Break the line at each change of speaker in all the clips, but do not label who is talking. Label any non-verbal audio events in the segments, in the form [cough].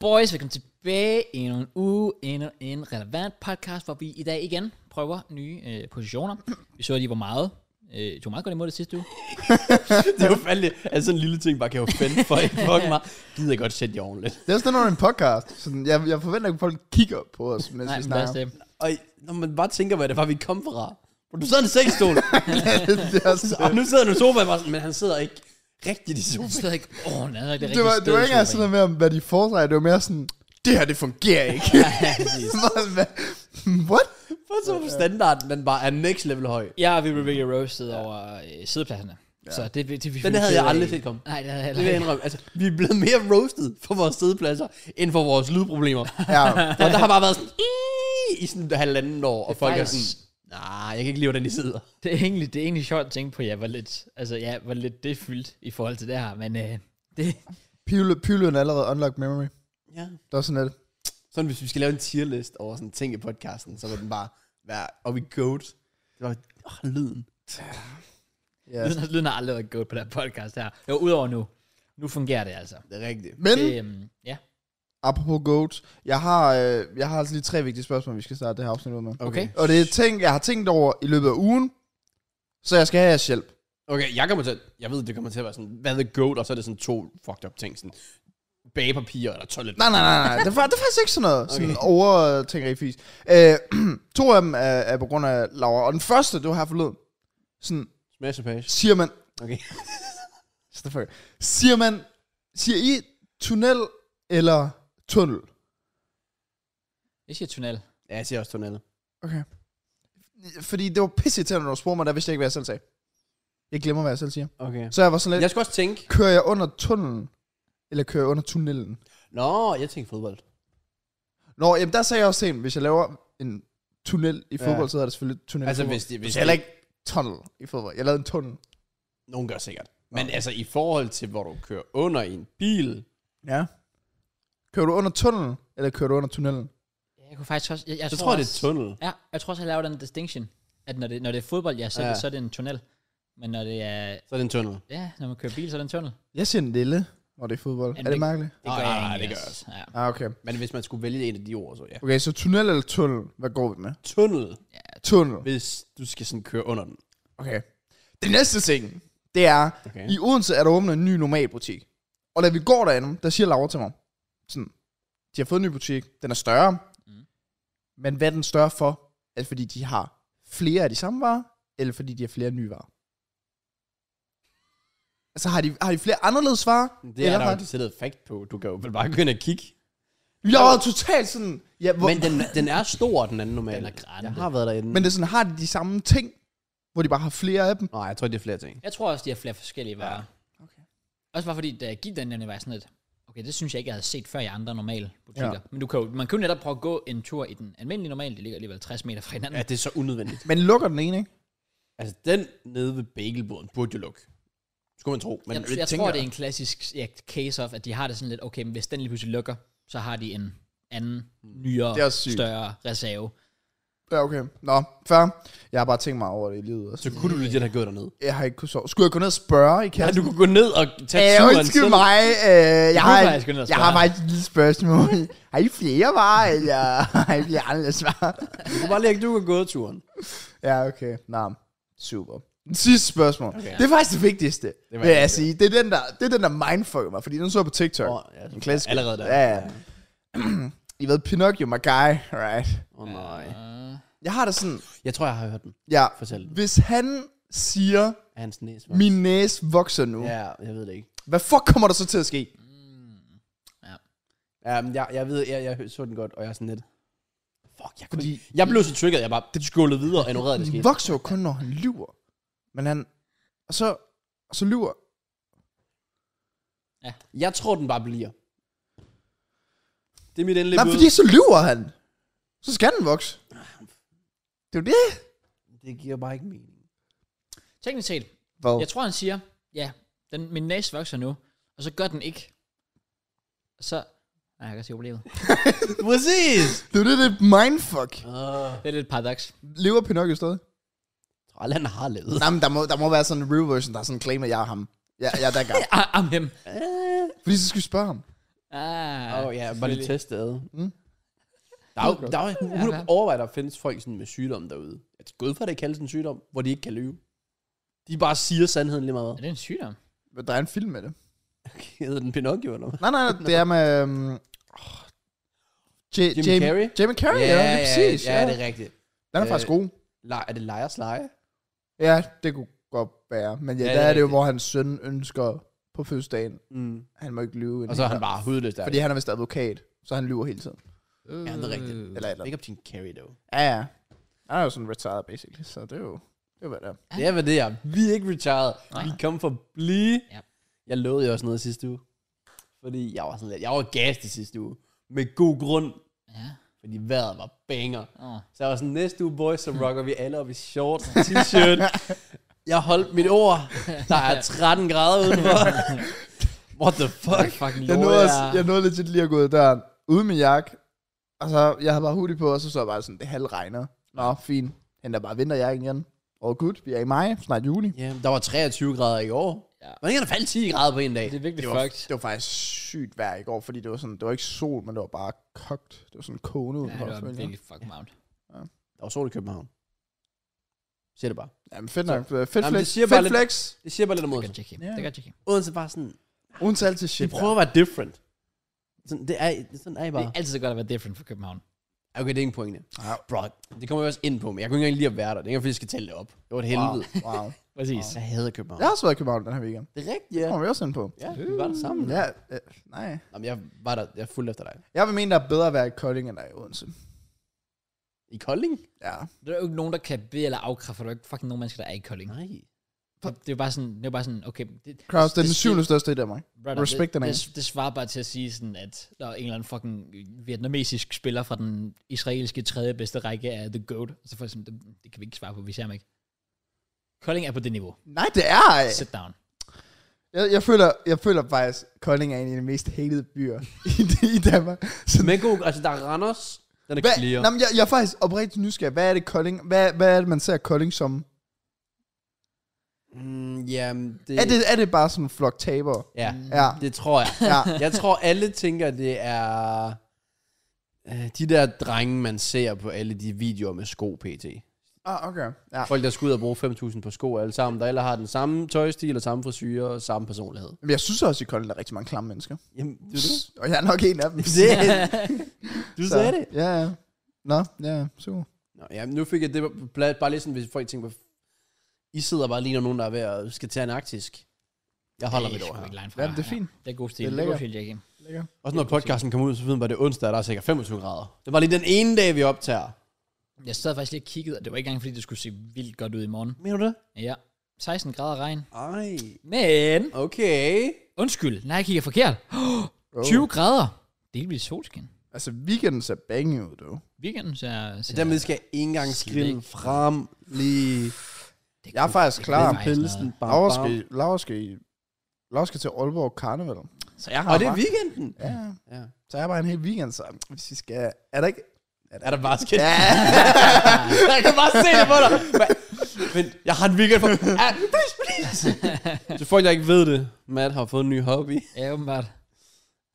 boys, velkommen tilbage endnu en uge, endnu en relevant podcast, hvor vi i dag igen prøver nye øh, positioner. [clears throat] Vi så lige, hvor meget. Øh, du var meget godt imod det sidste uge.
Det er jo fandme, altså sådan en lille ting bare kan jo fandme for [laughs] ikke fucking meget. Gider jeg godt sætte jer ordentligt.
Det er også noget, en podcast. Sådan, jeg, jeg forventer ikke, at folk kigger på os, mens
Nej,
vi
men lad os
snakker.
det.
Og I- når man bare tænker, hvad det var, vi kom fra. Hvor du sidder i en [laughs] sengstol,
[laughs] det, er også,
og nu sidder du i sofaen bare sådan, men han sidder ikke rigtigt i sofaen.
Jeg sidder ikke... Åh, oh, nej, det er
det var, det var ikke engang sådan noget med, om, hvad de foretrækker. Det var mere sådan, det her, det fungerer ikke. [laughs] Hvad- hvad- What?
[laughs] For så var standarden, den bare er next level høj.
Ja, vi blev virkelig roasted ja. over øh, sidepladserne. Ja. Så det, det, det vi
Den havde jeg aldrig set komme.
Nej, det havde jeg
Det vil jeg
heller ikke.
indrømme. Altså, vi er blevet mere roasted for vores sidepladser, end for vores lydproblemer.
[laughs]
Ja,
Og der har bare været sådan, "Ih!" i sådan et halvandet år, og folk er sådan,
faktisk-
nej, jeg kan ikke lide, hvordan de sidder.
Det er egentlig, det er egentlig sjovt at tænke på, ja, hvor lidt, altså, ja, hvor lidt det fyldt i forhold til det her, men øh, [laughs] det,
Pivle, pivle en allerede unlocked memory.
Ja.
Det var sådan lidt.
Sådan, hvis vi skal lave en tierlist over sådan ting i podcasten, så vil den bare være oppe i goat. Det var oh, lyden.
Ja.
Lyden, lyden har aldrig været gået på den her podcast her. Jo, udover nu. Nu fungerer det altså.
Det er rigtigt.
Men,
Det, øhm, ja.
apropos goat, jeg har, øh, jeg har altså lige tre vigtige spørgsmål, vi skal starte det her afsnit ud med.
Okay.
Og det er ting, jeg har tænkt over i løbet af ugen, så jeg skal have jeres hjælp.
Okay, jeg kommer til, jeg ved, det kommer til at være sådan, hvad the goat, og så er det sådan to fucked up ting, sådan bagepapir eller toilet.
Nej, nej, nej, nej. Det er, fa- det er faktisk ikke sådan noget. Sådan okay. over tænker jeg fis. Øh, [clears throat] to af dem er, er, på grund af Laura. Og den første, du har forleden, sådan,
Smash and pass.
siger man,
Okay.
[laughs] Shut the fuck up. siger man, siger I tunnel eller tunnel?
Jeg siger tunnel.
Ja, jeg siger også tunnel.
Okay. Fordi det var pisse til, når du spurgte mig, der vidste jeg ikke, hvad jeg selv sagde. Jeg glemmer, hvad jeg selv siger.
Okay.
Så jeg var sådan lidt,
Jeg skal også tænke,
kører jeg under tunnelen? Eller kører jeg under tunnelen?
nå, jeg tænker fodbold.
Nå, jamen der sagde jeg også til en, hvis jeg laver en tunnel i
Ja.
fodbold, så hedder det selvfølgelig tunnel
Altså,
i fodbold.
hvis det, hvis
Jeg heller ikke tunnel i fodbold. Jeg lavede en tunnel.
nogen gør sikkert. Men altså, i forhold til, hvor du kører under i en bil,
Ja. Kører du under tunnelen, eller kører du under tunnelen?
Jeg kunne faktisk også... Jeg, jeg
så tror jeg, det er
også-
tunnel.
Ja, jeg tror også, jeg laver den distinction, at når det, når det er fodbold, jeg selv, ja.
Ja.
så er det en tunnel. Men når det er...
Så er det en tunnel.
Ja, når man kører bil, så er det en tunnel.
Jeg siger en lille, når det er fodbold.
En
er det
lille-
mærkeligt?
Det
Nej, nej,
egentlig
det gør jeg
også. Ja.
Ah, okay.
Men hvis man skulle vælge en af de ord, så ja.
Okay, så tunnel eller tunnel? Hvad går vi med?
Tunnel,
Tunnel.
hvis du skal sådan køre under den.
Okay. Det næste ting, det er,
Okay.
i Odense er der åbnet en ny normalbutik. Og da vi går derinde, der siger Laura til mig, sådan, de har fået en ny butik, den er større.
Mm.
Men hvad er den større for? Er det fordi, de har flere af de samme varer, eller fordi de har flere nye varer? Altså, har de, har de flere anderledes varer?
Det er
eller
der
har
jo decideret fact på. Du kan jo vel bare gå ind og kigge.
Jeg var totalt sådan... Ja, hvor,
Men
men,
den, den er stor, den anden normalt.
Den er grande.
Jeg har været derinde.
men det er sådan, har de de samme ting, hvor de bare har flere af dem?
Nej, jeg tror, det er flere ting.
Jeg tror også, de har flere forskellige varer. Ja. Okay.
Okay.
Også bare fordi, da jeg gik den nemlig, var jeg sådan lidt, okay, det synes jeg ikke, jeg havde set før i andre normale butikker. Ja. Men du kan jo, man kan jo netop prøve at gå en tur i den almindelige normale, det ligger alligevel 60 meter fra hinanden.
Ja, det er så unødvendigt.
Men lukker den ene, ikke?
Altså, den nede ved bagelboden burde jo lukke. Skulle man tro. Men
Men jeg, jeg tror, det er en klassisk ja, case of, at de har det sådan lidt, okay, men hvis den lige pludselig lukker, så har de en anden, nyere,
Mm. Det er også sygt.
større reserve.
Ja, okay. Nå, fair. Jeg har bare tænkt mig over det i livet.
Så
Altså.
kunne du lige have gået derned.
Jeg har ikke kunnet sove. Skulle jeg gå ned og spørge i
Ja,
kassen?
du kunne gå ned og tage
Ja,
turen
Øh, undskyld
selv.
mig. Øh, jeg, har,
kunne faktisk gå ned og
jeg, jeg har
spørge.
faktisk et lille spørgsmål. [laughs] har I flere varer, eller [laughs] har I flere anderledes varer?
Du kunne bare lige ikke, du kunne gå turen.
[laughs] Ja, okay. Nå, super. Den sidste spørgsmål.
Okay.
Okay. Det er faktisk det vigtigste, det
var
vil jeg
det.
sige. Det er den, der, det er den, der mindfucker mig, fordi den så jeg på TikTok.
Åh, ja,
en klassisk.
allerede der.
Ja, [clears throat] ja. I ved, Pinocchio, my guy, right?
Åh, oh, nej.
Uh,
Jeg har det sådan,
Jeg tror, jeg har hørt den.
ja,
Fortæl den.
hvis han siger,
Hans næse. var-
min næse vokser nu,
Ja, jeg ved det ikke.
hvad fuck kommer der så til at ske?
Ja, men jeg, jeg ved, jeg, jeg så den godt, og jeg er sådan lidt... Fuck, jeg kunne
Fordi
ikke- Jeg blev så trigget, jeg bare skullede videre og ignorerede det
Han
skete.
vokser jo kun, når han lyver. Men han... Og så, og så lyver...
Jeg tror, den bare bliver. Det er mit endelige
Nej,
bud.
fordi så lyver han. Så skal den vokse. Det er jo det.
Det giver bare ikke mening.
teknisk set,
Hvad?
jeg tror, han siger, ja, den, min næse vokser nu, og så gør den ikke. Og så, nej, jeg kan godt se problemet.
Præcis!
Det er jo det, det er mindfuck.
Uh,
Det er lidt paradoks.
Lever Pinocchio stadig?
tror aldrig, han har levet.
Nej, men der må, der må være sådan en real version, der er sådan en claim, at jeg er ham. [laughs] Ja, jeg er der gang.
Ah, I'm him.
Fordi så skal vi spørge ham.
Ah,
Åh oh, ja, bare lige
selvfølgelig.
teste ad.
Mm.
Der er jo, der er jo
Ja, hvad?
100 overvejer, der findes folk sådan med sygdom derude. Jeg er gået for, at det kaldes en sygdom, hvor de ikke kan lyve. De bare siger sandheden lige
[laughs]
meget.
Er det en sygdom?
Men Der er en film med det.
Okay, hedder den Pinocchio eller hvad?
Nej, nej, nej det er med... Um, oh, J-
Jim
Jamie-
Carrey?
Jimmy Carrey, ja, ja, lige præcis.
Ja, ja, det er rigtigt.
Den er faktisk
øh,
god.
Le- er det Lejers Leje?
Ja, det kunne godt være. Men ja,
Ja,
ja
det
der
er
er det jo,
rigtigt.
hvor hans søn ønsker på fødselsdagen.
Mm.
Han må ikke lyve.
Og så er han bare hudløs der.
Fordi han er vist advokat, så han lyver hele tiden.
Ja, det er rigtigt.
Øh,
Eller et eller andet.
Ikke op til en carry, dog.
Ja, ja. Han er jo sådan retired, basically. Så det er jo... Det er jo, hvad det er.
Det er, hvad det er. Vi er ikke retired.
Nej.
Vi er kommet for at blive.
Ja.
Jeg lovede jo også noget sidste uge. Fordi jeg var sådan lidt, jeg var gas det sidste uge. Med god grund.
Ja.
Fordi vejret var banger.
Åh.
Så jeg var sådan, næste uge, boys, så
Hm.
rocker vi alle op i shorts og
[laughs]
t-shirt. Jeg holdt mit ord. Der er 13 grader
[laughs]
udenfor. What the
Fuck.
fuck?
Fucking
Jeg nåede, også,
jeg...
jeg nåede legit lige at gå ud af døren, ude med jakke, og så, jeg havde bare hoodie på, og så så jeg bare sådan, det halv regner. Nå, fint. Henter bare vinterjakken igen. All good, vi er i maj, snart juni.
Ja, der var 23 grader i år.
Ja.
Hvordan kan der falde 10 grader på en dag?
Det er virkelig
Det var,
fucked.
det var faktisk sygt vejr i går, fordi det var sådan, det var ikke sol, men det var bare kogt. Det var sådan kogende ud.
Ja, det var virkelig fucking varmt.
Der var sol i København. Siger det bare.
Jamen fedt nok. Fedt flex.
Jamen, det siger bare
fedt
lidt-
flex.
Det siger bare lidt om
Det
Odense.
kan jeg tjekke.
Ja.
Det kan jeg tjekke.
Odense er bare sådan,
Odense er altid
de
shit.
prøver at være different. Sådan, det er, sådan er I
Det
bare.
er altid så godt at være different for København.
Okay, det er ingen pointe.
Ja.
Bro, det kommer jeg også ind på, men jeg kunne ikke engang lide at være der. Det er ikke, engang, fordi jeg skal tælle det op. Det var et helvede.
Wow. wow.
Præcis.
Så jeg hader København.
[laughs] Jeg har også været i København den her weekend.
Det er rigtigt, ja.
Det kommer vi også ind på.
Ja, vi var der sammen.
Ja, øh, nej.
Jamen, jeg var der, jeg fulgte efter dig.
Jeg vil mene, der er bedre at være i Kolding, end der er i Odense.
I Kolding?
Ja.
Der er jo ikke nogen, der kan bede eller afkræfte, for der er jo ikke fucking nogen mennesker, der er i Kolding.
Nej.
Det, det er jo bare sådan, det er bare sådan okay... Det,
Kraus, det er den
det-
syvende største i Danmark.
Brother,
Respect
det,
the man.
det, det svarer bare til at sige sådan, at der er en eller anden fucking vietnamesisk spiller fra den israelske tredje bedste række af The Goat. Og så får jeg sådan, det, det kan vi ikke svare på, vi ser ham ikke. Kolding er på det niveau.
Nej, det er ej.
Sit down.
Jeg, jeg, føler, jeg føler faktisk, Kolding er en af de mest hatede byer [laughs] i, i Danmark. Så
Men god, altså der er Randers, den er
hvad,
clear.
nej, men jeg, jeg er faktisk oprigtigt nysgerrig. Hvad er det, Kolding, hvad, hvad er det man ser Kolding som?
Mm, jamen, det,
Er det, er det bare sådan en flok taber?
Ja,
Ja,
Mm. det tror jeg.
ja.
Jeg tror, alle tænker, det er... øh, De der drenge, man ser på alle de videoer med sko, pt.
Ah, okay. Ja.
Folk, der skal ud og bruge 5.000 på sko alle sammen, der eller har den samme tøjstil og samme frisyrer og samme personlighed.
Men jeg synes også, i Kolding der er rigtig mange klamme mennesker.
Jamen, det er det.
Og jeg er nok en af dem.
[laughs] Du
Så-
sagde det.
Ja, ja. Nå, ja, super.
Nå, ja, nu fik jeg det på pla- bare lige sådan, hvis folk tænker, "Hvor- I sidder bare lige, når nogen der er ved at skal tage en arktisk. Jeg holder
det
mit
er
over
sgu
her.
ikke langt fra.
Ja, det er fint.
Det er god stil.
Det er
Det er god
lækkert.
stil, Jackie.
Lækker.
Også når podcasten kom ud, så ved man, var det onsdag, og der er sikkert 25 grader. Det var lige den ene dag, vi optager.
Jeg sad faktisk lige og kiggede, og det var ikke engang, fordi det skulle se vildt godt ud i morgen.
Mener du det?
Ja, 16 grader regn.
Ej.
Men,
Okay.
undskyld, nej, jeg kigger forkert.
Oh.
20 grader. Det kan blive solskin.
Altså, weekenden ser bange ud, du.
Weekenden ser... ser
Dermed skal jeg ikke engang skrille
Slik.
frem lige
det
Jeg er
kunne-
faktisk
det
klar.
kunne faktisk
pelsen.
noget.
Bam,
Laura
bam.
skal, Laura skal, Laura skal til Aalborg Karneval. Så jeg
Og det er weekenden.
Ja, ja.
Ja.
Så jeg bare en hel weekend, så hvis vi skal... Er der ikke...
Er der bare skidt? [laughs]
Ja.
jeg kan bare se det på dig. Hva- Men jeg har en weekend for... [laughs] Ja, please, please. Så folk, der ikke ved det, Matt har fået en ny hobby.
[laughs] Ja, åbenbart.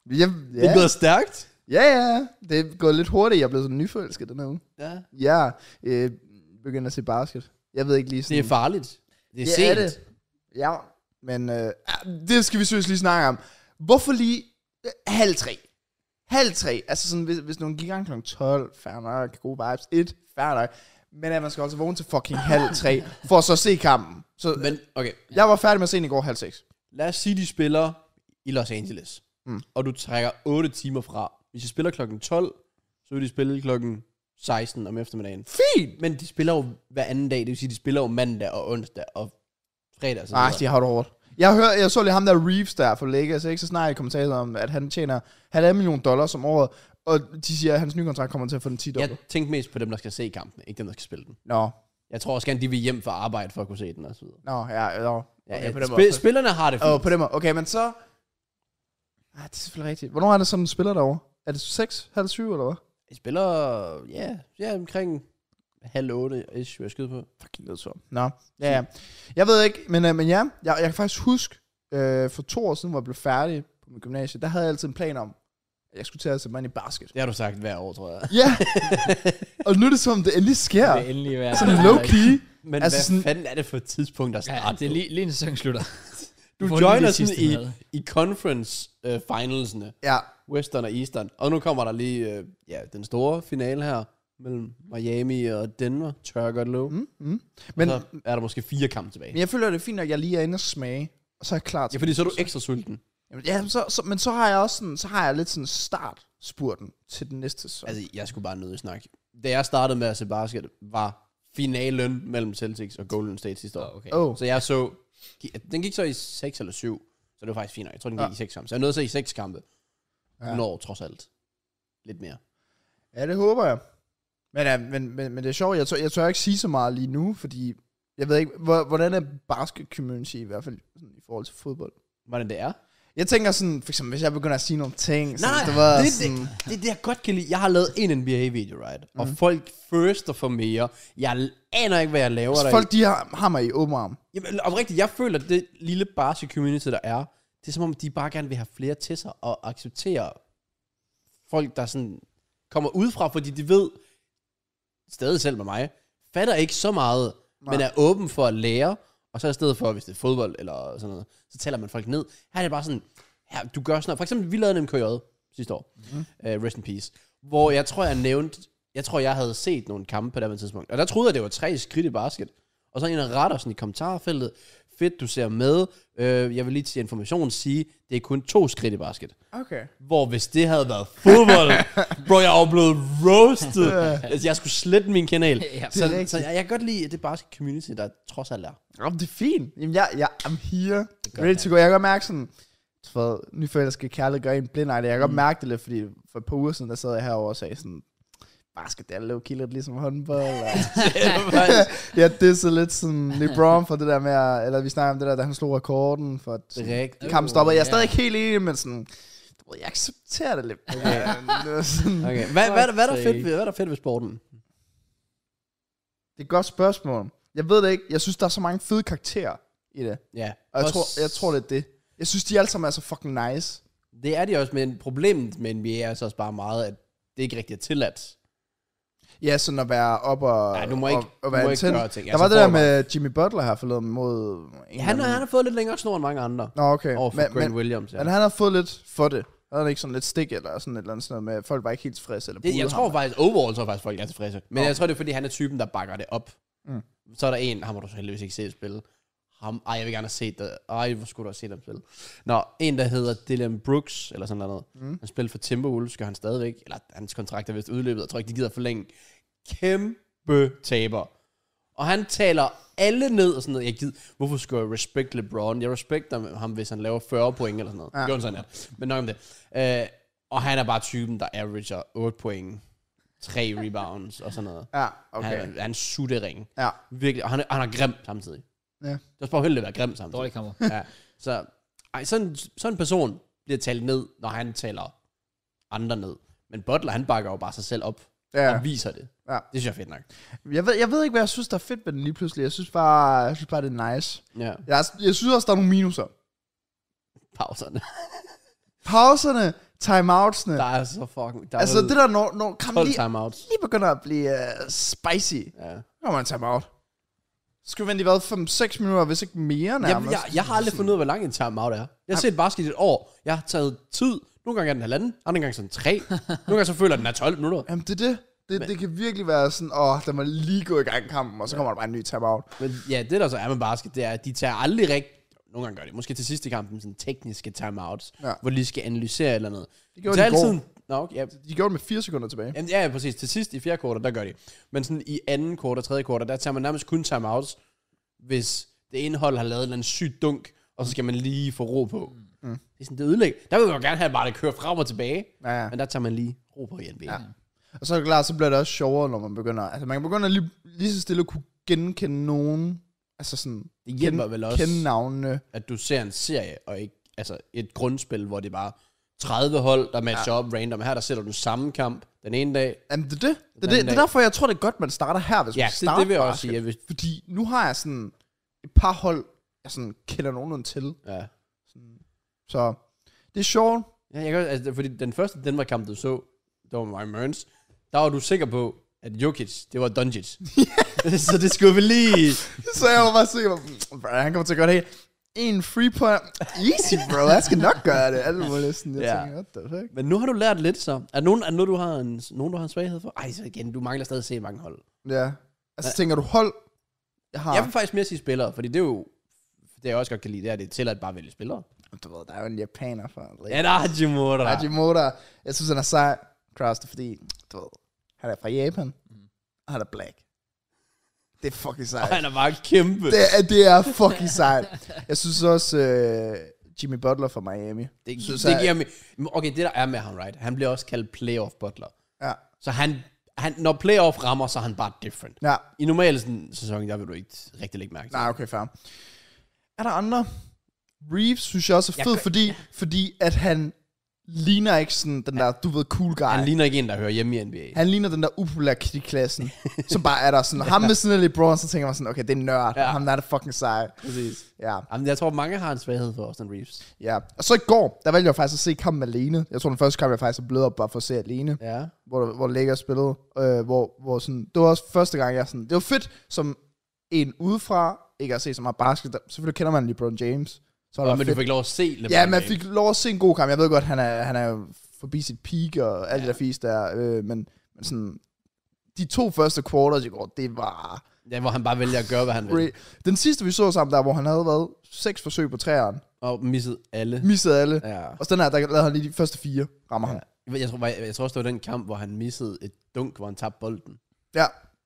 Jeg,
Det er
ja.
blevet stærkt.
ja, ja, det er gået lidt hurtigt. Jeg er blevet sådan nyforelsket den her uge.
Ja.
Ja, øh, begynder at se basket. Jeg ved ikke lige sådan...
Det er farligt. Det er
Ja,
sent.
er det. Ja, men øh, ah, det skal vi seriøst lige snakke om. Hvorfor lige øh, halv tre? Halv tre, altså sådan, hvis, hvis nogen gik i gang kl. 12, fair nok, gode vibes, et, fair nok. Men at man skal også vågne til fucking halv tre, for at så se kampen. Så
Men okay,
jeg var færdig med at se den i går halv seks.
lad os sige, de spiller i Los Angeles.
Mm.
Og du trækker 8 timer fra. Hvis de spiller klokken 12, så vil de spille klokken 16 om eftermiddagen.
Fint!
Men de spiller jo hver anden dag. Det vil sige, de spiller jo mandag og onsdag og fredag. og Så
Ah,
videre.
de har det hårdt. Jeg, hører, jeg så lige ham der Reeves der for Lakers, ikke? så snart jeg kommentarer om, at han tjener halvanden million dollars om året, og de siger, at hans nye kontrakt kommer til at få den 10 dollar.
Jeg tænkte mest på dem, der skal se kampen, ikke dem, der skal spille den.
Nå,
Jeg tror også gerne, de vil hjem fra arbejde for at kunne se den og så videre.
nå, ja, nå.
Ja,
Okay,
ja,
på den
spi-
måde.
spillerne har det
Åh,
fint.
oh, på den måde. Okay, men så... Ah, det er selvfølgelig rigtigt. Hvornår er det sådan, en spiller derovre? Er det 6, halv 7 eller hvad?
De spiller, ja, ja omkring halv otte, ish, vil jeg skyde på.
Fucking nedtur. Nå, ja, ja. Jeg ved ikke, men, øh, men ja, jeg, jeg kan faktisk huske, øh, for to år siden, hvor jeg blev færdig på min gymnasie, der havde jeg altid en plan om, jeg skulle til at sætte mig ind i basket.
Det har du sagt hver år, tror jeg.
Ja, [laughs] og nu er det som, det endelig sker.
Det er endelig være.
Sådan low-key.
[laughs] Men
Altså
altså hvad
sådan-
sådan, fanden er det for et tidspunkt, der
Ja,
starter?
det er lige, lige en sæson slutter.
du
får lige
joiner
det
sådan
sidste
i,
med.
i conference uh, finalsene,
Ja,
Western og Eastern. Og nu kommer der lige uh, ja, den store finale her mellem Miami og Denver, tør godt lov. Mm,
men,
men, så er der måske fire kampe tilbage.
men jeg føler, det er fint, at jeg lige er inde og smage, og så er jeg klar
Ja,
til...
fordi så er du ekstra sulten.
Jamen, ja, så, så, men så har jeg også sådan, så har jeg lidt sådan startspurten til den næste sæson.
Altså, jeg skulle bare nødt snakke. Da jeg startede med at se basket, var finalen mellem Celtics og Golden State sidste år.
Åh, Ah, okay.
oh.
Så jeg så... Den gik så i 6 eller 7, så det var faktisk fint nok. Jeg tror, den gik
Ja.
i 6 kampe. Så jeg nåede så i 6 kampe.
Ja.
Ja. Når trods alt. Lidt mere.
Ja, det håber jeg. Men, ja, men, men, men det er sjovt, jeg tør, jeg tør ikke sige så meget lige nu, fordi jeg ved ikke, hvor- hvordan er basket community i hvert fald sådan, i forhold til fodbold?
Hvordan det er?
Jeg tænker sådan, for eksempel, hvis jeg begynder at sige nogle ting, sådan,
det,
det var
det,
sådan,
det, det, er det, jeg godt kan lide. Jeg har lavet en NBA-video, right? Mm. Og folk firster for mere. Jeg aner ikke, hvad jeg laver der.
Altså, folk de har, har mig i åben arm.
Jamen, om rigtigt, jeg føler, at det lille barse community, der er, det er som om, de bare gerne vil have flere til sig og acceptere folk, der sådan kommer udefra, fordi de ved, stadig selv med mig, fatter ikke så meget, Nej. men er åben for at lære, og så i stedet for, hvis det er fodbold eller sådan noget, så taler man folk ned. Her er det bare sådan, her, du gør sådan noget. For eksempel, vi lavede en MKJ sidste år, mm-hmm. uh, Rest in Peace, hvor jeg tror, jeg nævnte, jeg tror, jeg havde set nogle kampe på det her tidspunkt, og der troede jeg, det var tre skridt i basket. Og så er en, der retter sådan i kommentarfeltet, fedt, du ser med, uh, jeg vil lige til information sige, det er kun to skridt i basket.
Okay.
Hvor hvis det havde været
[laughs]
fodbold, bro, jeg var blevet roasted. altså, jeg skulle slette min kanal.
[laughs] Ja,
så,
rigtigt.
så jeg, jeg kan godt lide, at det bare er community, der trods alt er.
[laughs] Jamen, det er fint. Jamen, jeg, jeg I'm here. Ready to go. Jeg kan godt mærke sådan, for nyforelskede kærlighed gør en blind ej. Jeg kan
Mm.
godt mærke det lidt, fordi for et par uger siden, der sad jeg herovre og sagde sådan, basket, det er low-key lidt ligesom håndbold.
[laughs]
Og jeg dissede lidt sådan LeBron for det der med, at, eller vi snakker om det der, da han slog rekorden for at sådan,
Rigtigt.
kampen stopper. Jeg er
Ja.
stadig ikke helt enig, men sådan, du ved, jeg accepterer det lidt. Okay. sådan,
Okay. Hvad, hvad, hvad, er der
Fuck's
fedt
sake.
ved, hvad er der fedt ved sporten?
det er et godt spørgsmål. Jeg ved det ikke. Jeg synes, der er så mange fede karakterer i det.
Ja.
Og jeg
Også-
tror, jeg tror, det er det. Jeg synes, de alle sammen er så fucking nice.
Det er det også, men problemet med NBA er så også bare meget, at det ikke rigtig er tilladt.
Ja, sådan at være op og,
Nej, du må
og,
ikke-
og
du
være
må ikke
antændt.
gøre ting.
Der
Altså,
var det der
får man-
med Jimmy Butler her forleden mod...
Ja, han, har- han har fået lidt længere snor end mange andre.
Nå, okay.
Over for
Men,
Grant
men,
Williams. Ja.
men han har fået lidt for det. Han havde ikke sådan lidt stik eller sådan et eller andet sådan noget med, at folk var ikke helt tilfredse eller
Det, jeg
buede
tror
ham.
faktisk, overall tror jeg faktisk, folk er tilfredse. Men
Nå.
jeg tror, det er, fordi han er typen, der bakker det op.
Mm.
Så er der en, ham har du så heldigvis ikke set spille. Ham, ej, jeg vil gerne have set det. Ej, hvor skulle du have set ham spille. Nå, en, der hedder Dylan Brooks, eller sådan noget. Mm. Han spiller for Timberwolves, gør han stadigvæk. Eller hans kontrakt er vist udløbet, jeg tror ikke, de gider forlænge. Kæmpe taber. Og han taler alle ned og sådan noget. Jeg gider, hvorfor skulle jeg respect LeBron? Jeg respekter ham, hvis han laver 40 point eller sådan noget. Ja. Gjorde han sådan her. Men nok om det. Øh, og han er bare typen, der averager 8 point, 3 rebounds og sådan noget.
Ja,
Okay.
okay.
Han, er- han sutter ring.
Ja.
Virkelig. Og han, er- og han er grim samtidig.
Ja.
Det er også bare heldigt at være grim samtidig.
Dårlig kammer.
Ja. Så ej, sådan, sådan en person bliver talt ned, når han taler andre ned. Men Butler, han bakker jo bare sig selv op
Ja.
og viser det.
Ja.
Det synes jeg er fedt nok.
Jeg ved, jeg ved ikke, hvad jeg synes, der er fedt ved den lige pludselig. Jeg synes bare, jeg synes bare det er nice.
Ja.
Jeg, jeg synes også, der er nogle minuser. [laughs]
Pauserne.
Pauserne, timeoutsene.
Der er så fucking... Der er
altså
vel
det der, når, når kampen
12
lige,
timeouts.
lige begynder at blive uh, spicy.
Ja.
Når man timeout. Skal vi vente i hvad, 5-6 minutter, hvis ikke mere
Jeg,
nærmest?
jeg, jeg har aldrig fundet ud af, hvor lang en timeout er. Jeg har set basket i et år. Jeg har taget tid. Nogle gange er den halvanden, andre gange sådan tre. Nogle gange så føler jeg, at den er 12 minutter.
Jamen, det er det. Det, det kan virkelig være sådan, åh, der må lige gå i gang kampen, og så kommer der bare en ny timeout.
Men ja, det der så er med basket, det er, at de tager aldrig rigtig... Nogle gange gør det. Måske til sidste kampen, sådan tekniske timeouts,
Ja.
ja. hvor de lige skal analysere eller noget. Det
gjorde
de
de i går.
altid... Nå, okay, ja.
De gjorde det med 4 sekunder tilbage.
Jamen, ja, ja, præcis. Til sidst i fjerde kvartal, der gør de. Men sådan i anden kvartal, tredje kvartal, der tager man nærmest kun timeouts, hvis det ene hold har lavet en eller anden syg dunk, og så skal man lige få ro på. Mm. Det er sådan, det ødelæg. Der vil man jo gerne have, at bare det kører frem og tilbage.
Ja, ja.
Men der tager man lige ro på i NBA. Ja.
Og så er det klart, så bliver det også sjovere, når man begynder... Altså, man kan begynde at lige, lige så stille at kunne genkende nogen. Altså sådan...
Det hjælper vel også-
Kende navnene.
At du ser en serie, og ikke altså et grundspil, hvor det er bare 30 hold, der matcher ja. op random. Her der sætter du samme kamp den ene dag.
Jamen, det er det. Det, er
Den
det,
anden
det er
dag.
derfor, jeg tror, det er godt, man starter her, hvis
Ja,
man
det-
starter
det vil jeg også
basket.
sige, at hvis-
Fordi nu har jeg sådan et par hold, jeg sådan kender nogenlunde til.
Ja.
Så det er sjovt. [laughs]
Ja, jeg kan, også- altså, fordi den første Denver-kamp, du så, der var Ryan Mørns, der var du sikker på, at Jokic, det var Dungic. så det skulle vi lige...
Så jeg var bare sikker på, "Mm, bro, han kommer til at gøre det hele. En free point. Easy, bro. Han skal nok gøre det. Alle var næsten, jeg
Ja.
tænker, what the fuck?
Men nu har du lært lidt, så. Er nogen, er noget, du har en, nogen, du har en svaghed for? Ej, så igen, du mangler stadig at se mange hold.
Ja. Altså, tænker du, hold, jeg har...
Jeg vil faktisk mere sige spillere, fordi det er jo... Det jeg også godt kan lide, det er, at det er tilladt bare at vælge spillere.
Du ved, der er jo en japaner for.
Ja, der er Hajimura.
Hajimura. Jeg synes, han er sej. Cross det, fordi, du ved, han er fra Japan.
Mm.
Og han er black. Det er fucking
Og
sejt.
han er bare kæmpe.
Det er, det er fucking sejt. Jeg synes også, øh, Jimmy Butler fra Miami.
Det,
synes
synes, det
jeg-
giver mig... Men Okay, det der er med ham, right? Han bliver også kaldt playoff butler.
Ja.
Så han, han, når playoff rammer, så er han bare different.
Ja,
I normale sådan, sæson, der vil du ikke rigtig lægge mærke til.
Nej, okay, fair. Er der andre? Reeves synes jeg også er
Jeg
fed,
kan-
fordi, fordi at han ligner ikke sådan den der, du ved, cool guy.
Han ligner ikke en, der hører hjemme i NBA.
han ligner den der upopulære kid i klassen, som bare er der sådan.
[laughs]
Ham med sådan lidt LeBron, så tænker man sådan, okay, det er en nørd. Ja.
Ja.
Ham der er det fucking sej.
Præcis.
Ja,
Jamen, jeg tror, mange har en svaghed for Austin Reeves.
ja. Og så i går, der valgte jeg faktisk at se kampen alene. Jeg tror, den første kamp, jeg faktisk er blevet op bare for at se alene.
Ja.
hvor, der- hvor Lakers spillede, øh, hvor, hvor sådan, det var også første gang, jeg sådan, det var fedt, som en udefra, ikke at se så meget basket, der, selvfølgelig kender man LeBron James, så var
Og,
det
men
fedt.
du fik lov at se LeBron
ja, man
James.
fik lov at se en god kamp, jeg ved godt, han er, han er jo forbi sit peak og alt ja. det der fisk der, øh, men, men sådan, de to første quarters i går, det var...
Ja, hvor han bare vælger at gøre, hvad han vil.
Re- Den sidste, vi så sammen der, hvor han havde været seks forsøg på træeren,
Og misset alle.
missede alle, ja.
Ja.
og så den her, der lavede han lige de første fire, rammer ja. han.
Jeg tror, jeg, jeg tror også, det var den kamp, hvor han missede et dunk, hvor han tabte bolden.
Ja,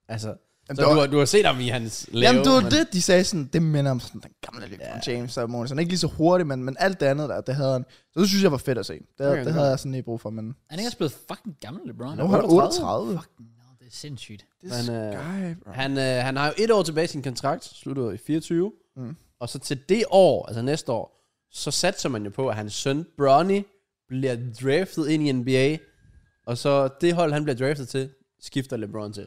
Altså,
Jamen,
så
det
du,
var-
har, du har set ham i hans lave.
Jamen, det var
men-
det, de sagde sådan, det minder om sådan, den gamle LeBron
Ja.
James og Morrison. Ikke lige så hurtigt, men, men alt det andet der, det havde han. Så det synes jeg var fedt at se. Det,
Okay,
okay, det
det
havde
var-
jeg sådan lige brug for, men...
Han er ikke også blevet fucking gammel, LeBron.
Nu er han 38. Fuck,
Fucking, no, det er sindssygt.
det
Men, øh,
sky, bro.
Han, øh, han har jo et år tilbage i sin kontrakt, slutter i 24. Mm. Og så til det år, altså næste år, så satser man jo på, at hans søn Bronny bliver draftet ind i NBA. Og så det hold, han bliver draftet til, skifter LeBron til.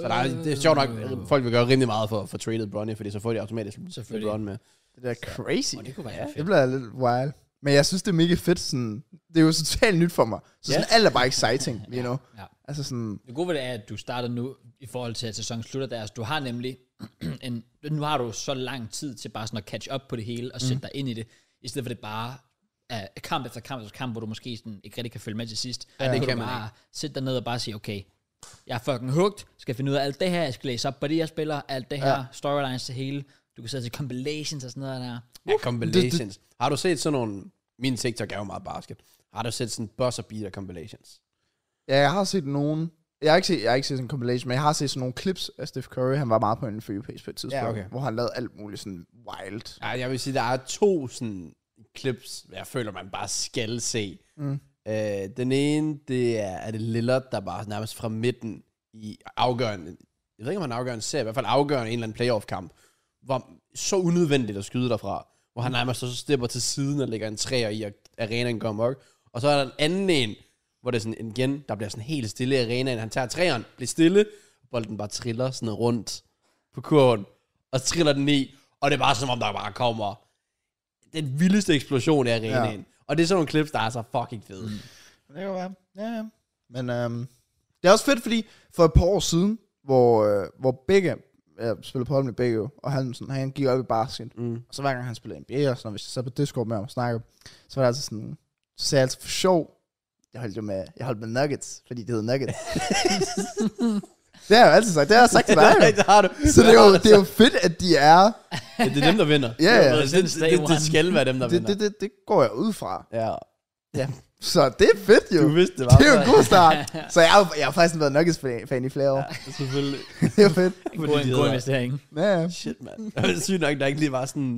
Så der er,
Øh.
det er sjovt nok, at folk vil gøre rimelig meget for, for traded Bronny, fordi så får de automatisk
Selvfølgelig.
LeBron med.
Det er crazy.
Åh, det kunne være fedt.
Det bliver lidt wild. Men jeg synes, det er mega fedt. Sådan, det er jo totalt nyt for mig. Så sådan, alt er bare exciting, you know.
Ja.
Altså sådan,
Det gode ved det er, at du starter nu i forhold til, at sæsonen slutter deres. Du har nemlig [clears throat] en, nu har du så lang tid til bare sådan at catch up på det hele og sætte dig ind i det, i stedet for det bare er kamp efter kamp efter kamp, hvor du måske sådan ikke rigtig kan følge med til sidst. Ja,
det kan
du
man
bare sætte dig ned og bare sige, okay, jeg er fucking hugt, skal finde ud af alt det her, jeg skal læse op på det, jeg spiller, alt det her, ja. storylines til hele. Du kan sætte til compilations og sådan noget der.
Ja, compilations. Har du set sådan nogle... Min TikTok er jo meget basket. Har du set sådan buzzer beater compilations?
ja, jeg har set nogen... Jeg har, ikke set, jeg har ikke set sådan en compilation, men jeg har set sådan nogle clips af Steph Curry. Han var meget på en free page på et tidspunkt,
okay.
hvor han lavede alt muligt sådan wild.
Ja, jeg vil sige, der er to sådan clips, jeg føler, man bare skal se. Mm. Øh, den ene, det er, er det Lillard, der bare nærmest fra midten i afgørende, jeg ved ikke, om han afgørende ser, i hvert fald afgørende en eller anden playoff-kamp, hvor så unødvendigt at skyde derfra, hvor han nærmest så stepper til siden og lægger en træer i, og arenaen går mok. Og så er der en anden en, hvor det er sådan igen, der bliver sådan helt stille i arenaen. Han tager træeren, bliver stille, og bolden bare triller sådan rundt på kurven, og triller den i, og det er bare som om, der bare kommer den vildeste eksplosion i arenaen. Ja. Og det er sådan nogle clips, der er så fucking fede. [laughs] Mm.
Det kan være. Ja, ja. Men øhm, det er også fedt, fordi for et par år siden, hvor, øh, hvor begge, jeg spillede på hold med begge, jo, og han, sådan, han gik op i basket. Mm. Og så hver gang han spillede NBA, og sådan, og hvis jeg sad på Discord med ham og snakkede, så var det altså sådan, så sagde jeg altså for sjov, jeg holdt jo med, jeg holdt med Nuggets, fordi det hedder [laughs] Nuggets. det har jeg jo altid sagt, det har jeg sagt til dig. jo.
det har du.
Så det
[laughs]
er, jo, det er jo fedt, at de er,
Ja, det er dem, der vinder.
Ja, ja.
Det, det, det, det, det skal være dem, der
det,
vinder.
det, det, det går jeg ud fra.
Ja.
Så det er fedt jo.
Du vidste det, var.
Det er jo en god
[laughs]
start. Så jeg har, jo- jeg har faktisk været Nuggets-fan i flere år. Ja.
Selvfølgelig.
[laughs] det er jo
[laughs]
fedt.
En
øh,
god, en god investering.
Ja, ja.
Shit, mand. [laughs] Det er sygt nok, der ikke lige var sådan,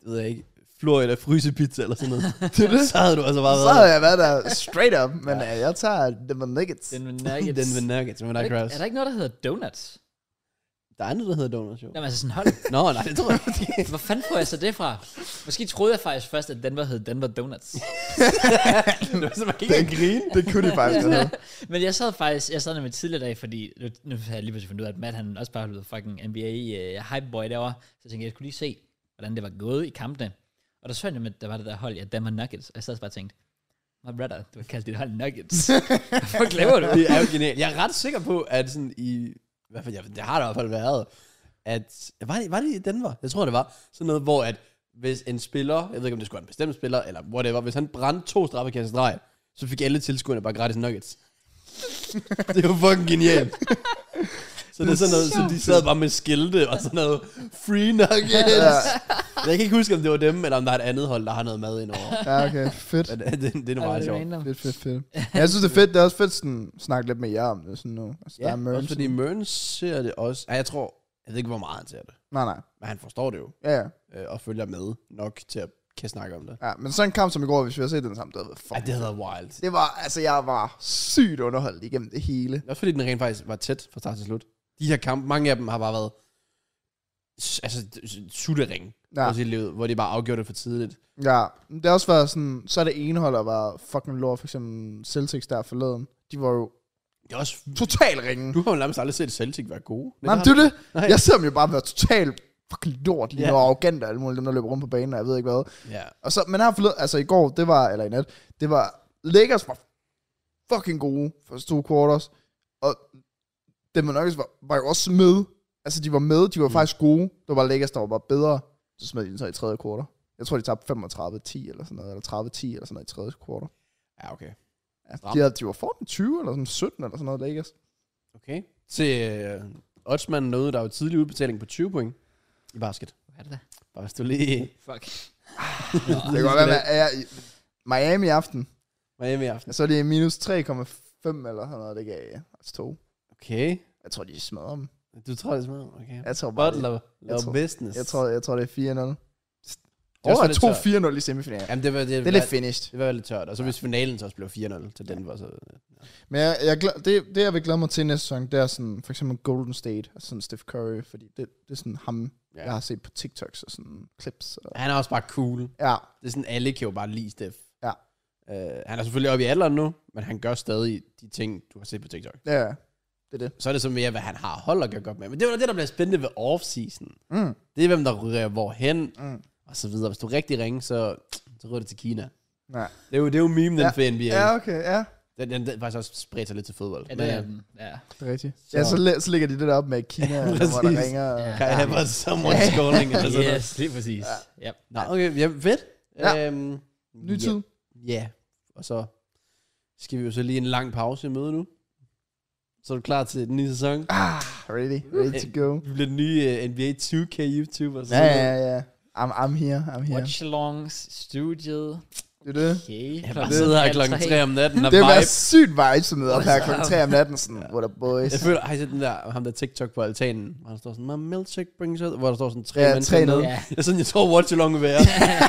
det ved jeg ikke, Florida frysepizza eller sådan
[laughs]
noget. det det. Så havde du altså bare
Så
været
havde jeg været der straight up, men ja. jeg tager Denver Nuggets.
Den, den,
der. [laughs] Den ved nuggets, men der
er,
er
der ikke,
Kraus.
er der ikke noget, der hedder donuts?
Der er andet, der hedder donuts, jo.
Jamen altså sådan, hold,
Nå, nej, det tror jeg ikke.
Hvor fanden får jeg så det fra? Måske troede jeg faktisk først, at Denver hed Denver Donuts.
det var så man ikke grine.
Det kunne de faktisk
[laughs]
godt have.
Men jeg sad faktisk, jeg sad nemlig tidligere dag, fordi nu, nu har jeg lige pludselig fundet ud af, at Matt han også bare øh, er blevet fucking NBA uh, hypeboy derovre. Så tænkte jeg, jeg skulle lige se, hvordan det var gået i kampene. Og der så jeg, at der var det der hold, ja, Denver Nuggets. Og jeg sad også bare og tænkte, my brother, du har kaldt dit hold
[laughs]
Nuggets. Hvor glemmer du?
Det er jo genialt. Jeg er ret sikker på, at sådan i... Hvad for, jeg, det har der i hvert fald været. At, var, det, var det i Denver? Jeg tror, det var. Sådan noget, hvor at hvis en spiller, jeg ved ikke, om det skulle være en bestemt spiller, eller whatever, hvis han brændte to straffekast i streg, så fik alle tilskuerne bare gratis nuggets. [laughs] det er jo fucking genialt. Så det er sådan noget, så de sad bare med skilte og sådan noget, free
Ja.
nuggets. Jeg kan ikke huske, om det var dem, eller om der er et andet hold, der har noget mad indover.
Ja, okay. Fedt.
Men øh, det, det, det er nu meget sjovt.
Fedt, fedt, fedt. Ja, jeg synes, det er fedt. Det er også fedt sådan, at snakke lidt med jer om det sådan nu. Altså,
Ja,
der er merch.
også fordi Mørn ser det også. Ja, jeg tror, jeg ved ikke, hvor meget han ser det.
Nej, nej.
Men han forstår det jo,
Ja, ja.
øh, og følger med nok til at kan snakke om det.
ja. Men sådan en kamp som i går, hvis vi havde set den sammen, det havde været
Ej,
fucking
det havde været wild.
Det var, altså jeg var sygt underholdt igennem det hele.
Også fordi den rent faktisk var tæt fra start til slut. De her kampe, mange af dem har bare været s- altså s- suttering
Ja.
ja. i livet, hvor de bare afgjorde det for tidligt.
Ja, men det har også været sådan, så er det ene hold, der var fucking lort, for eksempel Celtics der forleden. De var jo
Det er også...
total ringe.
Du har jo nærmest aldrig set Celtic være gode.
Nej, men
har-
det er det.
Nej.
Jeg ser dem jo bare være total fucking lort lige
Ja.
nu, og arrogant og alle mulige, dem der løber rundt på banen, og jeg ved ikke hvad.
Ja.
Og så, men her forleden, altså i går, det var, eller i nat, det var, Lakers var fucking gode første to quarters, og Denver Nuggets var, var jo også med. Altså, de var med, de var mm. faktisk gode. Det var bare Lakers, der var bare bedre. Så smed de den så i tredje kvartal. Jeg tror, de tabte 35-10 eller sådan noget, eller 30-10 eller sådan noget i tredje kvartal.
ja, okay.
Ja,
Stramt.
de, havde, de var foran 20 eller sådan 17 eller sådan noget, Lakers.
Okay. Til øh, oddsmanden nåede der jo tidlig udbetaling på 20 point i basket.
Hvad er det der?
Bare hvis du lige...
Fuck.
[laughs] Det kan godt være, at jeg i Miami i aften,
Miami i aften.
så er de minus 3,5 eller sådan noget, det gav jeg. Altså to.
Okay.
Jeg tror, de smadrer dem.
Du tror, det er smart. Okay.
Jeg tror bare,
Butler, love
tror-
business.
Jeg tror, jeg tror det er 4-0.
Det er også
Åh,
lidt tørt.
2-4-0 i semifinalen.
Jamen, det var, det,
Det er lidt finished.
det var lidt tørt. Og så hvis finalen så også blev 4-0 til Denver, så...
Men jeg, jeg, glæ- det, det, jeg vil glæde mig til næste sæson, det er sådan, for eksempel Golden State, altså sådan Steph Curry, fordi det, det er sådan ham,
Ja.
ja. jeg har set på TikToks og sådan clips. Og,
Han er også bare cool.
ja,
Det er sådan, alle kan jo bare lide Steph.
Ja.
Uh, han er selvfølgelig oppe i alderen nu, men han gør stadig de ting, du har set på TikTok.
ja, det er det.
Så er det så mere, hvad han har hold at gøre godt med. Men det var det, der bliver spændende ved off-season.
Mm.
Det er, hvem der ryger hvorhen,
Mm.
og så videre. Hvis du er rigtig ringe, så, så ryger det til Kina.
Ja.
Det er jo, det er jo memen ja. for NBA.
ja, okay, ja.
Den, den, den, faktisk også spredt sig lidt til fodbold.
Ja,
Men,
det er den. Ja.
Det er rigtigt.
Så-
Så. Ja, så, læ- så ligger de det der op
[laughs]
med Kina,
Ja,
ja, hvor
præcis.
der ringer. Og,
Ja.
ja.
Kan jeg have someone scoring [laughs] eller sådan noget?
yes, det er præcis. Ja. Yep.
Nå, okay, Altså, ja, fedt.
Ja.
Øhm,
Ny tid.
Ja, ja, og så skal vi jo så lige en lang pause i møde nu. Så er du klar til den nye sæson.
Ah, ready, ready to go.
Vi bliver den nye uh, NBA 2K YouTuber. og
Ja,
sådan
ja,
noget.
ja. I'm, I'm here, I'm here.
Watch-alongs, studiet.
Det er det.
Okay.
Jeg bare sidder her klokken 3 om natten og
Det var
vibe.
sygt vibe, som hedder her klokken 3 om natten, sådan, what up boys.
Jeg føler, har I set den der, ham der TikTok på altanen, hvor der står sådan, my milkshake brings out, hvor der står sådan tre
Ja,
mennesker
tre
nede.
nede.
Ja. Jeg, er sådan, jeg tror, watch along vil være.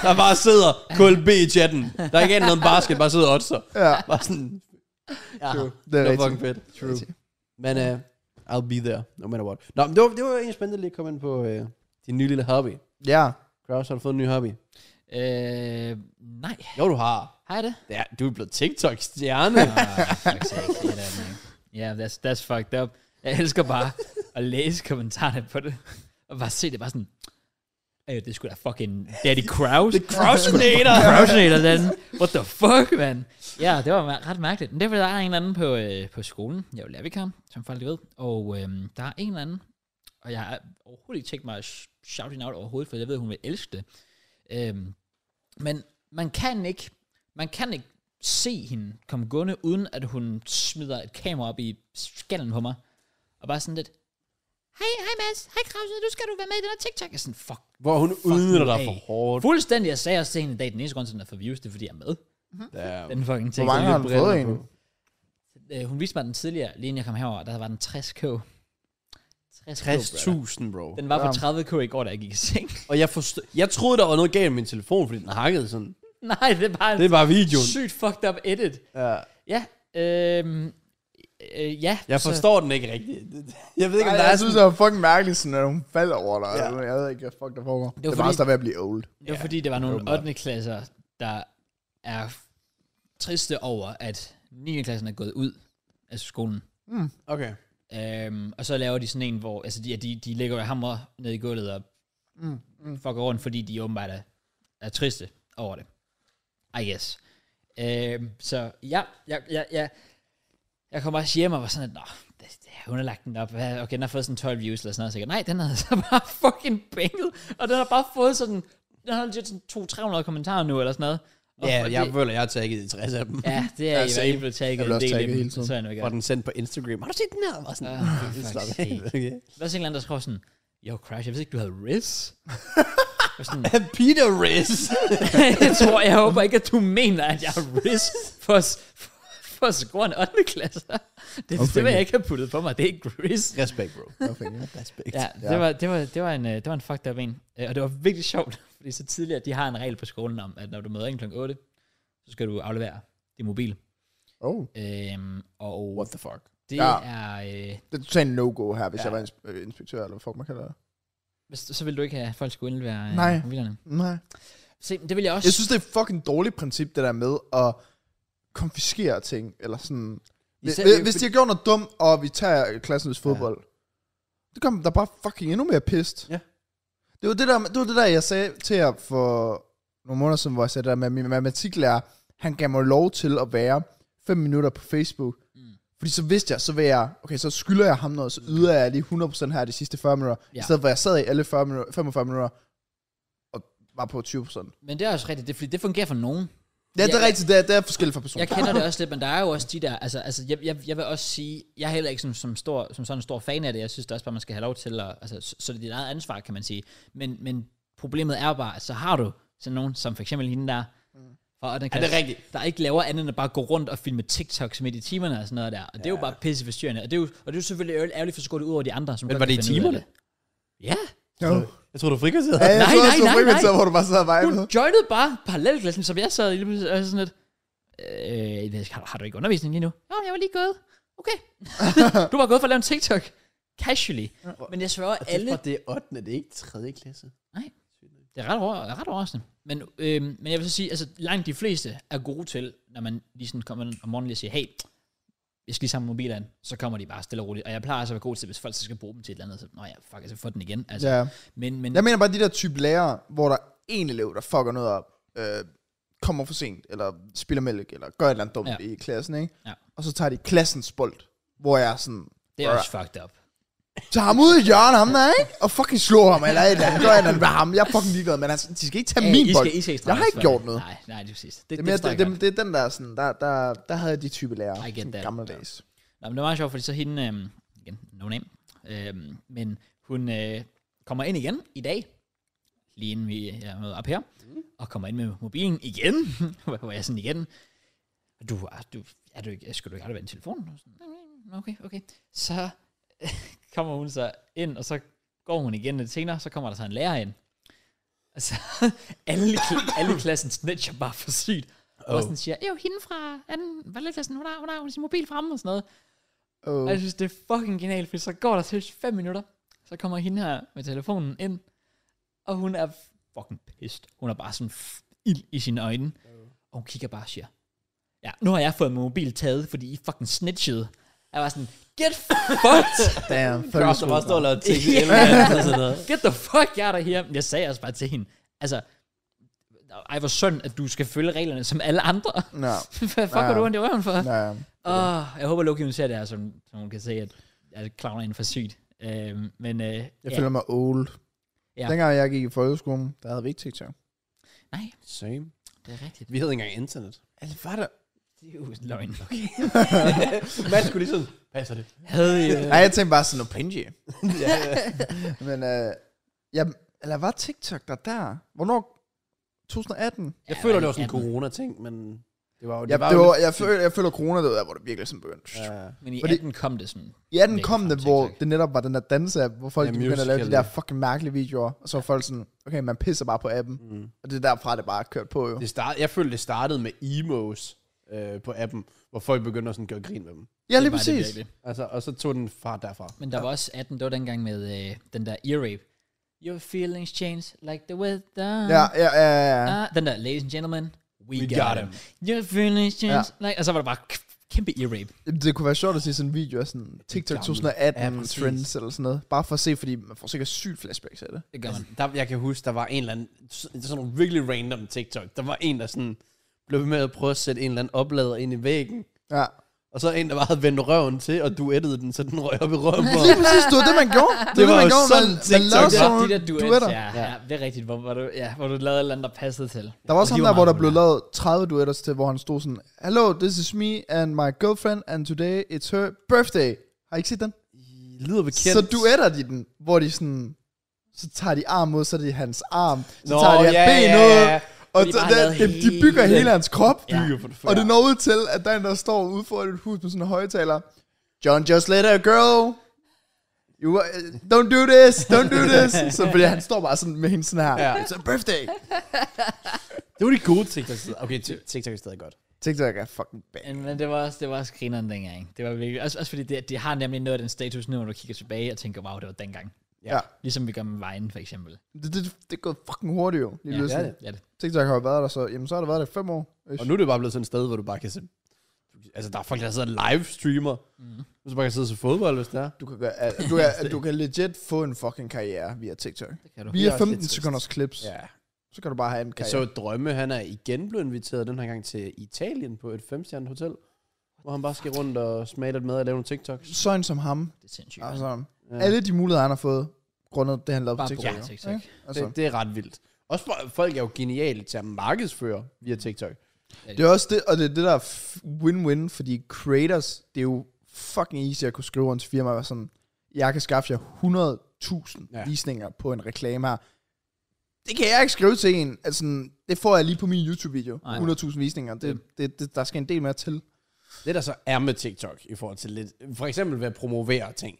Der bare sidder KLB i chatten. Der er ikke andet end basket, bare sidder otter.
Ja,
Bare sådan, ja,
true. Det
det
er
var
rigtigt.
fucking fedt.
True.
Men uh, I'll be there, no matter what. Nå, men det var, det var egentlig spændende lige at komme ind på uh, din nye lille hobby.
Ja,
Kraus, har du fået en ny hobby?
Øh, nej.
Jo, du har.
Har jeg det?
Ja, du er blevet
[laughs]
TikTok-stjerne.
Ah, fuck's sake, det er da en- Ja, yeah, that's, that's fucked up. Jeg elsker bare at læse kommentarerne på det. Og bare se det bare sådan... Øh, det er sgu da fucking Daddy Kraus. Det er [laughs] Krausinator. Krausinator, den. What the fuck, man? Ja, det var ma- ret mærkeligt. Men det var der er en eller anden på, øh, på skolen. Jeg er jo lærervikar, som folk ved. Og øh, der er en eller anden. Og jeg har overhovedet ikke tænkt mig at sh- shout hende out overhovedet, for jeg ved, hun vil elske det. Øh, men man kan ikke, man kan ikke se hende komme gående, uden at hun smider et kamera op i skallen på mig. Og bare sådan lidt, hej, hej Mads, hej Krause, nu skal du være med i den her TikTok. Jeg er sådan, fuck.
hvor hun
nu
udnytter dig
af.
for hårdt.
Fuldstændig, jeg sagde også til hende i dag, den eneste grund til, den er for views, det er fordi, jeg er med.
Damn.
Den fucking
hvor
TikTok.
mange har du fået egentlig?
Øh, hun viste mig den tidligere, lige inden jeg kom herover, der var den 60k. 60k, brother.
60.000, bro.
Den var på
Ja.
30k i går, da jeg gik i seng. [laughs]
Og jeg, forstod, jeg troede, der var noget galt med min telefon, fordi den hakkede sådan.
Nej, det er bare en
Det er bare videoen.
sygt fucked up edit.
Ja.
Ja, øhm, øh, ja.
Jeg
så-
forstår den ikke rigtigt. [laughs] Jeg ved ikke, om
Ej,
der er
jeg synes,
sådan...
det var fucking mærkeligt, sådan, at hun falder over dig.
Ja.
Ja. Jeg ved ikke, hvad fuck der foregår. Det,
var
det var
fordi-
også der ved at blive old.
Det var fordi, det var nogle
åbenbart.
8. klasser, der er triste over, at 9. klassen er gået ud af skolen.
Okay.
Øhm, og så laver de sådan en, hvor altså de, ja, de, de lægger jo hammer ned i gulvet og mm, mm. fucker rundt, fordi de åbenbart er, er triste over det. I guess. Øhm, så ja, jeg, jeg, jeg, jeg kom også hjem og var sådan, at nå, det, det, hun har lagt den op. Hvad- Okay, den har fået sådan 12 views eller sådan noget. Så jeg, nej, den har [laughs] så bare fucking bænket. Og den har bare fået sådan, den har legit sådan 200-300 kommentarer nu eller sådan noget. Og-
Ja,
og
jeg
det,
føler, jeg har tagget i 60 af dem. Ja.
Ja, det er
Ja,
i hvert
same.
fald blevet taget
[laughs] Jeg blev
en
også
del i
tagget hele
dem.
tiden.
Så er jeg nok
Og den sendt på Instagram. Har du set den her? Var sådan,
Ah,
[laughs]
for fuck's
slap af.
sake.
Okay.
Hvad er sådan en eller anden, der skriver sådan, Yo, Crash, jeg vidste ikke, du havde Riz. Jeg er sådan,
Peter Riz.
jeg tror, jeg håber ikke, at du mener, at jeg har Riz for, for, for at score en 8. klasse. Det, det vil jeg ikke have puttet på mig, det er ikke Riz.
Respekt, bro.
Okay, ja.
Respekt.
Ja, det var, det, var, det, var en, øh, det var en fucked up en. Øh, Og det var virkelig sjovt, [laughs] fordi så tidligere, de har en regel på skolen om, at når du møder ind kl. 8, så skal du aflevere din mobil.
Oh.
Øhm, og
What the fuck?
det
Ja.
er... Øh,
Det er totalt no-go her, hvis
Ja.
ja. jeg var ins- øh, inspektør, eller hvad fuck man kalder det.
hvis- så vil du ikke have, at folk skulle indlevere øh,
Nej.
mobilerne.
Nej.
Se, men det vil jeg også...
Jeg synes, det er et fucking dårligt princip, det der med at konfiskere ting, eller sådan... Hvis,
Især
hvis,
jo,
hvis de
fordi-
har gjort noget dumt, og vi tager klassens fodbold, ja. det gør dem da bare fucking endnu mere pist.
Ja.
Det var det, der, det var det der, jeg sagde til jer for nogle måneder siden, hvor jeg sagde det der med, at min matematiklærer, han gav mig lov til at være fem minutter på Facebook.
Mm.
Mm. Fordi så vidste jeg, så vil jeg, okay, så skylder jeg ham noget, så yder jeg lige 100% her de sidste 40 minutter.
Ja.
Ja. I stedet for, at jeg sad i alle 40 minutter, 45 minutter, og var på 20%.
Men det er også rigtigt, det, fordi det fungerer for nogen.
Ja, det
Ja.
er rigtigt. Det er, det er forskelligt fra person.
Jeg kender det også lidt, men der er jo også de der, altså, altså jeg, jeg, jeg vil også sige, jeg er heller ikke som, som, stor, som sådan en stor fan af det, jeg synes da også bare, man skal have lov til, at, altså, så, så det er dit eget ansvar, kan man sige. Men, men problemet er bare, at så har du sådan nogen, som for eksempel hende der, fra 8. klasse,
Mm. det er rigtigt.
der ikke laver andet end at bare gå rundt og filme TikToks midt i timerne og sådan noget der. Og det er jo bare pisse forstyrrende. Og det er jo, og det er jo selvfølgelig ærgerligt- ærgerligt for så går det ud over de andre. Som
Men
godt
var
kan
det i
finde ud af
timerne?
det. Ja.
Ja.
Jeg tror, du frikvarterede.
Ja, jeg
Nej,
nej, nej,
nej, nej,
nej, nej.
nej.
hvor du bare sad og vibede.
Hun joinede bare parallelklassen, som jeg sad i. lige pludselig, og jeg sådan lidt, øh, hvad- har, har du ikke undervisning lige nu? Jo, jeg var lige gået. [laughs] Okay. du var gået for at lave en TikTok. Casually. Men jeg sværger alle...
Det er 8. Det er ikke 3. klasse.
Det er ret, over, er ret overraskende. Men, øhm, men jeg vil så sige, altså langt de fleste er gode til, når man lige sådan kommer om morgenen lige og siger, hey, jeg skal lige samle mobilen, an." så kommer de bare stille og roligt. Og jeg plejer altså at være god til, hvis folk så skal bruge dem til et eller andet, så, nå ja, fuck, altså få den igen. Altså,
Ja.
Men, men
Jeg mener bare, de der type lærere, hvor der en elev, der fucker noget op, øh, kommer for sent, eller spiller mælk, eller gør et eller andet dumt
Ja.
ja. i klassen, ikke?
Ja.
Og så tager de klassens bold, hvor jeg er sådan,
det er også fucked up.
tager ham ud i hjørnet, ham der, ikke? Og fucking slår ham, eller et eller andet, gør et eller andet med ham. Jeg er fucking ligeglad, men altså, de skal ikke tage
Ja,
min
I
bold.
skal, I skal
jeg har
straffes
ikke
for
gjort noget.
Nej, nej, det er præcis. Det,
Det er, mere, det,
forstår jeg
det, det er den der sådan, der, der, der havde jeg de type lærere.
I get
sådan
that.
Gamle dages.
Nå, men [laughs] det var meget sjovt, fordi så hende, øhm, igen, no name, øhm, men hun øh, kommer ind igen i dag, lige inden vi er møder op her, mm. og kommer ind med mobilen igen, [laughs] hvor hvor jeg sådan igen, du, er, du, er du ikke, skal du ikke aldrig være en telefon? Og sådan, "Mm, Okay, okay. Så [laughs] kommer hun så ind, og så går hun igen lidt senere, så kommer der så en lærer ind. Altså, [laughs] alle, i kla- alle i klassen snitcher bare for sygt. Oh. Og
Oh.
sådan siger, jo, hende fra anden valgklassen, hun har, hun har hun har sin mobil fremme og sådan noget.
Oh.
Og jeg synes, det er fucking genialt, for så går der til 5 minutter, så kommer hende her med telefonen ind, og hun er fucking pissed. Hun er bare sådan f- ild i sine øjne, og hun kigger bare og siger, ja, nu har jeg fået min mobil taget, fordi I fucking snitchede. Jeg var sådan, get fucked!
Damn,
Bro,
fucking
der
skole.
bare står og laver ting.
Ja.
eller andet og sådan noget.
Get the fuck out of here. Jeg sagde også bare til hende, altså, ej, hvor synd, at du skal følge reglerne som alle andre. [laughs]
Nå,
Hvad fuck
Ja.
har du ondt i røven for?
nå, ja.
Åh, jeg håber, lovgivningen ser det her, som, som hun kan se, at, at klavner er for sygt. Øhm, men øh,
Jeg
ja.
føler mig old.
Ja.
Ja. Dengang jeg gik i folkeskolen, der havde vi ikke TikTok.
Nej,
Same.
det er rigtigt.
Vi havde ikke engang internet.
Altså, var der...
Det er jo løgn. Okay.
[laughs] Man skulle ligesom- lige sådan, passer det? [laughs]
Havde I... øh,
Nej, jeg tænkte bare sådan noget Pinji. Men, øh, ja, eller var TikTok der der? Hvornår? 2018?
Jeg
Ja,
føler,
men
det var sådan en
ja, men-
corona-ting, men det var jo...
Ja,
var
det
jo
var,
lidt-
jeg, føler, jeg føler corona, det var der, hvor det virkelig sådan begyndte.
Ja.
Men i
Fordi-
18 kom det sådan.
I 18
Virkelig
kom
frem
det,
til
hvor
TikTok.
det netop var den der danse hvor folk
Ja,
ja, begyndte at lave de
musical.ly.
der fucking mærkelige videoer. Og så var folk sådan, okay, man pisser bare på appen.
Mm.
Og det er derfra, det bare er kørt på jo.
Det start, jeg følte, det startede med emos øh, på appen, hvor folk begyndte at sådan gøre grin med dem.
Ja, lige
Det var det
præcis.
virkelig.
Altså, og så tog den fart derfra.
Men der var også 18, det var dengang med øh, den der ear rape. Your feelings change like the weather.
Ja, ja, ja, ja, ja.
Ah, den der, ladies and gentlemen, we,
We
got,
got
him. Your feelings change
Ja.
like... Og så var det bare k- kæmpe e-rape.
Det kunne være sjovt at se sådan en video af sådan TikTok
Gamle.
2018
Ja, præcis.
trends eller sådan noget. Bare for at se, fordi man får sikkert sygt flashbacks af det.
Det gør man.
Altså, der, jeg kan huske, der var en eller anden, sådan sådan nogle virkelig random TikTok. Der var en, der sådan blev ved med at prøve at sætte en eller anden oplader ind i væggen.
Ja.
Og så en, der bare havde vendt røven til, og duettede den, så den røg op i røven på
[laughs] Lige
ham.
præcis, det var det, man gjorde. Det,
var
var
jo
man gjorde.
sådan TikTok,
Og det
lavede sådan
er de
nogle
der duetter. Ja, ja, det er rigtigt, hvor, hvor, du, ja, hvor du lavede et eller andet, der passede til.
Der var også
Og de
ham der, hvor der
meget
blev lavet 30 duetter til, hvor han stod sådan, Hello, this is me and my girlfriend, and today it's her birthday. Har I ikke set den?
I lyder bekendt.
Så duetter de den, hvor de sådan, så tager de arm ud, så er det hans arm, så
Nå,
tager de
ja,
hans ben
ja,
ud,
ja.
og
de
så,
bare
der,
lavede
de, de bygger
hele-
hele hans krop.
Ja.
Bygger på det
Og det når ud til, at der er en, der står ude foran et hus med sådan en højtaler. John just let a girl. You are, don't do this, don't do this. Så fordi han står bare sådan med hende sådan her.
Ja.
It's a birthday.
Det var de gode TikTok. Okay, t- TikTok er stadig godt.
TikTok er fucking bad.
Men, men det var også, det var også grineren dengang. ikke? Det var virkelig, også, også fordi det, det har nemlig noget af den status nu, når du kigger tilbage og tænker, wow, det var dengang.
Ja.
Ligesom vi gør med vejen, for eksempel.
Det, det, det er gået fucking hurtigt jo. Lige
Ja,
ja, det.
Ja, det.
TikTok har jo været der, så, jamen, så har det været der i fem år. Ish.
Og nu er det bare blevet sådan et sted, hvor du bare kan se... Altså, der er folk, der sidder og livestreamer. Mm. Så bare kan sidde og se fodbold, hvis det er.
Du kan, gøre, alt. du, kan, du kan legit få en fucking karriere via TikTok.
det kan du.
Via
også lidt
15
trist.
sekunders clips, ja. så kan du bare have en
Jeg
karriere.
så at Drømme, han er igen blevet inviteret den her gang til Italien på et femstjernet hotel, hvor han bare skal rundt og smage lidt mad og lave nogle TikToks.
Sådan som ham.
Det er sindssygt. Altså,
Altså,
Ja.
alle de muligheder, han har fået, grundet det, han lavede på
Bare på
TikTok.
grund
jo.
af TikTok.
Ikke? Altså,
det, det er ret vildt. Også for, folk er jo geniale til at markedsføre
Mm.
via TikTok.
Det er også det, og det er det, der er f- win-win, fordi creators, det er jo fucking easy at kunne skrive rundt til firma, og være sådan, jeg kan skaffe jer 100.000
Ja.
ja. visninger på en reklame her. Det kan jeg ikke skrive til en. Altså, det får jeg lige på min YouTube-video.
Nej.
100.000 visninger. Det, det, det, der skal en del mere til.
Det der så er med TikTok i forhold til lidt, for eksempel ved at promovere ting.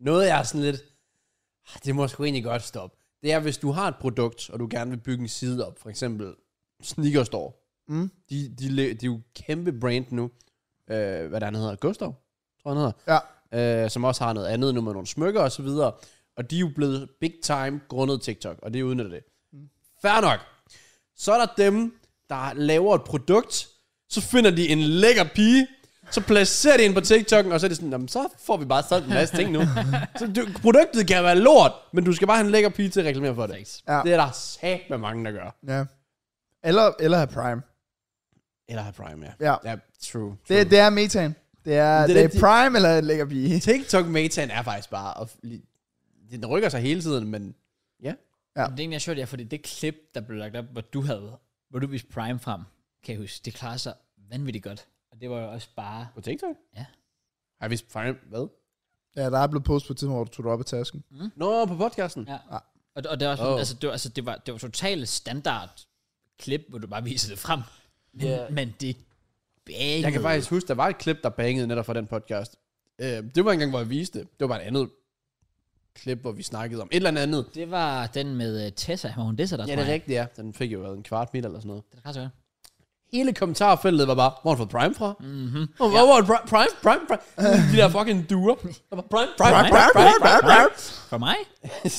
Noget jeg er sådan lidt, "Ah, det må sgu egentlig godt stoppe. Det er, hvis du har et produkt, og du gerne vil bygge en side op, for eksempel Sneakers Store.
Mm.
De, de, le- de er jo kæmpe brand nu. Øh, hvad der han hedder, Gustav, tror jeg, han
Ja.
hedder. Øh, som også har noget andet nu med nogle smykker og så videre. Og de er jo blevet big time grundet TikTok, og det udnytter det. Fair nok. Så er der dem, der laver et produkt, så finder de en lækker pige, så placerer de en på TikTok'en, og så er det sådan, "Nå, men så får vi bare solgt en masse ting nu. så du, produktet kan være lort, men du skal bare have en lækker pige til at reklamere for det.
Perfekt.
Ja.
Det er der sat med mange, der gør.
Ja. Eller, eller have Prime.
Eller har Prime, ja.
Ja.
ja true. true.
Det, det er metan. Det er,
Men det er
det er
det, de-
Prime eller en lækker pige.
tiktok metaen er faktisk bare, at, li- den rykker sig hele tiden, men ja.
Men det er egentlig sjovt, ja, fordi det klip, der blev lagt op, hvor du havde, hvor du viste Prime frem, kan jeg huske, det klarer sig vanvittigt godt. Og det var jo også bare...
På TikTok?
Ja.
Har vi fanget, hvad?
Ja, der er blevet postet på et tidspunkt, hvor du tog det op af tasken.
Nå, på podcasten.
Ja. Og, og det var sådan,
Oh.
oh. altså, det var, altså, det var, det var totalt standard klip, hvor du bare viser det frem. Men,
Ja.
yeah. men det bangede.
Jeg kan faktisk huske, der var et klip, der bangede netop fra den podcast. Øh, det var en gang, hvor jeg viste det. Det var bare et andet klip, hvor vi snakkede om et eller andet.
Det var den med øh, Tessa, hvor hun disser dig, tror jeg.
rigtigt, ja. Den fik jo været en kvart mil eller sådan noget.
Det er klarer sig godt.
Hele kommentarfeltet var bare, hvor har du fået Prime fra? Mm-hmm. Hvor hvor har du Prime, Prime, Prime, Prime? De der fucking duer. Der var Prime, Prime, Prime, Prime, Prime, Prime, Prime.
For mig?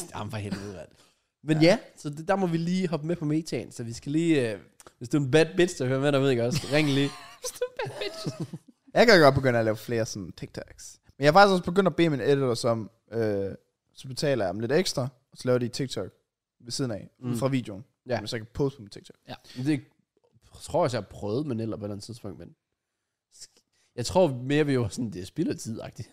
[laughs] Jamen for helvede, mand. Men ja, ja så det, der må vi lige hoppe med på metaen, så vi skal lige... Øh, hvis du er en bad bitch, der hører med dig, ved jeg også. Ring lige.
Jeg kan godt begynde at lave flere sådan TikToks. Men jeg har faktisk også begyndt at bede min editor som, øh, så betaler jeg dem lidt ekstra, og så laver de et TikTok ved siden af, mm. fra videoen.
Ja.
Ja. Så jeg kan poste på min TikTok.
Det tror jeg også, jeg har prøvet med Niller på et eller andet tidspunkt, men jeg tror mere, vi var sådan, det er spild af tid -agtigt.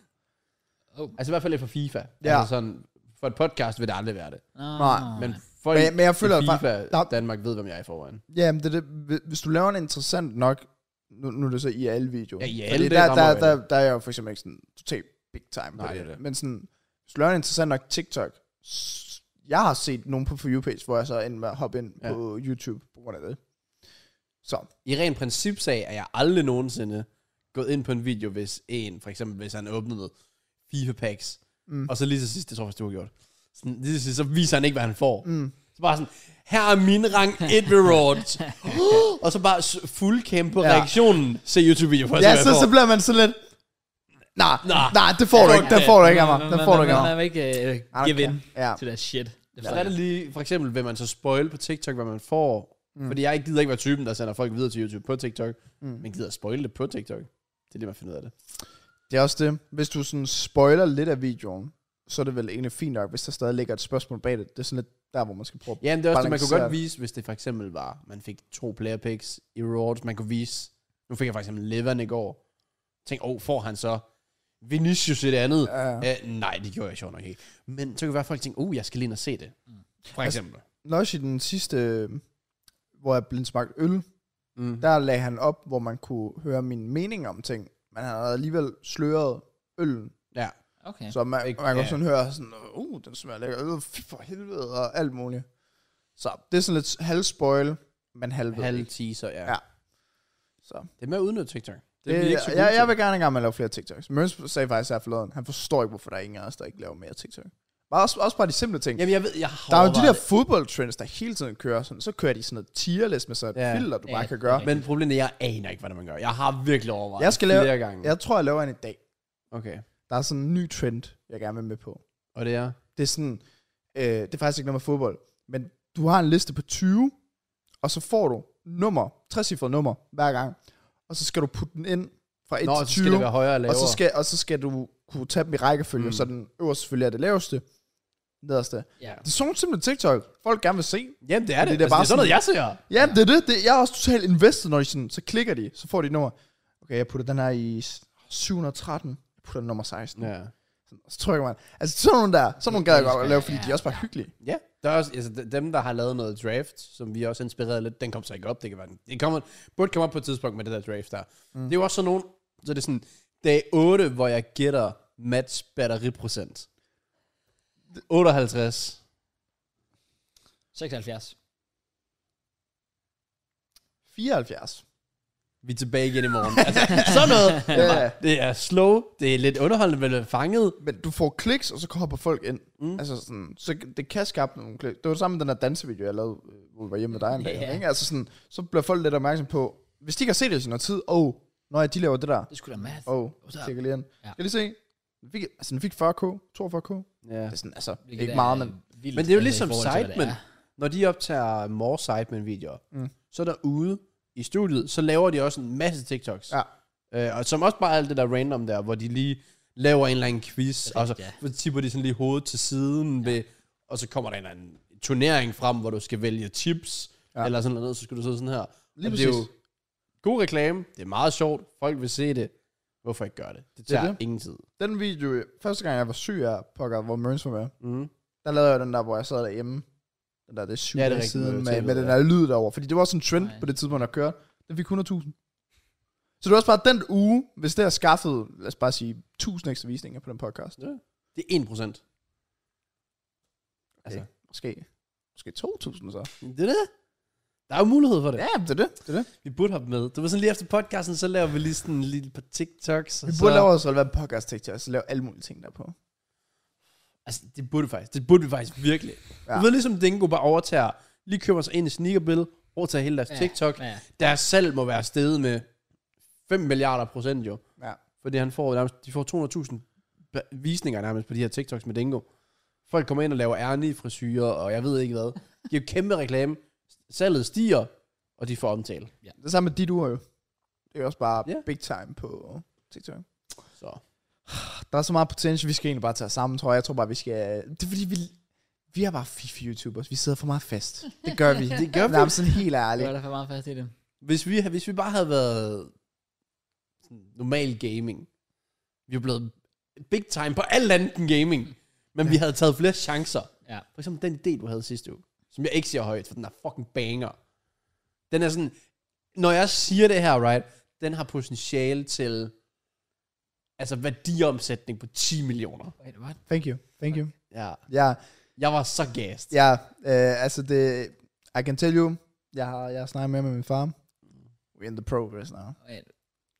Oh.
Altså i hvert fald lidt for FIFA.
Ja.
Altså sådan, for et podcast vil det aldrig være det.
Nå,
Nej,
Men folk
Men- men jeg føler,
i
at
FIFA
fa- der-
Danmark ved, hvem jeg er i forvejen.
Ja, men det, er det, Hvi- hvis du laver en interessant nok, nu, nu er det så i alle videoer.
Ja, i alle,
Fordi
det
der,
rammer
der,
jo
der, der, er jeg jo for eksempel ikke sådan totalt big time på
Nej,
det.
det er det.
Men sådan, hvis du laver en interessant nok TikTok, s- jeg har set nogen på For You page, hvor jeg så endte med at hoppe ind
Ja.
ja. på YouTube på grund af det. Så,
I ren principsag er jeg aldrig nogensinde gået ind på en video, hvis en, for eksempel hvis han åbnede FIFA-packs, mm. og så lige til sidst, det tror jeg faktisk, du har gjort, sådan, lige til sidst, så viser han ikke, hvad han får. Mm. Så bare sådan, her er min rang 1 rewards. og så bare s- fuld kæmpe ja.
Ja.
reaktionen. Se YouTube-video for at
Ja,
se,
så,
hvad jeg
så
får.
bliver man sådan lidt... Nej,
Nah.
nah, nej, det får du ikke. Den får du ikke af mig. Den får du ikke af mig.
Man vil ikke øh,
don't
give in
care. Ja.
til that shit. Det
Så er det lige, for eksempel, vil man så spoil på TikTok, hvad man får. Mm. Fordi jeg gider ikke være typen, der sender folk videre til YouTube på TikTok, mm. men gider at spoil det på TikTok. Det er det, man finder ud af det.
Det er også det. Hvis du sådan spoiler lidt af videoen, så er det vel egentlig fint nok, hvis der stadig ligger et spørgsmål bag det. Det er sådan lidt der, hvor man skal prøve at
Ja, men det er også det, man kunne
Balanceret.
godt vise, hvis det for eksempel var, man fik to player picks i rewards, man kunne vise, nu fik jeg for eksempel Levan i går, tænk, åh, oh, får han så Vinicius i det andet?
Ja.
Uh, nej, det gjorde jeg sjovt nok ikke. Men så kan det være, at folk tænker, uh, jeg skal lige ind og se det. Mm. For
Altså,
eksempel.
Nøjes i den sidste, øh, hvor jeg blev smagt øl,
Mm.
der lagde han op, hvor man kunne høre min mening om ting. Men han havde alligevel sløret øllen.
Ja.
Okay.
Så man,
Ikke-
man kan
ja.
sådan høre sådan, uh, den smager lækker, øh, fy for helvede, og alt muligt. Så det er sådan lidt halvspoil, men halv
Halv teaser, ja.
Ja.
ja.
Så.
Det er med at udnytte TikTok. Det er vi
Det,
ikke så
jeg,
gode til.
jeg vil gerne engang med at lave flere TikToks. Mørens sagde faktisk her forleden, han forstår ikke, hvorfor der er ingen af os, der ikke laver mere TikTok. Bare også, også bare de simple ting.
Jamen, jeg ved, jeg har
der er jo de
overvejet
der fodboldtrends, der hele tiden kører sådan. Så kører de sådan noget tierlist med sådan et
Ja.
filter, du
Ja,
bare kan
det er
gøre.
det. Men problemet er, jeg aner ikke, hvordan man gør. Jeg har virkelig overvejet
Jeg skal
det
lave-
flere gange.
Jeg tror, jeg laver en i dag.
Okay.
Der er sådan en ny trend, jeg gerne vil med på.
Og det er?
Det er sådan, øh, det er faktisk ikke noget med fodbold, men du har en liste på 20, og så får du nummer, trecifrede nummer hver gang, og så skal du putte den ind fra 1
Nå,
til
så
20.
skal det være højere og lavere.
Og så, skal, og så skal du kunne tage dem i rækkefølge, mm.
Mm.
så den øverste selvfølgelig er det laveste, nederste.
ja.
Det er sådan simpelthen TikTok, folk gerne vil se.
Jamen, det er det.
det er
Det er, altså,
bare
det er sådan noget, jeg ser.
Ja, det er det. det jeg er også totalt invested, når de sådan, så klikker de, så får de et nummer. Okay, jeg putter den her i 713, jeg putter den nummer 16. Ja.
Ja.
Så trykker man. Altså sådan nogle der, sådan nogle gad jeg godt at lave, fordi de er også bare hyggelige.
Ja, der er også, altså, de- dem, der har lavet noget draft, som vi er også inspireret lidt, den kom så ikke op, det kan være den. Det kommer, burde komme op på et tidspunkt med det der draft der. Mm. Det er jo også sådan nogen, så det er sådan, dag 8, hvor jeg gætter match batteriprocent. 58.
76.
74.
Vi er tilbage igen i morgen. altså, sådan noget. Det er,
Ja.
bare, det er slow, det er lidt underholdende, men det er fanget.
Men du får kliks, og så hopper folk ind. Mm. Altså sådan, så det kan skabe nogle kliks. Det var det samme med den der dansevideo, jeg lavede, øh, hvor vi var hjemme med dig en dag.
Ja.
Ikke? Altså sådan, så bliver folk lidt opmærksom på, hvis de ikke har set det i sin tid, åh, oh, når jeg, de laver det der.
Det skulle da math.
Åh, oh,
What's up?
tjekker lige ind.
Ja.
Skal lige se? Den fik, altså, den fik 40k, 42k.
Ja.
Det er sådan, altså,
Hvilket
ikke
er øh,
meget, men
vildt,
Men det er
altså,
jo
i
ligesom
forhold til, hvad det
Sidemen.
er.
Når de optager more Sidemen-videoer,
Mm.
mm. så er der ude i studiet, så laver de også en masse TikToks.
Ja.
Øh, og som også bare alt det der random der, hvor de lige laver en eller anden quiz,
Det er
og så
rigtigt,
ja. tipper de sådan lige hovedet til siden, ja. ved, og så kommer der en eller anden turnering frem, hvor du skal vælge chips,
Ja.
ja. eller sådan noget, så skal du sidde sådan her.
Lige
og det er jo
præcis.
god reklame, det er meget sjovt, folk vil se det. Hvorfor ikke gøre det? Det
Det er
tager det
det.
ingen tid.
den video, første gang jeg var syg af pokker, hvor Mørns var med,
Mm.
der lavede jeg den der, hvor jeg sad derhjemme. Den der, det er syv
Ja,
ja,
det er
det
rigtigt,
siden
det er
med, med
tæt,
den
ja.
der lyd derover, Fordi det var også en trend
Nej.
på det tidspunkt, der kørte. Den fik 100.000. Så det var også bare den uge, hvis det har skaffet, lad os bare sige, 1000 ekstra visninger på den podcast.
Ja. Det er 1%. Okay. Altså,
Måske, måske 2.000 så.
det er det. Der er jo mulighed for det.
Ja, det er det. det, er det.
Vi burde have dem med. Det var sådan lige efter podcasten, så laver vi lige sådan en lille par TikToks. og
Vi
så-
burde lave os relevant podcast TikTok, så lave alle mulige ting derpå.
Altså, det burde vi faktisk. Det burde vi faktisk virkelig.
Ja.
Ja. Du ved ligesom, Dingo bare overtager, lige køber sig ind i sneakerbill, overtager hele deres
Ja,
ja. TikTok.
ja.
Altså-
Deres salg må være steget med 5 milliarder procent jo.
Ja.
Fordi han får nærmest, de får 200.000 ba- visninger nærmest på de her TikToks med Dingo. Folk kommer ind og laver ærlige frisyrer, og jeg ved ikke hvad. Det er jo kæmpe reklame. Salget stiger, og de får omtale.
Det samme med dit uger jo. Det er også bare
Ja.
yeah. big time på TikTok.
Så.
Der er så meget potentiale, vi skal egentlig bare tage os sammen, tror jeg. Jeg tror bare, vi skal... Det er fordi, vi, vi er bare fifi-youtubers. Vi sidder for meget fast. Det gør vi. det [laughs] gør vi. Jamen, sådan helt
Det var
ærligt.
da for meget fast i det.
Hvis vi, hvis vi bare havde været sådan normal gaming, vi er blevet big time på alt andet end gaming, men ja. vi havde taget flere chancer.
Ja.
For eksempel den idé, du havde sidste uge, som jeg ikke siger højt, for den er fucking banger. Den er sådan, når jeg siger det her, right, den har potentiale til, altså værdiomsætning på 10 millioner.
Wait, what?
Thank you. Thank you.
Ja.
Ja,
Jeg var så gassed.
ja øh, altså det... I can tell you, jeg har, jeg har snakket mere med min far. We're in the progress now.
Wait.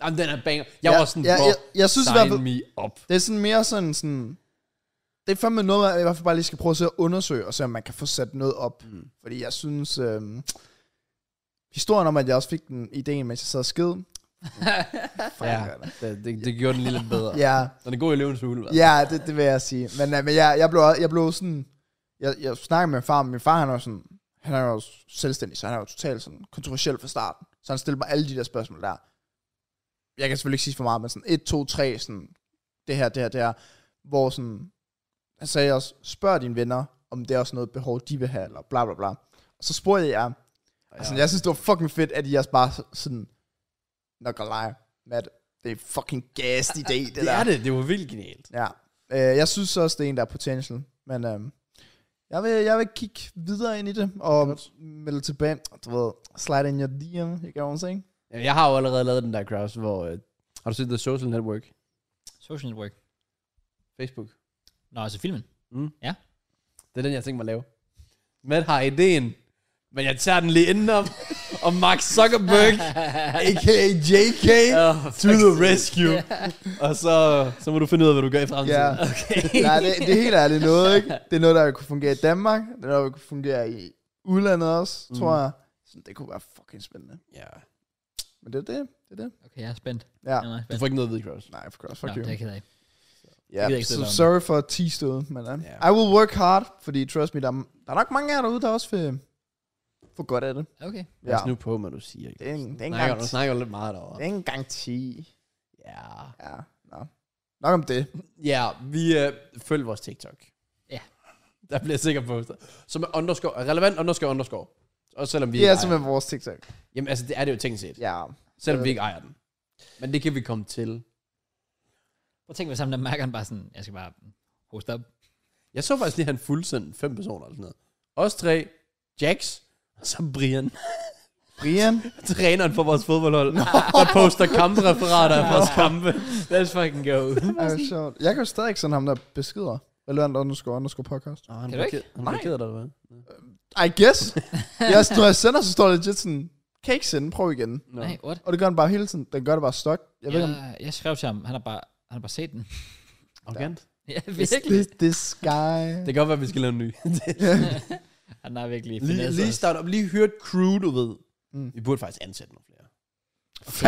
Jamen, den er banger. Jeg
Ja,
var sådan,
ja,
bro,
jeg, jeg, synes i hvert
sign
fald,
me up.
det er sådan mere sådan, sådan... Det er fandme noget, jeg i hvert fald bare lige skal prøve at sidde og undersøge, og se om man kan få sat noget op.
Mm.
Fordi jeg synes, øh, historien om, at jeg også fik den idéen, mens jeg sad og skid.
Ja, det, det, det gjorde den lige lidt bedre.
[laughs] Ja,
Den er god i løvens hule, hva'?
ja det, det vil jeg sige. Men, øh, men jeg, jeg, blev, også- jeg blev sådan... Jeg, jeg snakkede med min far, men min far han er jo sådan... Han er jo selvstændig, så han er jo totalt sådan kontroversiel fra starten. Så han stillede mig alle de der spørgsmål der. jeg kan selvfølgelig ikke sige for meget, men sådan 1, 2, 3, sådan, det her, det her, det her, hvor sådan, han sagde også, spørg dine venner, om det er også noget behov, de vil have, eller bla bla bla. Og så spurgte jeg, altså, jeg synes, det var fucking fedt, at I også bare sådan, nok at lege, Matt, det er fucking gas i dag, det,
Det
der.
er det. Det var vildt genialt.
Ja. Øh, jeg synes også, det er en, der er potential. Men øh, jeg, vil, jeg vil kigge videre ind i det, og melde tilbage. Du ved, slide in your DM, you get what I'm saying?
Ja, Jeg har jo allerede lavet den der, Kraus, hvor... Øh, har du set The Social Network?
Social Network.
Facebook.
Nå, altså filmen.
Det er den, jeg tænker mig at lave. Matt har ideen, men jeg tager den lige
[laughs]
indenom. og Mark Zuckerberg, a.k.a.
[laughs]
JK,
Åh,
to the rescue. og så, så må du finde ud af, hvad du gør i fremtiden.
Ja.
altså-
Okay. Nej, det, det er helt ærligt noget, ikke? Det er noget, der vil kunne fungere i Danmark. Det er noget, der vil kunne fungere i udlandet også, mm. tror jeg. Så det kunne være fucking spændende.
ja.
Men det er det. Det er det.
Okay, jeg er spændt.
Ja.
Jeg er meget
Du
spændt.
får ikke noget ved, Kraus.
Nej, for course.
Nå,
Fuck
det
you.
er jeg ked af.
Ja,
gider
yeah,
ikke
so
sidde deromme.
sorry for at tease derude, men uh,
Ja.
yeah. I will work hard, fordi trust me, der, er- der er nok mange af jer derude, der også vil få godt af det.
Okay.
Ja. Pas nu på, hvad du siger.
Det er en, det er en
Snakker, du
garanti.
snakker lidt meget
Det
derovre.
er ikke en garanti.
Ja.
Ja, nå. Nok om det.
Ja, vi øh, følg vores TikTok.
Ja.
Der bliver sikkert postet. Som er underscore, relevant underscore underscore. Også selvom vi
Det er
ikke ejer.
simpelthen vores TikTok.
Jamen altså, det er det jo teknisk set.
Ja.
Selvom vi ikke ejer den. Men det kan vi komme til.
Prøv at tænke, hvis ham der mærker han bare sådan, jeg skal bare hoste op.
Jeg så faktisk lige, at han fuldsendte fem personer eller sådan noget. Os tre, Jax, og så Brian, [laughs]
Brian.
træneren for vores fodboldhold, der poster kampreferater af vores kampe.
Let's fucking go.
Ej, hvor sjovt. Jeg kan jo stadig ikke sende ham der beskeder. Relevant underscore underscore podcast.
Oh, han
Kan du ikke?
blokerede- Han blokerede dig, eller hvad?
I guess. jeg, når jeg sender, så står det legit sådan, kan ikke sende, prøv igen.
No.
Nej, what?
Og det gør den bare hele tiden. Den gør det bare stok. Jeg ved
Jeg,
ikke, om
jeg skrev til ham, han har bare, han har bare set den.
Arrogant.
ja,
Is
virkelig.
this, this guy.
Det kan godt være, at vi skal lave en ny.
[laughs] Han har virkelig
lige,
finesset
lige
os.
start op. Lige hørt crew, du ved.
Mm.
Vi burde faktisk ansætte nogle flere.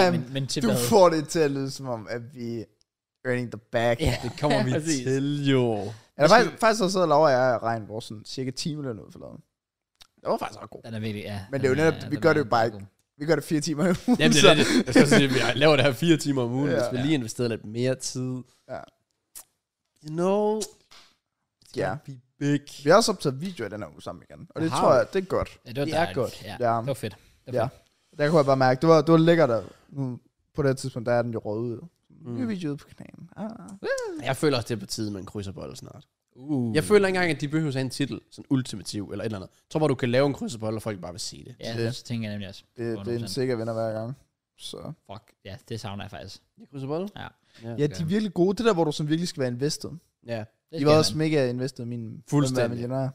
Okay, men, men til
du
hvad?
får det til at lyde som om, at vi er earning the bag.
Ja,
[laughs] Det kommer vi
præcis.
til, jo.
Ja, der faktisk, faktisk så sidder Laura og jeg og regner vores sådan, cirka 10 minutter ud for lavet. Det var faktisk ret god.
Den er virkelig, ja.
Men det er jo
den
netop- vi
den
gør
er
det jo bare
god.
ikke. Vi gør det fire timer i ugen.
[laughs] Jamen, det
så-
er det. Jeg skal sige, at vi laver det her fire timer om ugen,
Ja.
ja. hvis vi lige investerer lidt mere tid.
Ja.
You know, it's
Ja.
gonna be big.
Vi har også optaget video i den her uge sammen igen. Og det
Aha.
tror jeg, det er godt.
Ja, det var
Det er
dejligt.
godt.
Ja,
Ja.
det var fedt. Det var
Ja.
fedt.
Der kunne jeg bare mærke, det var, det var lækkert at, nu, på det her tidspunkt, der er den jo rød ud. Mm. Nye video ude på kanalen. Ah.
Jeg føler også, det er på tide, man krydser bold snart.
Uh.
Jeg føler ikke engang, at de behøver at have en titel, sådan ultimativ eller et eller andet. Jeg tror bare, du kan lave en krydserbold, og folk bare vil se det.
Ja,
Det-
det tænker jeg nemlig også.
Det, det er en
100%.
sikker vinder hver gang. Så.
Fuck, ja, det savner jeg faktisk.
Ja. Krydserbold?
Ja.
Ja, de er virkelig gode. Det der, hvor du sådan virkelig skal være invested.
ja.
Det
I
skal
var
man.
også mega invested i min
Fuldstændig.
millionær.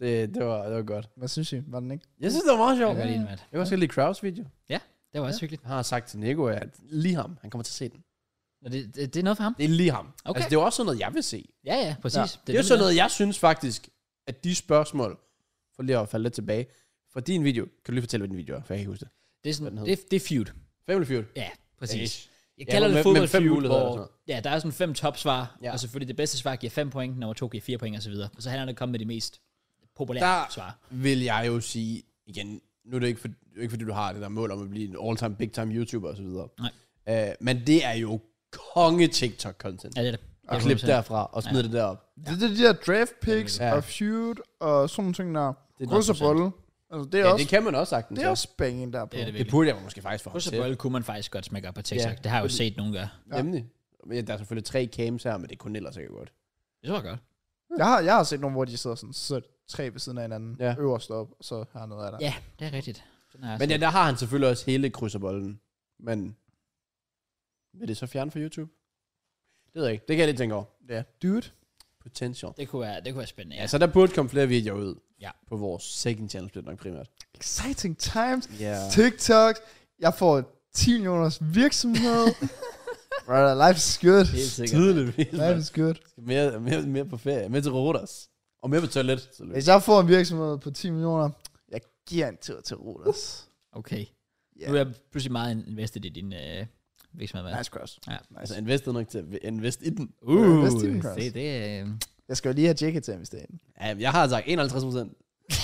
Det, det, var, det var godt.
Hvad synes I? Var den ikke?
Jeg synes, det var meget
Jeg
sjovt.
kan godt lide, Matt.
Jeg kan også godt lide Kraus video.
Det var også hyggeligt.
Jeg har sagt til Nico, at lige ham, han kommer til at se den.
Nå, det, det, det er noget for ham.
Det er lige ham.
Okay.
Altså, det er jo også sådan noget, jeg vil se.
Ja, ja, præcis.
Det er jo sådan noget, jeg synes faktisk, at de spørgsmål, for lige at falde lidt tilbage, fra din video, kan du lige fortælle, hvad din video er, for jeg kan ikke huske det.
Det er, sådan,
Hvad den
det, det er feud.
Family Feud.
Ja, præcis.
Ish.
Jeg
Ja,
kalder
men
det
med- med
fodbold
fem
feud,
muligheder og
hvor
sådan
ja, der er sådan fem topsvar,
Ja.
og selvfølgelig det bedste svar giver fem point, nummer to giver fire point og så videre. Og så handler det om at komme med de mest populære
Der-
svar.
vil jeg jo sige, igen, nu er det ikke, for, det er jo ikke fordi, du har det der mål om at blive en all-time, big-time YouTuber osv. Nej. Øh, men det er jo konge TikTok-content.
Ja, det er det.
Ja,
Jeg
Klip derfra og smid ja. det derop.
Ja. Det er de der draft picks
Ja.
ja. og feud og sådan nogle ting, der
Det er
krydser
100%.
bolle. Altså, det er,
Ja,
også,
det kan man også sagtens.
det er også banging der på.
Det er det
det
virkelig.
burde jeg måske faktisk få ham
Kryds og
til.
bold kunne man faktisk godt smække op på TikTok.
Ja,
Det har jeg jo
fordi-
set nogen gøre.
Ja. Nemlig. Ja, der er selvfølgelig tre cams her, men det kunne ellers ikke godt.
Det var godt.
Jeg har, jeg har set nogle, hvor de sidder sådan, så tre ved siden af hinanden,
Ja.
ja. øverst op, og så har noget af der.
Ja, det er rigtigt. Sådan
Altså-
har jeg
Men
set.
ja, der har han selvfølgelig også hele krydserbolden. Men vil det så fjerne fra YouTube? Det ved jeg ikke. Det kan jeg lige tænke over.
Ja. Dude.
Potential.
det kunne være, det kunne være spændende. Ja.
Ja, så der burde komme flere videoer ud.
Ja.
På vores second channel, bliver det nok primært.
Exciting times.
[laughs] Ja.
TikTok. Jeg får 10 millioners
[laughs]
virksomhed. [laughs] right, life is good.
Helt sikkert.
Tydeligvis.
Life is good.
Mere, mere, mere på ferie. Mere til Rodas. Og mere på toilet. selvfølgelig.
Hvis jeg får en virksomhed på 10 millioner, Altså, jeg giver en tur til Rodas.
Uh.
Okay.
Ja.
Nu er jeg pludselig meget invested i din øh, virksomhed. Mads.
Nice cross.
Ja.
Altså, investeret nok til at invest i den.
Uh, Invest i den,
Se,
Kraus.
det er... Øh, [laughs]
Jeg skal jo lige have Jake til
altså
at [laughs] investere i den.
Ja, jeg har sagt 51 procent.
godt.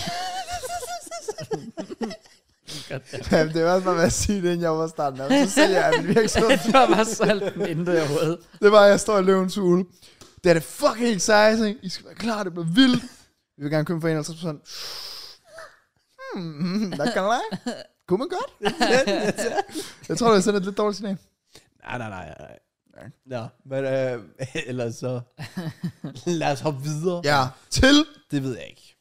Ja.
[laughs] Jamen, det var også bare med at sige det, inden jeg var starten af. Så sælger jeg min virksomhed.
[laughs] det var bare salt den intet i hovedet.
Det var, at jeg står i løvens hule. Det er det fucking exciting. I skal være klar, det bliver vildt. Vi vil gerne købe for 51%. Hmm, der kan lege. Kunne man godt. jeg tror, det er sådan et lidt dårligt signal.
Nej, nej, nej, nej. Nå, men øh, [laughs] ellers
[laughs]
så... Lad os hoppe videre.
Ja, til.
Det ved jeg ikke.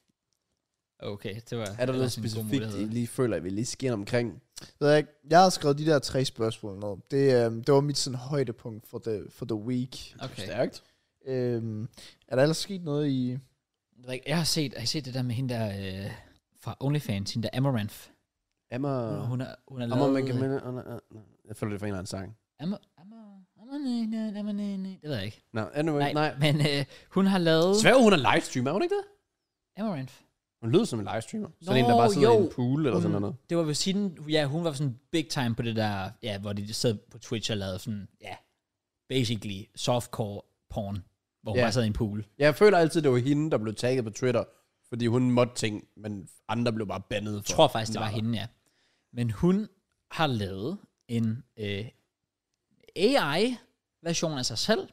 Okay, det var...
Er der
det var
noget
sådan en god
specifikt, I
mulighed.
lige føler, at vi lige skal ind omkring?
Ved jeg, ikke, jeg har skrevet de der tre spørgsmål ned. Det, øh, det var mit sådan, højdepunkt for the, for the week.
Okay.
Stærkt.
Øhm, er der ellers sket noget i...
Jeg ved ikke, Jeg har set, har I set det der med hende der øh, fra OnlyFans, hende der Amaranth.
Emma...
Hun, hun er, hun er
Emma
lavet...
McMillan... oh, nej, nej, nej. Jeg føler, det er fra en eller anden sang.
Amar- Amar- Amarene- Amarene- Det ved jeg ikke.
Nå, anyway,
Nej,
nej. nej.
men øh, hun har lavet...
Svær, hun er livestreamer, er hun ikke det?
Amaranth.
Hun lyder som en livestreamer.
Nå,
Sådan en, der bare sidder
jo.
i en pool eller sådan
Hun-
noget.
Det var ved siden... Ja, hun var sådan big time på det der... Ja, hvor de sad på Twitch og lavede sådan... Ja, basically softcore porn. Hvor hun
Ja.
bare sad i en pool.
Jeg føler altid, det var hende, der blev tagget på Twitter, fordi hun måtte ting, men andre blev bare bandet.
Jeg tror faktisk, det var hende, ja. Men hun har lavet en øh, AI-version af sig selv,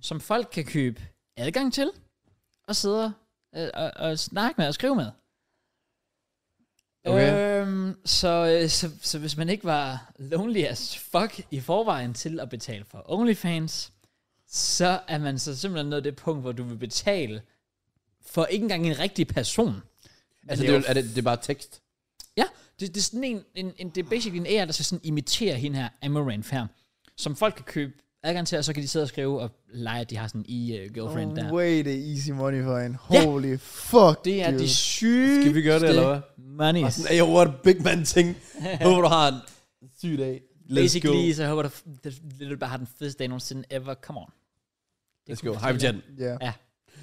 som folk kan købe adgang til, og sidde øh, og, og snakke med og skrive med.
Okay.
Øhm, så, øh, så, så hvis man ikke var lonely as fuck i forvejen til at betale for OnlyFans, så er man så simpelthen nået det punkt, hvor du vil betale for ikke engang en rigtig person.
Altså,
Men
det er, jo- er det, det er bare tekst.
Ja, det, det er sådan en, en, en, det er basically en AI, der skal sådan imitere hende her, Amaranth her, som folk kan købe adgang til, og så kan de sidde og skrive og lege, at de har sådan en e-girlfriend
Oh,
uh, der.
Way the easy money for en.
Ja.
Holy fuck,
Det er
dude.
de syge
Skal vi gøre det, eller hvad?
Money.
Sådan, hey, what a big man [laughs] ting. Håber, du har en syg dag. Let's
Basically,
go.
så håber jeg, at du bare har den fedeste dag nogensinde ever. Come on.
Let's go. High Jen.
Ja.
Ja.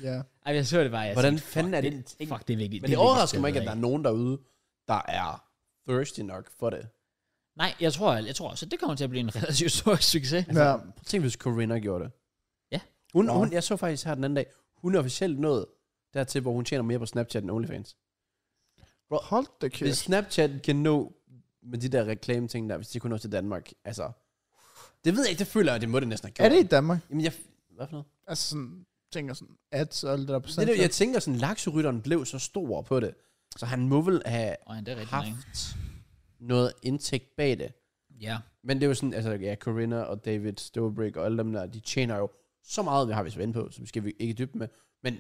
Ja.
Ej, jeg så det bare. Jeg
Hvordan
tænkte,
fanden
fuck,
er det en
det
ting?
Fuck, det er vigtigt.
Men det overrasker mig ikke, at der er nogen derude, der er thirsty nok for det.
Nej, jeg tror, jeg, jeg tror også, at det kommer til at blive en relativt [laughs] stor succes.
ja.
Prøv at tænke, hvis Corinna gjorde det.
Ja.
Hun,
Nå.
hun, jeg så faktisk her den anden dag, hun er officielt nået dertil, hvor hun tjener mere på Snapchat end OnlyFans.
Hold da kæft.
Hvis Snapchat kan nå med de der reklame-ting der, hvis de kunne nå til Danmark, altså... Det ved jeg ikke, det føler jeg, det må det næsten have gjort.
Er det i Danmark?
Jamen, jeg... Hvad for noget?
Altså sådan, tænker sådan, ads og alt det der på
Det,
Snapchat.
der, jeg tænker sådan, lakserytteren blev så stor på det, så han må vel have
Og det er rigtigt, ikke?
haft noget indtægt bag det.
Ja.
Men det er jo sådan, altså ja, Corinna og David Dobrik og alle dem der, de tjener jo så meget, vi har vi så inde på, som skal vi ikke dybe med. Men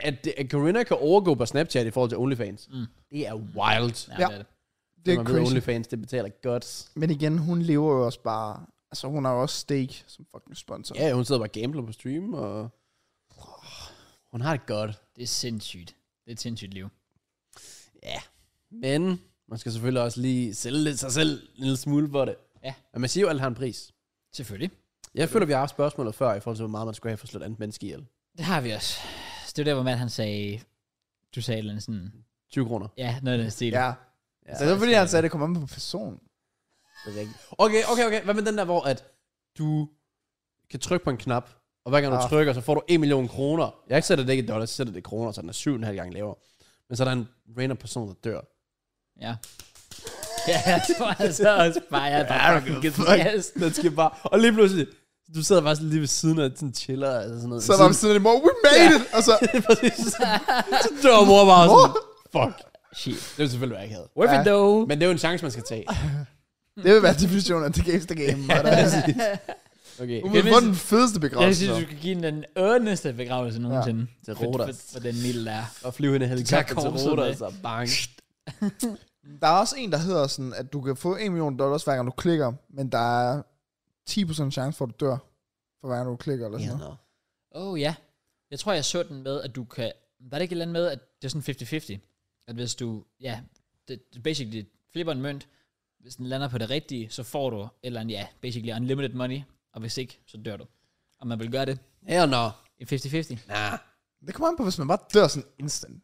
at, det- at Corinna kan overgå på Snapchat i forhold til OnlyFans,
Mm.
det er wild.
Ja,
Ja.
det er det.
det er
man ved,
crazy.
OnlyFans, det betaler godt.
Men igen, hun lever jo også bare... Altså, hun har jo også steak som fucking sponsor.
Ja, hun sidder bare og gambler på stream, og hun har det godt.
Det er sindssygt. Det er et sindssygt liv.
Ja, men man skal selvfølgelig også lige sælge lidt sig selv en lille smule for det.
Ja.
Men man siger jo, at alt har en pris.
Selvfølgelig.
Jeg føler, vi har haft spørgsmålet før, i forhold til, hvor meget man skulle have for at slå et andet menneske ihjel.
Det har vi også. Så det var der, hvor Matt han sagde, du sagde et eller andet sådan,
20 kroner.
ja, noget af den stil.
ja.
Ja.
Så det var fordi, han sagde, at det kommer an på personen.
Okay, okay, okay. Hvad med den der, hvor at du kan trykke på en knap, og hver gang du
Ah.
trykker, så får du 1 million kroner. Jeg sætter det ikke i dollars, jeg sætter det i kroner, så den er 7,5 gange lavere. Men så er der en random person, der dør.
Ja. [laughs] ja, jeg tror altså også bare, jeg er bare fucking gas.
Den skal bare... Og lige pludselig, du sidder bare sådan lige ved siden af sådan chiller, altså sådan noget.
Så var han sådan lidt, we made it! Altså, Og så,
Præcis. så dør mor bare sådan, fuck.
Shit.
Det er selvfølgelig, hvad jeg ikke havde.
Worth it
Ja.
though.
Men det er jo en chance, man skal tage.
det vil være definitionen af The Games The Game. var det.
Okay.
Hun
Jeg
vil
vil
få
sige-
den fedeste
jeg
begravelse.
synes, du skal give hende den ondeste begravelse nogensinde. Ja,
Til Rodas.
For, for, den mild der. er.
Og flyve hende i helikopter
Tak,
til
korset
Roda,
med.
og så bang.
Der er også en, der hedder sådan, at du kan få 1 million dollars, hver gang du klikker, men der er 10% chance for, at du dør, for hver gang du klikker. Eller sådan noget.
no.
Oh ja. Jeg tror, jeg så den med, at du kan... Var det ikke et eller andet med, at det er sådan 50-50? At hvis du, ja, det, det basically flipper en mønt, hvis den lander på det rigtige, så får du et eller andet, ja, basically unlimited money, og hvis ikke, så dør du. Og man vil gøre det
Hell no.
i 50-50.
Nah.
Det kommer an på, hvis man bare dør sådan instant.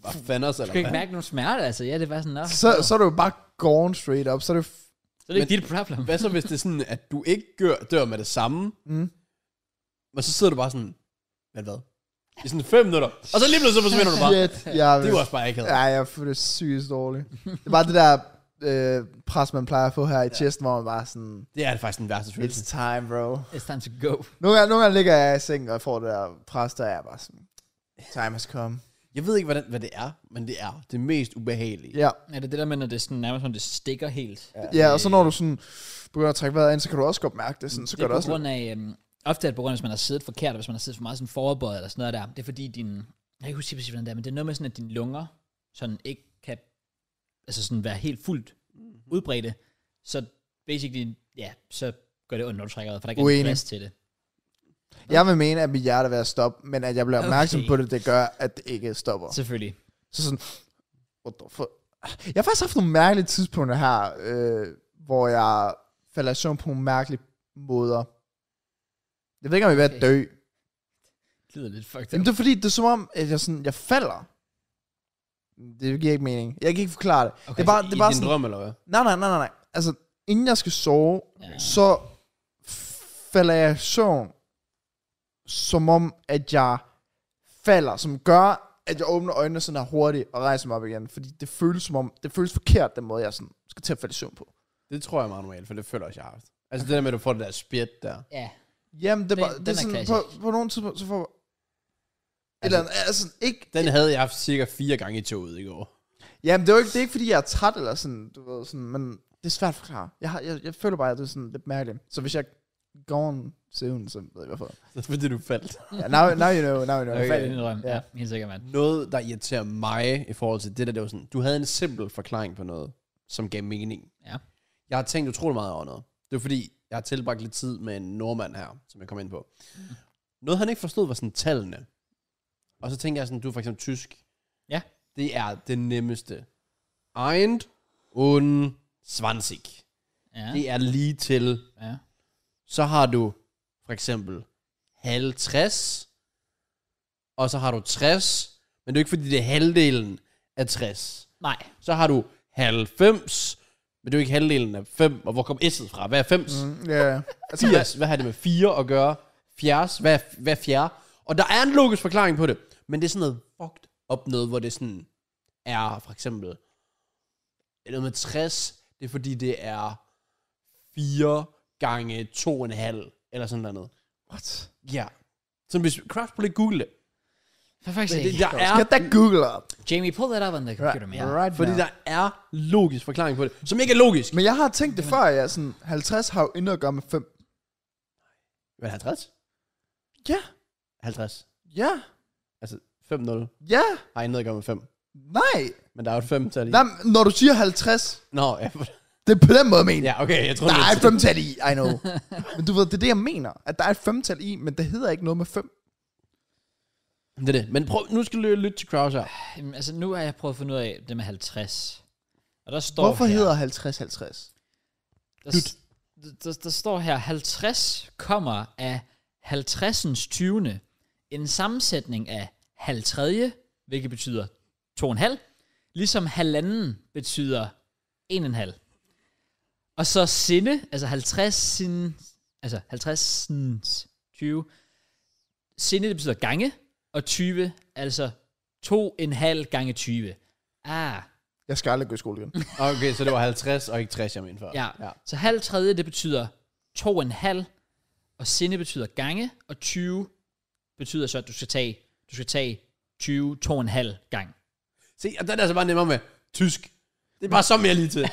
Hvad fanden
Du
også, eller
kan ikke
hvad?
mærke nogen smerte, altså. Ja, det var sådan, nå.
Så, så er du jo bare gone straight up. Så er det f-
Så er det ikke dit problem.
Hvad så, hvis det er sådan, at du ikke gør, dør med det samme,
mm.
men så sidder du bare sådan, men hvad? i sådan fem minutter. Og så lige pludselig så forsvinder du bare.
Shit, jeg,
Det var også bare ikke
Ja, jeg føler det sygt dårligt. Det er bare det der øh, pres, man plejer at få her i chesten, hvor man bare sådan,
Det er faktisk den værste følelse.
it's time, bro.
It's time to go.
Nogle gange, nogle gange ligger jeg i sengen, og jeg får det der pres, der er jeg bare sådan, time has come.
Jeg ved ikke, hvordan, hvad det er, men det er det mest ubehagelige.
Ja,
Er det det der med, når det er sådan, nærmest, når det stikker helt? Ja,
ja og så når du sådan begynder at trække vejret ind, så kan du også godt mærke det, sådan, så
Øh. det
gør
er
det
på
også
grund af, øhm, ofte er det på grund af, hvis man har siddet forkert, og hvis man har siddet for meget sådan forberedt eller sådan noget der. Det er fordi din, jeg kan ikke huske præcis, hvordan det er, men det er noget med sådan, at dine lunger sådan ikke kan altså sådan være helt fuldt
Mhm.
udbredte. Så basically, ja, så gør det ondt, når du trækker vejret, for der er ikke
Uenig.
er plads til det.
Jeg vil mene, at mit hjerte er ved at stoppe, men at jeg bliver opmærksom
Okay.
på det, det gør, at det ikke stopper.
Selvfølgelig.
Så sådan, what the fuck? Jeg har faktisk haft nogle mærkelige tidspunkter her, øh, hvor jeg falder i søvn på nogle mærkelige måder. Jeg ved ikke, om jeg er ved at
Okay.
dø.
Det lyder lidt fucked
Jamen,
up.
det er fordi, det er som om, at jeg, sådan, jeg falder. Det giver ikke mening. Jeg kan ikke forklare det.
Okay,
det er bare, det er bare
I din
sådan,
drøm, eller hvad?
nej, nej, nej, nej, nej. Altså, inden jeg skal sove,
Ja.
så falder jeg i søvn, som om, at jeg falder, som gør, at jeg åbner øjnene sådan her hurtigt og rejser mig op igen. Fordi det føles som om, det føles forkert, den måde, jeg sådan skal til at falde i søvn på.
Det tror jeg er meget normalt, for det føler jeg også, jeg har haft. Altså det der med, at du får det der spjæt der.
Ja,
Jamen, det, er
Den-
bare, det er
den er
sådan,
klassisk.
på, på nogle tidspunkter, så får jeg... Et eller andet, altså, ikke,
Den havde jeg haft cirka fire gange i toget i går. [laughs]
jamen, det er jo ikke, det er ikke, fordi jeg er træt eller sådan, du ved, sådan, men det er svært at forklare. Jeg, har, jeg, jeg føler bare, at det er sådan lidt mærkeligt. Så hvis jeg går en søvn, så ved jeg hvorfor.
Så fordi du faldt.
Ja, now, now you know, now you know.
okay.
Okay.
fald i din drøm.
Ja.
Ja. helt sikkert, mand.
Noget, der irriterer mig i forhold til det der, det var sådan, du havde en simpel forklaring på noget, som gav mening.
Ja.
Jeg har tænkt utrolig meget over noget. Det er fordi, jeg har tilbragt lidt tid med en nordmand her, som jeg kom ind på.
Mm.
Noget, han ikke forstod, var sådan tallene. Og så tænkte jeg sådan, du er for eksempel tysk.
Ja.
Det er det nemmeste. Eind und zwanzig.
Ja,
Det er lige til
ja.
så har du for eksempel 50, og så har du 60, men det er jo ikke fordi, det er halvdelen af 60.
Nej,
Så har du 90, men det er jo ikke halvdelen af 5, og hvor kom S'et fra? Hvad er 5? Mm.
Mm, ja, altså,
80, hvad har det med 4 at gøre? 70, hvad, er- hvad er 4? Og der er en logisk forklaring på det, men det er sådan noget fucked op noget, hvor det sådan er for eksempel noget med 60, det er fordi, det er 4 gange 2,5, eller sådan noget.
what?
Ja. Så hvis Craft på lidt Google det.
for faktisk
Men det-
ikke.
der er,
Get that Google up.
Jamie, pull that up on the computer, man.
right
fordi der er logisk forklaring på det, som ikke er logisk.
Men jeg har tænkt det før, ja. Sådan, 50 har jo intet at gøre med 5.
Men 50?
Ja.
50.
Ja.
Altså 5-0
Ja.
har ikke noget at gøre med 5.
Nej.
Men der er jo et 5 tal i.
Nej, men når du siger 50,
Nå, ja.
det er på den måde, jeg mener.
ja, okay, jeg tror
Der er
det
et femtal i, I [laughs] know. men du ved, det er det, jeg mener. At der er et femtal i, men det hedder ikke noget med fem.
Det er det. Men prøv, nu skal du lytte til Kraus her.
Jamen, altså, nu har jeg prøvet at finde ud af det med 50. Og der står
Hvorfor
her,
hedder 50 50?
der, s- der, der, står her, 50 kommer af 50'ens 20. En sammensætning af halvtredje, hvilket betyder 2,5, ligesom halvanden betyder 1,5. Og så sinde, altså 50 sin, altså 50 20. Sinde, det betyder gange, og 20, altså 2,5 gange 20. Ah,
Jeg skal aldrig gå i skole igen.
Okay, så det var 50 og ikke 60, jeg mente før.
Ja. ja. Så halv tredje, det betyder to og en halv, og sinde betyder gange, og 20 betyder så, at du skal tage, du skal tage 20, to og en halv gang.
Se, og der er det altså bare nemmere med tysk. Det er bare så mere lige til.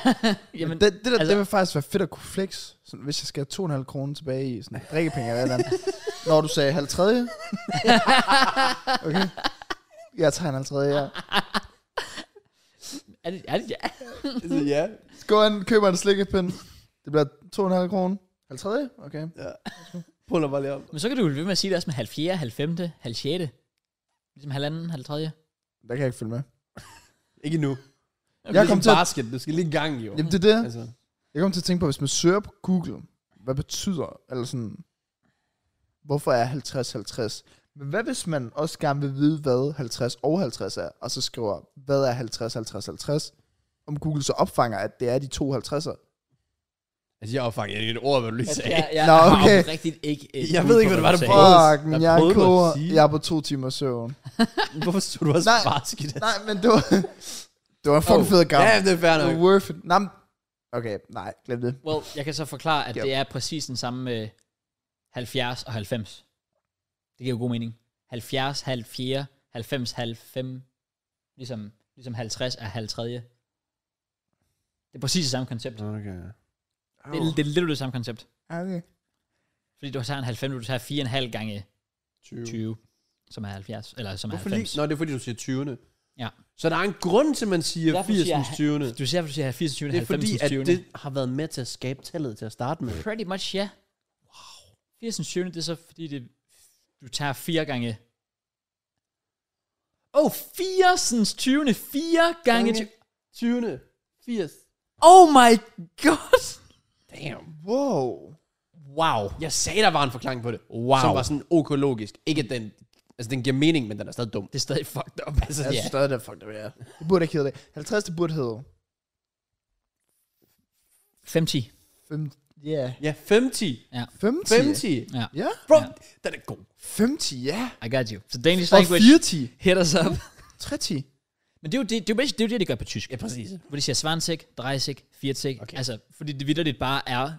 Jamen,
Det, det, der, altså,
altså-
det vil faktisk være fedt at kunne flex, sådan, hvis jeg skal have 2,5 kroner tilbage i sådan drikkepenge eller et eller andet. Når du sagde halv tredje. Okay. Jeg tager en halv tredje, ja.
er det, er det, ja.
Så ja.
Gå ind, køber en slikkepind. Det bliver 2,5 kroner. Halv tredje? Okay.
Puller bare lige op.
Men så kan du jo blive ved med at sige det også med halv fjerde, halv femte, halv sjette. Ligesom halvanden, halv tredje.
Der kan jeg ikke følge med.
Ikke nu. ligesom
Jeg kom til at-
basket, du skal lige i gang, jo.
Jamen det er det.
Altså.
Jeg kom til at tænke på, hvis man søger på Google, hvad betyder, eller sådan, hvorfor er 50-50? Men hvad hvis man også gerne vil vide, hvad 50 og 50 er, og så skriver, hvad er 50-50-50? Om Google så opfanger, at det er de to 50'er.
Altså, jeg var faktisk ikke et ord, hvad du lige sagde.
Jeg, jeg
Nå,
har
okay.
rigtigt ikke et
Jeg
bud
ved
på,
ikke, hvad det var,
du
der
sagde.
prøvede.
Fuck,
jeg
jeg,
prøvede
er
at
koger.
sige-
jeg er på to timer
[laughs]
søvn.
[laughs] Hvorfor stod du også
Nej.
barsk i det?
Nej, men det var... det var en fucking
Oh.
fed kamp.
Ja, det er fair
Det
nok.
var worth it. Nej, men- okay, nej, glem det.
Well, jeg kan så forklare, at
Ja.
det er præcis den samme med 70 og 90. Det giver jo god mening. 70, halv 4, 90, halv 5, ligesom, ligesom 50 er halv 3. Det er præcis det samme koncept.
Okay.
Det, er- det er lidt det samme koncept.
Okay.
Fordi du tager en 90, du tager 4,5 gange
20.
20, som er 70, eller som er
Hvorfor
90.
lige? Nå, det er fordi, du siger 20'erne.
Ja.
Så der er en grund til, at man siger
Derfor
80
siger
som
jeg-
20'erne.
Du ser, at du siger 80, 20,
Det er
90,
fordi, at
20.
det har været med til at skabe tallet til at starte [laughs] med.
Pretty much, ja. Wow. 80 20, det er så fordi, det, du tager fire gange... Oh, 80 20, fire gange...
Gange.
Okay.
20'erne. 80.
Oh my god!
Damn.
Wow.
Wow.
Jeg sagde, der var en forklaring på det.
Wow.
Som var sådan okologisk. Ikke at den... Altså, den giver mening, men den er stadig dum.
Det er stadig fucked
[laughs]
up. Altså,
Jeg synes
yeah.
stadig, det er fucked up, ja. Det burde ikke hedde det. 50, det burde hedde
50.
5, yeah.
Ja, 50.
50?
50.
Ja.
Ja.
Bro,
Ja.
den er god.
50, ja.
I got you. Så Danish
Og
language
40,
hit us up.
30.
[laughs] Men det er jo det, det, er jo, basically- det, er jo det, de gør på tysk.
Ja, præcis.
Hvor de siger svansik, drejsik, firtsik.
Okay.
Okay. Altså, fordi det vidderligt bare er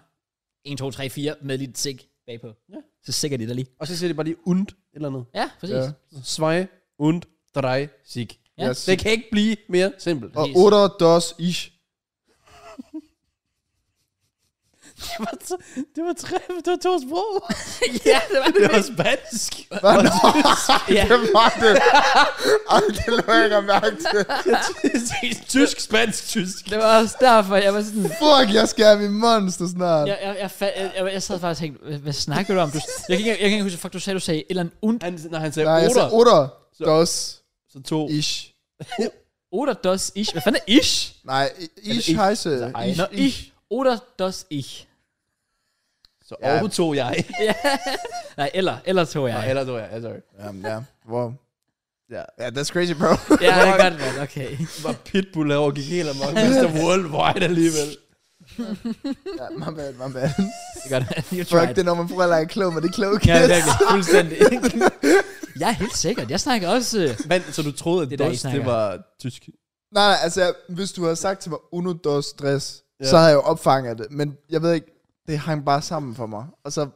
1, 2, 3, 4 med lidt sik bagpå.
Ja.
Så sikker det der lige.
Og så siger det bare lige und et eller andet.
Ja, præcis.
Ja.
Zwei und drei sig.
Ja.
Yes.
Det kan ikke blive mere simpelt.
Og
præcis.
8, dos, ich.
Det var, t- det var, tre, det var to sprog.
[laughs] ja, [laughs] det var
det var spansk.
Hvad nå?
[laughs] Ja.
Det var det. Ej, det lå jeg ikke at mærke til.
[laughs] tysk, spansk, tysk.
Det var også derfor, jeg var sådan...
Fuck, jeg skal have min monster snart.
Jeg, jeg, jeg, fa- jeg, jeg, jeg sad faktisk og tænkte, hvad, hvad snakker du om? Du, jeg, kan ikke, jeg kan ikke huske, fuck, du sagde, du sagde et eller andet und,
Han, når han sagde
Nej, jeg
otter,
sagde 8,
Så-
dos,
så to.
ich.
oder das ich. Hvad fanden er ich?
Nej, i- ich
ich.
heiße.
Altså, ej.
Nå, ich. Oder das ich.
Så
Ja.
over to jeg.
Nej, eller, eller tog jeg.
Nej, eller to jeg. Ja, sorry.
Jamen, ja. Wow.
Ja.
Ja, yeah, that's crazy,
[laughs]
bro.
Ja, det er godt, man. Okay.
Var Pitbull herovre gik helt amok. Mr. Worldwide alligevel.
ja, my bad, my bad.
Det er godt. You
Fuck,
tried.
det er, når man prøver at lege klog, men det er kloge
Ja,
kids.
virkelig. Fuldstændig. jeg er helt sikkert. Jeg snakker også... øh,
Men, så du troede, at
Det
det,
er der, I
dos, det
snakker.
var tysk?
Nej, nej, altså, hvis du havde sagt til mig, uno, dos, stress,
Ja.
ja. så havde jeg jo opfanget det. Men jeg ved ikke, det hang bare sammen for mig. Og så,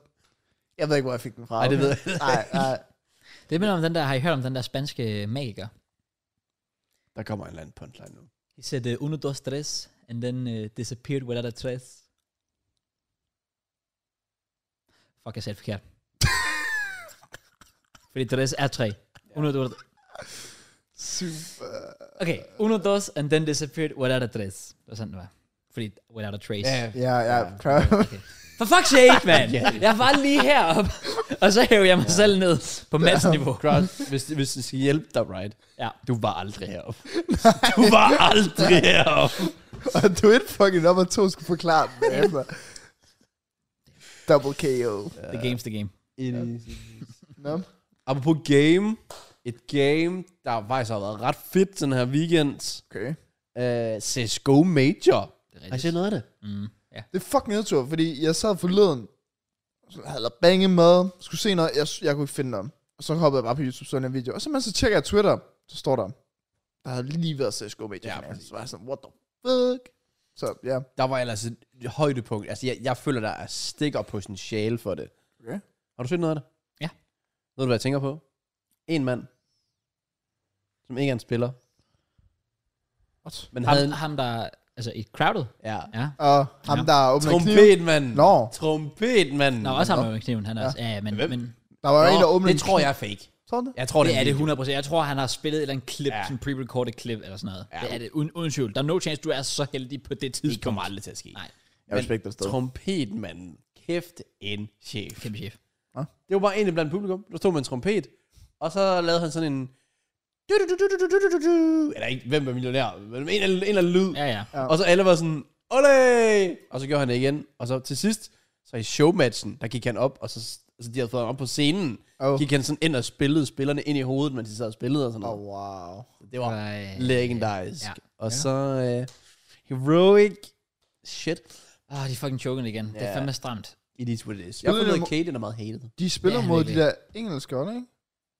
jeg ved ikke, hvor jeg fik den fra.
Nej, det ved jeg
ikke. Nej, nej.
[laughs]
Det minder om den der, har I hørt om den der spanske magiker?
Der kommer en eller anden punchline nu.
He said, uh, uno, dos, tres, and then uh, disappeared without a trace. Fuck, jeg sagde det
[laughs]
forkert. Fordi tres er tre. Uno, dos,
Super.
okay, uno, dos, and then disappeared without a trace. Det var sådan, det var. Fordi without a trace.
Ja, ja, [laughs]
Ja.
klar.
Okay. For fuck's sake, man!
[laughs] Ja.
Jeg var lige heroppe, og så hævde jeg mig selv ned på madsniveau.
Cross, hvis, hvis det skal hjælpe dig, right?
Ja.
Du var aldrig heroppe. du var aldrig heroppe.
Og du er et fucking op, og to skulle forklare
[laughs]
den bagefter. Double KO.
The game's the game.
No?
Apropos game. Et game, der faktisk har været ret fedt den her weekend.
Okay.
Uh, CSGO Major.
Det er
Har I
rigtigt.
set noget af det?
Mm, ja.
Det er fucking nedtur, fordi jeg sad forleden, så havde jeg bange med, skulle se noget, jeg, jeg kunne ikke finde dem. Og så hoppede jeg bare på YouTube, sådan en video. Og så, man, så tjekker jeg Twitter, så står der, der havde lige været CSGO med
Ja,
ja,
præcis.
Så var jeg sådan, what the fuck? Så ja,
Der var ellers et højdepunkt. Altså, jeg, jeg føler, der er stikker potentiale for det.
Okay.
Har du set noget af det?
Ja.
Ved du, hvad jeg tænker på? En mand, som ikke er en spiller,
what?
men havde
Ham,
en...
ham, der... Altså, i crowded.
Ja.
Ja.
Og ham,
Ja.
der åbnede kniven.
Trompetmanden.
Nå,
Trompetmanden.
Nå, også ham med kniven, han er også. Ja, ja, men,
Hvem?
men
der var en, der
Nå,
åbnede
det tror jeg er fake.
Sådan det?
Jeg tror, det,
det er
en
det
video.
100%. Jeg tror, han har spillet et eller andet klip,
Ja.
ja. sådan pre-recorded klip eller sådan noget.
Ja.
Ja. Det er det, uden, uden tvivl. Der er no chance, du er så heldig på det
Det
tidspunkt.
kommer aldrig til at ske.
Nej,
Jeg respekter det stadig.
Trompetmanden. Kæft en chef.
kæmpe chef.
Det var bare en blandt publikum. Der stod med en trompet, og så lavede han sådan en... du-du-du-du-du-du-du-du. Eller ikke, hvem er millionær? Men En eller en eller anden lyd.
Ja, ja.
Ja.
Og så alle var sådan, Ole! Og så gjorde han det igen. Og så til sidst, så i showmatchen, der gik han op, og så altså, de havde fået ham op på scenen.
Oh.
Gik han sådan ind og spillede spillerne ind i hovedet, mens de sad og spillede og sådan
Oh,
noget.
wow.
Det var
Ej.
legendarisk.
Ja.
Og så øh, heroic shit.
Ah, de er fucking choking igen. Yeah. Det er
Ja.
fandme stramt.
It is what it is. Jeg har
Spillede
fundet,
du-
at Caden er meget hated.
De spiller
Ja,
mod de
virkelig.
der engelske hold, ikke?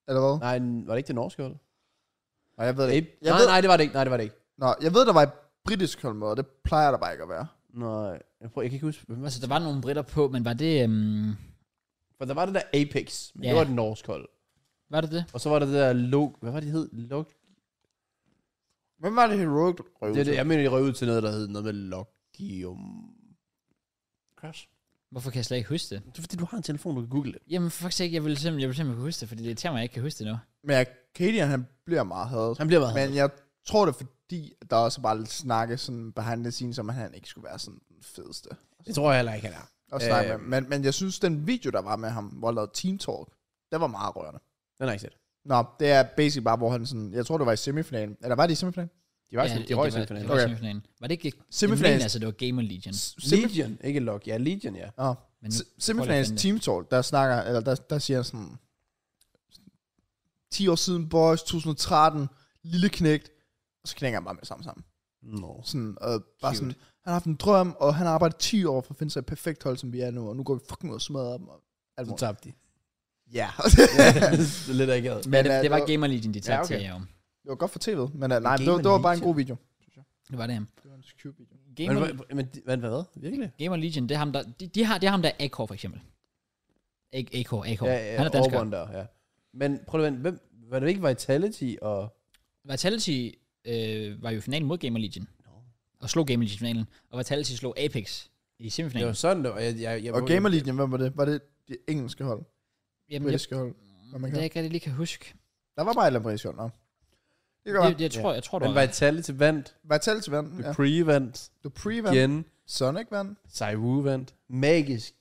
Eller hvad?
Nej, n- var det ikke det norske hold?
Nej, jeg ved det
Nej,
ikke. Jeg
nej,
ved-
nej, det var det ikke. Nej, det var det ikke.
Nå, jeg ved, der var et britisk hold med, og det plejer der bare ikke at være.
Nej, jeg, prøver, jeg kan ikke huske. Hvem var
Altså, der var nogle britter på, men var det... Øhm,
For der var det der Apex, men
Ja.
det var et norsk hold.
var det det?
Og så var der det der Log... Hvad var det, de hed? Log...
Hvem var det heroic
Det, er det, jeg mener, de røg ud til noget, der hed noget med Logium... Crash.
Hvorfor kan jeg slet ikke huske det?
Det er fordi, du har en telefon, du kan google det.
Jamen, faktisk ikke. Jeg vil simpelthen, jeg vil simpelthen kunne huske det, fordi det irriterer mig, at jeg ikke kan huske det nu.
Men jeg, Kadian, han bliver meget hadet.
Han bliver bare...
Men jeg tror det, er fordi at der også er bare lidt snakke sådan behind the scenes, om at han ikke skulle være sådan den fedeste.
det tror jeg heller ikke, han er.
At snakke
Øh.
med. Men, men jeg synes, den video, der var med ham, hvor han lavede Team Talk, det var meget rørende.
Den har jeg ikke set.
Nå, det er basic bare, hvor han sådan, jeg tror, det var i semifinalen. Eller var det i semifinalen?
De var ja, de røg i semifinalen.
Var,
Okay.
okay. semifinalen. var det ikke...
Semifinalen-
Semifinalen. altså, det var Gamer Legion.
Semif-
Legion, ikke Log. Ja, Legion, ja.
Nå,
Men
Se-
prøv lige at finde
semifinalens
det.
Team Talk, der snakker, eller der, der siger han sådan, 10 år siden boys, 2013, lille knægt, og så knækker han bare med det samme sammen.
Nå.
Sådan, og bare
Cute.
sådan, han har haft en drøm, og han har arbejdet 10 år for at finde sig et perfekt hold, som vi er nu, og nu går vi fucking ud og smadrer dem. Og alt
Så
muligt.
tabte de.
Ja. [laughs]
[laughs] det er lidt akavet.
Men det,
øh,
det var
det var-
Gamer Legion, de
Ja,
tabte
okay.
til, ja. jo.
Det var godt for tv'et, men uh, nej, det, var-
Gamer
det var bare en
Legion.
god video.
Det var det, ja.
Det var en cute video.
Men,
Gamer,
hvad, men de- hvad, hvad, hvad? Virkelig?
Gamer Legion, det er ham, der... De, de har, det er ham, der er AK, for eksempel. Ikke AK, AK. Han er dansker.
Auburn der, ja. Men prøv lige at vente, hvem, var det ikke Vitality og...
Vitality øh, var jo i finalen mod Gamer Legion. Og slog Gamer Legion i finalen. Og Vitality slog Apex i
Det
semifinalen.
var sådan, det var. Jeg, jeg, jeg,
Og Gamer Legion, hvem var det? Var det det engelske hold?
Jamen, jeg,
Britiske hold? Hvad man
det
kan.
er ikke, at jeg lige kan huske.
Der var bare et eller andet britisk hold, nå. Det kan
Det,
godt
det, jeg tror, jeg tror, det
Men
var...
Vitality vandt.
Var talt til vand?
The
Ja.
Pre vandt.
Du pre-vand?
Gen.
Sonic vand?
Saiwu vandt. Magisk.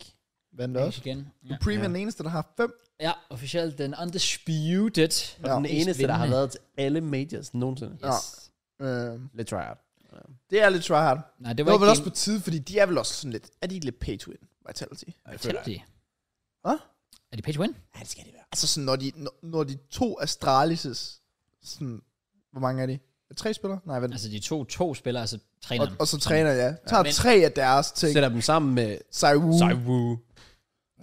Vandt
Apex
også.
igen.
Du
Ja.
pre
Ja.
den eneste, der har haft fem.
ja, officielt den undisputed.
Og
Ja.
den
Mest
eneste, der har
vindende.
været til alle majors nogensinde.
Yes.
Øh,
Lidt tryhard.
det er lidt tryhard. Det
Nej, det
var,
var
det var vel
ikke
også på tide, fordi de er vel også sådan lidt... Er de ikke lidt pay to win, Vitality?
Vitality.
Hvad?
Er det pay to win?
Ja, det skal det være.
Altså sådan, når de, når, når de to Astralis' sådan... Hvor mange er de? Er tre spillere? Nej, vent.
Altså de to, to spillere, altså
Og,
træneren.
og så træner jeg. Ja. Tager
Men-
tre af deres ting.
Sætter dem sammen med
Saiwu.
Saiwu.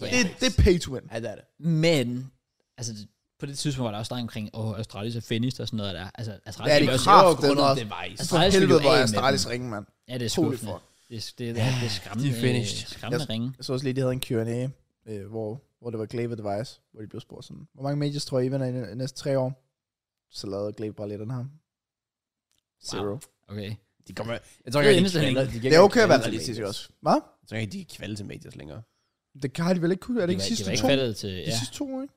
Ja.
Det, det er pay to win.
Ja, det er det.
Men, altså det- på det tidspunkt var der også snak omkring, åh, oh, Astralis er finished og sådan noget der. Altså, Astralis
Ja,
vil
de
også-
kraft,
jo,
den
grundet
var-
det var i-
For
Astralis vil
helvede,
jo
hvor
af
er
med
Astralis
dem.
ringe, mand.
Ja, det er
Holy
skuffende.
fuck.
Det, er- det, er- det er skræmmende,
finished.
skræmmende ringe.
Jeg så også lige, de havde en Q&A, øh, hvor, hvor det var Glaive Advice, hvor de blev spurgt sådan, hvor mange majors tror I, I vinder i de næste tre år? Så lavede Glaive bare lidt af ham. Zero. Wow.
Okay.
Altså, De kommer... Jeg tror
Det er
ikke, de
eneste
kvalder-
længe.
de kan
Det
ikke
er okay at
kvalde
være
til
realistisk
majors.
også. Hvad?
Jeg tror ikke, de kan kvalde til majors længere.
Det har de vel ikke kunne. Er det ikke
var-
sidste
var
to?
ikke faldet til,
De
ja.
sidste to, ikke?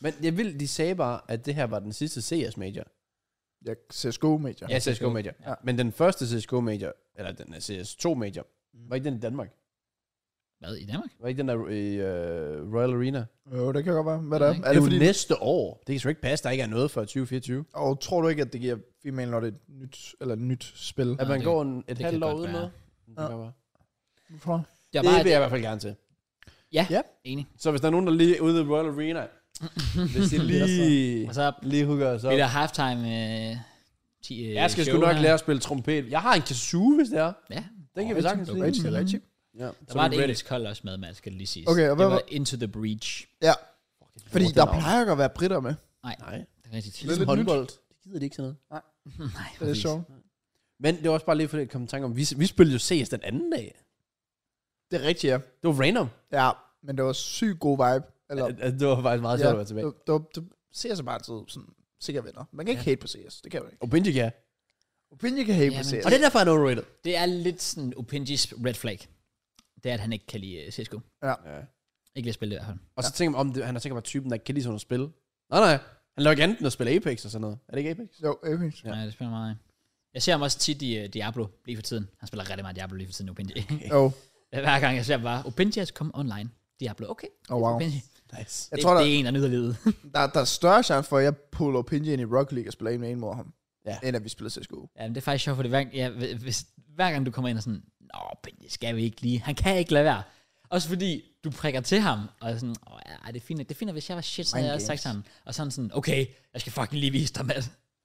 Men jeg vil, de sagde bare, at det her var den sidste CS Major.
Ja, CSGO Major.
Ja, CSGO Major.
Ja.
Ja. Men den første CSGO Major, eller den er CS2 Major, var ikke den i Danmark?
Hvad, i Danmark?
Var ikke den der i uh, Royal Arena?
Jo, det kan godt være. Hvad er det?
ikke.
Er
Er
det
det,
fordi...
jo næste år. Det kan sgu ikke passe, der ikke er noget før 2024.
Og tror du ikke, at det giver female, når det er et nyt, eller et nyt spil?
At
Nej,
man
det-
går en, et
kan
halvt år
godt være.
uden noget. Det, kan være.
Hvorfor?
Jeg er
det
bare
vil jeg i hvert fald gerne til.
enig.
Så hvis der er nogen, der lige er ude i Royal Arena, [laughs] hvis de lige,
Og så
lige hooker os op.
det der halftime øh, 10, øh,
Jeg skal sgu
show
nok
her.
lære at spille trompet. Jeg har en kazoo, hvis det er.
Ja,
Den kan vi sagtens
Det er rigtigt, det er rigtigt.
Ja,
der var et engelsk hold også med, man skal det lige sige.
Okay, og hvad
det var
var-
Into the Breach.
Ja, fordi der plejer ikke at være britter med.
Nej,
Det er rigtigt.
Lidt-
ligesom
nyt.
håndbold. Det gider de ikke sådan noget.
[laughs] Nej,
Det er
præcis.
sjovt.
Men det var også bare lige for det, jeg kom i tanke om. Vi, vi spillede jo CS den anden dag.
Det er rigtigt, ja.
Det var random.
Ja, men det var sygt god vibe. Eller,
Al- al- Det var faktisk meget sjovt at være tilbage.
Det, det, det CS er bare altid sådan, sikker vinder. Man kan ikke ja. hate på CS, det kan man ikke.
Og Benji, ja.
Opinion kan hate
Ja,
på
men-
CS.
Og det er derfor, han er overrated.
Det er lidt sådan Opinjis red flag. Det er, at han ikke kan lide øh, CSGO.
Ja.
Ikke lide at spille det i hvert fald.
Og så tænker man, om det, han er sikkert bare typen, der ikke kan lide sådan noget spil. Nej, nej. Han laver ikke andet end at spille Apex og sådan noget. Er det ikke Apex?
Jo, Apex.
Ja.
Ja.
Nej, det spiller meget. af. Jeg ser ham også tit i uh, Diablo lige for tiden. Han spiller rigtig meget Diablo lige for tiden, Opinji.
Jo,
[laughs] Hver gang jeg ser ham bare, Opinji er kommet online. Diablo, okay.
oh, wow.
Opinji.
Nice.
Jeg
Det,
tror, der,
det, er en, der nyder livet. [laughs]
der, der er større chance for, at jeg puller Opinion ind i Rocket League og spiller en med en mod ham,
Ja.
end at vi spiller CSGO.
ja, men det er faktisk sjovt, fordi hver, ja, hv- hvis, hver gang du kommer ind og sådan, Nå, Opinji skal vi ikke lige. Han kan ikke lade være. Også fordi du prikker til ham, og er sådan, Åh, ja, det er fint, nok- det er fint, nok, hvis jeg var shit, så havde
Mind
jeg også sagt til
games.
ham. Og sådan sådan, okay, jeg skal fucking lige vise dig, mand.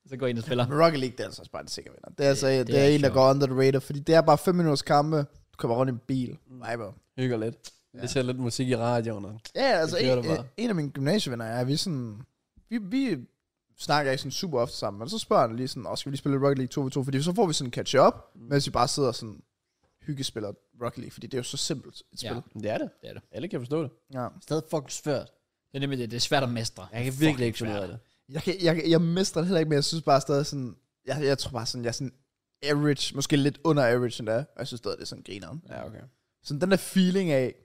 Så går jeg ind og spiller.
Men Rocket League, det er altså også bare en sikker vinder. Det er, altså, det,
det
er,
er
en, der
sjovt.
går under the radar, fordi det er bare 5 minutters kampe. Du kommer rundt i en bil. Viber.
Hygger lidt. Ja. Det ser lidt musik i radioen. og-
Ja, altså
kører
en,
du bare.
en af mine gymnasievenner er, vi sådan... Vi, vi snakker ikke sådan super ofte sammen, men så spørger han lige sådan, åh, skal vi lige spille Rocket League 2v2? Fordi så får vi sådan catch-up, mens vi bare sidder og sådan hyggespiller Rocket League, fordi det er jo så simpelt et
Ja.
spil.
Men Det er det.
Det er det.
Alle kan forstå det.
Ja. ja.
Stadig fucking svært.
Det er nemlig det. Det er svært at mestre.
Jeg kan virkelig ikke finde ud af det.
Jeg, kan, jeg, kan- jeg mister det heller ikke, men jeg synes bare stadig sådan... Jeg, jeg tror bare sådan, jeg er sådan average, måske lidt under average endda, og jeg synes stadig, det er sådan grineren.
Ja, okay.
Sådan den der feeling af,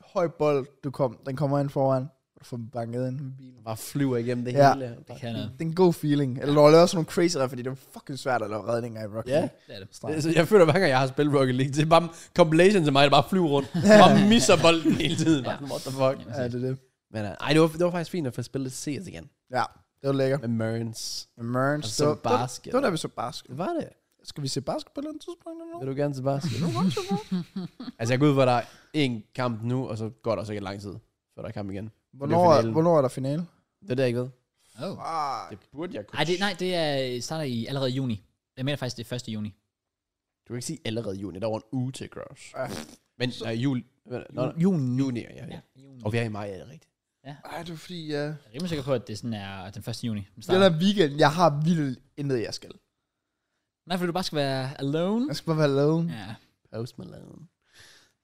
høj bold, du kom, den kommer ind foran, og du får den banket ind med bilen.
Bare flyver igennem det
Ja.
hele.
Det kan noget.
Det er en god feeling. Eller du har lavet sådan nogle crazy redder, fordi det er fucking svært at lave redninger i Rocket
Ja.
League.
Det er det.
Strand.
Så jeg føler, hver gang jeg har spillet Rocket League, det er bare compilation til mig, der bare flyver rundt. bare misser bolden hele tiden. Bare, What the fuck?
Ja, det er det.
Men øh, ej, det var, det var faktisk fint at få spillet CS igen.
Ja, det var lækkert.
Med Mørens.
Merns.
Og så basket.
Det var da vi så basket.
Det var det.
Skal vi se basket på et eller andet tidspunkt? Eller noget?
Vil du gerne til basket? altså, jeg går ud for, at der er én kamp nu, og så går der sikkert lang tid, før der er kamp igen.
Hvornår,
Det er
er,
finalen.
hvornår er der finale?
Det er det, jeg ikke ved.
Oh.
Ah,
Det burde jeg kunne.
Ej, det, nej, det er, øh, starter i allerede i juni. Jeg mener faktisk, det er 1. juni.
Du kan ikke sige allerede juni. Der var en uge til Grosh.
Ja.
Men øh, jul... Nå, nå,
Juni.
juni, ja, ja.
juni.
Og vi er i maj, er det rigtigt?
ej, det er fordi, ja.
Jeg er rimelig sikker på, at det sådan er den 1. juni. Den
Den
starter.
der weekend, jeg har vildt intet, jeg skal.
Nej, fordi du bare skal være alone.
Jeg skal bare være alone.
Ja.
Post Malone.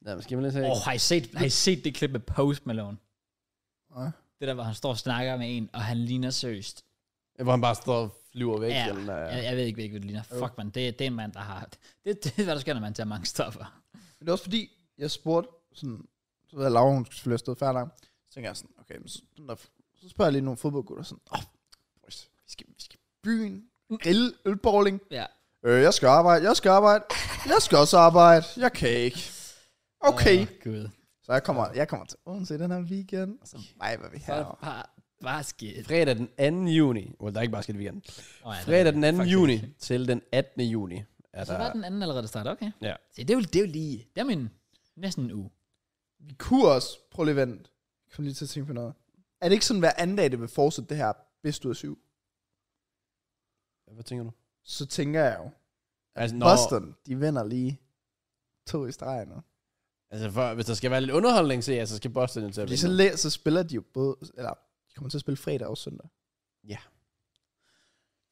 Nå, men skal vi lige se...
Åh, oh, har, I set, har I set det klip med Post Malone?
Ja.
Det der, hvor han står og snakker med en, og han ligner seriøst.
Hvor han bare står og flyver væk.
Ja,
Eller, øh. nej,
jeg, jeg ved ikke, hvilket det ligner. Fuck, man. Det, det er en mand, der har... Det, det er, hvad der sker, når man tager mange stoffer.
Men det er også fordi, jeg spurgte sådan, så ved jeg, Laura, hun skulle selvfølgelig have stået færdig. Så tænker jeg sådan, okay, men så, den der, så spørger jeg lige nogle fodboldgutter sådan, åh, oh, vi skal, vi skal i byen, grill, ølbowling.
Ja.
Øh, jeg skal arbejde, jeg skal arbejde, jeg skal også arbejde, jeg kan ikke. Okay.
Åh, Gud.
Så jeg kommer, jeg kommer til Odense i den her weekend, og så vejber vi
Så er det
her.
bare, bare skidt.
Fredag den 2. juni. Well, der er ikke basket i weekend.
Oh, ja,
Fredag den 2.
Faktisk.
juni til den 18. juni. Er
Så var
der,
den anden allerede startet, okay.
Ja.
Se, det er jo, det er jo lige... Det er min næsten en uge.
Vi kunne også, prøv lige at vente. Jeg kom lige til at tænke på noget. Er det ikke sådan, hver anden dag, det vil fortsætte det her bedst ud af syv?
hvad tænker du?
Så tænker jeg jo,
Altså, når,
Boston, de vinder lige to i streg nu.
altså for, hvis der skal være lidt underholdning, så, ja, så skal Boston jo til at
Fordi så,
vinde.
læ- så spiller de jo både, eller de kommer til at spille fredag og søndag.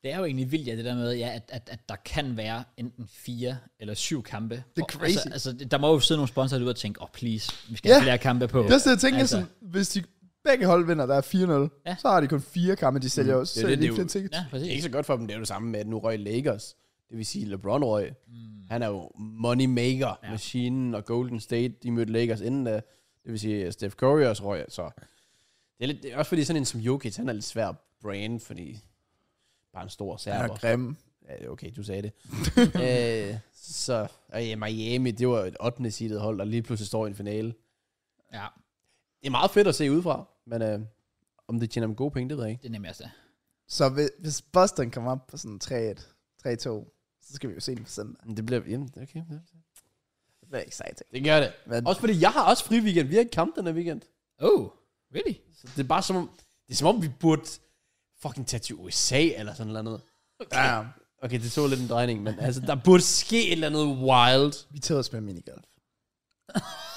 Det er jo egentlig vildt, ja, det der med, ja, at, at, at der kan være enten fire eller syv kampe.
Det er
Og-
crazy.
Altså, altså, der må jo sidde nogle sponsorer ude og tænke, åh, oh, please, vi skal
Ja.
have flere kampe på.
Det er også det, jeg tænker,
altså.
altså. sådan, hvis de begge hold vinder, der er 4-0,
Ja.
ja. så har de kun fire kampe, de sælger
Mm.
også.
Det er
Så det,
det,
det,
det er
flere
jo-
tickets.
Ja,
Det er
præcis.
ikke så godt for dem. Det er jo det samme med, at nu røg Lakers. Det vil sige, LeBron røg. Mm. Han er jo moneymaker. Ja. Maskinen og Golden State, de mødte Lakers inden da. Det vil sige, at Steph Curry også røg. Så det er, lidt, det er også fordi sådan en som Jokic, han er lidt svær at brand, fordi bare en stor
Ja,
server.
grimme.
Ja, okay, du sagde det. [laughs] øh, så og ja, Miami, det var et 8. seedet hold, der lige pludselig står i en finale.
Ja,
Det er meget fedt at se udefra, men øh, om det tjener dem gode penge, det ved jeg ikke.
det er nemlig også det.
Så hvis, hvis Boston kommer op på sådan 3-1, 3-2, så skal vi jo se dem på søndag.
Men det bliver... Jamen, okay. ja.
Det bliver exciting.
Det gør det.
Men,
Også fordi jeg har også fri weekend. Vi har ikke kamp den her weekend.
Oh, really?
Så det er bare som om... Det er som om, vi burde fucking tage til USA eller sådan noget.
ja,
Okay, det tog lidt en drejning, men altså, der burde ske et eller andet wild.
vi tager og spiller minigolf. [laughs]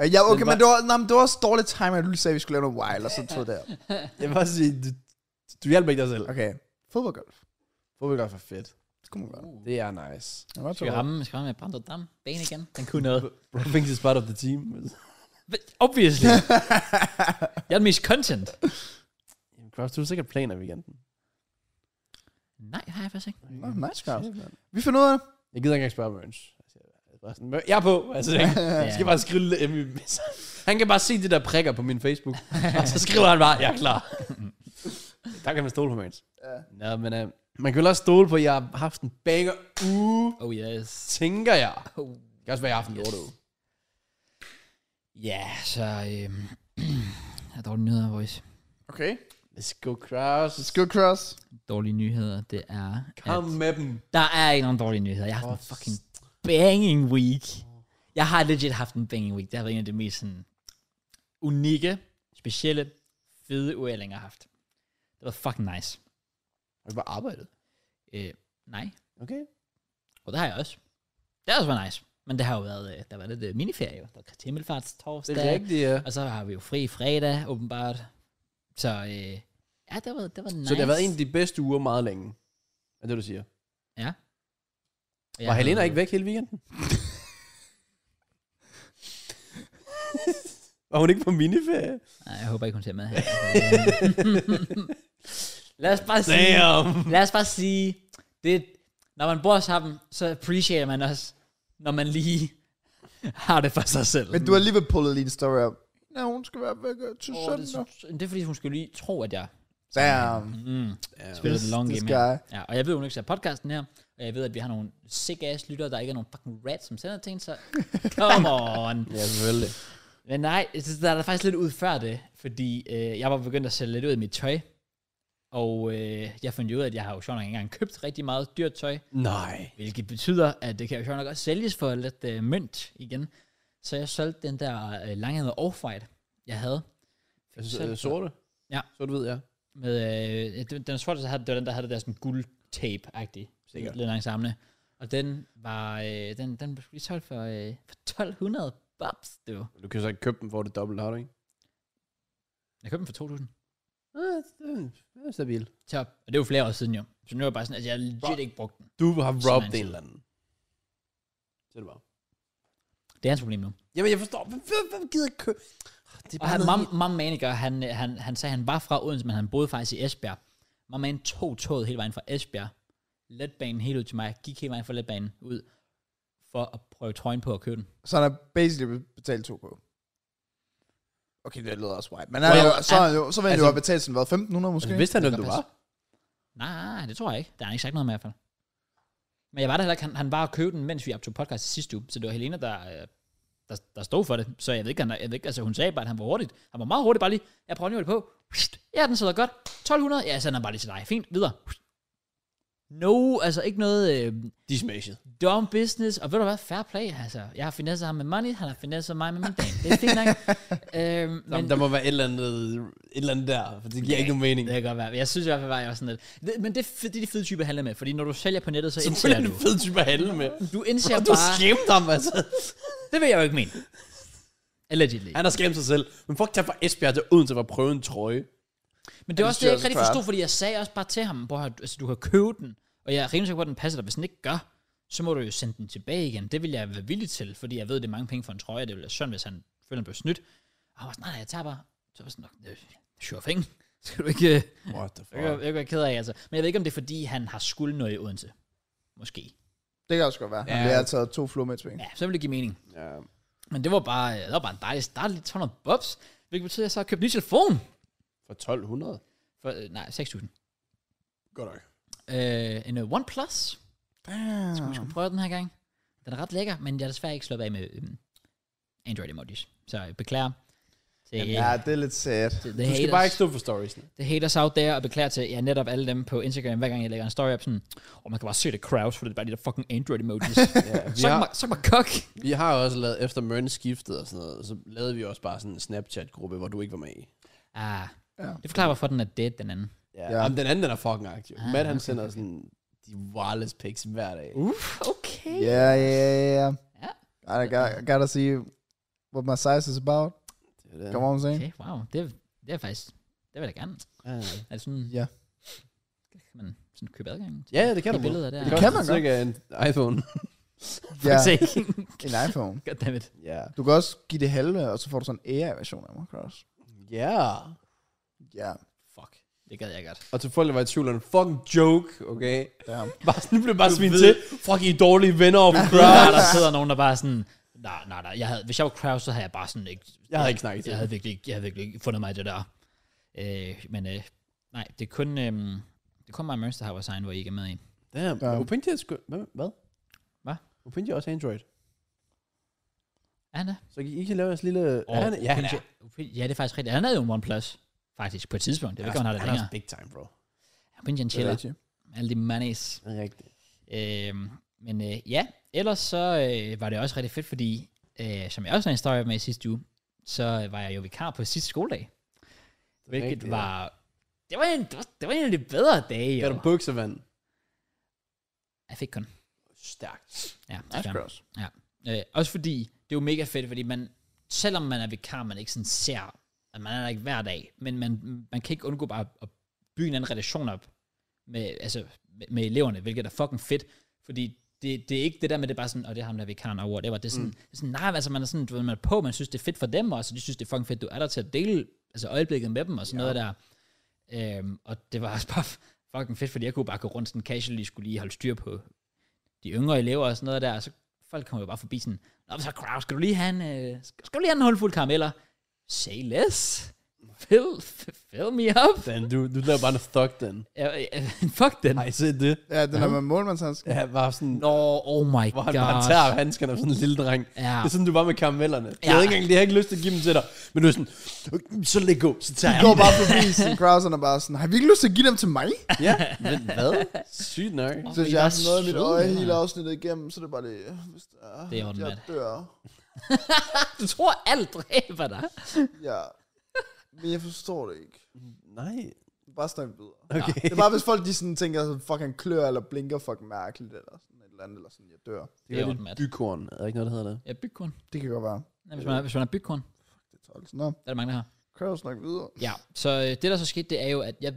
Øh, ja, okay,
Men
men,
var-
det, var, nej, men det var også dårligt timing, at du lige sagde, at vi skulle lave noget wild, og så tog det op.
Jeg vil bare sige, du, du hjælper ikke dig selv.
Okay, fodboldgolf.
Fodboldgolf er fedt.
Det kunne man godt.
Det er nice.
Det er godt,
Skal vi ramme, skal vi ramme Branderdam? Bane igen? Den kunne noget.
Bro thinks is part of the team.
[laughs]
Obviously. jeg er den mest content.
Jamen, Kraus, du har sikkert planer i weekenden.
Nej, har jeg faktisk ikke.
Nå, nice, Kraus.
Shit, mand.
Vi finder ud af det.
Jeg gider ikke engang spørge Mørns. Jeg er på. Altså, jeg, jeg skal bare skrive lidt. Han kan bare se de der prikker på min Facebook. og så skriver han bare, [laughs] jeg er klar. der kan man stole på Mørns.
Ja.
Nå, men uh, man kan vel også stole på, at jeg har haft en banger uge,
Oh yes.
tænker jeg.
Oh.
Det kan også være, jeg har haft en lorte uge.
Ja, så... Øhm, [clears throat] jeg har dårlige nyheder, boys.
Okay.
Let's go, Kraus.
Let's go, Cross.
Dårlige nyheder, det er...
Kom med dem.
Der er ikke nogen dårlige nyheder. Jeg har haft en fucking banging week. Jeg har legit haft en banging week. Det har været en af de mest sådan, unikke, specielle, fede UL, jeg har haft. Det var fucking nice.
Har du bare arbejdet?
Øh, nej,
Okay.
og det har jeg også. Det har også været nice. Men det har jo været, øh, der var lidt øh, miniferie jo. Der var Kristi Himmelfarts torsdag.
Det er rigtigt, ja.
Og så har vi jo fri fredag, åbenbart. Så øh, ja, det var, det var nice.
Så det har været en af de bedste uger meget længe. Er det, du siger?
Ja.
Ja, var Helena ikke væk hele [laughs] weekenden? var hun ikke på miniferie?
Nej, jeg håber ikke, hun ser
[laughs]
med her. lad os bare sige... Lad os bare sige... Det, når man bor sammen, så appreciater man også, når man lige [laughs] har det for sig selv.
Men du har alligevel pullet lige en story op. Ja, hun skal være væk øh, til
Åh,
søndag.
det, er- det er fordi, hun skulle lige tro, at jeg
Damn.
mm, spiller
This-
the long
this
game her.
guy.
Ja, og jeg ved, hun ikke ser podcasten her. Og jeg ved, at vi har nogle sick ass lyttere, der ikke er nogen fucking rats, som sender ting,
[laughs]
så come on.
Ja, selvfølgelig.
Men nej, jeg synes, der er der faktisk lidt ud før det, fordi øh, jeg var begyndt at sælge lidt ud af mit tøj, og øh, jeg fandt jo ud af, at jeg har jo sjovt nok ikke engang købt rigtig meget dyrt tøj,
Nej.
hvilket betyder, at det kan jo sjovt nok også sælges for lidt øh, mønt igen. Så jeg solgte den der øh, langhændede off-white, jeg havde.
Jeg synes,
Selv-
øh, sorte?
Ja.
Sorte ved, ja.
Med, øh, ja, den, den sorte, der havde, det var den, der havde det der sådan guld-tape-agtig.
Sikkert.
Lidt langt samle. Og den var, øh, den, den blev lige solgt for, øh, for 1200 bobs, det var.
Du kan jo så ikke købe dem for det dobbelte, har du ikke?
Jeg købte den for 2000.
Ah, det er stabilt.
Top. Og det var flere år siden jo. Så nu er jeg bare sådan, at jeg legit ikke brugt den.
Du har robbed
Sådan.
en eller anden. Så er det bare.
Det er hans problem nu.
Jamen, jeg forstår. Hvem- Hvem hvem gider købe? Det er
Og han,
noget
mam, mam Maniker, han, øh, han, han sagde, han var fra Odense, men han boede faktisk i Esbjerg. Mam Man tog toget hele vejen fra Esbjerg. Letbanen helt ud til mig. Gik hele vejen fra letbanen ud for at prøve trøjen på at købe den.
Så han har basically betalt 2 på. Okay, det lyder også white. Men
Well,
well, jo, så,
han-
han, jo, så vil han
altså-
jo have betalt sådan, hvad, 1500 måske?
helt- Vidste han, hvem
Det
du
kan
var?
Nej, det tror jeg ikke. Der har han ikke sagt noget med i hvert fald. Men jeg var der heller ikke. Han, han var og købte den, mens vi optog podcast i sidste uge. Så det var Helena, der, øh, der, der stod for det. Så jeg ved ikke, han, jeg ved ikke altså, hun sagde bare, at han var hurtigt. Han var meget hurtigt, bare lige. Jeg prøver lige at holde på. Ja, den sidder godt. 1200. Ja, jeg sender den bare lige til dig. Fint, videre. No, altså ikke noget øh,
De er smashed.
dumb business. Og ved du hvad? Fair play. Altså, jeg har finesset ham med money. Han har finesset mig med min dame. Det er fint
[laughs]
nok. øhm,
Jamen, der må være et eller andet, et eller andet der, for det giver ikke nogen mening.
det kan godt være. Jeg synes i hvert fald, bare, at jeg var sådan lidt. Det, men det, er fe- det er de fede typer, jeg handler med. Fordi når du sælger på nettet, så
Selvfølgelig
indsælger du.
er det en fed type at handle med.
Du indser
Bro,
Bro,
du
bare...
skæmte ham, altså.
Det vil jeg jo ikke mene. Allegedly.
Han har skæmt sig selv. Men fuck, tager fra Esbjerg til Odense for at prøve en trøje.
Men det er
det
også det, jeg
synes jeg
ikke
også
rigtig
er fair.
forstod, fordi jeg sagde også bare til ham, hvor altså, du kan købe den, og jeg er rimelig sikker på, at den passer dig. Hvis den ikke gør, så må du jo sende den tilbage igen. Det vil jeg være villig til, fordi jeg ved, det er mange penge for en trøje, og det ville være synd, hvis han føler, han blev snydt. Og han var sådan, nej, nej, jeg tager bare. Så var jeg sådan, "Nå, øh, sure thing. [laughs] Skal du ikke... øh,
What the
Jeg kan- jeg kan være ked af, altså. Men jeg ved ikke, om det er, fordi han har skuld noget i Odense. Måske.
Det kan også godt være.
Ja.
Ja. Det har taget to fluer med et sving.
Ja, så vil det give mening.
Ja.
Men det var bare, øh, det var bare en dejlig start. Lidt 200 bobs. Hvilket betyder, at jeg så har købt en ny telefon.
For 1200?
For, øh, nej, 6.000.
Godt nok.
øh, en øh, OnePlus. Vi
Damn.
skulle prøve den her gang. Den er ret lækker, men jeg er desværre ikke slået af med øhm, Android emojis. Så jeg beklager. Til, Jamen,
Ja, det er lidt sad.
til the,
Du skal
haters,
bare ikke stå for stories.
the haters out there, og beklager til ja, netop alle dem på Instagram, hver gang jeg lægger en story op, sådan, og man kan bare se det crowds, for det er bare de der fucking Android
[laughs]
emojis.
Ja, vi,
så
har,
mig, så mig kok.
vi har også lavet, efter Mørn skiftede og sådan noget, så lavede vi også bare sådan en Snapchat-gruppe, hvor du ikke var med i.
Ah,
Ja.
det forklarer, hvorfor den er dead, den anden.
Ja.
Ja.
Jamen, den anden, den er fucking aktiv.
Ah,
Ah, Matt, han sender sådan de wireless pics hver dag.
Uff, okay.
Ja, ja, ja.
Ja.
I gotta, gotta see what my size is about.
Det er det.
Come on, I'm saying.
Okay, wow. Det, det er faktisk, det vil jeg da gerne.
Ja, ja.
Er det sådan,
Ja.
kan man sådan købe adgang?
Ja, ja, det kan
De
du.
billeder der. [laughs]
Det kan man godt. Det en iPhone.
Ja,
Yeah.
en iPhone.
[laughs] Goddammit.
Ja.
Du kan også give det halve, og så får du sådan en AI-version af mig også.
Ja.
Ja,
Fuck. Det gad jeg godt.
Og til folk, der var i tvivl, er det en fucking joke, [laughs] okay?
damn.
Bare sådan, blev bare smidt til. Fuck, I er dårlige venner og
Der,
crowd.
der sidder nogen, der bare er sådan, nej, nej, nej, jeg havde, hvis jeg var Kraus, så havde jeg bare sådan ikke,
Jeg havde ikke snakket til
jeg
ham.
havde virkelig, ikke- jeg havde virkelig ikke fundet mig i det der. Øh, men øh, nej, det er kun, øh, det er kun mig og Mørns, der har vores egen, hvor I ikke er med i.
Damn.
Ja.
Ja. Opinji er sgu... Hvad? Hvad?
Hvad?
Opinji er også Android.
Er han det?
Så I kan lave jeres lille...
Og
er han, ja, han er.
Opinji- Opinji- Ja, det er faktisk rigtigt. Han havde jo en OnePlus, faktisk, på et tidspunkt. Jeg ved ikke, om han har det
han er
længere.
også big time, bro.
Opinji han
Det er
chiller.
rigtigt.
Alle de manis.
Det er rigtigt.
Øhm, men øh, ja, ellers så øh, var det også rigtig fedt, fordi øh, som jeg også har en historie med i sidste uge, så øh, var jeg jo vikar på sidste skoledag. Hvilket
rigtigt,
rigtigt,
ja.
var, det var, en, det, var, det var en af de bedre dage.
Kan
Jo.
du bukser, vand?
Jeg fik kun.
Stærkt.
Ja,
Nice
desværre.
cross.
ja. Øh, også fordi, det er jo mega fedt, fordi man, selvom man er vikar, man ikke sådan ser, at man er der ikke hver dag, men man, man kan ikke undgå bare at bygge en anden relation op med, altså, med, med eleverne, hvilket er fucking fedt, fordi det, det er ikke det der med, det er bare sådan, og oh, det er ham der vikaren og whatever, det er sådan, mm. det er sådan nej, altså man er sådan, du ved, man er på, man synes det er fedt for dem også, og de synes det er fucking fedt, du er der til at dele altså øjeblikket med dem og sådan ja. noget der. Øhm, og det var også bare [laughs] fucking fedt, fordi jeg kunne bare gå rundt sådan casually, skulle lige holde styr på de yngre elever og sådan noget der, og så folk kommer jo bare forbi sådan, Nå, så Kraus, skal du lige have en, øh, skal, skal du lige have en håndfuld karameller? Say less. Fill, fill me up.
Dan, du, du laver bare en thug, den.
Ja, ja, [laughs] Fuck den.
Har I set det?
Ja, den der med målmandshandsk.
Ja, bare sådan, Nå,
Nå, oh my
hvor
god.
han bare tager handskerne som sådan en lille dreng.
Ja.
Det er sådan, du var med karamellerne. Ja. Jeg
Ja.
havde ikke engang, jeg havde ikke lyst til at give dem til dig. Men du er sådan, "Okay, så let gå, så tager
De
jeg
går
dem."
bare forbi, sådan Krausen er bare sådan, har vi ikke lyst til at give dem til mig?
Ja, [laughs] men hvad? Sygt nok.
Hvorfor
Så
er I
jeg
bare
har noget i mit
søde,
øje
mand?
hele afsnittet igennem, så det er bare det, hvis det er,
Det er i orden,
jeg
mand.
dør.
Du tror, alt dræber dig.
Ja. Men jeg forstår det ikke.
Nej.
Bare snak
[laughs]
videre.
Okay.
Det er bare, hvis folk de sådan tænker, sådan, fucking klør eller blinker fucking mærkeligt, eller sådan et eller andet, eller sådan, jeg dør.
Det er ordentligt.
bykorn. Er der ikke noget, der hedder det?
Ja, bygkorn.
Det kan godt være.
Nej, hvis man er, hvis man er bygkorn,
Det er tolv. Nå,
der er der mange, der har.
kør og snak videre.
Ja, så øh, det der så skete, det er jo, at jeg,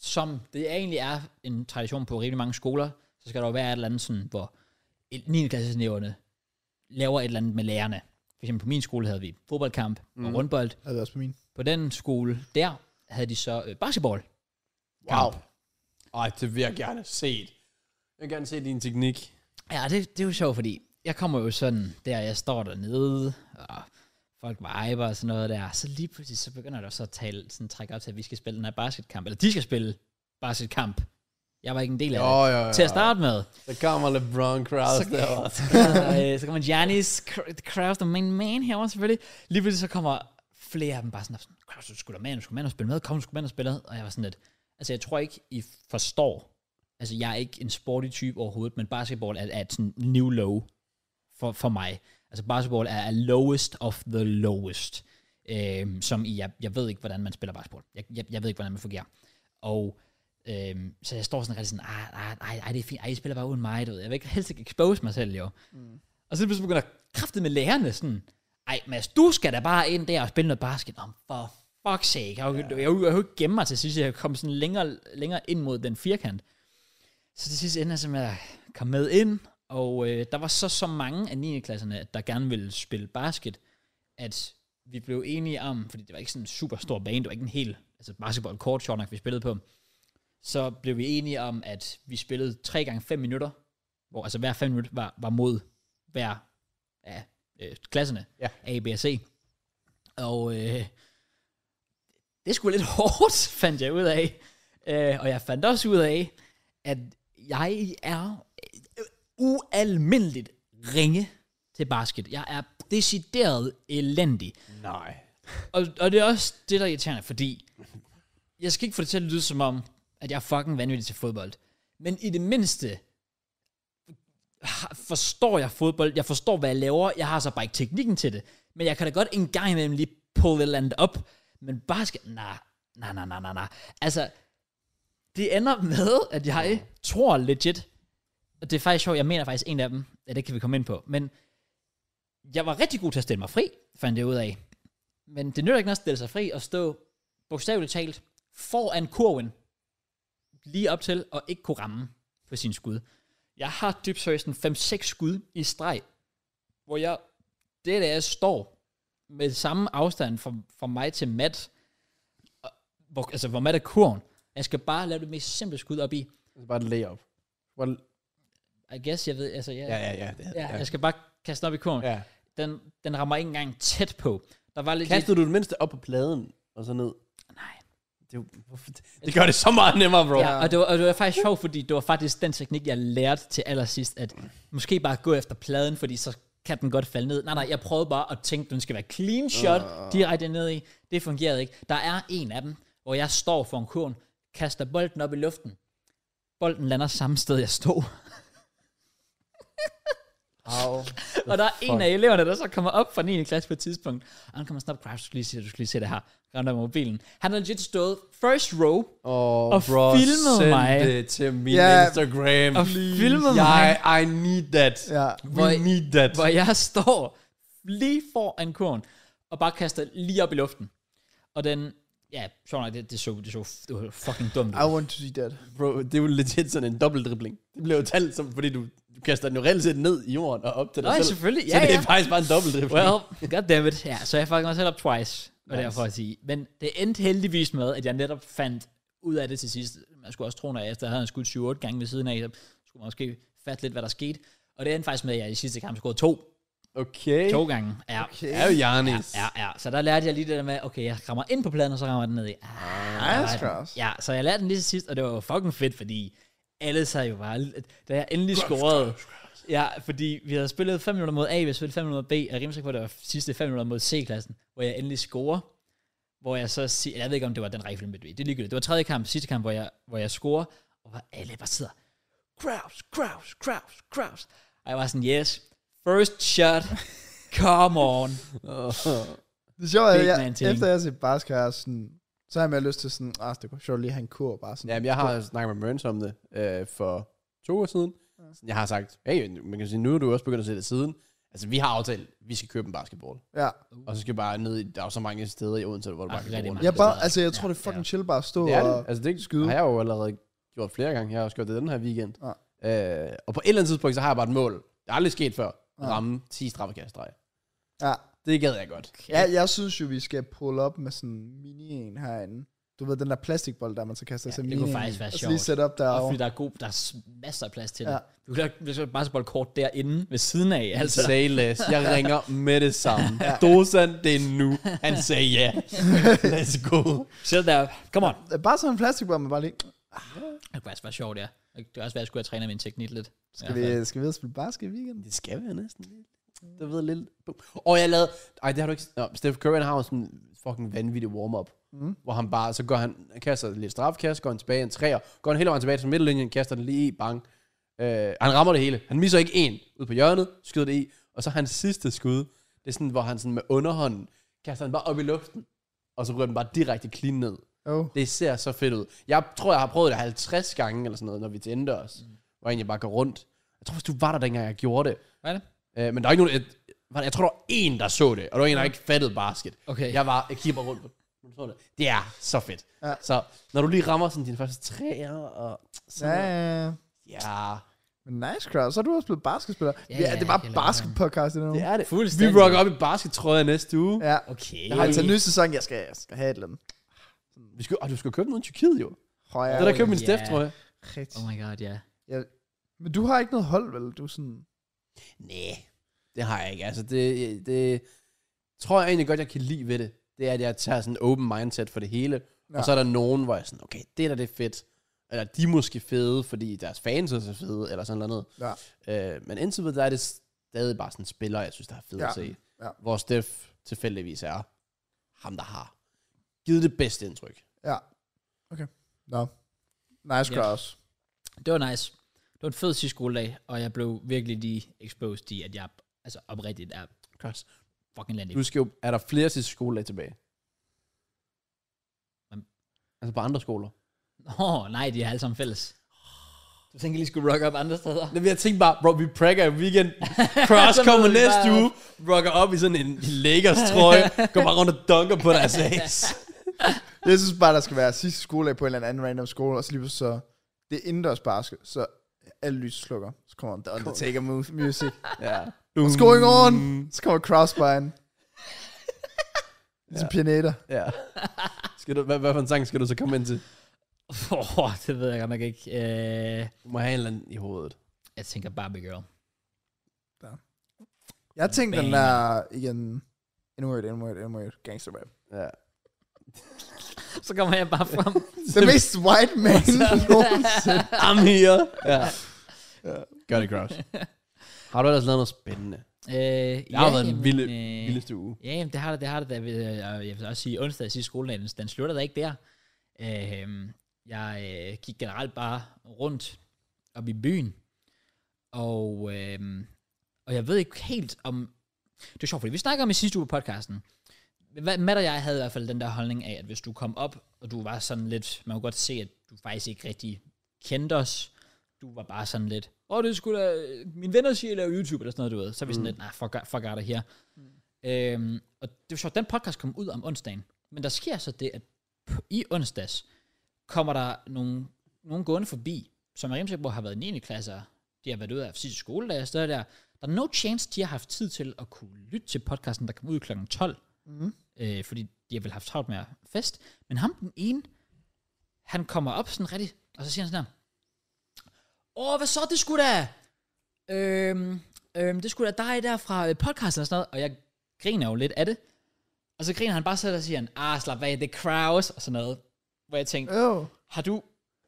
som det egentlig er en tradition på rimelig mange skoler, så skal der jo være et eller andet sådan, hvor 9. klasseeleverne laver et eller andet med lærerne. For eksempel på min skole havde vi fodboldkamp mm. og rundbold.
Er det også på min?
På den skole der havde de så øh, basketball.
Wow. Ej, det vil jeg gerne se. Jeg vil gerne se din teknik.
Ja, det, det er jo sjovt, fordi jeg kommer jo sådan, der jeg står dernede, og folk viber og sådan noget der, så lige pludselig så begynder der så at tale, sådan trække op til, at vi skal spille den her basketkamp, eller de skal spille basketkamp. Jeg var ikke en del af det.
jo,
Til at starte med.
Der kommer LeBron Crowds
Så,
der.
så, kommer, øh, så kommer Giannis, Kr- Kraus, the main man herovre selvfølgelig. Lige pludselig så kommer flere af dem bare sådan, op, sådan, Kraus, du skulle da med, du skulle med og spille med, kom, du skulle med og spille med. Og jeg var sådan lidt, altså jeg tror ikke, I forstår. Altså jeg er ikke en sporty type overhovedet, men basketball er, er et sådan new low for, for mig. Altså basketball er, er lowest of the lowest. Øhm, som i, jeg, jeg ved ikke, hvordan man spiller basketball. Jeg, jeg, jeg ved ikke, hvordan man fungerer. Og øhm, så jeg står sådan rigtig sådan, "Ah, ej, ej, ej, ej, det er fint, ej, I spiller bare uden mig, du ved. Jeg vil ikke helst ikke expose mig selv, jo. Mm. Og så pludselig begynder kraftet med lærerne sådan, ej, Mads, du skal da bare ind der og spille noget basket. Nå, men for fuck's sake. Jeg, jeg, jeg, jeg, kunne ikke gemme mig til sidst, jeg kom sådan længere, længere ind mod den firkant. Så til sidst ender jeg simpelthen med at komme med ind, og øh, der var så så mange af 9. klasserne, der gerne ville spille basket, at vi blev enige om, fordi det var ikke sådan en super stor bane, det var ikke en hel altså basketball kort sjovt nok, vi spillede på, så blev vi enige om, at vi spillede 3 gange 5 minutter, hvor altså hver 5 minutter var, var mod hver af øh, klasserne,
Ja.
A, B og C. Og øh, det skulle lidt [laughs] hårdt, fandt jeg ud af. Øh, og jeg fandt også ud af, at jeg er øh, ualmindeligt ringe til basket. Jeg er decideret elendig.
Nej.
Og, og det er også det, der er irriterende, fordi jeg skal ikke få det til at lyde som om, at jeg er fucking vanvittig til fodbold. Men i det mindste har- forstår jeg fodbold. Jeg forstår, hvad jeg laver. Jeg har så bare ikke teknikken til det. Men jeg kan da godt en gang imellem lige pull et eller andet op. Men basket... Nej, nej, nej, nej, nej, nej. Altså, det ender med, at jeg tror legit... Og det er faktisk sjovt, jeg mener faktisk en af dem. Ja, det kan vi komme ind på. Men jeg var rigtig god til at stille mig fri, fandt jeg ud af. Men det nytter ikke noget at stille sig fri og stå bogstaveligt talt foran kurven lige op til og ikke kunne ramme på sine skud. Jeg har dybt seriøst en 5-6 skud i streg, hvor jeg, det der jeg står med samme afstand fra, fra mig til Matt, og- hvor, altså hvor Matt er kurven. Jeg skal bare lave det mest simple skud op i.
Altså bare et layup. Bare,
I guess, jeg ved, altså jeg,
ja, ja, ja. det-
ja, jeg skal bare kaste den op i kurven.
ja.
Den, den rammer ikke engang tæt på. Der var lidt...
Kastede du det mindste op på pladen, og så ned?
Nej.
Det, er jo- hvorfor- det gør det så meget nemmere, bro.
Ja, og det, var, og det var faktisk sjovt, fordi det var faktisk den teknik, jeg lærte til allersidst, at måske bare gå efter pladen, fordi så kan den godt falde ned. Nej, nej, jeg prøvede bare at tænke, den skal være clean shot
Ah.
direkte ned i. Det fungerede ikke. Der er en af dem, hvor jeg står for en kurven, kaster bolden op i luften. Bolden lander samme sted, jeg stod.
[laughs] Au.
[laughs] Og der er en af eleverne, der så kommer op fra 9. klasse på et tidspunkt, og han kommer snart, Kraft, du skal lige se, du skal lige se det her. Han der med mobilen. Han har legit stået first row,
Oh,
Og
bro,
filmede
send
mig.
det til min
Ja.
Instagram.
Og filmede
jeg, mig. I need that.
Ja.
We
Hvor-
need that.
hvor jeg står lige foran kurven, og bare kaster lige op i luften. Og den, ja, sjovt nok, det, det, så, det så det var fucking dumt.
I
ud.
want to see that.
Bro, det er jo legit sådan en dobbeltdribling. Det bliver jo talt som, fordi du, du kaster den jo reelt set ned i jorden og op til dig
Nej,
selv.
selvfølgelig.
så
Ja,
det er
ja.
faktisk bare en dobbeltdribling.
Well, goddammit. Ja, så jeg fucking mig selv op twice, og
Nice.
nice. derfor at sige. Men det endte heldigvis med, at jeg netop fandt ud af det til sidst. Man skulle også tro, når jeg efter havde han skudt 7-8 gange ved siden af, så skulle man måske fatte lidt, hvad der skete. Og det endte faktisk med, at jeg i sidste kamp scorede to.
okay.
To gange. Ja. Okay.
Det er jo Janis.
Ja, ja, så der lærte jeg lige det der med, okay, jeg rammer ind på pladen, og så rammer jeg den ned i. Ah,
nice
der var den.
cross.
Ja, så jeg lærte den lige til sidst, og det var jo fucking fedt, fordi alle sagde jo bare, da jeg endelig scorede, ja, fordi vi havde spillet 5 minutter mod A, vi havde spillet 5 minutter mod B, og jeg er rimelig sikker på, at det var sidste 5 minutter mod C-klassen, hvor jeg endelig scorer, hvor jeg så siger, jeg ved ikke, om det var den rifle, men det er ligegyldigt. Det var tredje kamp, sidste kamp, hvor jeg, hvor jeg scorer, og hvor alle bare sidder, Kraus, Kraus, Kraus, Kraus. Og jeg var sådan, yes, first shot, come on.
Det sjove er,
Big
at jeg,
man ting.
efter jeg har set Baskar, sådan, så har jeg mere lyst til sådan, ah, det var sjovt lige at have en kur, bare sådan.
Jamen, jeg har snakket med Mørns om det øh, for to år siden. Jeg har sagt, hey, man kan sige, nu er du også begyndt at se det siden. Altså, vi har aftalt, vi skal købe en basketball.
Ja.
Og så skal vi bare ned i, der er jo så mange steder i Odense, hvor du
Ah,
bare kan
rigtig
gå rundt.
mange.
Jeg bare,
Ja.
altså, jeg tror, det er fucking chill bare at stå
Det er det.
og...
Altså, det
skyde.
skyde. har jeg jo allerede gjort flere gange. Jeg har også gjort det den her weekend.
Ja.
Øh, og på et eller andet tidspunkt, så har jeg bare et mål. Det er aldrig sket før. Ja. Ramme 10 straffekast i streg.
Altså-
Ja.
Det gad jeg godt.
Ja, jeg synes jo, vi skal pull op med sådan en mini en herinde. Du ved, den der plastikbold, der man så kaster
Ja,
til
det
mini
kunne faktisk være
og så
sjovt.
lige sætte op
Og
derovre.
fordi der er, god, der er s- masser af plads til
Ja.
det. Du kan lade- hvis du bare spille kort derinde ved siden af. [laughs] Altså.
Say less. Jeg ringer med det samme. Dosan, det er nu. Han sagde ja. Let's go.
Selv der, come on.
Det er Øh, Bare sådan en plastikbold, man bare lige...
Det kunne også være sjovt, ja. Det kunne også være, at jeg skulle have trænet min teknik lidt.
Skal
I hvert fald.
vi, skal vi ud og spille basket i weekenden?
Det skal være næsten lidt. Det ved lidt. Og jeg lavede... Ej, det har du ikke... Nå, Steph Curry han har jo sådan en fucking vanvittig warm-up. Mm. Hvor han bare... Så går han... han Kaster lidt strafkast, går han tilbage i en træer. Går han hele vejen tilbage til midterlinjen, kaster den lige i, bang. Øh, han rammer det hele. Han misser ikke en ud på hjørnet, skyder det i. Og så hans sidste skud, det er sådan, hvor han sådan med underhånden, kaster den bare op i luften. Og så ryger den bare direkte clean ned.
Oh.
Det ser så fedt ud. Jeg tror, jeg har prøvet det 50 gange, eller sådan noget, når vi tændte os. Mm. Hvor jeg egentlig bare går rundt. Jeg tror, hvis du var der, dengang jeg gjorde det.
Hvad er det?
Øh, men der er ikke nogen... Et, var der- jeg tror, der var en, der så det, og der var en, der ikke fattede basket.
Okay.
Jeg, var, jeg kigger bare rundt på nu så det. Det er så fedt.
Ja.
Så når du lige rammer sådan dine første træer, og
Ja,
sådan noget.
ja, ja.
ja,
Men nice crowd. Så er du også blevet basketspiller. Ja, ja,
ja,
det er bare
helt
basketpodcast endnu.
det er det. Vi
Fuldstændig.
rocker op i baskettrøjer næste uge.
Ja.
Okay.
Jeg har altså en ny sæson, jeg skal, jeg skal have et eller andet.
Vi skal, og du skal købe noget i Tyrkiet, jo.
Højere.
Ja, det der købte min
ja.
yeah. Steff-trøje.
Rigtig.
Oh my god, ja.
Ja. Men du har ikke noget hold, vel? Du er sådan...
Nej, det har jeg ikke. Altså, det, det tror jeg egentlig godt, jeg kan lide ved det. Det er, at jeg tager sådan en open mindset for det hele. Ja.
Ja.
Og så er der nogen, hvor jeg er sådan, okay, det der det er fedt. Eller de er måske fede, fordi deres fans er så fede, eller sådan noget.
Ja.
Øh, men indtil videre, der er det stadig bare sådan spillere, jeg synes, der er fedt ja.
Ja.
at se.
Ja.
Hvor Steff tilfældigvis er ham, der har givet det bedste indtryk.
Ja. Okay. Nå. Nice
Ja.
crowd.
Det var nice. Det var en fed sidste skoledag, og jeg blev virkelig lige exposed i, at jeg altså oprigtigt er
Godt.
fucking landet.
Du skal jo, er der flere sidste skoledag tilbage?
Hvem?
Altså på andre skoler?
Åh, oh, nej, de er alle sammen fælles. Du tænker lige skulle rock op andre steder?
Jamen, jeg tænkte bare, bro, vi prækker i
[laughs]
weekend. Cross
Så møder
kommer
vi
næste
bare
uge, rocker op i sådan en Lakers trøje, går bare rundt og dunker på
[laughs]
deres ass.
Jeg synes bare, der skal være sidste skoledag på en eller anden random skole, og så lige pludselig så... Det er indendørs basket, så alle lys slukker. Så kommer The Undertaker mu- music.
ja.
What's going on? Så kommer crossbine. Ligesom pianeter.
Ja. Skal du, hvad, hvad for en sang skal du så komme ind til?
[laughs] Åh, oh, det ved jeg godt nok ikke. Uh,
Du må have en eller anden i hovedet.
jeg tænker Barbie Girl.
Jeg tænkte, den
Banger.
der igen... Inward, inward, inward. Gangster rap.
Ja.
Så kommer jeg bare frem.
The mest white man nogensinde.
I'm here. Ja. Gør det, Cross. [laughs] Har du ellers lavet noget spændende?
[laughs] Øh, det
har været en vilde-
øh.
Vildeste uge.
Ja, jamen, det har det, det har det. Der, vil, og jeg vil også sige, onsdag i sidste skoledag, den- den slutter da ikke der. Øh, jeg øh, gik generelt bare rundt op i byen, og, øh, Og jeg ved ikke helt om... Det er sjovt, fordi vi snakker om i sidste uge på podcasten. Hvad- Matt og jeg havde i hvert fald den der holdning af, at hvis du kom op, og du var sådan lidt... Man kunne godt se, at du faktisk ikke rigtig kendte os. Du var bare sådan lidt... Åh, det skulle da... Mine venner siger, at jeg laver YouTube eller sådan noget, du ved. Så er vi sådan lidt, nej, fuck, fuck out of here. Mm. Øhm, og det var sjovt, den podcast kom ud om onsdagen. Men der sker så det, at p- i onsdags kommer der nogle, nogle gående forbi, som er rimelig på har været 9. klasser, de har været ude af sidste skoledag og sådan noget der. Der er no chance, de har haft tid til at kunne lytte til podcasten, der kom ud kl. 12,
Mm.
øh, fordi de har vel haft travlt med at fest. Men ham, den ene, han kommer op sådan rigtig, og så siger han sådan her, Åh, hvad så, det skulle da... Øhm, øhm, det skulle da dig der fra øh, podcasten og sådan noget. Og jeg griner jo lidt af det. Og så griner han bare selv og siger, han, ah, slap af, det er Kraus og sådan noget. Hvor jeg tænkte,
Oh.
har du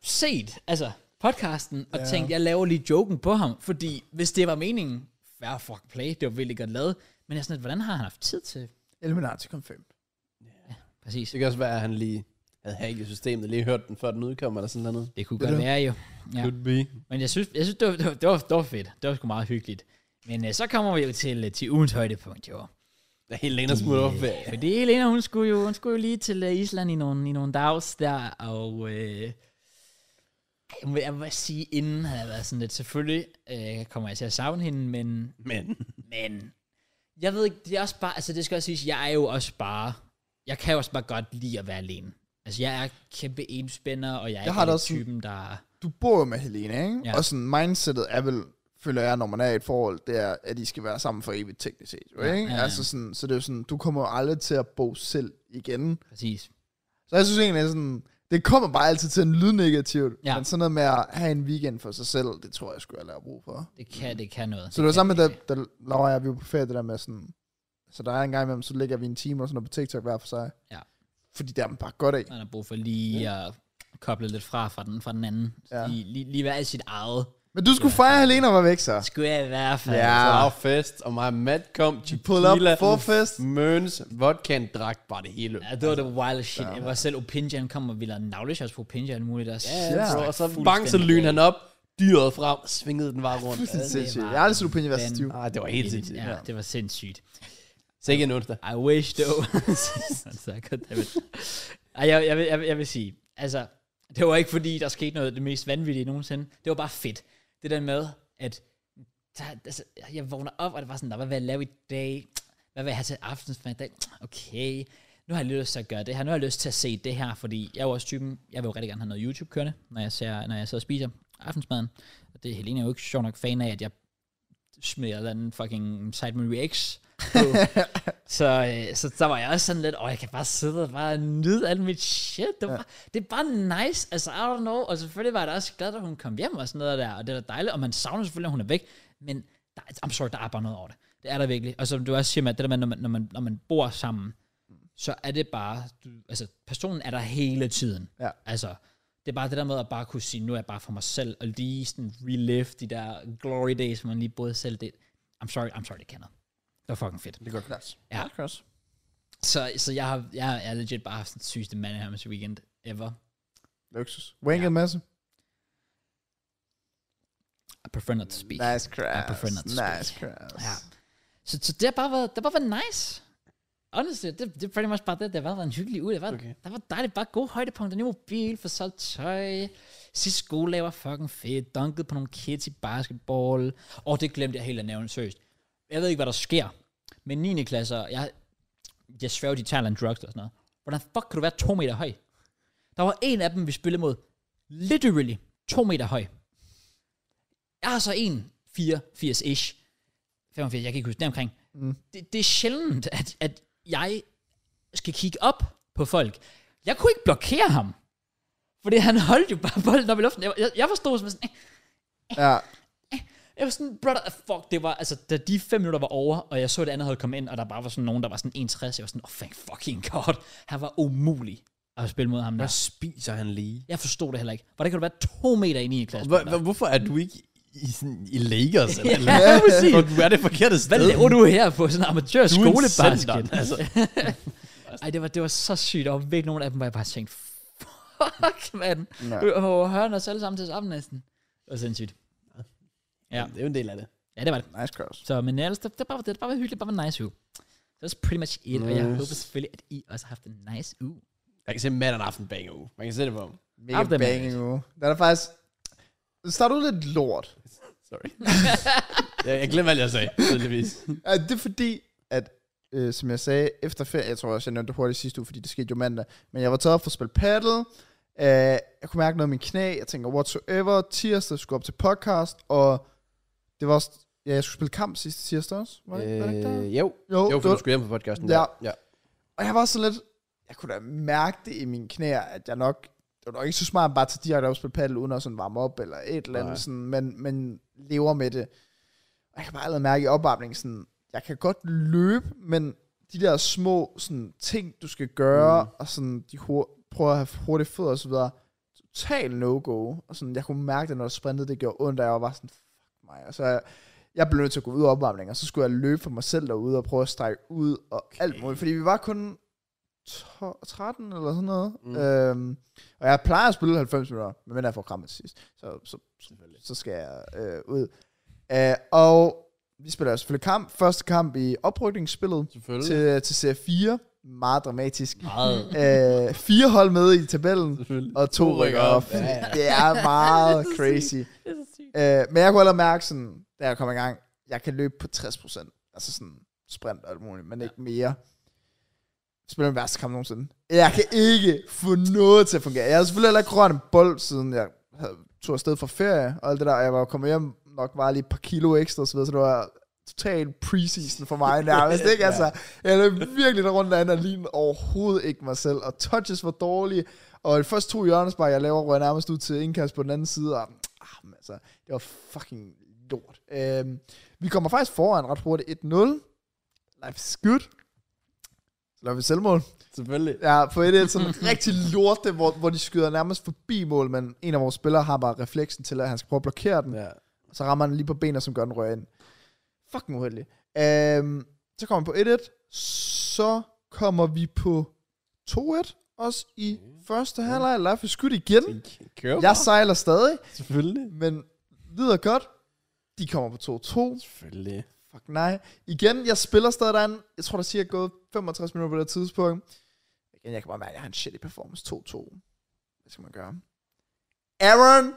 set altså, podcasten og ja. tænkt, jeg laver lige joken på ham? Fordi hvis det var meningen, fair fuck play, det var virkelig godt lavet. Men jeg er sådan lidt, hvordan har han haft tid til?
Illuminati kom fem.
Præcis.
Det kan også være, at han lige havde hacket systemet, lige hørt den, før den udkom, eller sådan noget.
Det kunne
Det
godt
er det.
være jo. Ja.
Could be.
Men jeg synes, jeg synes det, var, det, var, det, var, det var fedt. Det var sgu meget hyggeligt. Men øh, så kommer vi jo til, øh, til ugens højdepunkt, jo.
Det er helt længere smut op.
Øh, Fordi Elena, hun skulle jo, hun skulle jo lige til øh, Island i nogle, i nogle dags der, og øh, jeg må- jeg må sige, inden havde jeg været sådan lidt, selvfølgelig øh, kommer jeg til at savne hende, men
Men
Men jeg ved ikke, det er også bare, altså det skal også siges, jeg er jo også bare, jeg kan jo også bare godt lide at være alene. Altså jeg er kæmpe enspænder, og jeg er
Jeg
ikke
har det
den
også sådan-
typen, der...
Du bor jo med Helene, ikke?
Ja.
Ja. Og sådan mindsetet er vel, føler jeg, når man er i et forhold, det er, at de skal være sammen for evigt teknisk set, jo,
Ja,
ikke?
ja, ja.
Altså sådan, så det er jo sådan, du kommer jo aldrig til at bo selv igen.
Præcis.
Så jeg synes egentlig sådan, det kommer bare altid til at lyde negativt,
Ja.
ja. men sådan noget med at have en weekend for sig selv, det tror jeg sgu, jeg lærer brug for.
Det kan, det kan noget.
Mm. Så det var
kan
sammen med,
det
da,
kan.
da Laura og jeg, vi var på ferie, det der med sådan, så der er en gang imellem, så ligger vi en time og sådan noget på TikTok hver for sig.
Ja.
Fordi der er man bare godt af.
Man har brug for lige at koble lidt fra fra den, fra den anden. Ja.
Ja.
Lige, lige, lige være i sit eget.
Men du skulle fejre, at Helena var væk, så.
Skulle jeg i hvert fald.
Ja.
så var fest, og mig og Matt kom,
Pull up,
tequila,
forfest.
møns, vodkaen, drak, bare det hele.
Ja, det var det wild shit. Jeg var selv Opinjan kom og ville have navleshots på Opinjan muligt. Og
Ja,
Ja.
bro, og så
Fuldstændig.
bang, så lyn han op, dyret frem, og svingede den bare rundt.
Fuldstændig
det
sindssygt.
var
Jeg har aldrig set Lupin være så
den-
stiv.
Ah, det var helt sindssygt.
ja, det var sindssygt.
Så ikke en onsdag.
I wish though. [laughs] så godt, David. Ej, jeg, jeg, vil, jeg, vil- jeg vil sige, altså, det var ikke fordi, der skete noget af det mest vanvittige nogensinde. Det var bare fedt. Det der med, at der, altså, jeg vågner op, og det var sådan, "Nå, hvad vil jeg lave i dag? Hvad vil jeg have til aftensmad i dag? Okay, nu har jeg lyst til at gøre det her. Nu har jeg lyst til at se det her, fordi jeg er jo også typen, jeg vil jo rigtig gerne have noget YouTube kørende, når jeg, ser, når jeg sidder og spiser aftensmaden. Og det er Helene jo ikke sjov nok fan af, at jeg smider den fucking Sidemen Reacts på så, øh, så der var jeg også sådan lidt, åh, jeg kan bare sidde og bare nyde alt mit shit. Det, var, ja. det er bare nice, altså I don't know. Og selvfølgelig var jeg da også glad, da hun kom hjem og sådan noget der, og det er da dejligt. Og man savner selvfølgelig, at hun er væk, men der, I'm sorry, der er bare noget over det. Det er der virkelig. Og som du også siger, Matt, det der med, når man, når man, når man bor sammen, så er det bare, du, altså personen er der hele tiden.
Ja.
Altså, det er bare det der med at bare kunne sige, nu er jeg bare for mig selv, og lige sådan relive de der glory days, hvor man lige boede selv. Det, I'm sorry, I'm sorry, det kan noget. Det var fucking fedt.
Det går klart.
Ja.
Cross.
Så, så jeg, har, jeg, har- jeg har legit bare haft den sygeste Manheims weekend ever.
Luksus. Wanket ja. masse.
I prefer not to speak.
Nice crash.
I prefer not to speak.
Nice crash.
Ja. Så, så det har bare været, det har bare været nice. Honestly, det, det er pretty much bare det. Det har bare været en hyggelig uge. Det var, okay.
Okay.
Der var dejligt, bare gode højdepunkter. Ny mobil, for solgt tøj. Sidste skoledag var fucking fedt. Dunket på nogle kids i basketball. Og det glemte jeg helt at nævne, seriøst. Jeg ved ikke, hvad der sker. Men 9. klasser, jeg, jeg sværger, de taler en drugs og sådan noget. Hvordan fuck kan du være to meter høj? Der var en af dem, vi spillede mod. Literally to meter høj. Jeg har så en 84-ish. 85, jeg kan ikke huske det omkring. Mm. Det, det er sjældent, at, at jeg skal kigge op på folk. Jeg kunne ikke blokere ham. Fordi han holdt jo bare bolden op i luften. Jeg, jeg, jeg forstod som sådan,
ja.
jeg var sådan, brother, fuck, det var, altså, da de fem minutter var over, og jeg så det andet hold komme ind, og der bare var sådan nogen, der var sådan 61, jeg var sådan, oh, thank fucking god, han var umulig at spille mod ham
Hvad
der.
spiser han lige?
Jeg forstod det heller ikke. Hvordan kan du være to meter ind i en klasse?
Hvor- hvor- Hvorfor er du ikke i, sådan, i Lagos? Eller,
Ja, præcis.
Hvor du er det forkerte sted.
Hvad laver du her på sådan en amatør
Du er en
skolebasket?
sender, altså.
Ej, det var, det var så sygt. Der var virkelig nogen af dem, hvor jeg bare tænkte, fuck, [laughs] mand.
Ja.
Og hører os alle sammen til sammen næsten. Det var sindssygt. Ja.
Det er jo en del af det.
Ja, det var det.
Nice cross.
Så, men ellers, det, det, bare, det, det bare var hyggeligt, bare var en nice uge. That's pretty much it, og jeg
Nice.
håber selvfølgelig, at I også har haft en nice uge.
Jeg kan se, at mand og aften banger uge. Man kan se det på ham.
Mega
After
banging uge. Den er faktisk... Den starter ud lidt lort.
[laughs] Sorry. jeg, jeg glemmer alt, jeg sagde, tydeligvis.
Ja, det er fordi, at øh, som jeg sagde, efter ferie, jeg tror også, jeg nævnte det hurtigt sidste uge, fordi det skete jo mandag, men jeg var taget op for at spille paddle, øh, jeg kunne mærke noget i min knæ, jeg tænker whatsoever, tirsdag skulle jeg op til podcast, og det var også, ja, jeg skulle spille kamp sidste tirsdag også, var det, øh, var det ikke der?
øh, jo.
Jo,
Jo,
det
for
var-
du skulle hjem på podcasten.
Ja.
ja.
og jeg var sådan lidt, jeg kunne da mærke det i mine knæer, at jeg nok, det var nok ikke så smart bare at tage direkte op og spille paddle, uden at sådan varme op eller et eller andet,
Nej.
sådan, men, men lever med det. Og jeg kan bare allerede mærke i opvarmningen, sådan, jeg kan godt løbe, men de der små sådan, ting, du skal gøre, mm. og sådan, de hur- prøver at have hurtige fødder og så videre, total no-go. Og sådan, jeg kunne mærke det, når jeg sprintede, det gjorde ondt, og jeg var bare sådan, fuck mig. Og så jeg, jeg blev nødt til at gå ud af opvarmningen, og så skulle jeg løbe for mig selv derude og prøve at strække ud og okay. alt muligt. Fordi vi var kun 12, 13 eller sådan noget. Mm.
Mm.
Øhm, og jeg plejer at spille 90 minutter, men jeg får krampe til sidst. Så, så, så,
Selvfølgelig.
så skal jeg øh, ud. Øh, og vi spiller jo selvfølgelig kamp. Første kamp i oprykningsspillet
Selvfølgelig.
til, til serie 4. Meget dramatisk.
Meget.
Øh, fire hold med i tabellen
Selvfølgelig.
og to rykker op.
Ja, ja.
Det er meget crazy.
Det er så sygt.
Øh, men jeg kunne allerede mærke, sådan, da jeg kom i gang, jeg kan løbe på 60%. Altså sådan sprint og alt muligt, men ja. ikke mere. Spiller min værste kamp nogensinde. Jeg kan ikke få noget til at fungere. Jeg har selvfølgelig heller ikke rørt en bold, siden jeg havde, tog afsted fra ferie og alt det der. og Jeg var jo kommet hjem nok bare lige et par kilo ekstra og så videre, så det var total preseason for mig nærmest, ikke?
Ja.
Altså, jeg løb virkelig der rundt derinde og lignede overhovedet ikke mig selv, og touches var dårlige, og de første to hjørnespark, jeg laver, røg nærmest ud til indkast på den anden side, og ah, men altså, det var fucking lort. Øhm, vi kommer faktisk foran ret hurtigt 1-0. Life is good. Så laver vi selvmål.
Selvfølgelig.
Ja, på et et sådan rigtig lorte, hvor, hvor de skyder nærmest forbi mål, men en af vores spillere har bare refleksen til, at han skal prøve at blokere den.
Ja.
Så rammer han lige på benet, som gør den rører ind. Fucking uheldig. Øhm, så kommer vi på 1-1. Så kommer vi på 2-1. Også i første halvleg. Life is good igen.
Kør
Jeg sejler stadig,
Selvfølgelig.
men lyder godt. De kommer på 2-2.
Selvfølgelig.
Fuck nej. Igen, jeg spiller stadig derinde. Jeg tror, der siger, jeg er gået 65 minutter på det her tidspunkt. Igen, jeg kan bare mærke, at jeg har en shitty performance 2-2. Hvad skal man gøre? Aaron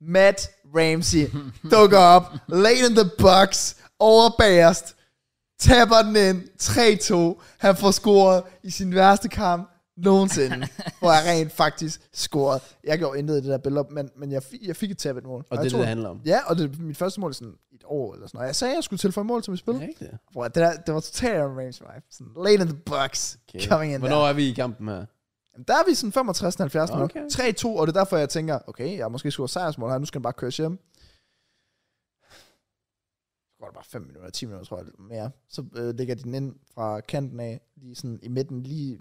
Matt Ramsey
[laughs]
dukker op, late in the box, over bagerst, taber den ind, 3-2. Han får scoret i sin værste kamp nogensinde,
[laughs]
hvor jeg rent faktisk scorede. Jeg gjorde intet i det der billede, men, men jeg, fik, jeg fik et tabet mål.
Og
jeg
det er
tog
det, det handler om.
Ja, og det er mit første mål i sådan et år eller sådan noget. Jeg sagde, at jeg skulle tilføje mål til mit spil. Okay.
Rigtigt.
Bro, det, der, det var totalt Aaron Ramsey vibe. Sådan late in the box, okay. coming in
Hvornår
der.
er vi i kampen her?
Jamen, der er vi sådan 65-70 nu.
Okay.
3-2, og det er derfor, jeg tænker, okay, jeg har måske skulle sejrsmål her, nu skal han bare køre hjem. Så går det bare 5 minutter, 10 minutter, tror jeg, eller mere. Så øh, ligger de den ind fra kanten af, lige sådan i midten, lige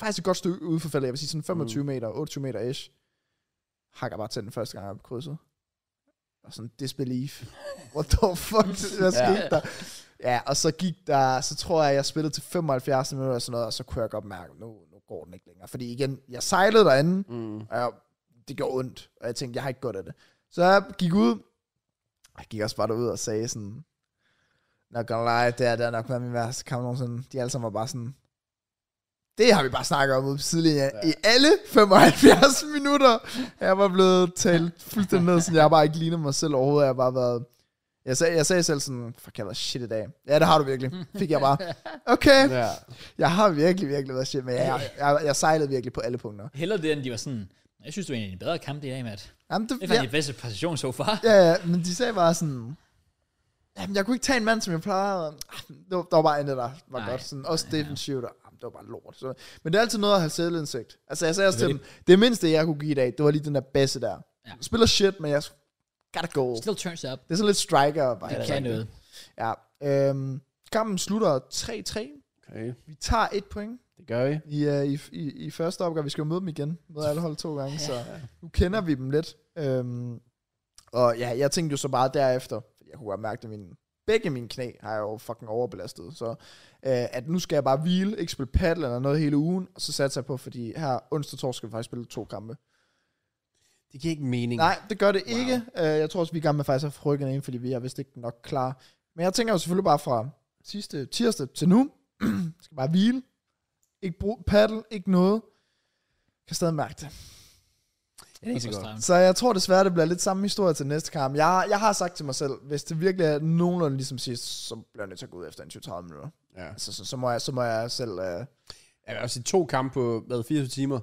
faktisk et godt stykke ude for feltet. Jeg vil sige sådan 25 mm. meter, 28 meter ish. Hakker bare til den første gang, jeg er på krydset. Og sådan
[laughs]
disbelief. What the fuck, hvad
Ja.
skete der? Ja, og så gik der, så tror jeg, jeg spillede til 75 minutter og sådan noget, og så kunne jeg godt mærke, nu, nu går den ikke længere. Fordi igen, jeg sejlede derinde,
Mm.
og jeg, det gjorde ondt, og jeg tænkte, jeg har ikke godt af det. Så jeg gik ud, og jeg gik også bare derud og sagde sådan, nok gonna lie, det er, det er nok været min værste kamp nogensinde. De alle sammen var bare sådan, det har vi bare snakket om ude på sidelinjen. Ja. I alle 75 [laughs] minutter, jeg var blevet talt fuldstændig ned, sådan jeg har bare ikke lignet mig selv overhovedet. Jeg har bare været, jeg sagde, jeg sagde selv sådan, fuck, jeg har været shit i dag. Ja, det har du virkelig. Fik jeg bare, okay,
Ja.
jeg har virkelig, virkelig været shit, men jeg, jeg, jeg sejlede virkelig på alle punkter.
Hellere det, end de var sådan, jeg synes, det var en af de bedre kampe i dag, Matt.
Jamen,
Det
det,
var ja.
jeg,
din bedste præstation so far. Ja.
Ja, ja, men de sagde bare sådan, jamen jeg kunne ikke tage en mand, som jeg plejede. og, ah, Det var, der var bare andet, der var
Nej.
godt. Sådan, også det, den shiver, der, ah, det var bare lort. Så, men det er altid noget at have selvindsigt. Altså jeg sagde også til dem, det mindste, jeg kunne give i dag, det var lige den der basse der.
Ja.
Ja. Spiller shit, men jeg sk- gotta go.
Still turns up.
Det er sådan lidt striker. Bare,
Det kan noget.
Ja. Øhm, kampen slutter 3-3.
Okay,
Vi tager et point
det gør vi.
i, øh, i, i, i første opgave. Vi skal jo møde dem igen. Møde alle hold to gange, så nu kender vi dem lidt. Øhm, og ja, jeg tænkte jo så bare derefter, fordi jeg kunne godt mærke, at mine, begge mine knæ har jeg jo fucking overbelastet. Så øh, at nu skal jeg bare hvile, ikke spille paddle eller noget hele ugen, og så satser jeg på, fordi her onsdag og torsdag skal vi faktisk spille to kampe.
Det giver ikke mening.
Nej, det gør det wow. ikke. Uh, jeg tror også, vi er i gang med faktisk at få rykket ind, fordi vi er vist ikke nok klar. Men jeg tænker jo selvfølgelig bare fra sidste tirsdag til nu. [clears throat] skal bare hvile. Ikke bruge paddle, ikke noget. Kan stadig mærke det.
det er ikke så
for
godt.
stramt.
Så jeg tror desværre, det bliver lidt samme historie til næste kamp. Jeg, jeg har sagt til mig selv, hvis det virkelig er nogenlunde ligesom sidst, så bliver jeg nødt til at gå ud efter en 20-30 minutter.
Ja.
Altså, så, så, må jeg, så må jeg selv... Uh...
Jeg vil også sige, to kampe på, hvad, 24 timer.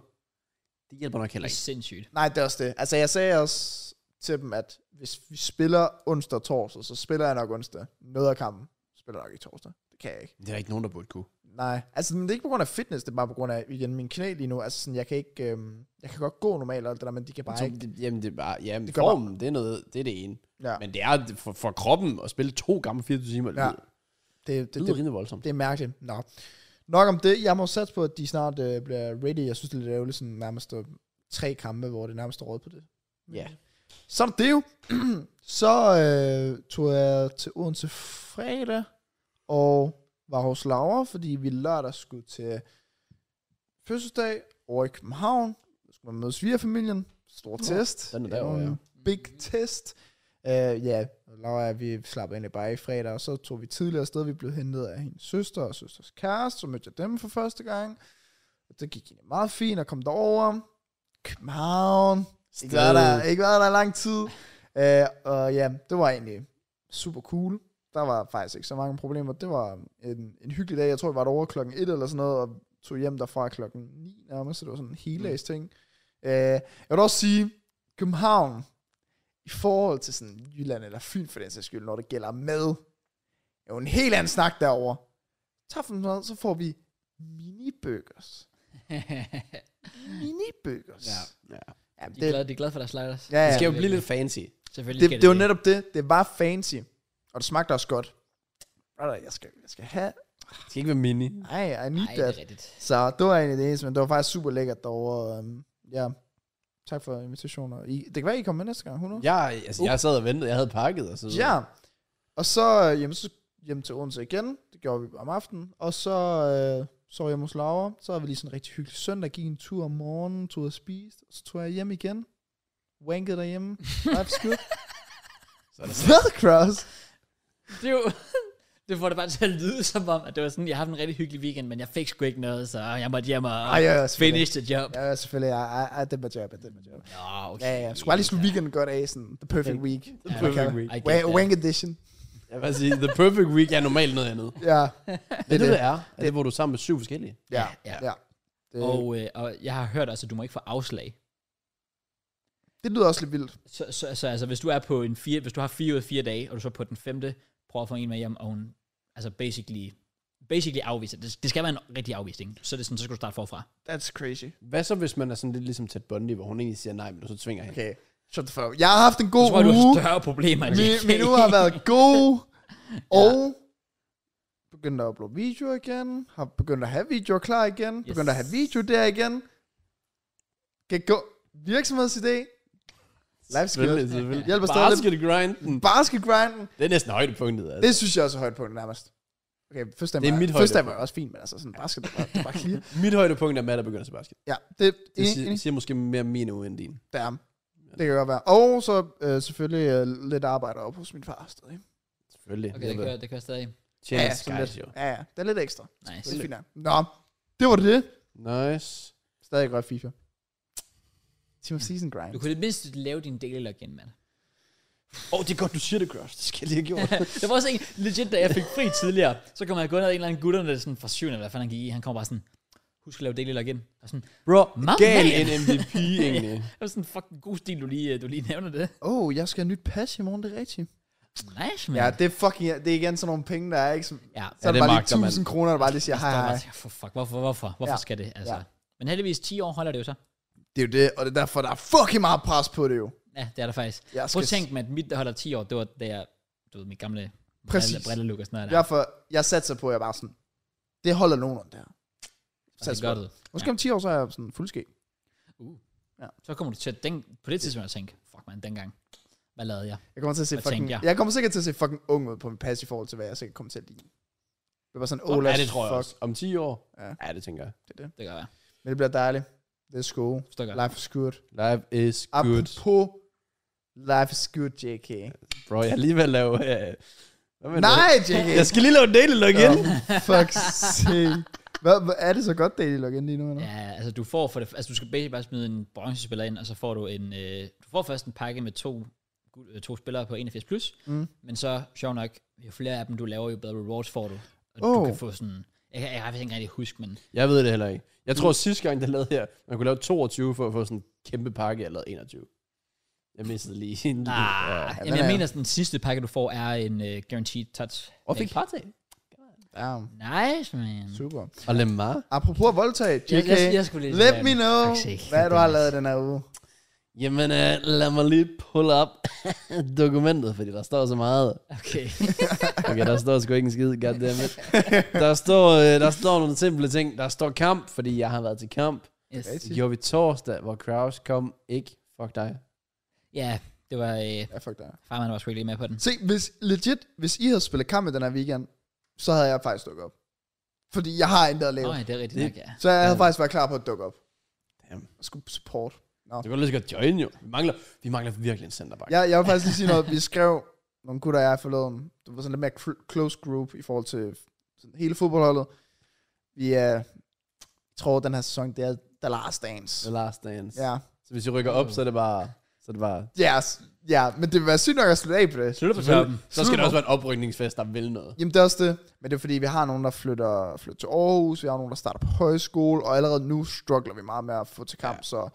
Det hjælper nok heller
Det er
ikke.
sindssygt. [laughs]
Nej, det er også det. Altså, jeg sagde også til dem, at hvis vi spiller onsdag og torsdag, så spiller jeg nok onsdag. Noget af kampen spiller jeg nok i torsdag. Det kan jeg ikke.
Det er der ikke nogen, der burde kunne.
Nej, altså men det er ikke på grund af fitness, det er bare på grund af, igen, min knæ lige nu, altså sådan, jeg kan ikke, øhm, jeg kan godt gå normalt og alt det der, men de kan bare
Så,
ikke.
det, jamen, det er bare, jamen,
Det
det
gør
formen, det er, noget, det er det ene.
Ja,
Men det er for, for kroppen at spille to gange på 24 timer.
Ja.
Ja.
det,
Det
det,
lyder
det,
rimelig voldsomt.
det er mærkeligt. Nå. Nok om det, jeg må satse på, at de snart øh, bliver ready. Jeg synes, det er lidt ærgerligt, sådan nærmest øh, tre kampe, hvor det nærmest er råd på det.
Ja.
Så er det det jo. så øh, tog jeg til Odense fredag, og var hos Laura, fordi vi lørdag skulle til fødselsdag over i København. Så skulle man møde svigerfamilien. Stor test.
den er derovre,
Endnu en
ja.
Big test. Øh, Ja, uh, Laura og vi slappede egentlig bare i fredag, og så tog vi tidligere afsted. Vi blev hentet af hendes søster og søsters kæreste, så mødte jeg dem for første gang. Og det gik egentlig meget fint og kom derover. København. Ikke været der, ikke været der i lang tid. Øh, og ja, det var egentlig super cool. Der var faktisk ikke så mange problemer. Det var en, en hyggelig dag. Jeg tror, vi var derovre klokken 1 eller sådan noget, og tog hjem derfra klokken 9 nærmest, så det var sådan en heldags ting. Øh, jeg vil også sige, København, i forhold til sådan Jylland eller Fyn for den sags skyld, når det gælder mad, er jo en helt anden snak derovre. Tak for mad, så får vi mini-burgers. Mini-burgers.
Ja.
Ja.
Ja,
De er, glade, de er glade for deres sliders.
Ja, ja.
Det skal jo blive lidt fancy.
Selvfølgelig
det,
skal
det, det var netop det. Det var fancy. Og det smagte også godt. Brother, Jeg skal, jeg skal have...
Det skal ikke være mini.
Ej, I need
Nej,
Ej,
det
that.
er rigtigt.
Så det var egentlig det eneste, men det var faktisk super lækkert derovre. øhm, Ja, tak for invitationer. I, det kan være, I kommer med næste gang, 100?
Jeg, altså, jeg sad og ventede, jeg havde pakket og så videre.
Ja. Og så, øh, jamen, så hjem til Odense igen. Det gjorde vi om aftenen. Og så øh, sov jeg hos Laura. Så havde vi lige sådan en rigtig hyggelig søndag. Gik en tur om morgenen, tog og spiste. Og så tog jeg hjem igen. Wankede derhjemme. Life's good.
Så er der så.
Hvad, Cross?
Det, er jo, [laughs] det får det bare til at lyde som om, at det var sådan, jeg har haft en rigtig hyggelig weekend, men jeg fik sgu ikke noget, så jeg måtte hjem og
Ej, ja, ja, selvfølgelig.
finish the job.
Ja, ja, selvfølgelig. Ja, ja, ja, det er mit job, ja, det er mit job.
Nå, okay.
Ja, ja. Skulle bare lige slutte weekenden godt af, sådan the perfect week. The
perfect week.
I get
Wank,
that.
wank edition.
Jeg vil sige, the perfect week er normalt noget andet.
Ja,
Det er det, det er. Det er, hvor du er sammen med syv forskellige.
ja,
Ja.
ja. Det,
Og, øh, og jeg har hørt også, at du må ikke få afslag.
det lyder også lidt vildt.
Så, så, så altså, hvis du er på en fire, hvis du har fire ud af fire dage, og du så på den femte prøver at få en med hjem, og hun altså basically, basically afviser. Det, det skal være en rigtig afvisning. Så er det sådan, så skal du starte forfra.
That's crazy.
Hvad så, hvis man er sådan lidt ligesom Ted Bundy, hvor hun egentlig siger nej, men du så tvinger hende?
Okay, shut the fuck up. Jeg har haft en god
Jeg tror, du har
uge.
større problemer end
Uh-huh. Min,
det.
min uge har været god.
[laughs]
Og begyndte at uploade videoer igen. Har begyndt at have videoer klar igen. Yes. Begyndt at have video der igen. Kan gå virksomhedsidé. Life's
Selvfølgelig,
good.
selvfølgelig.
Hjælper stadig
Bare skal det grinden.
Basketgrinden.
Det er næsten højdepunktet, altså.
Det synes jeg også er højdepunkt nærmest. Okay, første
Det er
var,
mit
første var
højdepunkt.
også fint, men altså sådan
[laughs]
basket, det var, det var clear.
Mit højdepunkt er Matt, der begynder til basket.
Ja, det,
Det
det,
siger, siger måske mere min uge end din.
det, er, det kan godt være. Og så øh, selvfølgelig øh, lidt arbejde op hos min far stadig.
Selvfølgelig.
[laughs] Okay, det kører, det kører stadig.
Tjener
Ja, ja,
Sky
sådan
Show.
Ja, ja, det er lidt ekstra.
Nice.
Altså, Det er fint. nok. Nå, det var det.
Nice.
Stadig godt FIFA. Team of Season Grind.
Du kunne det mindste lave din daily login, mand.
Åh, oh, det er godt, du siger det, Cross. Det skal jeg lige have gjort.
der var også en, legit, da jeg fik fri tidligere, så kom jeg gået ned ad en eller anden gutterne, der er sådan fra syvende, eller hvad fanden han gik i, han kom bare sådan, husk at lave daily login. Og sådan,
[laughs] Bro,
My
gal
man.
en MVP, [laughs] egentlig.
det var sådan, fucking god stil, du lige, du lige nævner det.
Åh, oh, jeg skal have nyt pas i morgen, det er rigtigt.
Nice, man.
Ja, det er fucking, det er igen sådan nogle penge, der er ikke som,
ja.
så er det
det
bare lige
magter man.
1000 kroner, der bare lige siger hej
Står
hej.
bare, for fuck, hvorfor, hvorfor, hvorfor
Ja.
ja. skal det, altså.
Ja.
Ja. Men heldigvis 10 år holder det jo så.
Det er jo det, og det er derfor, der er fucking meget pres på det jo.
Ja, det er der faktisk.
Jeg
Prøv
skal
at tænke mig, at mit, der holder 10 år, det var da jeg, du ved, mit gamle
Præcis.
brille- brilleluk og sådan noget. Der.
Derfor, jeg satser på, at jeg bare sådan, det holder nogenlunde der.
Og det gør det.
Måske om 10 år, så er jeg sådan fuldskæg.
Så kommer du til at tænke, på det tidspunkt at tænke, fuck man, dengang, hvad lavede jeg?
Jeg kommer til at se
Hvad
fucking,
tænkte
jeg?
jeg?
kommer sikkert til at se fucking ung ud på min pas i forhold til, hvad jeg sikkert kommer til at lide. Det var sådan, oh,
ja, det tror jeg
fuck.
også. Om 10 år?
Ja.
Ja, det tænker jeg.
Det gør jeg.
Men det bliver dejligt. Let's go.
Forstår godt.
Life is good.
Life is good.
Apropos Life is good, JK.
Bro, jeg er lige ved at lave... Øh, hvad med
Nej,
noget?
JK!
Jeg skal lige lave daily login.
Oh, fuck sake. Hvad, hvad, er det så godt, Daily Login lige nu? Eller?
Ja, altså du får for det, altså du skal basically bare smide en bronzespiller ind, og så får du en, øh, du får først en pakke med to, guld- øh, to spillere på 81+, plus,
Mm.
men så, sjov nok, jo flere af dem du laver, jo bedre rewards får du. Og
Oh.
du kan få sådan, jeg, kan- jeg har faktisk ikke rigtig huske, men
Jeg ved det heller ikke. Jeg tror, sidste gang, der lavede her, man kunne lave 22 for at få sådan en kæmpe pakke, jeg lavede 21. Jeg mistede lige en lille...
ah,
Ja.
jamen,
den
jeg
er-
mener, at den sidste pakke, du får, er en øh, guaranteed touch.
Og fik partag.
Ja,
Nice, man.
super.
Og Lemar.
Apropos at voldtage, JK.
Jeg, jeg, jeg skulle lige
Let me know,
Tak, Sik.
hvad du har
Det er
lavet den her uge.
Jamen, øh, lad mig lige pull op [laughs] dokumentet, fordi der står så meget.
Okay.
Okay, der står sgu ikke en skid, goddammit. Der står, øh, der står nogle simple ting. Der står kamp, fordi jeg har været til kamp.
yes.
Rigtigt.
Det gjorde vi torsdag, hvor Kraus kom ikke. Fuck dig.
Ja, det var, øh,
Ja, fuck dig.
farmand var sgu ikke lige med på den.
Se, hvis, legit, hvis I havde spillet kamp i den her weekend, så havde jeg faktisk dukket op. Fordi jeg har intet at lave.
Nå, ja, det er rigtigt
Det-
nok, ja.
Så jeg havde
Ja.
faktisk været klar på at dukke op.
Damn.
Jeg skulle support.
Du kan lige så godt join, jo. Vi mangler, vi mangler virkelig en centerback.
Jeg, jeg vil faktisk lige sige noget. Vi skrev nogle gutter, jeg forleden. Det var sådan lidt mere cl- close group i forhold til sådan hele fodboldholdet. Vi øh, tror, den her sæson, det er The Last Dance.
The last dance.
Ja,
Så hvis I rykker op, så er det bare... Så er det bare
yes. ja men det vil være sygt nok at slutte af på det.
Slutter på toppen.
så skal der også være en oprykningsfest, der vil noget.
Jamen det er også det, men det er fordi, vi har nogen, der flytter, flytter til Aarhus, vi har nogen, der starter på højskole, og allerede nu struggler vi meget med at få til kamp,
Ja.
ja. så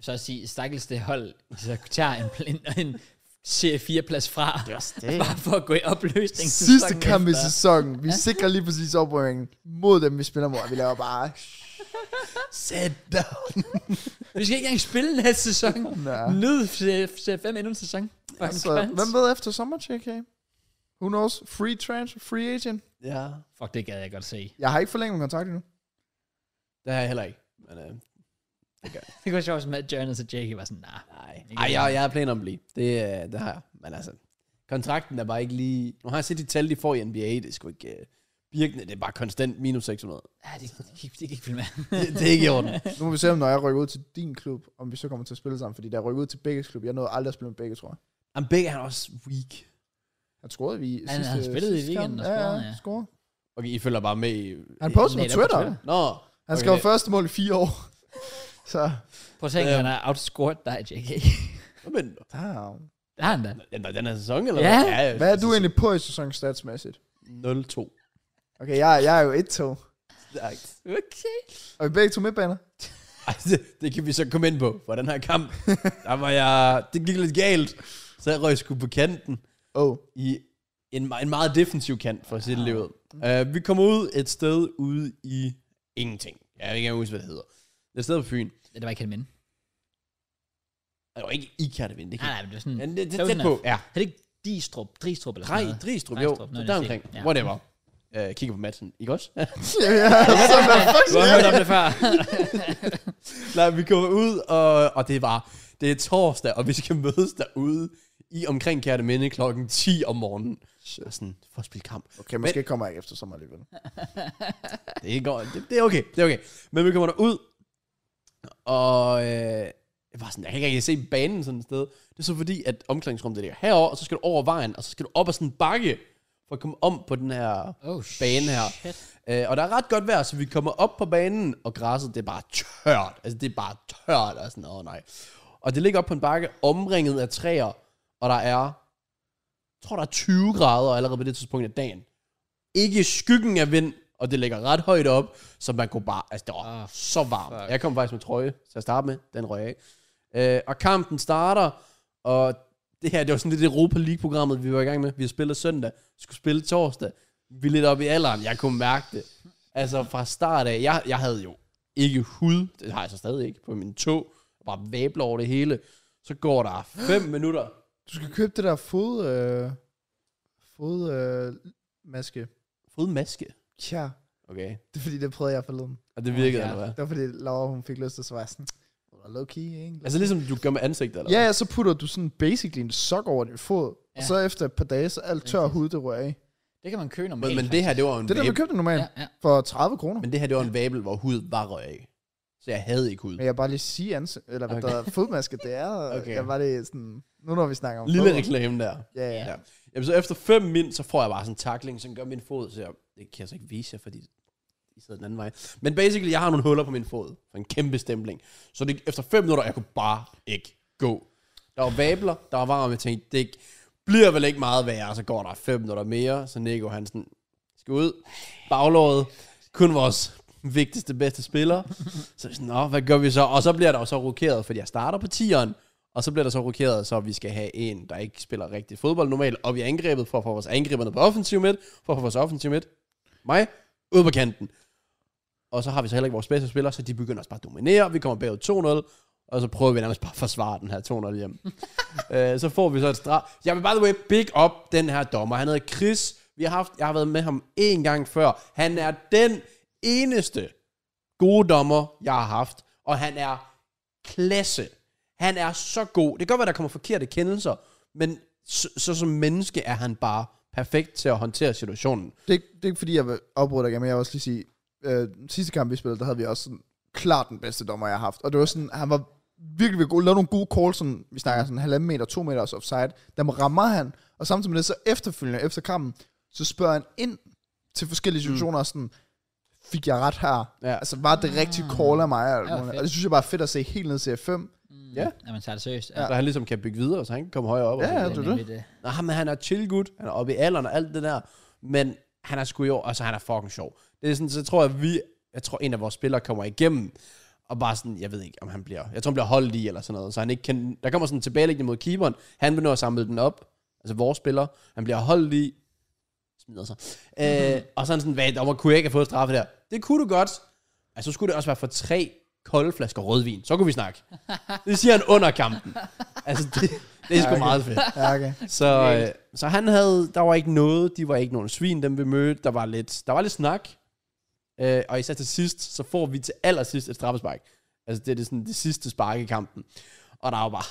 så at sige, stakkels det hold, så tager en, en, en serie 4 plads fra,
Just
bare for at gå i opløsning.
sidste
sæsonen
kamp i
efter.
sæsonen, vi sikrer lige præcis oprykningen mod dem, vi spiller mod, og vi laver bare,
Sit down.
[laughs] Vi skal ikke engang spille næste sæson.
Nå.
Nyd serie 5 endnu en sæson. Fucking
Altså,
krank.
hvem ved efter sommer, JK? Who knows? Free transfer, free agent.
ja.
Fuck, det gad jeg godt se.
Jeg har ikke forlænget min kontrakt endnu.
Det har jeg heller ikke. Men, øh,
Det kunne være sjovt, hvis Matt Jones og Jake var sådan, nah.
nej.
Ikke
Ej,
endnu.
jeg, jeg har planer om at blive. Det, øh, det har jeg. Men altså, kontrakten er bare ikke lige... Nu har jeg set de tal, de får i NBA. Det er sgu ikke... Øh, virkende, det er bare konstant minus 600.
Ja, det, det, det, det ah, kan ikke følge med.
Det, det er ikke i
[laughs]
orden.
Nu må vi se, om når jeg rykker ud til din klub, om vi så kommer til at spille sammen. Fordi da jeg rykker ud til begge klub, jeg nåede aldrig at spille med begge, tror jeg.
Jamen, begge er også weak.
Han scorede vi i
Han- han spillede i
sidste
weekenden
kamp.
og scorede,
ja.
ja. Øh,
scorede.
Okay, I følger bare med i...
Han postede på
Netop på
Twitter.
Twitter.
Nå,
Han
Okay,
skrev
det-
første mål i fire år. [laughs] så,
Prøv at tænke,
Øhm.
han har outscored dig, JK.
hvad mener du?
damn.
Det har han da.
Den, den her sæson, eller
Ja.
hvad? ja
Hvad er du egentlig på i sæsonen statsmæssigt?
0-2.
Okay, jeg, jeg er jo 1-2.
Stærkt.
Okay.
Og vi er begge to midtbaner.
Ej, det, det kan vi så komme ind på, for den her kamp, der var jeg, det gik lidt galt, så jeg røg sgu på kanten,
[laughs] Oh,
i en, me- en meget defensiv kant, for at sige det lige ud. Uh, vi kommer ud et sted ude i ingenting. Jeg kan ikke engang huske, hvad det hedder. Det er et sted på Fyn.
Det var ikke helt minde.
Det var ikke i Kærtevind, det
Nej,
kan
nej, men det var sådan...
men det, det,
så
er
var
tæt på. Ja.
Er det ikke Distrup, Dristrup eller
Drej,
sådan noget?
Dristrup, jo,
Dejstrup, noget
der
i den
omkring.
stil. Ja.
Whatever. Uh, kigger på matchen, ikke også?
Du har hørt om det før.
[laughs] Nej, vi kommer ud, og, og det var det er torsdag, og vi skal mødes derude i omkring Kærteminde klokken 10 om morgenen. Så jeg er sådan, for at spille kamp.
okay, måske kommer jeg ikke efter sommer alligevel.
Det, går, det, det er okay, det er okay. Men vi kommer derud, og øh, jeg var sådan, jeg kan ikke rigtig se banen sådan et sted. Det er så fordi, at omklædningsrummet det ligger herover, og så skal du over vejen, og så skal du op ad sådan en bakke, for at komme om på den her
Oh,
bane her.
shit.
Øh, og der er ret godt vejr, så vi kommer op på banen, og græsset det er bare tørt. Altså det er bare tørt, og sådan, åh nej. Og det ligger op på en bakke, omringet af træer, og der er, jeg tror der er 20 grader allerede på det tidspunkt af dagen. Ikke skyggen af vind, og det ligger ret højt op, så man kunne bare, altså det var
Ah,
oh, så varmt.
fuck.
Jeg kom faktisk med trøje til at starte med, den røg jeg af. Øh, og kampen starter, og det her, det var sådan lidt Europa League-programmet, vi var i gang med. Vi har spillet søndag, skulle spille torsdag. Vi er lidt oppe i alderen, jeg kunne mærke det. Altså fra start af, jeg, jeg havde jo ikke hud, det har jeg så stadig ikke, på min tog. Bare væbler over det hele. Så går der 5 minutter.
Du skal købe det der fod... Øh, fod... Øh, maske.
Fået maske.
Ja,
Okay.
det er fordi, det prøvede jeg forleden.
Og det virkede,
Ja.
ja. eller hvad?
Det var fordi, Laura, hun fik lyst til at svare sådan... "Well, Low key, ikke?
Altså ligesom du gør med ansigtet, eller
Ja, ja, så putter du sådan basically en sok over din fod, ja. og
Ja.
så efter et par dage, så er alt tør hud, det rører af.
Det kan man købe
hvad?
normalt.
Men, men det her, det var jo en
Det der, vi
væbel.
købte normalt
Ja, ja.
for 30 kroner.
Men det her, det var en væbel, hvor hud var røg af. Så jeg havde ikke hud.
Men jeg vil bare lige sige, ans- eller hvad
Okay.
okay. der er fodmaske, det er.
Okay.
okay. Jeg var det sådan, nu når vi snakker om
Lille
fodbold.
reklame der.
Ja, ja.
Ja. Jamen, så efter fem min, så får jeg bare sådan en takling, som gør min fod, så jeg, det kan jeg så ikke vise jer, fordi I sidder den anden vej. Men basically, jeg har nogle huller på min fod, for en kæmpe stempling. Så det, efter fem minutter, jeg kunne bare ikke gå. Der var vabler, der var varm, jeg tænkte, det bliver vel ikke meget værre, så går der fem minutter mere, så Nico han sådan, skal ud, baglåret, kun vores vigtigste, bedste spiller. Så er vi sådan, Nå, hvad gør vi så? Og så bliver der jo så rokeret, fordi jeg starter på 10'eren, og så bliver der så rokeret, så vi skal have en, der ikke spiller rigtig fodbold normalt, og vi er angrebet for at få vores angreberne på offensiv midt, for at få vores offensiv midt, mig, ud på kanten. Og så har vi så heller ikke vores bedste spillere, så de begynder også bare at dominere, vi kommer bagud 2-0, og så prøver vi nærmest bare at forsvare den her 2-0 hjem. øh, så får vi så et straf. Jeg vil by the way big up den her dommer. Han hedder Chris. Vi har haft, jeg har været med ham en gang før. Han er den eneste gode dommer, jeg har haft. Og han er klasse. Han er så god. Det kan godt være, der kommer forkerte kendelser, men så, så som menneske er han bare perfekt til at håndtere situationen.
Det, er ikke- det er ikke fordi, jeg vil opbryde dig igen, men jeg vil også lige sige, øh, den sidste kamp, vi spillede, der havde vi også sådan, klart den bedste dommer, jeg har haft. Og det var sådan, han var virkelig, virkelig god, lavede nogle gode calls, sådan, vi snakker sådan halvanden meter, to meters offside, der rammer han, og samtidig med det, så efterfølgende, efter kampen, så spørger han ind til forskellige situationer, mm. sådan, fik jeg ret her?
Ja.
Altså, var det rigtige call af mig?
Ja,
Eller, ja,
fedt.
og det synes jeg bare er fedt at se helt ned til F5.
Når man tager det seriøst. Ja,
Ja.
ja,
Så han ligesom kan bygge videre, så han kan komme højere op. og
Ja,
sådan noget.
ja,
det er
det er det.
nemlig det.
Nej, men han er chill gut. Han er oppe i alderen og alt det der. Men han er sgu jo, og så han er fucking sjov. Det er sådan, så tror jeg, vi, jeg tror, en af vores spillere kommer igennem, og bare sådan, jeg ved ikke, om han bliver, jeg tror, han bliver holdt i eller sådan noget, så han ikke kan, der kommer sådan en tilbageliggende mod keeperen, han begynder at samle den op, altså vores spiller, han bliver holdt i, smider sig, øh, og sådan sådan, hvad, dommer, kunne jeg ikke have fået straffe der? Det kunne du godt, altså så skulle det også være for tre kolde flasker rødvin, så kunne vi snakke. Det siger han under kampen. Altså, det, det er sgu meget fedt.
[laughs] Ja, okay.
Så, øh, så han havde, der var ikke noget, de var ikke nogen svin, dem vi mødte, der var lidt, der var lidt snak. Øh, og især til sidst, så får vi til allersidst et straffespark. Altså det er det, sådan, det sidste spark i kampen. Og der er jo bare,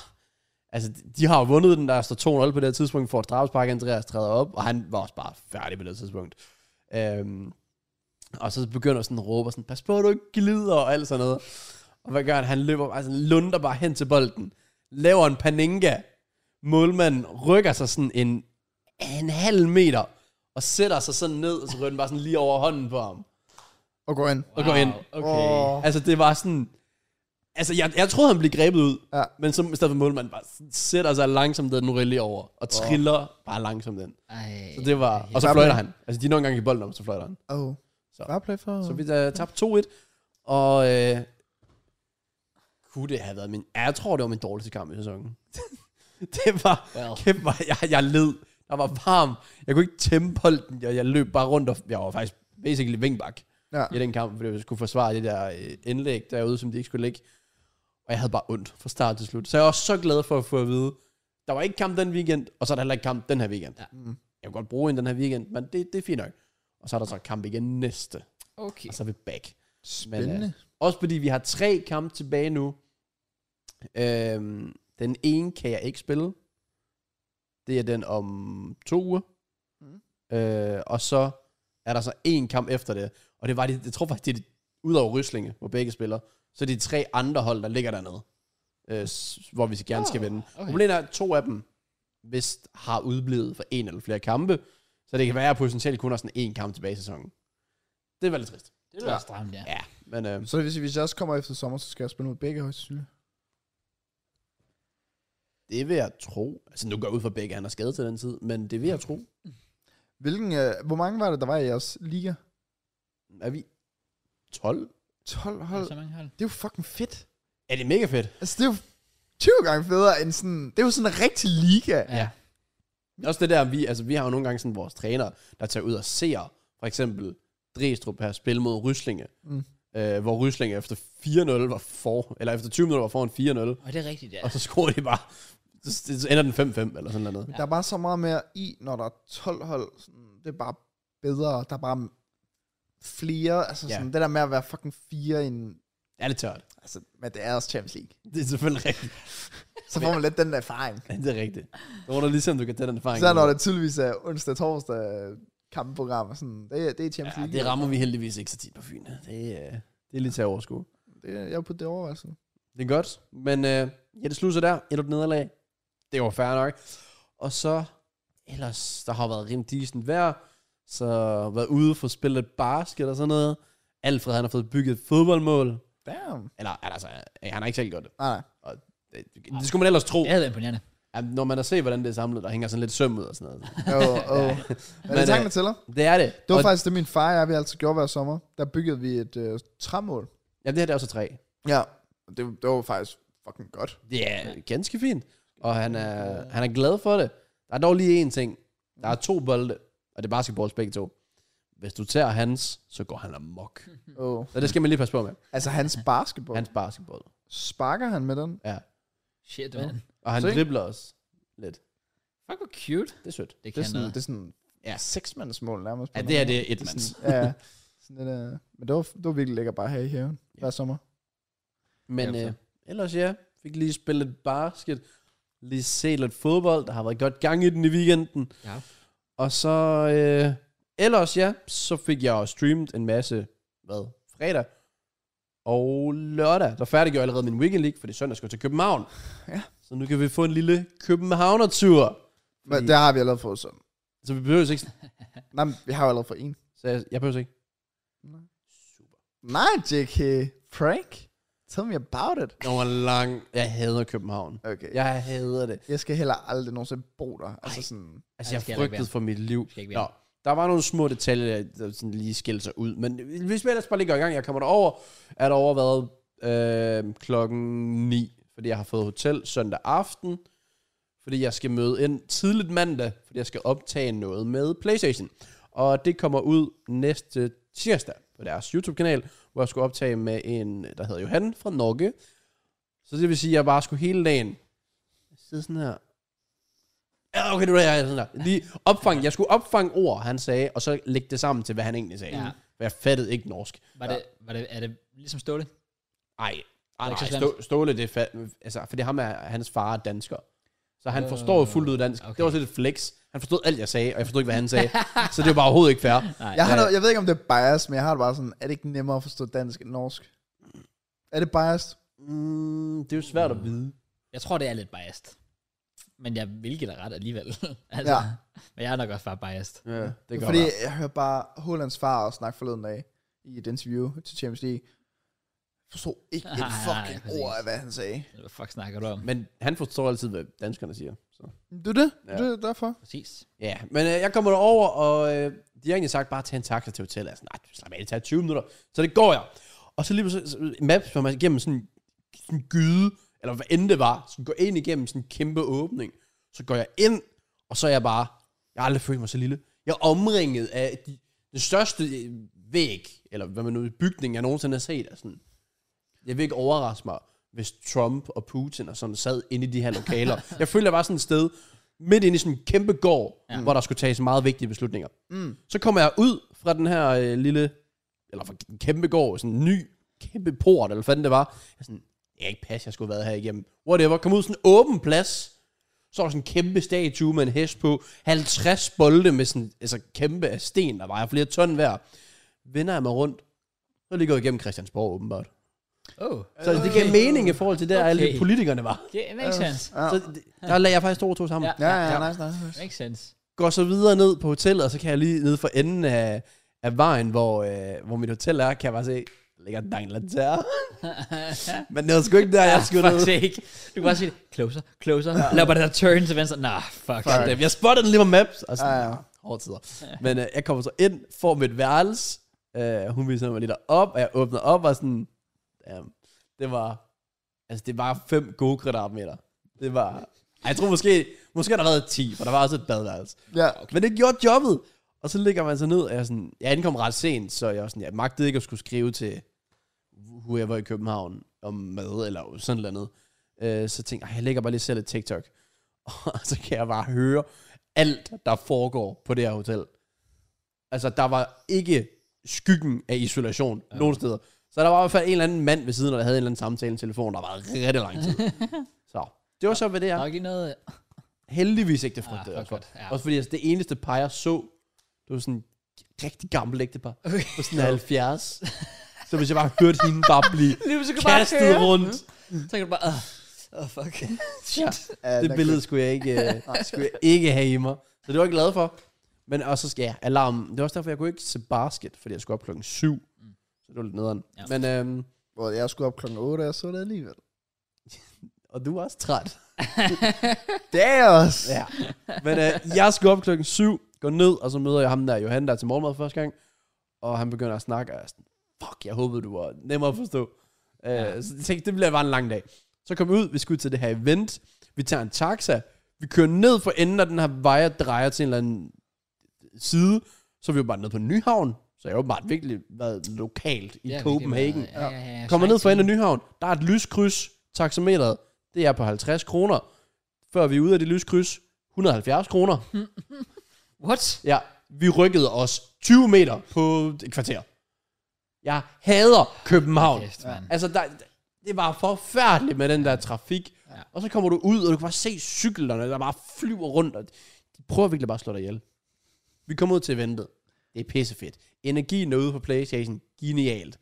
altså de har jo vundet den, der står 2-0 på det her tidspunkt, får et straffespark, Andreas træder op, og han var også bare færdig på det her tidspunkt. Øhm, og så begynder sådan at råbe, og sådan, pas på, du ikke glider, og alt sådan noget. Og hvad gør han? Han løber, altså lunder bare hen til bolden, laver en paninka, målmanden rykker sig sådan en, en halv meter, og sætter sig sådan ned, og så ryger den bare sådan lige over hånden på ham,
Og gå ind.
og går ind.
Wow, Okay.
Åh.
Altså, det var sådan... Altså, jeg, jeg troede, han blev grebet ud,
Ja.
men så i stedet for målmanden bare sætter sig langsomt den nu lige over, og triller bare langsomt den.
Ej.
Så det var... Og så
Fair
fløjter
play.
han. Altså, de er nogle gange i bolden om, så fløjter han.
Oh.
Så.
Bare play for...
Så vi uh, tabte 2-1, og... Øh, kunne det have været min... Ja, jeg tror, det var min dårligste kamp i sæsonen. [laughs] det var...
Well.
Kæft, hvor jeg, jeg led. Der var varm. Jeg kunne ikke tæmme bolden. Jeg, jeg løb bare rundt, og jeg var faktisk basically vingbak
Ja.
i den kamp, fordi jeg skulle forsvare det der øh, indlæg derude, som de ikke skulle lægge. Og jeg havde bare ondt fra start til slut. Så jeg var så glad for at få at vide, der var ikke kamp den weekend, og så er der heller ikke kamp den her weekend.
Ja.
Mm. Jeg kunne godt bruge en den her weekend, men det, det er fint nok. Og så er der så kamp igen næste,
Okay.
og så er vi back.
Spændende.
Også fordi vi har tre kampe tilbage nu. Øhm, den ene kan jeg ikke spille. Det er den om to uger. Mm. Øh, og så er der så en kamp efter det. Og det var de, jeg tror faktisk, det er de, ud over Ryslinge, hvor begge spiller, så er de tre andre hold, der ligger dernede. Øh, s- hvor vi gerne skal
Ah,
vinde.
okay.
Problemet er, at to af dem vist har udblivet for en eller flere kampe. Så det kan være, at jeg potentielt kun har sådan en kamp tilbage i sæsonen. Det var lidt trist.
Det lyder stramt, ja.
Ja, men... Øh,
Så det vil sige, hvis jeg også kommer efter sommer, så skal jeg spille mod begge højst sandsynligt.
Det vil jeg tro. Altså nu går jeg ud fra begge, han er skadet til den tid, men det vil jeg tro.
Hvilken, øh, hvor mange var det, der var i jeres liga?
Er vi 12?
12
Der
hold.
er Så mange hold.
Det er jo fucking fedt.
Er det mega fedt?
Altså, det er jo 20 gange federe end sådan... Det er jo sådan en rigtig liga. Ja.
Ja.
Også det der, vi, altså, vi har jo nogle gange sådan vores træner, der tager ud og ser, for eksempel Drestrup her spille mod Ryslinge, mm.
Mm.
øh, hvor Ryslinge efter 4-0 var for, eller efter 20 minutter var foran 4-0,
Og det er rigtigt, ja.
og så scorer de bare, så så ender den 5-5 eller sådan noget.
Der er bare så meget mere i, når der er 12 hold. Sådan, det er bare bedre. Der er bare flere. Altså,
Ja.
sådan, det der med at være fucking fire i en...
Er det tørt?
Altså, men det er også Champions League.
Det er selvfølgelig rigtigt.
Så får man lidt den der erfaring.
Ja, det er rigtigt. Så må du lige se, om du kan tage den erfaring.
Så når det tydeligvis er onsdag, torsdag øh, kampprogram og sådan. Det, er- det er Champions
ja,
League.
det rammer vi heldigvis ikke så tit på Fyn. Det, øh, det er lidt til at overskue.
Det, jeg vil putte det i overvejelsen.
Det er godt. Men øh, ja, det slutter der. Et nederlag. Det var fair nok. Og så, ellers, der har været rimelig decent vejr. Så været ude for at spille lidt basket og sådan noget. Alfred, han har fået bygget et fodboldmål.
Damn.
Eller, altså, øh, han har ikke selv gjort det.
Ah, Nej, nej.
Det, det skulle man ellers tro.
Det havde været imponerende.
Ja, når man har set, hvordan det er samlet, der hænger sådan lidt søm ud og sådan noget.
Jo, [laughs] oh. Men det
Men,
er tanken,
øh,
der tæller.
Det er det.
Det var
og,
faktisk det, min far og jeg, vi altid gjorde hver sommer. Der byggede vi et øh, træmål.
Ja, det her det er også tre.
Ja. Det, det var faktisk fucking godt.
Det er Øh, ganske fint. Og han er, han er glad for det. Der er dog lige én ting. Der er to bolde, og det er basketballs begge to. Hvis du tager hans, så går han amok.
Oh.
Så det skal man lige passe på med.
Altså hans basketball. Han
Hans basketball.
sparker han med den.
Ja.
Shit, man.
Og han
Se.
dribler også lidt.
Fuck, hvor cute.
Det er sødt.
Det
Det
kan
er sådan,
noget.
det er sådan
Ja.
ja. seksmandsmål nærmest. på
Ja,
en
det her
eller
det
anden
er et
måde.
mands. [laughs]
Sådan, ja, sådan lidt, øh, men det var, det var virkelig lækkert bare her i haven
Ja.
hver sommer.
Men
Ja,
øh, ellers ja, fik lige spillet lidt basket. Lige set lidt fodbold. Der har været godt gang i den i weekenden.
Ja.
Og så, øh, ellers ja, så fik jeg også streamet en masse, hvad, fredag og lørdag. Der færdiggjorde jeg allerede min weekend league, fordi søndag skal jeg til København.
Ja.
Så nu kan vi få en lille Københavner-tur.
Men
Fordi-
der har vi allerede fået sådan.
Så vi behøver ikke,
Nej, men vi har jo allerede fået en.
så jeg, jeg behøver ikke.
Nej, JK. Prank? Tell me about it.
Den var lang. Jeg hader København.
Okay. Ja.
Jeg hader det.
Jeg skal heller aldrig nogensinde bo der. Altså sådan,
Altså,
Ej,
jeg
det skal heller ikke
frygtede
være.
for mit liv.
skal ikke være.
Nå, der var nogle små detaljer, der sådan lige skilte sig ud. Men hvis vi ellers bare lige går i gang, jeg kommer derover, er der over været øh, klokken 9, fordi jeg har fået hotel søndag aften, fordi jeg skal møde ind tidligt mandag, fordi jeg skal optage noget med Playstation. Og det kommer ud næste tirsdag på deres YouTube-kanal, hvor jeg skulle optage med en, der hedder Johan fra Norge. Så det vil sige, at jeg bare skulle hele dagen sidde sådan her. Ja, okay, det var jeg sådan der. Lige opfang, jeg skulle opfange ord, han sagde, og så lægge det sammen til, hvad han egentlig sagde. Ja.
Ja.
For jeg fattede ikke norsk.
Var, det, var det, er det ligesom Ståle?
Ej,
det
ej
ikke så
nej,
slemt?
Stå- Ståle, det er fat, altså, fordi ham er, hans far er dansker. Så han forstår jo fuldt ud dansk. Øh, Okay.
okay.
Det var også lidt et flex. Han forstod alt, jeg sagde, og jeg forstod ikke, hvad han sagde. så det var bare overhovedet ikke fair.
Nej.
jeg, har
Ja.
noget, jeg ved ikke, om det er bias, men jeg har det bare sådan, er det ikke nemmere at forstå dansk end norsk? Er det biased?
Mm, det er jo svært at vide.
Jeg tror, det er lidt biased. Men jeg vil give dig ret alligevel. [laughs] altså,
Ja.
ja. Men jeg er nok også bare biased.
Ja, det kan godt
Fordi
være.
jeg hørte bare Hollands far også snakke forleden dag i et interview til Champions League. Jeg forstod ikke et
Nej,
fucking
præcis.
ord af, hvad han sagde.
Hvad fuck snakker du om?
Men han forstår altid, hvad danskerne siger. Så.
Det er det.
Ja.
Ja. Det er derfor.
Præcis.
Ja, men øh, jeg kommer derover, og øh, de har egentlig sagt, bare tag en taxa til hotellet. Jeg er sådan, nej, slap af, det tager 20 minutter. Så det går jeg. Og så øh, lige pludselig, så- maps var man igennem sådan en gyde, eller hvad end det var, så går jeg ind igennem sådan en kæmpe åbning. Så går jeg ind, og så er jeg bare, jeg har aldrig følt mig så lille. Jeg er omringet af de, den største øh, væg, eller hvad man nu, bygning, jeg nogensinde har set. Er sådan, jeg vil ikke overraske mig, hvis Trump og Putin og sådan sad inde i de her [laughs] lokaler. jeg føler, jeg var sådan et sted, midt inde i sådan en kæmpe gård, ja. hvor der skulle tages meget vigtige beslutninger. Mm. Så kommer jeg ud fra den her øh, lille, eller fra en kæmpe gård, sådan en ny kæmpe port, eller hvad fanden det var. Jeg er sådan, jeg kan ikke passe, jeg skulle have været her igennem. Whatever. Kom ud sådan en åben plads. Så var der sådan en kæmpe statue med en hest på. 50 bolde med sådan, altså kæmpe af sten, der vejer flere ton hver. Vender jeg mig rundt. Så er jeg lige gået igennem Christiansborg, åbenbart.
Oh,
Så det giver Øh. mening i forhold til der, okay. alle
Okay.
politikerne var.
det makes sense.
Ja.
Så det, der lagde jeg faktisk to og to sammen.
Ja.
Ja, ja, nice, nice, nice.
Makes sense.
Går så videre ned på hotellet, og så kan jeg lige ned for enden af, af vejen, hvor, øh, hvor mit hotel er, kan jeg bare se, der ligger en Danglaterre.
[laughs]
Men det var sgu ikke der, jeg skulle
Ah, Fuck
ned.
sake. Du kan bare sige det. Closer, closer. Lad bare det der turn til venstre. Nah, fuck.
Fuck.
Jeg spottede den lige på maps, og sådan,
Ja,
ja,
ja.
ja. hårde tider. Men øh, jeg kommer så ind, får mit værelse, øh, hun viser mig lidt op, og jeg åbner op, og sådan, damn, det var, altså det var fem gode kvadratmeter. Det var, ej, jeg tror måske, måske har der været 10, for der var også et badeværelse.
Ja.
Men det gjorde jobbet. Og så ligger man så ned, og jeg, er sådan, jeg ankom ret sent, så jeg, var sådan, jeg magtede ikke at skulle skrive til whoever i København om mad eller sådan noget andet. Øh, så tænkte jeg, "Ej, jeg lægger bare lige selv et TikTok. [laughs] Og så kan jeg bare høre alt, der foregår på det her hotel. Altså, der var ikke skyggen af isolation ja. nogen steder. Så der var i hvert fald en eller anden mand ved siden, og der havde en eller anden samtale i telefonen, der var rigtig lang tid. [laughs] så det var så, hvad det er.
Nok lige noget...
Heldigvis ikke det frygtede
Ah,
jeg
fuck
også for.
godt, ja.
Også fordi altså, det eneste par, jeg så, det var sådan en rigtig gammel ægtepar.
Okay.
På sådan 70. Så Så hvis jeg bare hørte hende bare blive
Lige så kan du bare
kastet
køre.
rundt.
Så kan du bare, åh, oh, fuck. [laughs]
Ja,
Ja,
det
der-
billede skulle jeg, ikke, øh, skulle jeg ikke have i mig. Så det var jeg glad for. Men og så skal jeg alarm. Det var også derfor, jeg kunne ikke se basket, fordi jeg skulle op klokken 7.
Mm.
Så det var lidt nederen.
Ja.
[laughs] Ja. Men, øhm,
Hvor jeg skulle op klokken 8, og jeg så det alligevel.
og du var også træt.
Det er også.
Ja. [laughs] Men øh, jeg skulle op klokken 7, går ned, og så møder jeg ham der, Johan, der er til morgenmad første gang. Og han begynder at snakke, og jeg er sådan, fuck, jeg håbede, du var nemmere at forstå. Ja. Øh, så jeg tænkte, det bliver bare en lang dag. Så kom vi ud, vi skulle ud til det her event. Vi tager en taxa. Vi kører ned for enden af den her vej og drejer til en eller anden side. Så er vi jo bare nede på Nyhavn. Så jeg har jo bare virkelig været lokalt i
Ja,
ja,
virkelig
Copenhagen.
meget. Ja, ja, ja.
Kommer ned for
Schweiz.
enden af Nyhavn, der er et lyskryds, taxameteret, det er på 50 kroner. Før vi er ude af det lyskryds, 170 kroner.
What?
Ja, vi rykkede os 20 meter på et kvarter. Jeg hader København.
Kæft, mand.
Altså, der, det var forfærdeligt med den der trafik.
Ja.
Og så kommer du ud, og du kan bare se cyklerne, der bare flyver rundt, og de prøver virkelig bare at slå dig ihjel. Vi kommer ud til eventet. Det er pissefedt. Energien er ude på Playstation. Genialt.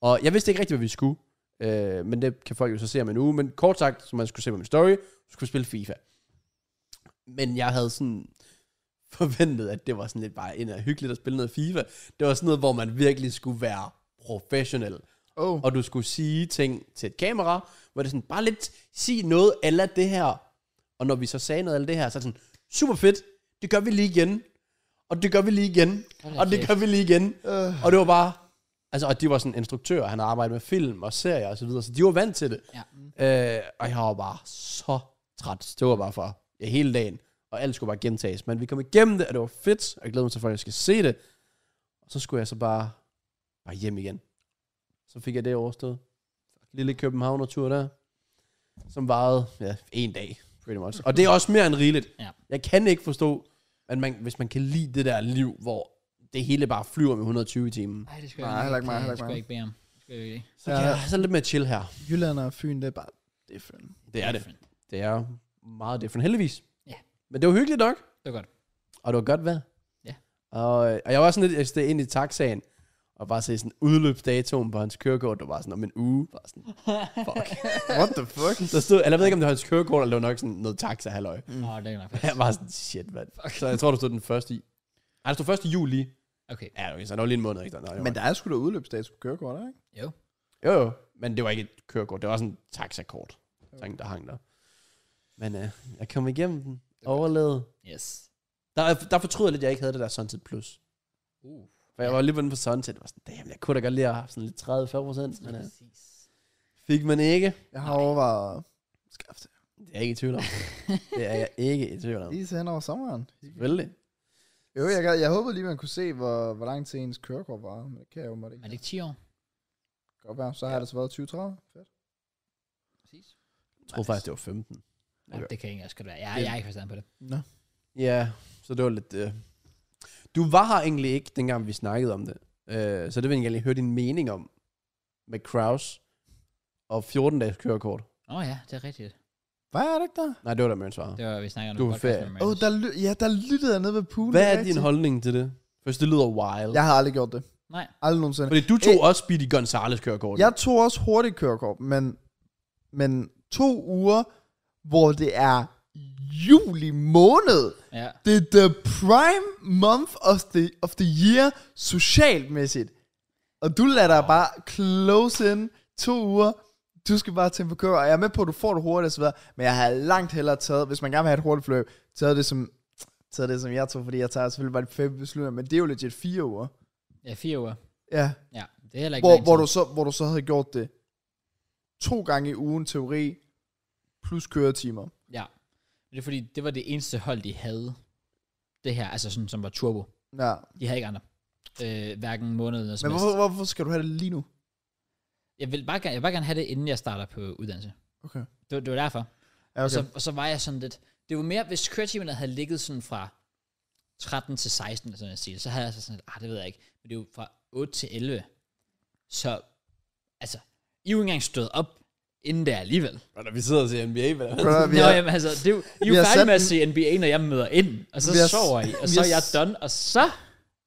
Og jeg vidste ikke rigtigt, hvad vi skulle. Øh, men det kan folk jo så se om en uge. Men kort sagt, som man skulle se på min story, så skulle vi spille FIFA. Men jeg havde sådan [laughs] forventet, at det var sådan lidt bare ind og hyggeligt at spille noget FIFA. Det var sådan noget, hvor man virkelig skulle være professionel
Uh.
Oh.
og du skulle sige ting til et kamera, hvor det er sådan, bare lidt, sig noget eller det her. Og når vi så sagde noget af det her, så er det sådan, super fedt, det gør vi lige igen. Og det gør vi lige igen.
Hold da
Og det
kæft.
gør vi lige igen.
Øh.
Og det var bare, altså, og de var sådan instruktører, han har arbejdet med film og serier og så videre, så de var vant til det.
Ja.
Øh, og jeg var bare så træt. Det var bare for ja, hele dagen. Og alt skulle bare gentages. Men vi kom igennem det, og det var fedt. Og jeg glæder mig til, at folk skal se det. Og så skulle jeg så bare, bare hjem igen. Så fik jeg det overstået. Lille Københavner-tur der. Som varede ja, en dag, pretty much. Og det er også mere end rigeligt.
Ja.
Jeg kan ikke forstå, at man, hvis man kan lide det der liv, hvor det hele bare flyver med 120 i timen.
Nej, det skal
Nej,
jeg
heller ikke mig,
det
heller
skal
ikke
jeg ikke bede om. Det skal jeg virkelig ikke.
Så, ja. jeg, så er det lidt mere chill her.
Jylland og Fyn, det er bare different.
Det er det.
Different.
Det er meget different, heldigvis.
Ja.
Men det var hyggeligt nok,
Det var godt.
og det var godt vejr.
Ja.
Og, øh, og jeg var sådan lidt, jeg steg ind i taxaen, og bare se sådan udløbsdatoen på hans kørekort, der var sådan om en uge. Bare sådan, fuck.
What the [laughs] fuck?
der stod, eller jeg ved ikke, om det var hans kørekort, eller det var nok sådan noget taxa, halløj.
Mm.
Åh, det er nok
[laughs] Jeg var Mm. sådan, shit, mand. Så jeg tror, du stod den første i. Nej, der stod 1. juli.
Okay.
Ja, okay, så det var lige en måned, ikke? Nej, det var-
Men der er sgu da udløbsdato på kørekort, ikke?
Jo.
Jo, jo, men det var ikke et kørekort, det var sådan et taxakort, sådan, der hang der. Men øh, jeg kom igennem den, overlevede.
Yes.
Der, der fortryder jeg lidt, at jeg ikke havde det der Sunset Plus.
Uh,
For jeg var lige ved den på Sunset, og var sådan, damn, jeg kunne da godt lige have haft sådan lidt 30-40 procent, men øh,
[laughs] præcis.
[laughs] fik man ikke.
Jeg har overvejet at skaffe det.
Det er jeg ikke i tvivl om. det er jeg ikke i tvivl om.
Lige til hen over sommeren.
Selvfølgelig.
Jo, jeg, gad- jeg håbede lige, man kunne se, hvor, hvor lang tid ens kørekort var. Men det kan jeg jo måtte
Er
ikke.
det ikke 10 år?
Godt være. Så har det så været 2030. Fedt.
Præcis.
Jeg troede faktisk, det var 15.
Nej, det kan jeg ikke også godt være. Jeg,
Det-
jeg er ikke forstand på det.
Nå.
Ja, så det var lidt... Øh. Du var her egentlig ikke, dengang vi snakkede om det. Øh, så det vil jeg egentlig lige høre din mening om, med Kraus og 14-dages kørekort.
Åh oh, ja, det er rigtigt.
Hvad er det ikke der?
Nej, det var da Mørens svar.
Det var, vi snakker om
Du
i
er
podcasten
ferie.
med
Åh, oh,
Magnus.
der, ly- ja, der lyttede jeg nede ved poolen.
Hvad
det
er din
rigtigt.
holdning til det? Først, det lyder wild. Ja.
Jeg har aldrig gjort det.
Nej.
Aldrig nogensinde.
Fordi du tog også Speedy Gonzales kørekort.
Jeg tog også hurtigt kørekort, men, men to uger, hvor det er juli måned.
Ja.
Det er the prime month of the, of the year, socialmæssigt. Og du lader dig bare close in to uger. Du skal bare tænke på kører, og jeg er med på, at du får det hurtigt osv., men jeg har langt hellere taget, hvis man gerne vil have et hurtigt forløb, taget det som, taget det, som jeg tog, fordi jeg tager selvfølgelig bare de fem beslutninger, men det er jo legit fire uger.
ja, fire uger.
Ja,
Ja, det er heller ikke
hvor,
lang
hvor,
tid.
du så, hvor du så havde gjort det to gange i ugen teori, plus køretimer.
Ja. Men det er fordi, det var det eneste hold, de havde. Det her, altså sådan, som var turbo.
Ja.
De havde ikke andre. Øh, hverken måned eller
Men
semester.
hvorfor, hvorfor skal du have det lige nu?
Jeg vil bare gerne, jeg vil bare gerne have det, inden jeg starter på uddannelse.
Okay.
Det, var- det var derfor.
Ja,
Og,
okay.
så, og så var jeg sådan lidt... Det var mere, hvis køretimerne havde ligget sådan fra 13 til 16, eller sådan at sige, så havde jeg så sådan lidt, ah, det ved jeg ikke. Men det er jo fra 8 til 11. Så, altså, I er jo ikke engang stået op inden der alligevel.
Og når vi sidder og ser NBA, hvad
Brother,
Nå,
vi har,
jamen, altså, det er jo, I er
vi
jo
har
færdige
sat
med at se NBA, når jeg møder ind, og så
Vi har-
sover I, og
vi
så er
har-
jeg done, og så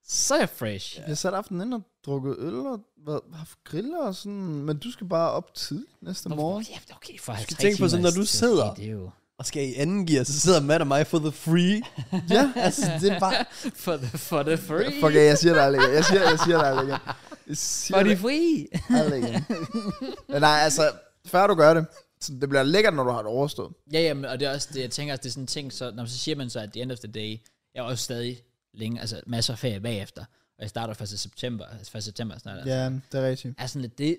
Så er jeg fresh.
Jeg sat aftenen ind og drukket øl og været- haft griller og sådan, men du skal bare op tidligt næste morgen.
Ja, okay, for 50
tænke på
timer
sådan, når
til
du
at ske,
sidder.
Det er jo
Og skal i anden gear, så sidder Matt og mig for the free.
ja, altså, det er bare...
for the, for the free.
Fuck, af, jeg siger det aldrig igen. Jeg siger, jeg siger det aldrig igen. Jeg siger
for
det
de free.
aldrig igen. Men nej, altså, før du gør det, så det bliver lækkert, når du har det overstået.
Ja, jamen, og det er også det, jeg tænker, at det er sådan en ting, så, når man så siger man så, at the end of the day, jeg er også stadig længe, altså masser af ferie bagefter, og jeg starter 1. september, altså 1. september snart. Ja.
Ja, det er rigtigt.
Er sådan lidt det,
Jeg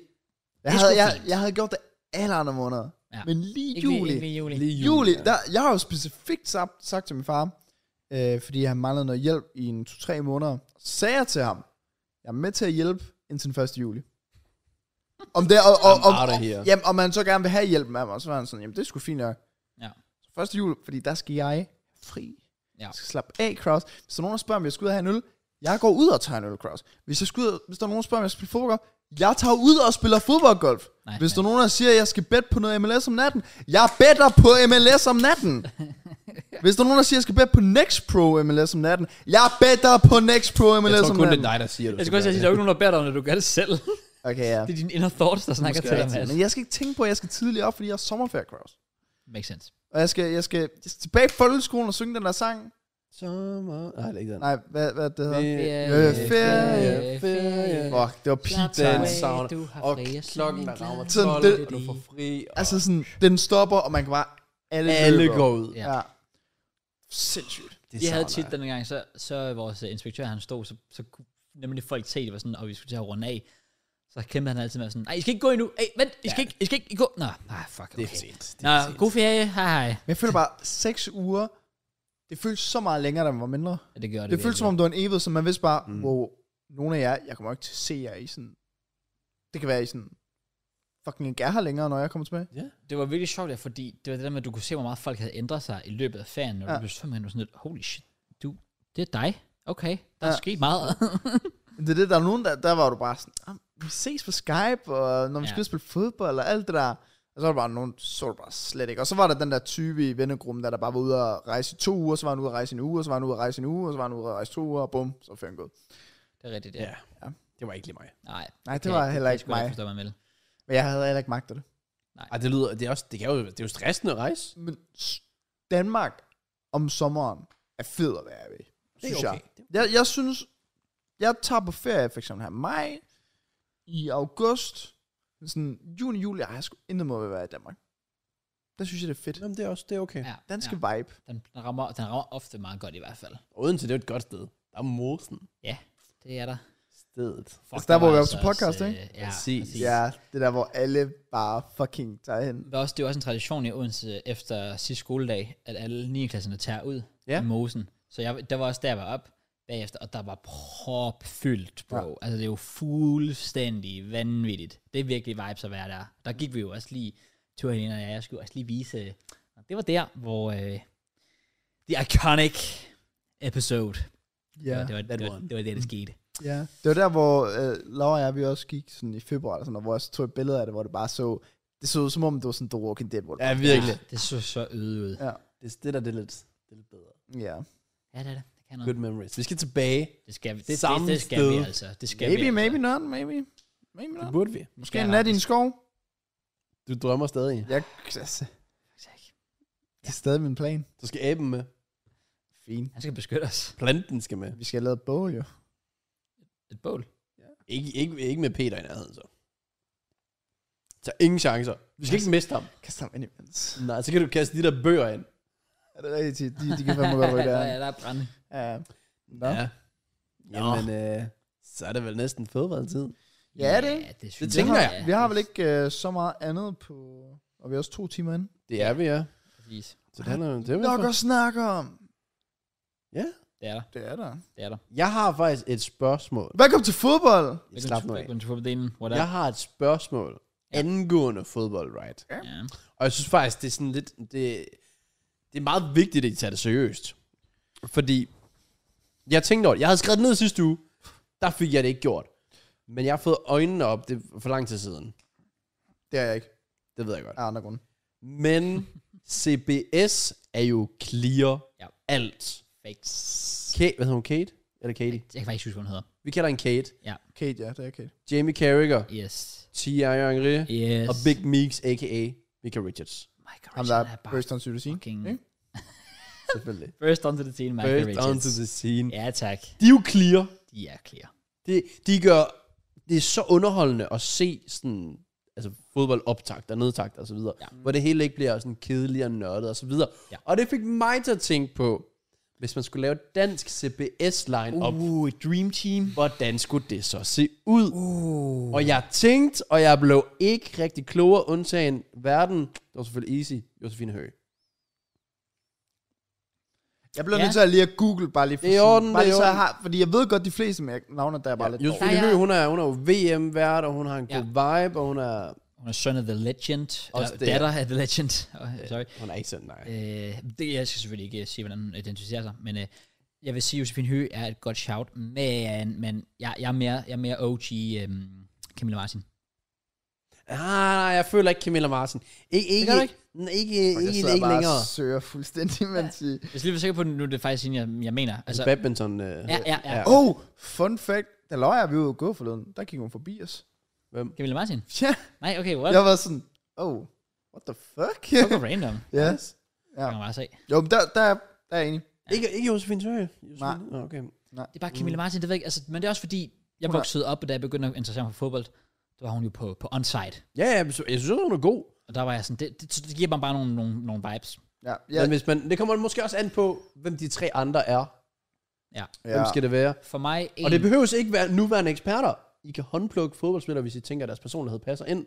Det er
havde,
sgu
jeg,
fint.
jeg havde gjort det alle andre måneder.
Ja.
Ja. Men lige
ikke
juli.
Lige, ikke lige juli.
Lige
juli, der, jeg har jo specifikt sagt, sagt til min far, øh, fordi han manglede noget hjælp i en 2-3 måneder, sagde jeg til ham, jeg er med til at hjælpe indtil den 1. juli. Om det, og, og,
I'm
og,
outta
og,
here.
jamen, om man så gerne vil have hjælpen af mig, så var han sådan, jamen det er sgu fint nok.
Ja.
Så 1. juli, fordi der skal jeg fri.
Ja.
Jeg skal slappe af, Kraus. Hvis der er nogen, der spørger, om jeg skal ud og have en øl, jeg går ud og tager en øl, Kraus. Hvis, jeg skal ud, og- hvis der er nogen, der spørger, om jeg skal spille fodbold, jeg tager ud og spiller fodboldgolf.
Nej,
Hvis
men-
der er nogen, der siger, at jeg skal bet på noget MLS om natten, jeg better på MLS om natten. Hvis der er nogen, der siger, at jeg skal bet på Next Pro MLS om natten, jeg better på Next Pro
Jeg
MLS
tror
om
kun, det
natten.
er dig, der siger det.
Altså, Jeg skal også sige, at der er jo ikke nogen, der beder dig om, at du gør det selv.
Okay, ja.
Det er dine inner thoughts, der snakker til dig,
Måske
Mads.
Men jeg skal ikke tænke på, at jeg skal tidligt op, fordi jeg har sommerferie, Kraus.
Makes sense.
Og jeg skal, jeg skal, jeg skal tilbage på folkeskolen og synge den der sang.
Sommer... Nej, det er ikke den.
Nej, hvad, hvad det hedder?
Ferie, ferie,
ferie,
ferie.
Fuck, det var peak
Den
time.
af.
savner.
Du har
Og
fri, og
klokken, der
sådan
rammer
glad.
12,
Sådan det-
og du får fri. Og
Altså sådan, den stopper, og man kan bare... Alle,
alle
løber.
går ud.
Ja.
Ja. Sindssygt.
Det
Vi havde
savner
tit den gang, så, så vores øh, inspektør, han stod, så, så kunne nemlig folk se, det var sådan, og vi skulle til at runde af. Så kæmpede han altid med sådan, nej, I skal ikke gå endnu. Ej, vent, I skal, ikke, I skal ikke gå. Nå, nej, fuck,
Det
okay.
er sent. Det
Nå,
er sent.
god ferie, hej hej.
Men jeg føler bare, seks uger, det føles så meget længere, da man var mindre.
Ja, det gør det.
Det, det føltes som
virkelig.
om, det var en evighed, så man vidste bare,
Mm.
mm. wow, nogle af jer, jeg kommer ikke til at se jer i sådan... Det kan være i sådan... Fucking ikke er her længere, når jeg kommer tilbage.
Det var virkelig sjovt, ja, fordi det var det der med, at du kunne se, hvor meget folk havde ændret sig i løbet af ferien, når ja.
Ja.
du blev svømme hen, og sådan lidt, holy shit, du, det er dig. Okay, der er
Ja.
sket meget. [laughs]
Men det er det, der er nogen, der, der var du bare sådan, "Ah, vi ses på Skype, og når
Ja.
vi ja. skal ud og spille fodbold, og alt det der. Og så var der bare nogen, så var det bare slet ikke. Og så var der den der type i vennegruppen, der, der bare var ude og rejse i to uger, så var han ude og rejse i en uge, og så var han ude og rejse i en uge, og så var han ude og rejse i to uger, og bum, så var ferien gået.
det er rigtigt, ja.
Ja. Det var ikke lige mig.
Nej,
Nej, det var heller ikke mig.
Forstår, man vel.
Men jeg havde heller ikke magtet det.
Ej, det lyder... Det er, også, det, kan jo, det er jo stressende at rejse.
Men s- Danmark om sommeren er fed at være ved. Synes
okay.
jeg. jeg. Jeg synes, jeg tager på ferie for eksempel her i maj, i august, men sådan juni, juli, ej, jeg skulle intet måde at være i Danmark. Der synes jeg, det er fedt.
Jamen, det er også det er okay.
Ja,
Danske
ja.
ja. vibe.
Den, den, rammer, den rammer ofte meget godt i hvert fald.
Odense, det er jo et godt sted. Der er mosen.
Det er der.
Stedet.
Fuck,
Altså, der, hvor
var
vi er
altså
på podcast,
også,
ikke?
øh, Ja,
Præcis.
præcis. Ja.
Ja, det der, hvor alle bare fucking tager hen.
Det, er også, det er også en tradition i Odense efter sidste skoledag, at alle 9. klasserne tager ud
Ja.
i mosen. Så jeg, der var også der, jeg var op bagefter, og der var propfyldt, bro. Ja. Altså, det er jo fuldstændig vanvittigt. Det er virkelig vibes at være der. Der gik vi jo også lige tur ind, og jeg jeg skulle også lige vise... øh, Det var der, hvor... Øh, the Iconic episode.
Ja,
det, var, det, var,
that
det, var,
one.
det var det, der skete.
ja. Det var der, hvor øh, Laura og jeg, vi også gik sådan i februar, eller sådan, og hvor jeg så tog et billede af det, hvor det bare så, det så ud som om, det var sådan The Walking Dead. Hvor det
Ja,
bare-
virkelig.
Ja, det så så øde ud.
Ja.
Det, er- det der, det er lidt, det er lidt bedre.
ja.
Ja, det er det. Det kan noget.
Good memories. Vi skal tilbage.
Det skal vi. Det,
Samme
det, det skal
sted.
vi altså. Det skal vi
Maybe,
altså.
maybe not, maybe. Maybe
Det
not.
burde vi.
Måske
Ja,
en nat i en skov.
Du drømmer stadig.
Jeg, altså,
Tak.
det er stadig min plan.
Du skal aben med.
Fint.
Han skal beskytte os.
Planten skal med.
Vi skal have lavet et bål, jo.
Et bål.
Ikke, ikke, ikke med Peter i nærheden, så. Så ingen chancer. Vi skal ikke miste ham.
Kast ham ind imens.
Nej, så kan du kaste de der bøger ind.
Er det rigtigt? Thi? De, de kan fandme godt
[laughs]
rykke
der.
der.
Ja, der er brænde.
[laughs] Ja. Nå. Ja.
Jamen, øh, så er det vel næsten fodboldtid.
ja, det er det.
det,
Det
synes
tænker
også,
jeg.
ja.
Vi har vel ikke øh, så meget andet på... Og vi er også to timer inde.
Det er vi, ja.
Præcis.
Så det handler jo det er vel
Nok
for-
at snakke om.
Det er der.
Det er der.
Det er der.
Jeg har faktisk et spørgsmål.
Velkommen til fodbold!
Slap nu af.
Velkommen til fodbolddelen. What
Jeg
up?
har et spørgsmål angående fodbold, right?
Ja.
Og jeg synes faktisk, det er sådan lidt... Det, det er meget vigtigt, at I tager det seriøst. Fordi jeg tænkte over det. Jeg havde skrevet det ned sidste uge. Der fik jeg det ikke gjort. Men jeg har fået øjnene op det er for lang tid siden.
Det er jeg ikke.
Det ved jeg godt.
Af andre grunde.
Men CBS er jo clear
Ja.
alt.
Fake.
Kate, hvad hedder hun? Kate? Eller Katie.
Jeg kan faktisk ikke huske, hvad hun hedder.
Vi kalder hende Kate.
Kate, ja, det er Kate.
Jamie Carragher,
Yes.
T.I. Henry
Yes.
og Big Meeks, a.k.a. Mika Richards.
My God,
Ham,
Ham,
der
er
er
bare
First on Suicide.
fucking...
Ikke?
Selvfølgelig.
First onto the team, Michael
First
Richards.
onto the scene.
Ja, tak.
De er jo clear.
De er clear.
Det, de gør... Det er så underholdende at se sådan... Altså fodboldoptakt og nedtakt og så videre. Ja. Hvor det hele ikke bliver sådan kedeligt og nørdet og så videre.
Ja.
Og det fik mig til at tænke på, hvis man skulle lave et dansk CBS-line-up, uh.
Uh, Dream Team.
hvordan skulle det så se ud? Uh. Og jeg tænkte, og jeg blev ikke rigtig klogere, undtagen verden. Det var selvfølgelig easy, Josefine Høgh.
Jeg blev
Ja.
nødt til at lige at google, bare lige for
Det er i
sådan-
orden,
bare
det er
lige, så
i
jeg har, fordi jeg ved godt de fleste, men jeg navner der er bare
Ja,
lidt dårlige.
Josefine
Ja, ja.
Høgh, hun er, hun er jo VM-vært, og hun har en
Ja.
god vibe, og hun er...
Hun er son of the legend. Eller
det, ja.
datter af the legend. Oh, sorry.
Hun er ikke sådan, nej.
Øh, det, jeg skal selvfølgelig ikke øh, sige, hvordan hun identificerer sig, men øh, jeg vil sige, at Josefine Høgh er et godt shout, men, men jeg, jeg, er mere, jeg er mere OG øhm, Camilla Martin.
Ah, nej, jeg føler ikke Camilla Martin. Ikke, ikke,
gør du
ikke? Ikke, ikke,
Fuck, jeg
ikke,
sidder
ikke
bare
længere.
og søger fuldstændig, mens I...
Jeg skal lige være sikker på, at nu er det faktisk hende, jeg, jeg mener. Altså,
Altså, badminton. Øh,
ja, ja, ja.
Oh, fun fact. Da løg jeg, vi var ude at gå forleden, der gik hun forbi os.
Hvem?
Camilla Martin?
Ja,
Nej, okay, what?
jeg var sådan, oh, what the fuck? [laughs]
Fuck random.
ja.
Ja.
Ja.
Kan man bare se.
Jo, men der, der, der er jeg enig.
Ikke, ikke Josefine Tøje. Josefine- Nå, Okay.
Det er bare Camilla Martin, det ved jeg ikke. Altså, men det er også fordi, jeg
Hun er-
voksede op, og da jeg begyndte at interessere mig for fodbold, der var hun jo på, på onside.
Ja, ja, men så- jeg synes, også, hun er god.
Og der var jeg sådan, det, det, så det giver mig bare nogle, nogle, nogle vibes.
Ja,
Ja.
ja,
Men hvis man, det kommer måske også an på, hvem de tre andre er.
Ja.
ja.
Hvem skal det være?
For mig en...
Og det behøves ikke være nuværende eksperter. I kan håndplukke fodboldspillere, hvis I tænker, at deres personlighed passer ind.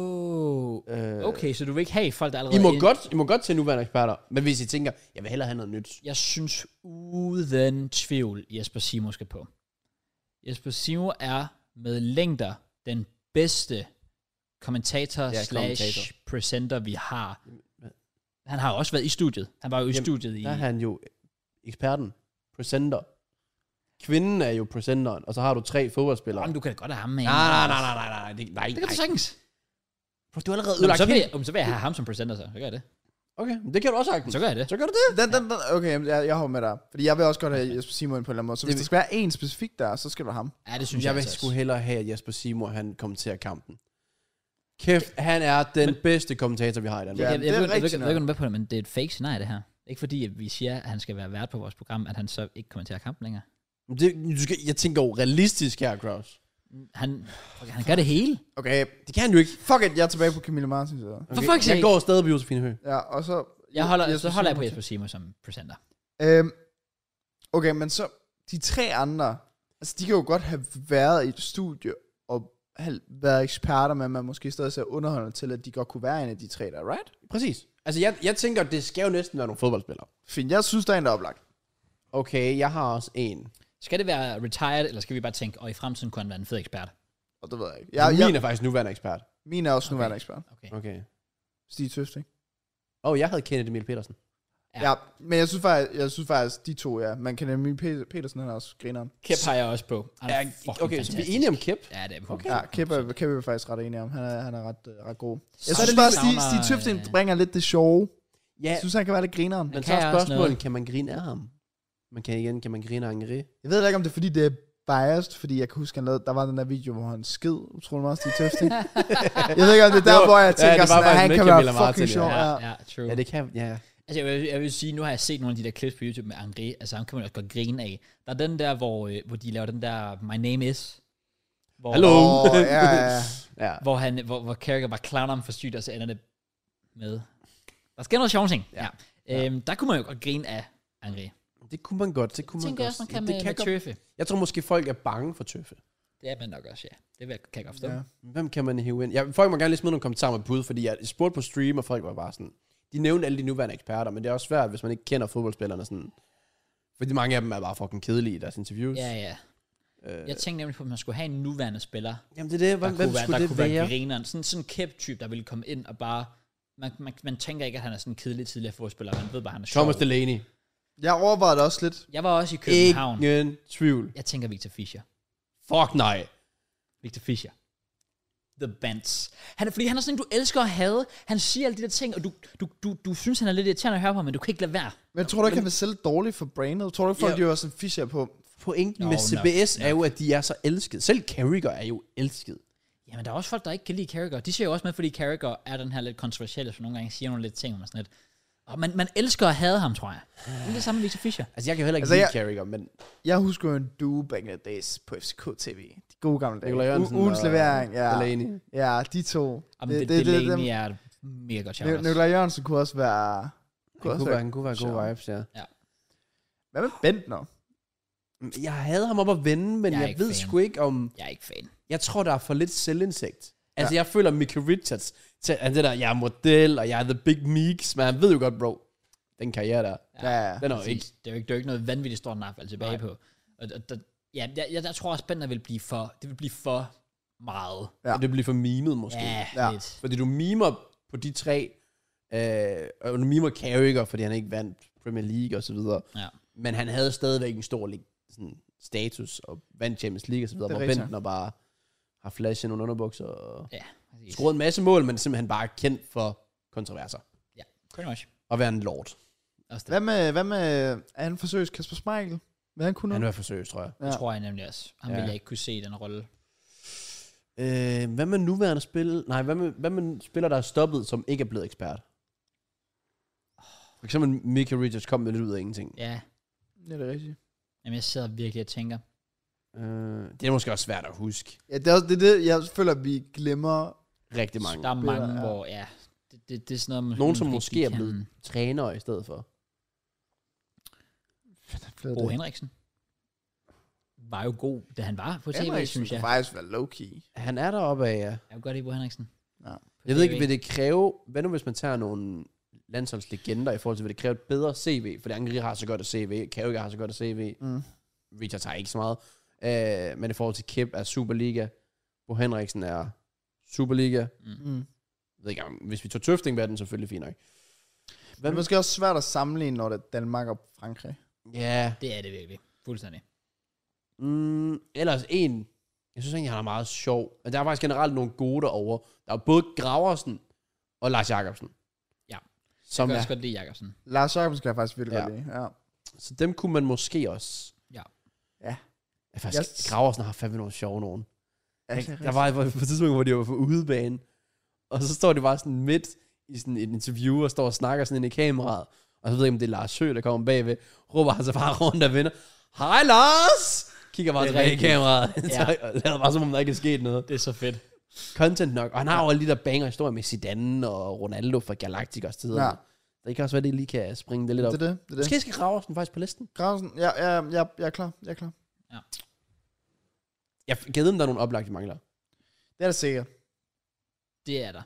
oh,
Øh,
okay, så du vil ikke have folk, der allerede
I må,
er inde-
godt, I må godt til nuværende eksperter, men hvis I tænker, jeg vil hellere have noget nyt.
Jeg synes uden tvivl, Jesper Simo skal på. Jesper Simo er med længder den bedste kommentator ja,
Ja,
slash
kommentator.
presenter, vi har. Han har også været i studiet. Han var jo i
Jamen,
studiet i...
Der er han jo eksperten, presenter. Kvinden er jo presenteren, og så har du tre fodboldspillere.
Jamen, du kan da godt have ham med.
Nej, nej, nej, nej, nej, nej, det, nej,
Det kan du
nej.
sagtens.
Bro, du har allerede
Nå, men
ødelagt
så, vil
hele-
jeg, om, så vil jeg have ham som presenter, så. Så gør jeg det.
Okay, men det kan du også sagtens.
Så gør jeg det.
Så gør du det.
Den, den, den, okay, jamen, jeg, jeg hopper med dig. Fordi jeg vil også godt have Jesper Simon på en eller anden måde. Så hvis
Det-
der skal være en specifik der, så skal det være ham.
Ja, det synes jeg,
Jeg vil
altså
sgu
også.
hellere have, at Jesper Simon han kommenterer kampen. Kæft, han er den bedste kommentator, vi har i Danmark.
Jeg,
Ja,
jeg,
det
jeg,
er
ved- jeg, ved- jeg,
rigtigt
ved- jeg, ved ikke,
nok.
om du er med på det, men det er et fake scenarie, det her. Ikke fordi, at vi siger, at han skal være vært på vores program, at han så ikke kommenterer kampen længere.
Men Det, du skal, jeg tænker jo realistisk her, Kraus.
Han, han gør det hele.
Okay,
Det kan han jo ikke.
fuck it, jeg er tilbage på Camilla Martin. Så.
For fuck's
jeg
sake.
går stadig på Josefine Høgh.
Ja, og så...
Jeg holder, så
Jesper
holder jeg
Simon
på Jesper Simo som presenter.
Øhm, okay, men så de tre andre, altså de kan jo godt have været i et studie og have været eksperter, men man måske stadig ser underholdende til, at de godt kunne være en af de tre der, right?
Præcis. Altså, jeg, jeg tænker, det skal jo næsten være nogle fodboldspillere.
Fint, jeg synes, der er en, der er oplagt.
Okay, jeg har også en.
Skal det være retired, eller skal vi bare tænke, og i fremtiden kunne han være en fed ekspert?
Og det ved jeg ikke.
Ja,
Jeg,
Min
jeg,
er faktisk nuværende ekspert.
min er også nuværende ekspert.
Okay.
Okay.
Stig Tøft, ikke?
Åh, oh, jeg havde Kenneth Emil Petersen.
Ja.
Ja. ja. men jeg synes faktisk, jeg synes faktisk de to, ja. Man kan nemlig Pe- Petersen, han er også grineren.
Kæp har jeg også på. Han er fucking
okay, så vi er
fantastisk.
enige om Kip.
Ja, det er på.
Okay.
Ja, Kæppe, Kæppe er faktisk ret enig om. Han er, han er ret, øh, ret god. Jeg
Så
synes
er det ligesom- øh,
bare,
lige-
Stig, Stig Tøft bringer lidt det sjove.
Ja,
Jeg synes, han kan være lidt grineren.
men
kan
så er
jeg også
spørgsmålet, kan man grine af ham? Man kan igen, kan man grine af Angeri?
Jeg ved da ikke, om det er, fordi det er biased, fordi jeg kan huske, han lavede, der var den der video, hvor han sked utrolig meget Stig Tøfting. jeg ved ikke, om det er der,
Det var-
hvor jeg
ja,
tænker,
det var
ja, sådan,
faktisk
at han
med
kan
Camilla
være fucking
Martin,
sjov.
Ja,
Ja.
ja, true.
Ja, det kan, ja.
Altså, jeg vil, jeg vil sige, nu har jeg set nogle af de der clips på YouTube med Henri, altså ham kan man også godt grine af. Der er den der, hvor, øh, hvor de laver den der My Name Is, hvor,
Hallo?
Åh, ja, ja.
[laughs] ja.
hvor, han, hvor, hvor Carragher bare clowner ham for sygt, og så ender det med, der sker noget sjovt ting. Ja. ja. Øhm, der kunne man jo godt grine af Henri.
Det kunne man godt, det kunne man
Tænker jeg
godt.
også, man kan
Ja,
med,
det
med
godt.
tøffe.
Jeg tror måske, folk er bange for tøffe.
Det er man nok også, ja. Det vil jeg- kan jeg godt forstå.
Ja.
Hvem kan man hive ind? Jeg, folk må gerne lige smide nogle kommentarer med bud, fordi jeg spurgte på stream, og folk var bare sådan... De nævnte alle de nuværende eksperter, men det er også svært, hvis man ikke kender fodboldspillerne sådan... Fordi mange af dem er bare fucking kedelige i deres interviews.
Ja, ja. Øh, jeg tænkte nemlig på, at man skulle have en nuværende spiller, der
Jamen det er det, hvem, hvem
kunne være,
skulle
der
det
kunne være
være?
grineren. Sådan, sådan en kæp type, der ville komme ind og bare... Man, man, man tænker ikke, at han er sådan en kedelig tidligere forspiller. Man ved bare, at han er sjov.
Thomas Delaney.
Jeg overvejede det også lidt.
Jeg var også i København. Ikke.
Ingen tvivl.
Jeg tænker Victor Fischer.
Fuck nej.
Victor Fischer. The Bands. Han er, fordi han er sådan en, du elsker at have. Han siger alle de der ting, og du, du, du, du synes, han er lidt irriterende at høre på, men du kan ikke lade være.
Men jeg tror du ikke, han vil sælge dårligt for brandet? Tror du ikke, folk
Ja.
yeah. var sådan fischer på?
pointen
Nå,
med
nok,
CBS
nok.
er jo, at de er så elskede. Selv Carragher er jo elsket.
Jamen, der er også folk, der ikke kan lide Carragher. De ser jo også med, fordi Carragher er den her lidt kontroversielle, som nogle gange siger nogle lidt ting om sådan lidt. Og man, man elsker at hade ham, tror jeg. Det er det samme med Victor Fischer.
Altså, jeg kan jo heller ikke
Altså,
altså, lide
jeg-
Carragher, men
Jeg husker jo en duo back in the days på FCK TV. De gode gamle dage.
Nikolaj Jørgensen
U- ugens
og
levering, ja.
Delaney.
Ja, de to.
Jamen, det, det, det, det, det, er et mega godt shout
dem. Nikolaj Jørgensen kunne også være... Kunne
han
også
kunne, være,
være.
han kunne være gode
sjov.
vibes, ja.
Hvad med Bentner?
Mm, Jeg havde ham op at vende, men
Jeg er
jeg, jeg
ikke
ved
fan.
sgu ikke om...
Jeg er ikke fan.
Jeg tror, der er for lidt selvindsigt. Altså, jeg føler Mickey Richards til at det der, jeg er model, og jeg er the big meeks, men han ved jo godt, bro, den karriere der,
Ja, ja.
den er jo
Præcis.
ikke...
Det er jo ikke, det er jo ikke noget vanvittigt stort nap at tilbage på. Og, og der, ja, jeg, jeg, jeg, tror også, Bender vil blive for, det vil blive for meget.
Ja.
Ja. Det bliver for mimet, måske.
Ja,
Ja.
ja. lidt.
Fordi du mimer på de tre, øh, og du mimer Carragher, fordi han ikke vandt Premier League og så videre.
Ja.
Men han havde stadigvæk en stor lig- sådan, status, og vandt Champions League og så videre,
Det er
hvor
rigtigt.
Bentner bare har flashet nogle underbukser og
Ja, præcis.
scoret en masse mål, men simpelthen bare er kendt for kontroverser
Ja, pretty much.
og være en lord.
Også det.
Hvad med, hvad med... Er han forsøgs Kasper Smeichel? Hvad han kunne
Han
nu?
var for seriøs, tror jeg.
Det
Ja.
tror jeg nemlig også. Han
Ja.
ja. vil jeg ikke kunne se i den rolle.
Øh, hvad med nuværende spil? Nej, hvad med, hvad med spillere, der er stoppet, som ikke er blevet ekspert? For eksempel Mickey Richards kom med lidt ud af ingenting.
Ja,
Ja, det er rigtigt.
Jamen, jeg sidder virkelig og tænker.
Øh, det er måske også svært at huske
Ja, det er også det, er det, jeg føler, at vi glemmer.
rigtig mange.
Der er mange,
spillere, ja.
hvor ja, det, det, det er sådan noget, man
Nogen, som
man
måske er
kan-
blevet trænere i stedet for.
Bo Henriksen var jo god, da han var på tv,
Henriksen
synes jeg.
kunne faktisk være low-key.
Han er deroppe af, ja.
Jeg kunne godt lide Bo Henriksen.
Ja.
På
Jeg ved
TV.
ikke, vil det kræve... Hvad nu, hvis man tager nogle landsholdslegender i forhold til, vil det kræve et bedre CV? Fordi Angri har så godt et CV, Kavika har så godt et CV,
Mm.
Richard har ikke så meget. Øh, men i forhold til Kip er Superliga, Bo Henriksen er Superliga. Jeg
Mm.
ved ikke, om- hvis vi tog Tøfting, var den selvfølgelig fint nok.
Men det er måske også svært at sammenligne, når det er Danmark og Frankrig.
Ja.
Det er det virkelig. Fuldstændig.
Mm, ellers en, jeg synes egentlig, han er meget sjov. Men Der er faktisk generelt nogle gode derovre. Der er både Graversen og Lars Jacobsen.
Ja. Jeg
Som
kan
er,
også godt lide Jakobsen.
Lars Jørgensen kan jeg faktisk virkelig
Ja.
ja. godt lide. Ja.
så dem kunne man måske også...
Ja.
Ja.
Ja, faktisk,
Jeg-
yes. Graversen har fandme nogle sjove nogen.
Ja, det er
der var på et tidspunkt, hvor de var på udebane, og så står de bare sådan midt i sådan et interview, og står og snakker sådan ind i kameraet, og så ved jeg ikke, om det er Lars Sø, der kommer bagved, råber han så bare [laughs] rundt og vender, Hej Lars! Kigger bare
Det er
tilbage i
rigtigt.
kameraet, [laughs]
Ja.
og lader bare som om, der ikke er sket noget.
Det er så fedt.
Content nok, og han har jo alle de der banger historier med Zidane og Ronaldo fra Galacticos tider.
Ja.
Ja. Det kan også være, det lige kan springe det lidt op.
det, er
Det, det.
det, det, er det.
Måske skal Graversen faktisk på listen.
Grausen, ja, ja, ja, jeg er klar, jeg er klar.
Jeg gæder, om der er nogle oplagte mangler.
Det er det sikkert.
Det er der.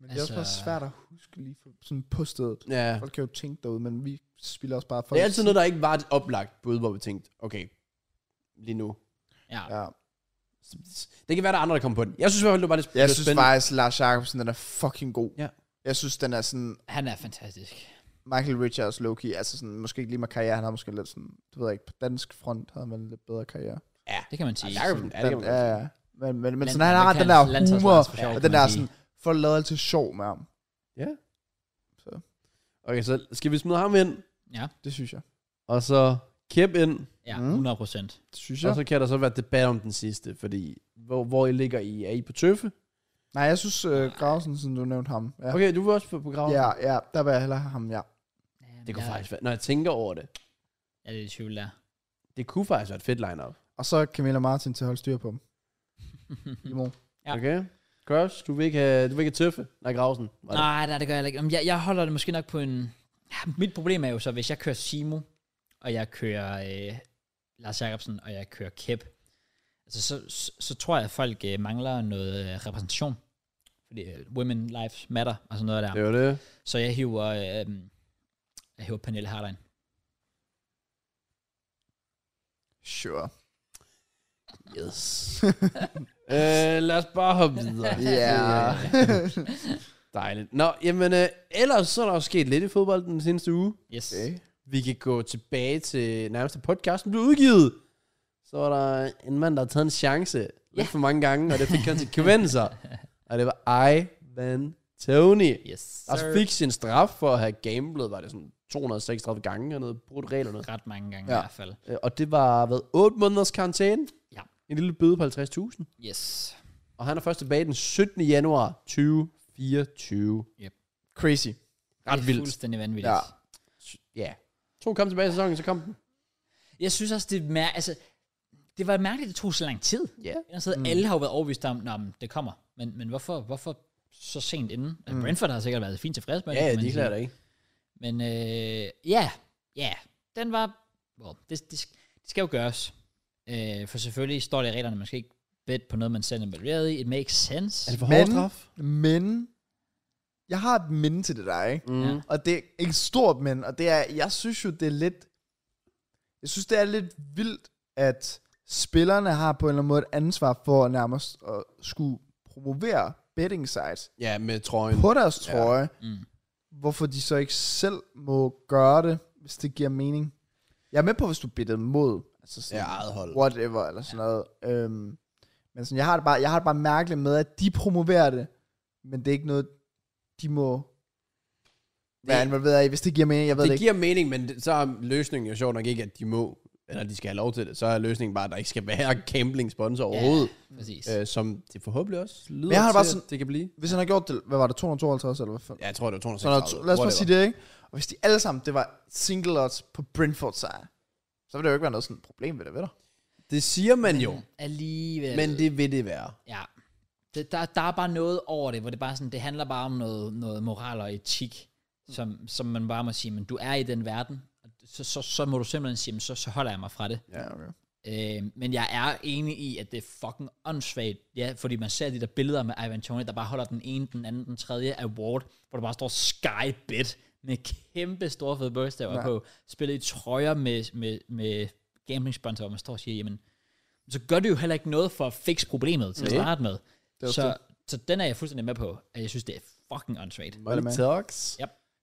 Men det er også
Altså-
bare svært at huske lige for, sådan på stedet.
Ja.
Folk kan jo tænke derude, men vi spiller også bare for...
Det er altid noget, der ikke var et oplagt bud, hvor vi tænkte, okay, lige nu.
Ja.
Ja.
Det kan være, der er andre, der kommer på den. Jeg synes i hvert fald, det var lidt
Jeg
lidt
synes faktisk, Lars Jacobsen, den er fucking god.
Ja.
Jeg synes, den er sådan
Han er fantastisk.
Michael Richards Loki, altså sådan, måske ikke lige med karriere, han har måske lidt sådan, du ved jeg ikke, på dansk front havde man en lidt bedre karriere.
Det kan man sige.
Ja, Jacobsen, ja, det kan man
ja,
godt
ja. Men, men, men
Land-
sådan, han har den der
landsholds-
humor,
landsholdslands for sjov,
og
kan
den
man
der
sige.
sådan, folk lavede altid sjov med ham.
sige. Okay, så skal vi smide ham ind,
Det synes jeg.
og så Kip ind,
Ja,
Mm.
100 procent.
Det synes
og
jeg.
så kan der så være debat om den sidste, fordi hvor, hvor I ligger I? Er I på tøffe?
Nej, jeg synes, uh, Grausen, siden du nævnte ham. Ja.
Okay, du var også på, på graven.
ja, ja, der vil jeg hellere have ham, ja.
Det kunne
ja,
faktisk være, når jeg tænker over det,
Ja, det er i tvivl der.
det kunne faktisk være et fedt line-up.
Og så Camilla Martin til at holde styr på dem.
[laughs]
I morgen.
Ja.
Okay? Crush, du vil ikke have, du vil ikke have tøffe? Nej, Grausen. var det.
Nej, nej, det gør jeg heller ikke. Jamen, Jeg, jeg holder det måske nok på en... Ja, mit problem er jo så, hvis jeg kører Simo, og jeg kører øh, Lars Jacobsen, og jeg kører Kæp, altså, så, så, så tror jeg, at folk øh, mangler noget øh, repræsentation. Fordi øh, women lives matter, og sådan noget der.
Det var det.
Så jeg hiver, øh, jeg hiver Pernille Harder ind.
Sure.
Yes. [laughs] øh, lad os bare hoppe [laughs] videre.
[laughs] Ja.
Dejligt. Nå, jamen, øh, ellers så er der jo sket lidt i fodbold den seneste uge.
Yes.
Okay.
Vi kan gå tilbage til nærmeste podcasten blev udgivet. Så var der en mand, der havde taget en chance lidt for mange gange, og det fik
[laughs]
konsekvenser. og det var Ivan Tony.
Yes.
Der fik sin straf for at have gamblet, var det sådan 236 gange, eller noget, brudt reglerne.
Ret mange gange ja.
Ja.
i hvert fald.
Øh, Og det var, hvad, 8 måneders karantæne?
Ja.
En lille bøde på 50.000.
Yes.
Og han er først tilbage den 17. januar 2024.
Crazy.
Ret det er
vildt.
fuldstændig vanvittigt. Ja.
Ja.
Ja. To kom tilbage i sæsonen, så kom den.
Jeg synes også, det er mær- altså, det var mærkeligt, det tog så lang tid.
Ja.
Altså, mm. Alle har jo været overbevist om, at det kommer. Men, men hvorfor, hvorfor så sent inden? Mm. Brentford har sikkert været fint tilfreds med
Ja,
kan man
de er
sige.
klart ikke.
Men øh, ja, ja, den var, well, det, det, det skal jo gøres. Øh, for selvfølgelig står det i reglerne, man skal ikke bet på noget, man selv er involveret i. It makes sense.
Er det for
Men-
hård straf?
Men, jeg har et minde til det der, ikke?
Mm.
Ja.
Ja.
Og det er ikke stort, men, og det er, jeg synes jo, det er lidt, jeg synes, det er lidt vildt, at spillerne har på en eller anden måde et ansvar for nærmest at skulle promovere betting sites
ja, med trøjen.
på deres trøje, ja.
Mm.
hvorfor de så ikke selv må gøre det, hvis det giver mening. Jeg er med på, hvis du bittede mod, altså sådan,
Ja, eget hold.
whatever, eller sådan noget. Øhm, men sådan, jeg, har det bare, jeg har det bare mærkeligt med, at de promoverer det, men det er ikke noget, de må være involveret i, hvis det giver mening. Jeg ved det,
Det
ikke.
giver mening, men det- så er løsningen jo sjovt nok ikke, at de må, eller de skal have lov til det. Så er løsningen bare, at der ikke skal være [laughs] gambling-sponsor overhovedet.
Ja, præcis.
Øh, som det forhåbentlig også lyder
Men jeg har det bare
til,
sådan-
at det kan blive.
Hvis han har gjort det, hvad var det, 252 eller hvad fanden?
Ja, jeg tror, det var
Så der, er
236.
to- lad os bare
whatever.
sige det, ikke? Og hvis de alle sammen, det var single odds på Brentford sejr, så ville det jo ikke være noget sådan et problem ved det, ved du?
Det siger man jo,
Alligevel.
men det vil det være.
Ja. Det, der, der er bare noget over det, hvor det bare sådan, det handler bare om noget, noget moral og etik, som, som man bare må sige, men du er i den verden, og så, så, så må du simpelthen sige, "Men så, så holder jeg mig fra det.
Ja, okay.
Øh, men jeg er enig i, at det er fucking åndssvagt, ja, fordi man ser de der billeder med Ivan Tony, der bare holder den ene, den anden, den tredje award, hvor der bare står Sky Bet med kæmpe store fede bogstaver
Ja.
på, spillet i trøjer med, med, med gambling-sponsorer, hvor man står og siger, jamen, så gør det jo heller ikke noget for at fikse problemet til at
Nej.
starte med.
er jo
Så, så den er jeg fuldstændig med på, at jeg synes, det er fucking åndssvagt.
Money
talks.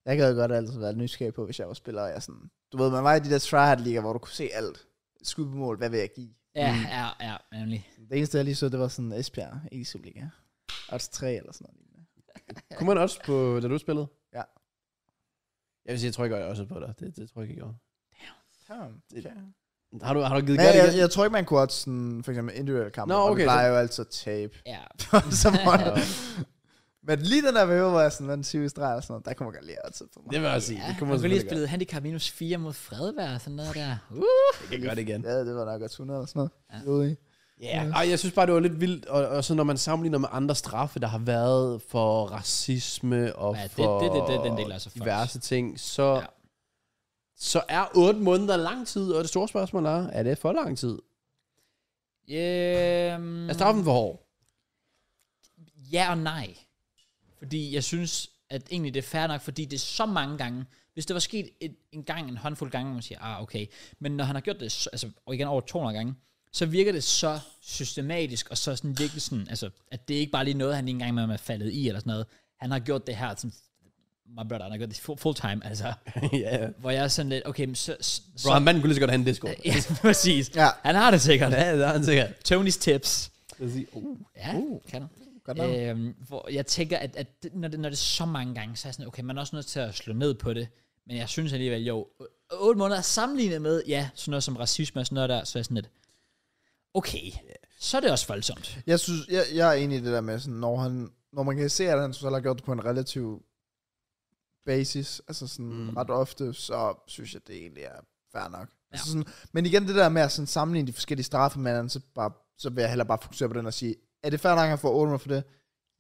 Jeg gad godt altid været nysgerrig på, hvis jeg var spiller, og jeg sådan... Du ved, man var i de der tryhard liga, hvor du kunne se alt. Skud på mål, hvad vil jeg give? Mm.
Ja, ja, ja, nemlig.
Det eneste, jeg lige så, det var sådan Esbjerg, ikke Superliga. Odds 3 eller sådan noget. lignende.
Kunne man også på, da du spillede?
Ja.
Jeg vil sige, jeg tror ikke, jeg også på dig. Det, det tror jeg ikke, jeg gjorde.
Okay.
Har du, har du givet
Men
gas
jeg, jeg,
igen?
jeg, tror ikke, man kunne odds sådan, for eksempel individuelle kampe,
Nå,
og
okay,
vi plejer jo altid at tabe. [laughs]
Ja,
så meget. Men lige den der periode, hvor jeg sådan vandt 20 streger og sådan noget, der kunne man godt lige odds på mig.
Det vil jeg sige.
ja
det kunne
man
man
kunne lige
selvfølgelig gøre.
spille handicap minus 4 mod Fredberg og sådan noget der. Uh.
Jeg kan gøre det igen.
Ja, det var nok også 100 eller sådan
Ja.
noget. Ja.
Uh.
Ja, yeah. jeg synes bare, det var lidt vildt, og, og så når man sammenligner med andre straffe, der har været for racisme og
Ja, det-
for
det- det- det- den del er så fucked.
diverse ting, så,
Ja.
ja. så er otte måneder lang tid, og det store spørgsmål er, er det for lang tid?
Yeah. Mm.
Er straffen for hård?
Øhm,
[laughs]
Ja og nej. Fordi jeg synes, at egentlig det er fair nok, fordi det er så mange gange. Hvis det var sket et, en gang, en håndfuld gange, hvor man siger, ah, okay. Men når han har gjort det, så- altså og igen over 200 gange, så virker det så systematisk, og så sådan virkelig sådan, altså, at det er ikke bare lige noget, han ikke engang med er faldet i, eller sådan noget. Han har gjort det her, sådan, my brother, han har gjort det fu- full time, altså.
ja.
Hvor jeg er sådan lidt, okay, men så... så,
Bro, han manden kunne lige så godt have en disco.
[laughs] ja, præcis.
Ja.
Han har det sikkert.
Ja, det er han sikkert.
Tonys tips.
Uh.
Ja, uh, kan han.
Godt nok.
Øhm, hvor jeg tænker, at, at det, når, det, når det er så mange gange, så er jeg sådan, okay, man er også nødt til at slå ned på det. Men jeg synes alligevel, jo, 8 måneder sammenlignet med, ja, sådan noget som racisme og sådan noget der, så er jeg sådan lidt, okay, så er det også voldsomt.
Jeg, synes, jeg, jeg er enig i det der med, sådan, når, han, når man kan se, at han selv har gjort det på en relativ basis, altså sådan
Mm.
mm. ret ofte, så synes jeg, det egentlig er fair nok. Ja. Altså
Ja.
sådan, men igen, det der med at sådan sammenligne de forskellige straffe med hinanden, så, bare, så vil jeg hellere bare fokusere på den og sige, er det fair nok, at han får 8 for det?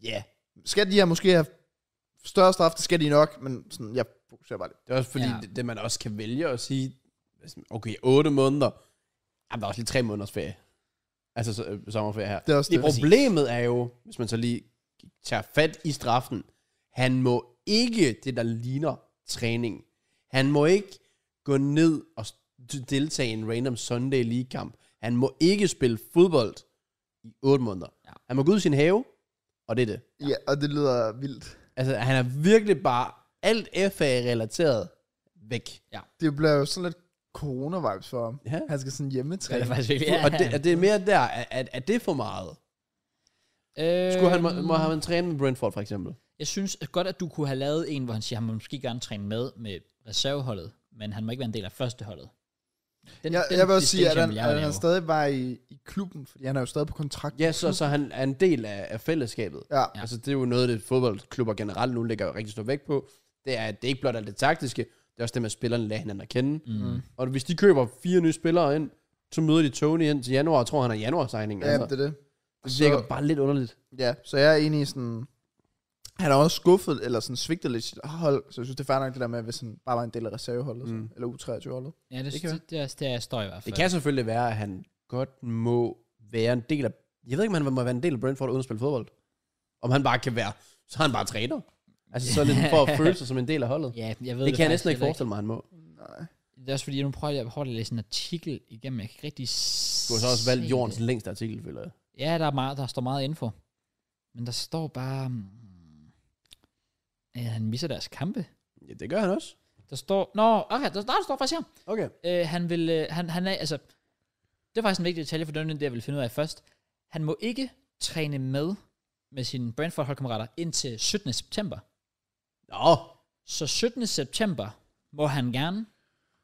Ja. Yeah. Skal de her måske have større straf? Det skal de nok, men sådan, jeg fokuserer bare lidt.
Det er også fordi,
Ja.
ja. det, det man også kan vælge at sige, altså, okay, 8 måneder, jamen, der er også lige 3 måneders ferie. Altså så, øh, sommerferie her.
Det er også
Det
det.
præcis.
problemet er jo, hvis man så lige tager fat i straffen, han må ikke det, der ligner træning. Han må ikke gå ned og s- d- deltage i en random Sunday League-kamp. Han må ikke spille fodbold i 8 måneder.
Ja.
Ja. Han må gå ud i sin have, og det er det.
Ja, og det lyder vildt.
Altså, han er virkelig bare alt FA-relateret væk.
Det bliver jo sådan lidt corona-vibes for ham.
Ja.
Han skal sådan
Det er
hjemmetræne.
det faktisk virkelig.
Ja. Og det, at det er mere der, at, at, at det er for meget.
øh,
Skulle han, må, må han træne med Brentford, for eksempel?
Jeg synes godt, at du kunne have lavet en, hvor han siger, at han må måske gerne træne med, med reserveholdet, men han må ikke være en del af førsteholdet. Den,
Jeg, jeg vil også sige,
distinction
at han,
vil jeg jo
at han
lave.
stadig var i, i klubben, fordi han er jo stadig på kontrakt.
Ja, så, så han er en del af, af fællesskabet.
Ja.
Ja.
Ja. Altså, det er jo noget, det fodboldklubber generelt nu lægger rigtig stor vægt på. Det er, at det ikke blot er det taktiske, det er også det med, at spillerne lader hinanden at kende. Mm. Og hvis de køber fire nye spillere ind, så møder de Tony ind til januar, og tror, han er januar-signing. altså.
ja, det er det.
det virker bare lidt underligt.
Ja, så jeg er enig i sådan... Han er også skuffet, eller sådan svigtet lidt sit hold, så jeg synes, det er fair nok det der med, hvis han bare var en del af reserveholdet, mm. eller U23-holdet.
Ja, det,
Det
det,
kan
det, det, er- det, er jeg står i hvert fald.
Det kan selvfølgelig være, at han godt må være en del af... Jeg ved ikke, om han må være en del af Brentford uden at spille fodbold. Om han bare kan være... Så er han bare træner. Altså sådan lidt
[laughs]
for at føle sig som en del af holdet.
Ja, jeg ved
det kan jeg
faktisk
næsten ikke
heller
forestille mig, han må.
Nej.
Det er også fordi, nu prøver jeg hårdt at læse en artikel igennem. Jeg kan ikke rigtig
Du har så også valgt jordens længste artikel, føler jeg.
Ja, der, er meget, der står meget info. Men der står bare... mm, At han misser deres kampe.
Ja, det gør han også.
Der står... Nå, okay, der, der står faktisk her.
Okay.
Øh, han vil... Øh, han, han er, altså, det er faktisk en vigtig detalje for den, det jeg vil finde ud af først. Han må ikke træne med med sine Brentford-holdkammerater indtil 17. september.
Nå,
Så 17. september må han gerne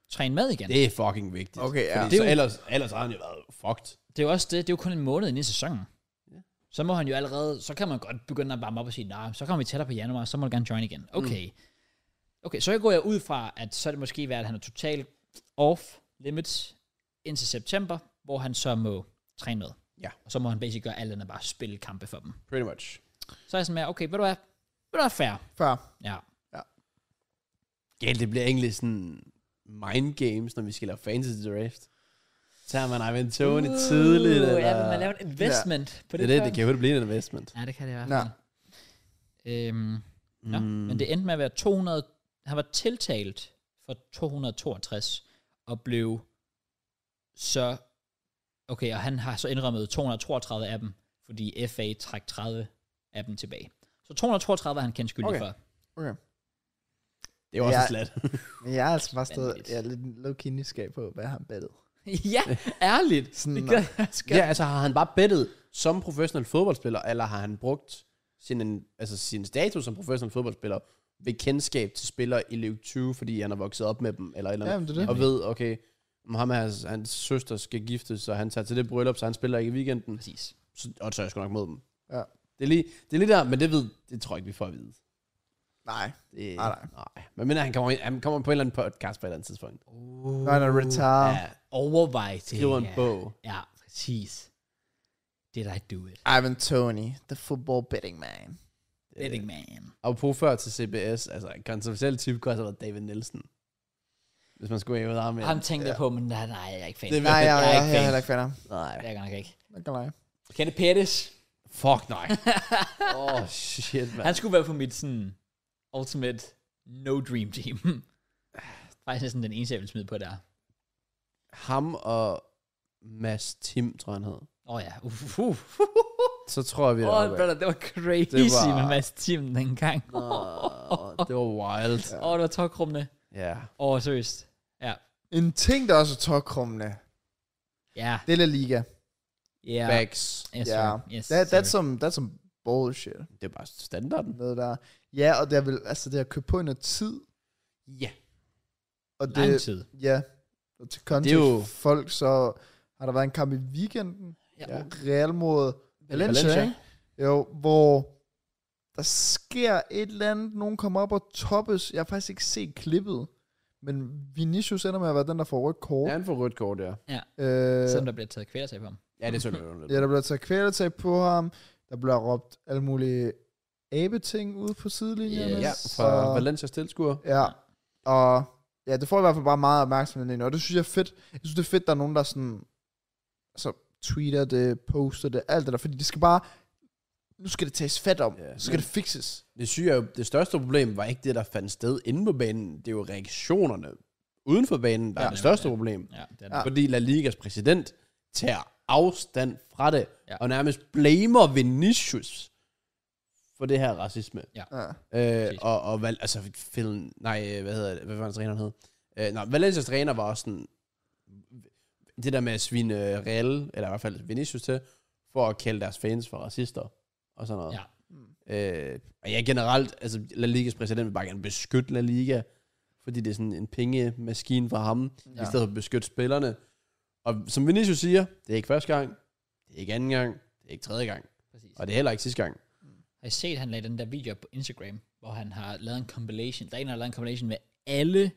træne med igen. Det,
det er fucking vigtigt.
Okay, ja.
Fordi
Det er
så
jo-
ellers, ellers har han jo været fucked.
det er jo også det. Det er jo kun en måned ind i sæsonen. Så må han jo allerede... Så kan man godt begynde at varme op og sige, nej, så kommer vi tættere på januar, så må du gerne join igen. Okay. Mm. Okay, så jeg går jeg ud fra, at så er det måske være, at han er totalt off limits indtil september, hvor han så må træne med.
Ja.
Og så må han basically gøre alt andet bare spille kampe for dem.
Pretty much.
Så er jeg sådan med, okay, ved du hvad? Ved du hvad, fair.
Før.
Ja.
Ja, det bliver egentlig sådan mind games, når vi skal lave fantasy draft. Tager man Ivan Tony tidligt,
Uh,
eller...
Ja, men man laver en investment ja. på
det
det.
er det, det kan jo hurtigt blive en investment.
Ja, det kan det i hvert
Nå.
fald. Øhm, Nå,
Mm.
Mm.
men det endte med at være 200... Han var tiltalt for 262 og blev så... Okay, og han har så indrømmet 232 af dem, fordi FA trak 30 af dem tilbage. Så 232 er han kendt skyldig
Okay.
okay. for. [laughs]
Okay.
Det er jo også
Ja.
ja. slat.
Men jeg er altså bare stadig
Vanvittigt.
jeg er lidt low-key nysgerrig på, hvad han bettet.
ja, ærligt.
Sådan,
det gør jeg sgu.
[laughs] ja, altså har han bare bettet som professionel fodboldspiller, eller har han brugt sin, altså, sin status som professionel fodboldspiller ved kendskab til spillere i Ligue 20, fordi han har vokset op med dem, eller et eller andet,
Jamen, det er det.
og ved, okay, om ham og hans, hans søster skal giftes, så han tager til det bryllup, så han spiller ikke i weekenden,
Præcis.
så, og så er jeg sgu nok mod dem.
Ja.
Det er lige, det er lige der, men det ved, det tror jeg ikke, vi får at vide.
Nej.
Det,
Nej, nej.
nej. Men mindre han kommer, ind- han kommer på en eller anden podcast på et eller andet tidspunkt.
Når han er retard.
Ja,
Overvej det.
skriver en
her.
bog.
Ja, præcis. Did I do it?
Ivan Tony, the football betting man.
Betting man.
Og på før til CBS, altså en kontroversiel type kunne også have været David Nielsen. Hvis man skulle have været ham.
Ham tænkte jeg på, men nej, nej, jeg er ikke fan.
Det
Det
er
Nej, jeg,
jeg
jeg,
er
jeg,
ikke
jeg er
fan.
heller ikke fan af ham.
Nej.
er jeg godt nok ikke.
Jeg kan lege.
Kende Pettis.
Fuck nej. Åh, oh, shit, man.
Han skulle være på mit sådan ultimate no dream team. [laughs] Faktisk næsten den eneste, jeg vil smide på der.
Ham og Mads Tim, tror jeg, han hed.
Åh oh, ja, uff, uff.
Så tror jeg, vi er
Åh,
deroppe af.
brother, det var crazy
Det
det
var-
var... med Mads Tim dengang. [laughs] Åh,
Åh, det var wild.
oh, det var tokrummende.
Ja.
Åh, oh, seriøst. Ja.
En ting, der også er tokrummende,
Ja.
det er La Liga.
Ja.
Facts.
Yes,
Ja.
sir. Yes,
That,
sir.
that's, some, that's some bullshit.
Det er bare standarden.
Noget der. Ja, og det er vel, altså det har købt på i noget tid.
Ja.
Og det,
Lang tid.
Ja. Og til kontekst
Det er jo-
folk, så har der været en kamp i weekenden.
Ja.
Ja. Real mod Valencia,
Valencia.
Valencia. Jo, hvor der sker et eller andet. Nogen kommer op og toppes. Jeg har faktisk ikke set klippet. Men Vinicius ender med at være den, der får rødt kort.
Ja, han får rødt kort, ja.
Øh,
Selvom der bliver taget kvælertag på ham.
Ja, det tror jeg,
ja, der bliver taget kvælertag på ham. Der bliver råbt alle mulige abeting ude på sidelinjen.
Yes.
Ja, fra Valencias tilskuer.
Ja, og ja, det får i hvert fald bare meget opmærksomhed lige nu, og det synes jeg er fedt. Jeg synes, det er fedt, der er nogen, der sådan, altså, tweeter det, poster det, alt det der, fordi det skal bare, nu skal det tages fat om,
Ja.
yeah. så skal det fixes.
Det syge er jo, det største problem var ikke det, der fandt sted inde på banen. Det er jo reaktionerne uden for banen, der ja, er det største problem.
Ja, det er
Ja.
det.
Fordi La Ligas præsident tager afstand fra det,
Ja.
ja. og nærmest blamer Vinicius for det her racisme.
Ja.
Øh,
Præcis.
og, og val, altså, film, nej, øh, hvad hedder det, hvad var hans træner, han hed? Øh, nej, Valencias træner var også sådan, det der med at svine øh, Real, eller i hvert fald Vinicius til, for at kalde deres fans for racister, og sådan noget.
Ja.
Øh, og ja, generelt, altså La Ligas præsident vil bare gerne beskytte La Liga fordi det er sådan en pengemaskine for ham, ja. i
Ja.
stedet for at beskytte spillerne. Og som Vinicius siger, det er ikke første gang, det er ikke anden gang, det er ikke tredje gang,
Præcis.
og det er heller ikke sidste gang.
Har I set, han lagde den der video op på Instagram, hvor han har lavet en compilation, der er en, der har lavet en compilation med alle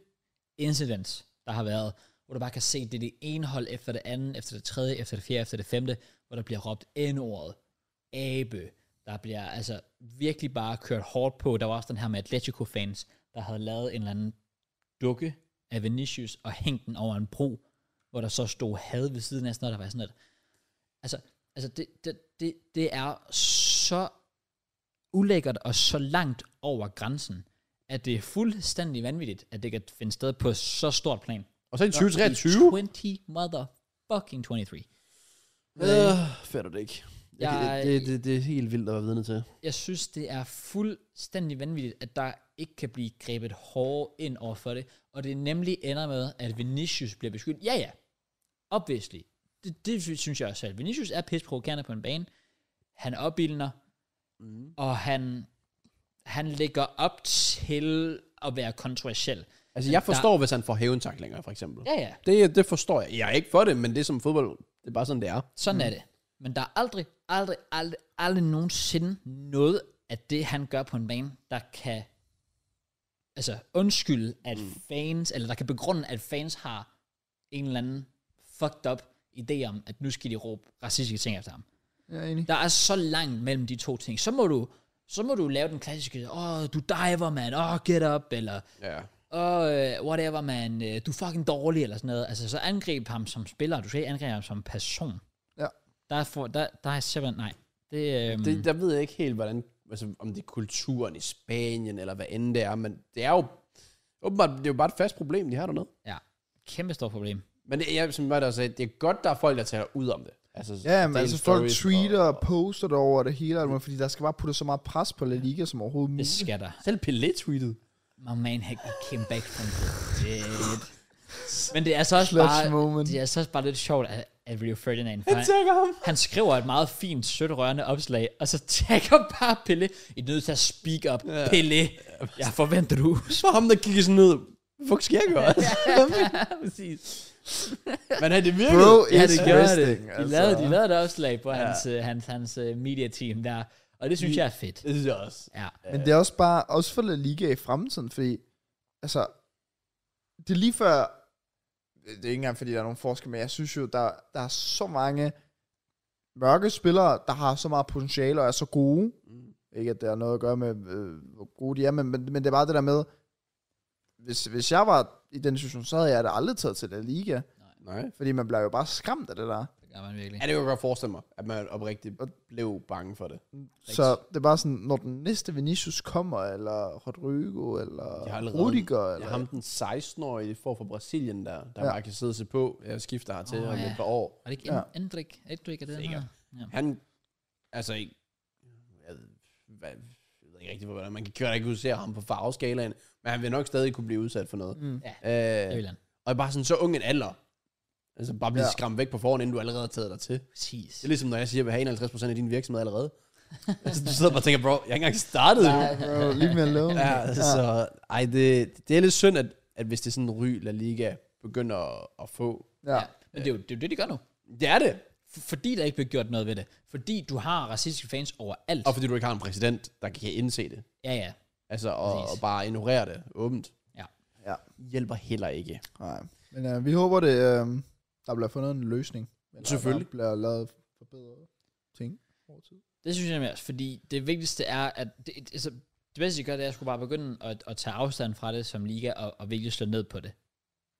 incidents, der har været, hvor du bare kan se, det er det ene hold efter det andet, efter det tredje, efter det fjerde, efter det femte, hvor der bliver råbt N-ordet, abe, der bliver altså virkelig bare kørt hårdt på. Der var også den her med Atletico-fans, der havde lavet en eller anden dukke af Vinicius og hængt den over en bro, hvor der så stod had ved siden af sådan noget, der var sådan et. Altså, altså det, det, det, det er så ulækkert og så langt over grænsen, at det er fuldstændig vanvittigt, at det kan finde sted på så stort plan.
Og så i 2023,
20 motherfucking 23.
øh, fatter det ikke. Jeg,
Jeg-
det, det, det er helt vildt at være vidne til.
Jeg synes, det er fuldstændig vanvittigt, at der ikke kan blive grebet hårdere ind over for det. Og det nemlig ender med, at Vinicius bliver beskyldt. Ja, ja. Obviously. Det, det sy- synes jeg også selv. Vinicius er pisprovokerende på en bane. Han opildner. Mm. Og han, han ligger op til at være kontroversiel.
Altså, jeg forstår, hvis han får hæventaklinger, for eksempel.
Ja, ja.
Det, det forstår jeg. Jeg er ikke for det, men det er som fodbold. Det er bare sådan, det er.
Sådan mm. er det. Men der er aldrig, aldrig, aldrig, aldrig nogensinde noget af det, han gør på en bane, der kan altså undskylde, at mm. fans, eller der kan begrunde, at fans har en eller anden fucked up idé om, at nu skal de råbe racistiske ting efter ham.
Jeg er enig.
Der er så langt mellem de to ting. Så må du, så må du lave den klassiske, åh, oh, du diver, man, åh, oh, get up, eller
Ja.
og uh, whatever, man, uh, du er fucking dårlig, eller sådan noget. Altså, så angreb ham som spiller, du skal ikke angribe ham som person.
Ja.
Der er, for, der, der er simpelthen, nej. Det, øhm,
Det, der ved jeg ikke helt, hvordan, altså, om det er kulturen i Spanien, eller hvad end det er, men det er jo, åbenbart, det er jo bare et fast problem, de har dernede.
ja, kæmpe stort problem.
Men det, jeg, som jeg også sagde, det er godt, der er folk, der taler ud om det. Altså,
Ja, men
deler
altså folk
stories
tweeter
og-
og poster det over det hele, alt muligt, fordi der skal bare putte så meget pres på La Liga som overhovedet
Det
muligt.
skal der.
Selv Pelé tweetede.
My man had came back from dead. Men det er så også
Clutch
bare,
moment.
det er så også bare lidt sjovt, at, at Rio Ferdinand, for han,
tagger ham.
han skriver et meget fint, sødt rørende opslag, og så tagger bare Pelle, I er nødt til at speak up, Pelle, jeg forventer du.
Så var ham, der gik sådan ned. Fuck, skal jeg gøre?
[laughs] Præcis.
men er det virkelig?
Bro,
Ja,
it's
det gør det.
resting,
De,
altså.
lavede, de lavede et opslag på ja. hans, øh, hans, hans uh, media-team der, og det synes jeg er fedt.
Det synes jeg også.
Ja.
Men det er også bare, også for La Liga i fremtiden, fordi, altså, det er lige før, det er ikke engang fordi, der er nogen forskel, men jeg synes jo, der, der er så mange mørke spillere, der har så meget potentiale og er så gode. Mm. Ikke at det har noget at gøre med, øh, hvor gode de er, men, men, men det er bare det der med, hvis, hvis jeg var i den situation, så havde jeg da aldrig taget til La Liga,
Nej.
fordi man bliver jo bare skræmt af det der.
Det gør man virkelig.
Ja, det kan jeg godt forestille mig, at man oprigtigt blev bange for det.
Så det er bare sådan, når den næste Vinicius kommer, eller Rodrigo, eller
Jeg har allerede-
Rudiger,
Jeg
eller...
har ham den 16-årige for fra Brasilien, der, der ja.
Ja.
bare kan sidde og se på. Jeg skifter hertil
Åh,
oh, om
ja.
et par år.
Var det ikke
Ja.
en- Endrik? Endrik er det, han
Sikkert.
hedder? Ja.
Han, altså ikke, jeg, ved- hvad, jeg ved ikke rigtig, hvordan man kan køre, ikke kunne se ham på farveskalaen, men han vil nok stadig kunne blive udsat for noget.
Mm.
Ja.
Øh,
Det vil han.
og bare sådan så ung en alder. Altså bare blive ja.
Ja.
skræmt væk på forhånd, inden du allerede har taget dig til.
Præcis.
Det er ligesom, når jeg siger, at jeg vil have 51% af din virksomhed
[laughs]
allerede. altså, du sidder bare og tænker, bro, jeg har ikke engang startet. endnu.
Nej, bro, leave me
[laughs]
alone.
Ja, altså, ej, det, det er lidt synd, at, at hvis det er sådan en ry, La Liga begynder at, at få.
ja.
Ja. Men det er, jo, det er jo det, de gør nu.
Det er det.
F- Fordi der ikke bliver gjort noget ved det. Fordi du har racistiske fans overalt.
Og fordi du ikke har en præsident, der kan indse det.
Ja, ja.
Altså, og,
Præcis.
og bare ignorere det åbent.
Ja.
Ja.
Hjælper heller ikke.
Nej. Men øh, vi håber, det, øh, der bliver fundet en løsning. Eller
Selvfølgelig.
Der bliver lavet forbedrede ting over tid.
Det synes jeg nemlig også, fordi det vigtigste er, at det, altså, det bedste, jeg gør, det er, at jeg skulle bare begynde at, at tage afstand fra det som liga, og, og virkelig slå ned på det.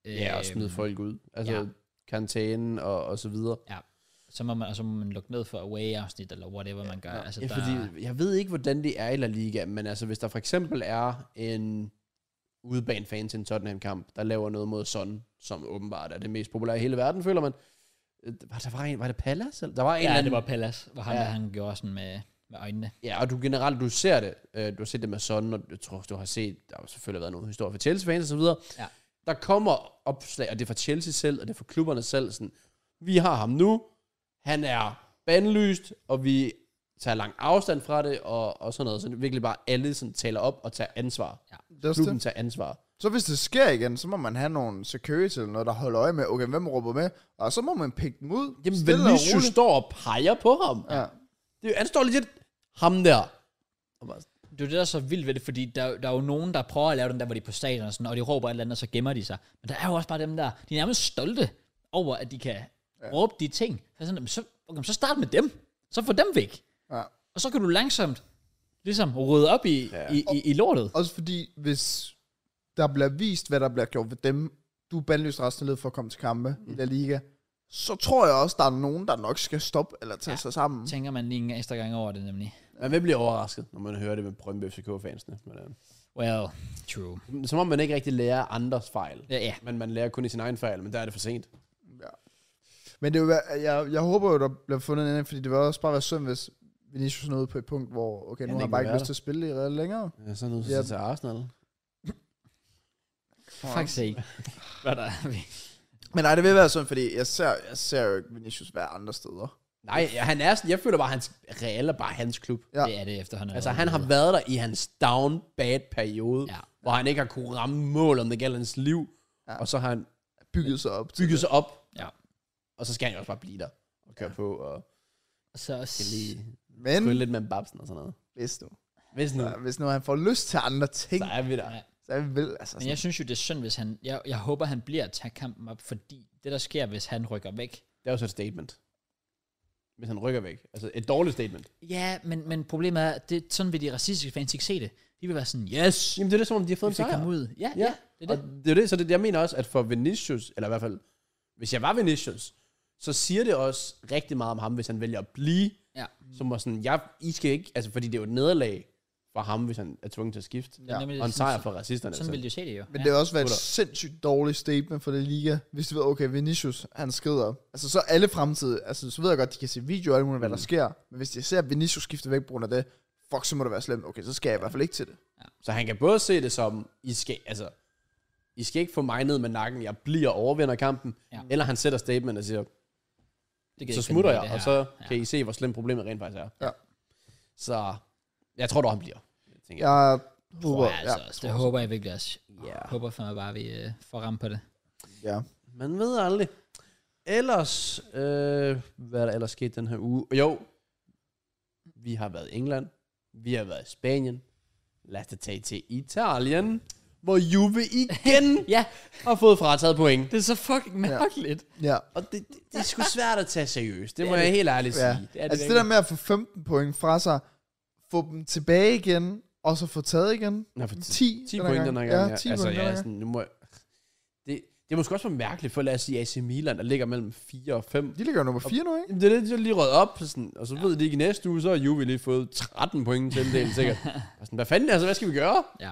Ja, og smide
Øhm,
folk ud. Altså,
ja.
ja. karantænen og, og så videre.
så må man, og så må man lukke ned for away-afsnit, eller whatever man gør. Ja, altså,
Ja,
der,
fordi jeg ved ikke, hvordan det er i La Liga, men altså, hvis der for eksempel er en udebanefan til en Tottenham-kamp, der laver noget mod Son, som åbenbart er det mest populære i hele verden, føler man. Øh, Var, der var, en, var det Palace? eller- Der var en eller
ja,
anden,
det var Pallas, hvor han,
Ja.
ja. han gjorde sådan med, med øjnene.
Ja, og du generelt, du ser det. Øh, Du har set det med Son, og jeg tror, du har set, der har selvfølgelig været nogle historier for Chelsea-fans og så videre.
Ja.
Der kommer opslag, og det er fra Chelsea selv, og det er fra klubberne selv. Sådan, vi har ham nu, han er bandlyst, og vi tager lang afstand fra det, og, og sådan noget. Så det er virkelig bare alle sådan, taler op og tager ansvar.
Det er også
Klubben
det.
tager ansvar.
Så hvis det sker igen, så må man have nogle security eller noget, der holder øje med, okay, hvem råber med? Og så må man pikke dem ud.
Jamen,
stille og
Vinicius
roligt.
står og peger på ham.
Ja.
Det, er jo- han står legit ham der. Og bare,
Det er jo det, der er så vildt ved det, fordi der, der er jo nogen, der prøver at lave den der, hvor de er på stadion og sådan, og de råber et eller andet, og så gemmer de sig. Men der er jo også bare dem der, de er nærmest stolte over, at de kan ja. råbe de ting. Så, er sådan, "Jamen, så, okay, så start med dem. Så få dem væk.
Ja.
Og så kan du langsomt ligesom rydde op i, ja. i, i, i lortet.
Også fordi, hvis der bliver vist, hvad der bliver gjort ved dem, du er bandlyst resten af livet for at komme til kampe mm. i La Liga, så tror jeg også, der er nogen, der nok skal stoppe eller tage ja. sig sammen.
Tænker man lige en ekstra gang over det nemlig.
Man vil blive overrasket, når man hører det med Brøndby FCK-fansene. Men, øh,
Well, true.
som om man ikke rigtig lærer andres fejl.
Ja, ja.
Men man lærer kun i sin egen fejl, men der er det for sent.
Men det vil være, jeg, jeg håber jo, der bliver fundet en anden, fordi det vil også bare være synd, hvis Vinicius nåede på et punkt, hvor okay, nu har
ikke
jeg bare
vil
ikke
være
lyst til at spille i Real længere.
Ja, så er nødt
til at
til Arsenal.
Fuck sake. Hvad der er vi?
Men nej, det vil være synd, fordi jeg ser, jeg ser jo ikke Vinicius være andre steder.
Nej, ja, han er sådan, jeg føler bare, at hans Real er bare hans klub.
Ja.
[laughs] Det er det efterhånden.
Altså, han har været der i hans down bad periode,
Ja.
hvor han ikke har kunne ramme mål, om det gælder hans liv.
Ja.
Og så har han
Bygget sig op. til
bygget
det.
sig op,
Ja.
og så skal han jo også bare blive der og køre på og
Så
skal lige
Men
følge lidt med babsen og sådan noget.
hvis nu,
Hvis nu,
så, hvis nu han får lyst til andre ting,
så er vi der.
Ja.
så er vi vel, altså
Men
sådan,
jeg synes jo, det er synd, hvis han... Jeg, jeg håber, han bliver at tage kampen op, fordi det, der sker, hvis han rykker væk...
Det er jo så et statement. Hvis han rykker væk. Altså et dårligt statement.
Ja, men, men problemet er, at det, sådan vil de racistiske fans ikke se det. De vil være sådan, yes,
Jamen det er det, som om de har fået
vi
en
fik
sejr.
ham ud. Ja,
Ja,
ja,
det er det. Og det er jo det, så det, jeg mener også, at for Vinicius, eller i hvert fald, hvis jeg var Vinicius, så siger det også rigtig meget om ham, hvis han vælger at blive,
Ja.
som var sådan, jeg, I skal ikke, altså fordi det er jo et nederlag for ham, hvis han er tvunget til at skifte.
Det er nemlig
Og en
sådan-
sejr for racisterne.
Sådan vil de jo se det jo.
Men
ja.
det vil også være et
Gutter.
sindssygt dårligt statement for det liga, hvis du ved, okay, Vinicius, han skrider. Altså, så alle fremtid, altså, så ved jeg godt, de kan se video og alt muligt, hvad der
Mm.
sker. Men hvis de ser, at Vinicius skifter væk på grund af det, fuck, så må det være slemt. Okay, så skal jeg i hvert fald ikke til det.
Så han kan både se det som, I skal, altså, I skal ikke få mig ned med nakken, jeg bliver og overvinder kampen,
Ja.
ja. eller han sætter statement og siger,
Det gider
så
ikke finde
smutter
mig i
jeg,
det
og
her.
så kan I se, hvor slemt problemet rent faktisk er.
Ja.
Så jeg tror dog, han bliver. tænker jeg.
Jeg
Tror
håber,
jeg altså
ja,
også. Det håber jeg virkelig også.
Ja.
Håber for mig bare, at vi øh, får ramt på det.
ja.
Man ved aldrig. Ellers, øh, hvad er der ellers sket den her uge? Jo, vi har været i England, vi har været i Spanien, lad os da tage til Italien, hvor Juve igen
Ja,
har fået frataget point.
det er så fucking mærkeligt.
ja.
Og det, det, det er sgu svært at tage seriøst, det må jeg helt ærligt sige.
ja.
Det er det
altså, det der med at få 15 point fra sig, få dem tilbage igen, og så få taget igen.
Nå, for
10,
10 point den her gang.
Ja, 10
altså,
point den her
ja,
gang.
sådan, nu må jeg, det, det er måske også for mærkeligt, for lad os sige AC Milan, der ligger mellem 4 og 5.
De ligger jo nummer 4 nu, ikke?
Jamen, det er det, de lige røget op, sådan, og så ja. ved de ikke i næste uge, så har Juve lige fået 13 point til en [laughs] del, sikkert. Og sådan, hvad fanden, altså, hvad skal vi gøre?
Ja.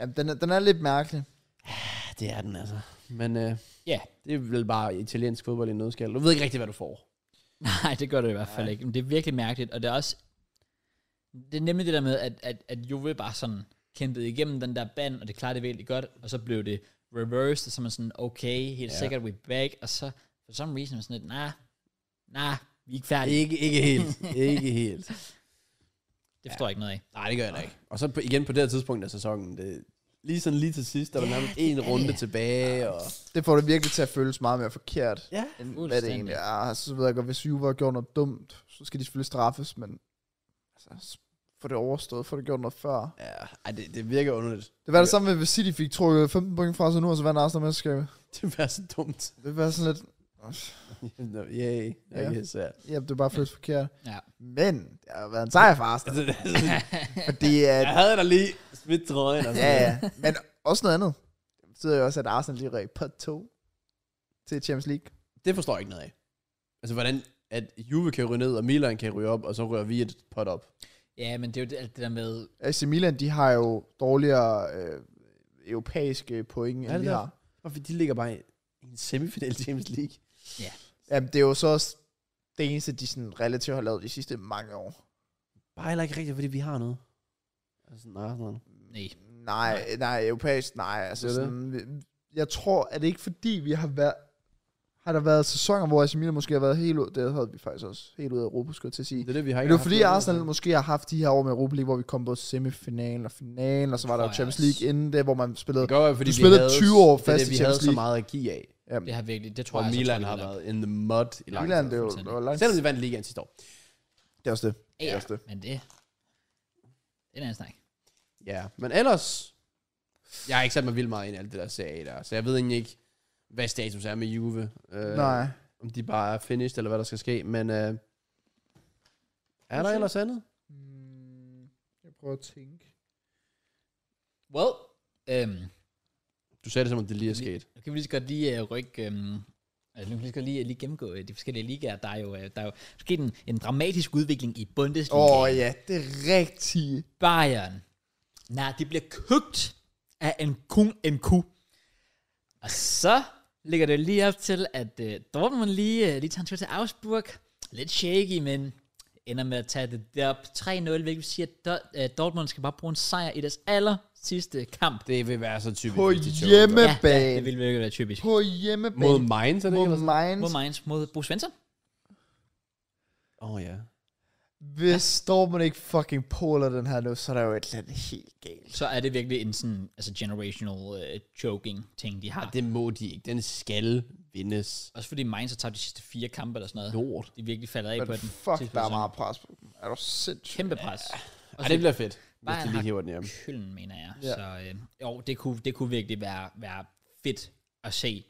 Ja, den er, den er lidt mærkelig.
Ja, det er den altså. Men øh,
Ja,
det er vel bare italiensk fodbold i en nødskal. Du ved ikke rigtig, hvad du får.
Nej, det gør det i hvert fald ikke. Men det er virkelig mærkeligt, og det er også... Det er nemlig det der med, at, at, at Juve bare sådan kæmpede igennem den der band, og det klarede det virkelig godt, og så blev det reversed, og så er man sådan, okay, helt ja.
Ja.
sikkert, we back, og så for some reason er man sådan lidt, nej, nej, vi er ikke færdige.
Ikke, ikke helt. ikke helt.
Det forstår jeg ikke noget af.
Nej, det gør jeg da ikke. Og så på, igen på det her tidspunkt af sæsonen, det, lige sådan lige til sidst, der var nærmest en runde tilbage. Og,
Det får det virkelig til at føles meget mere forkert.
ja.
end hvad det
Fuldstændig.
egentlig er. Altså, så ved jeg godt, hvis Juve har gjort noget dumt, så skal de selvfølgelig straffes, men altså, s- få det overstået, få det gjort noget før.
ja ej, det, det virker underligt.
Det var det samme med, hvis City fik trukket 15 point fra sig nu, og så vandt Arsenal mesterskabet.
Det var så dumt. [laughs]
Det var sådan lidt,
Nå, Yay.
Ja.
Ja. Yes, [laughs] ja.
ja, det er bare føles forkert.
Ja.
Men det har været en sejr for Arsenal, fordi at,
Jeg havde da lige smidt trøjen. Og sådan
ja, ja, men også noget andet. Det betyder jo også, at Arsenal lige røg på 2 til Champions League.
Det forstår jeg ikke noget af. Altså, hvordan at Juve kan ryge ned, og Milan kan ryge op, og så rører vi et pot op.
ja, men det er jo det, alt det der med,
AC Milan, de har jo dårligere øh, europæiske point, end vi har.
Hvorfor de ligger bare i en semifinal Champions League?
Jamen, det er jo så også det eneste, de sådan relativt har lavet de sidste mange år.
Bare heller ikke rigtigt, fordi vi har noget. Altså, nej, sådan.
nej,
Nej, nej, europæisk, nej. Altså
Det er det.
sådan, vi- jeg tror, at det ikke fordi, vi har været har der været sæsoner, hvor AC Milan måske har været helt ud, det havde vi faktisk også helt ud af Europa, skulle jeg til at sige.
Det er det, vi har
Men
ikke
det var
haft
fordi
noget.
Arsenal måske har haft de her år med Europa League, hvor vi kom på semifinalen og finalen, og så var der
Tror
jo
jeg
Champions
også.
League inden det, hvor man spillede.
Det gør jeg, fordi
Du spillede
vi havde,
20 år
det er
fast
det,
i
vi havde
Champions
så
League.
meget at give af.
Jamen,
Det har virkelig, det tror jeg,
Tror
altså,
Milan
tror jeg,
har
det er
været in the mud i lang
Milan,
tid.
det var,
fuldstændig.
det var langt.
Selvom de vandt ligaen sidste år.
Det er også det. Det er
Ja,
også det.
men det, det er en anden snak.
Ja, men ellers... Jeg har ikke sat mig vildt meget ind i alt det der serie A der, så jeg ved egentlig ikke, hvad status er med Juve. Øh,
Nej.
Om de bare er finished, eller hvad der skal ske, men... Øh, er der
se.
ellers andet?
Mm, Jeg prøver at tænke.
Well, øhm,
Du sagde det som om, det lige er
Vi-
sket.
Nu kan vi lige så godt lige uh, rykke... Um, altså, nu kan vi lige så godt lige, lige gennemgå øh, de forskellige ligaer. Der er jo, uh, der er jo sket en, en dramatisk udvikling i Bundesliga.
Åh oh, ja, det er rigtigt.
Bayern. Nej, de bliver købt af en kun en ku. Og så ligger det lige op til, at uh, Dortmund lige, uh, lige tager en tur til Augsburg. Lidt shaky, men ender med at tage det derop 3-0, hvilket vil sige, at Do- øh, Dortmund skal bare bruge en sejr i deres aller sidste kamp.
Det vil være så typisk.
På
hvis de tøver.
Ja, ja,
hjemmebane.
det vil virkelig være typisk.
På hjemmebane.
Mod Mainz, er det ikke?
mod
eller sådan?
Mod
Mainz.
Mainz, mod Bo Svensson.
Åh oh, ja.
Hvis Dortmund ikke fucking poler den her nu, så er der jo et eller andet helt galt.
så er det virkelig en sådan, altså generational uh, choking ting, de har.
Det må de ikke. Den skal vindes.
Også fordi Mainz har tabt de sidste fire kampe eller sådan noget.
Lort.
De virkelig falder af på
Men
den.
fuck,
sidste
der er
sæson.
meget pres på dem. Er du sindssygt?
Kæmpe pres.
Ej, det bliver fedt, hvis
Bayern
de lige
har-
hiver den hjem.
Køln, mener jeg.
Ja.
Så øh, jo, det kunne, det kunne virkelig være, være fedt at se.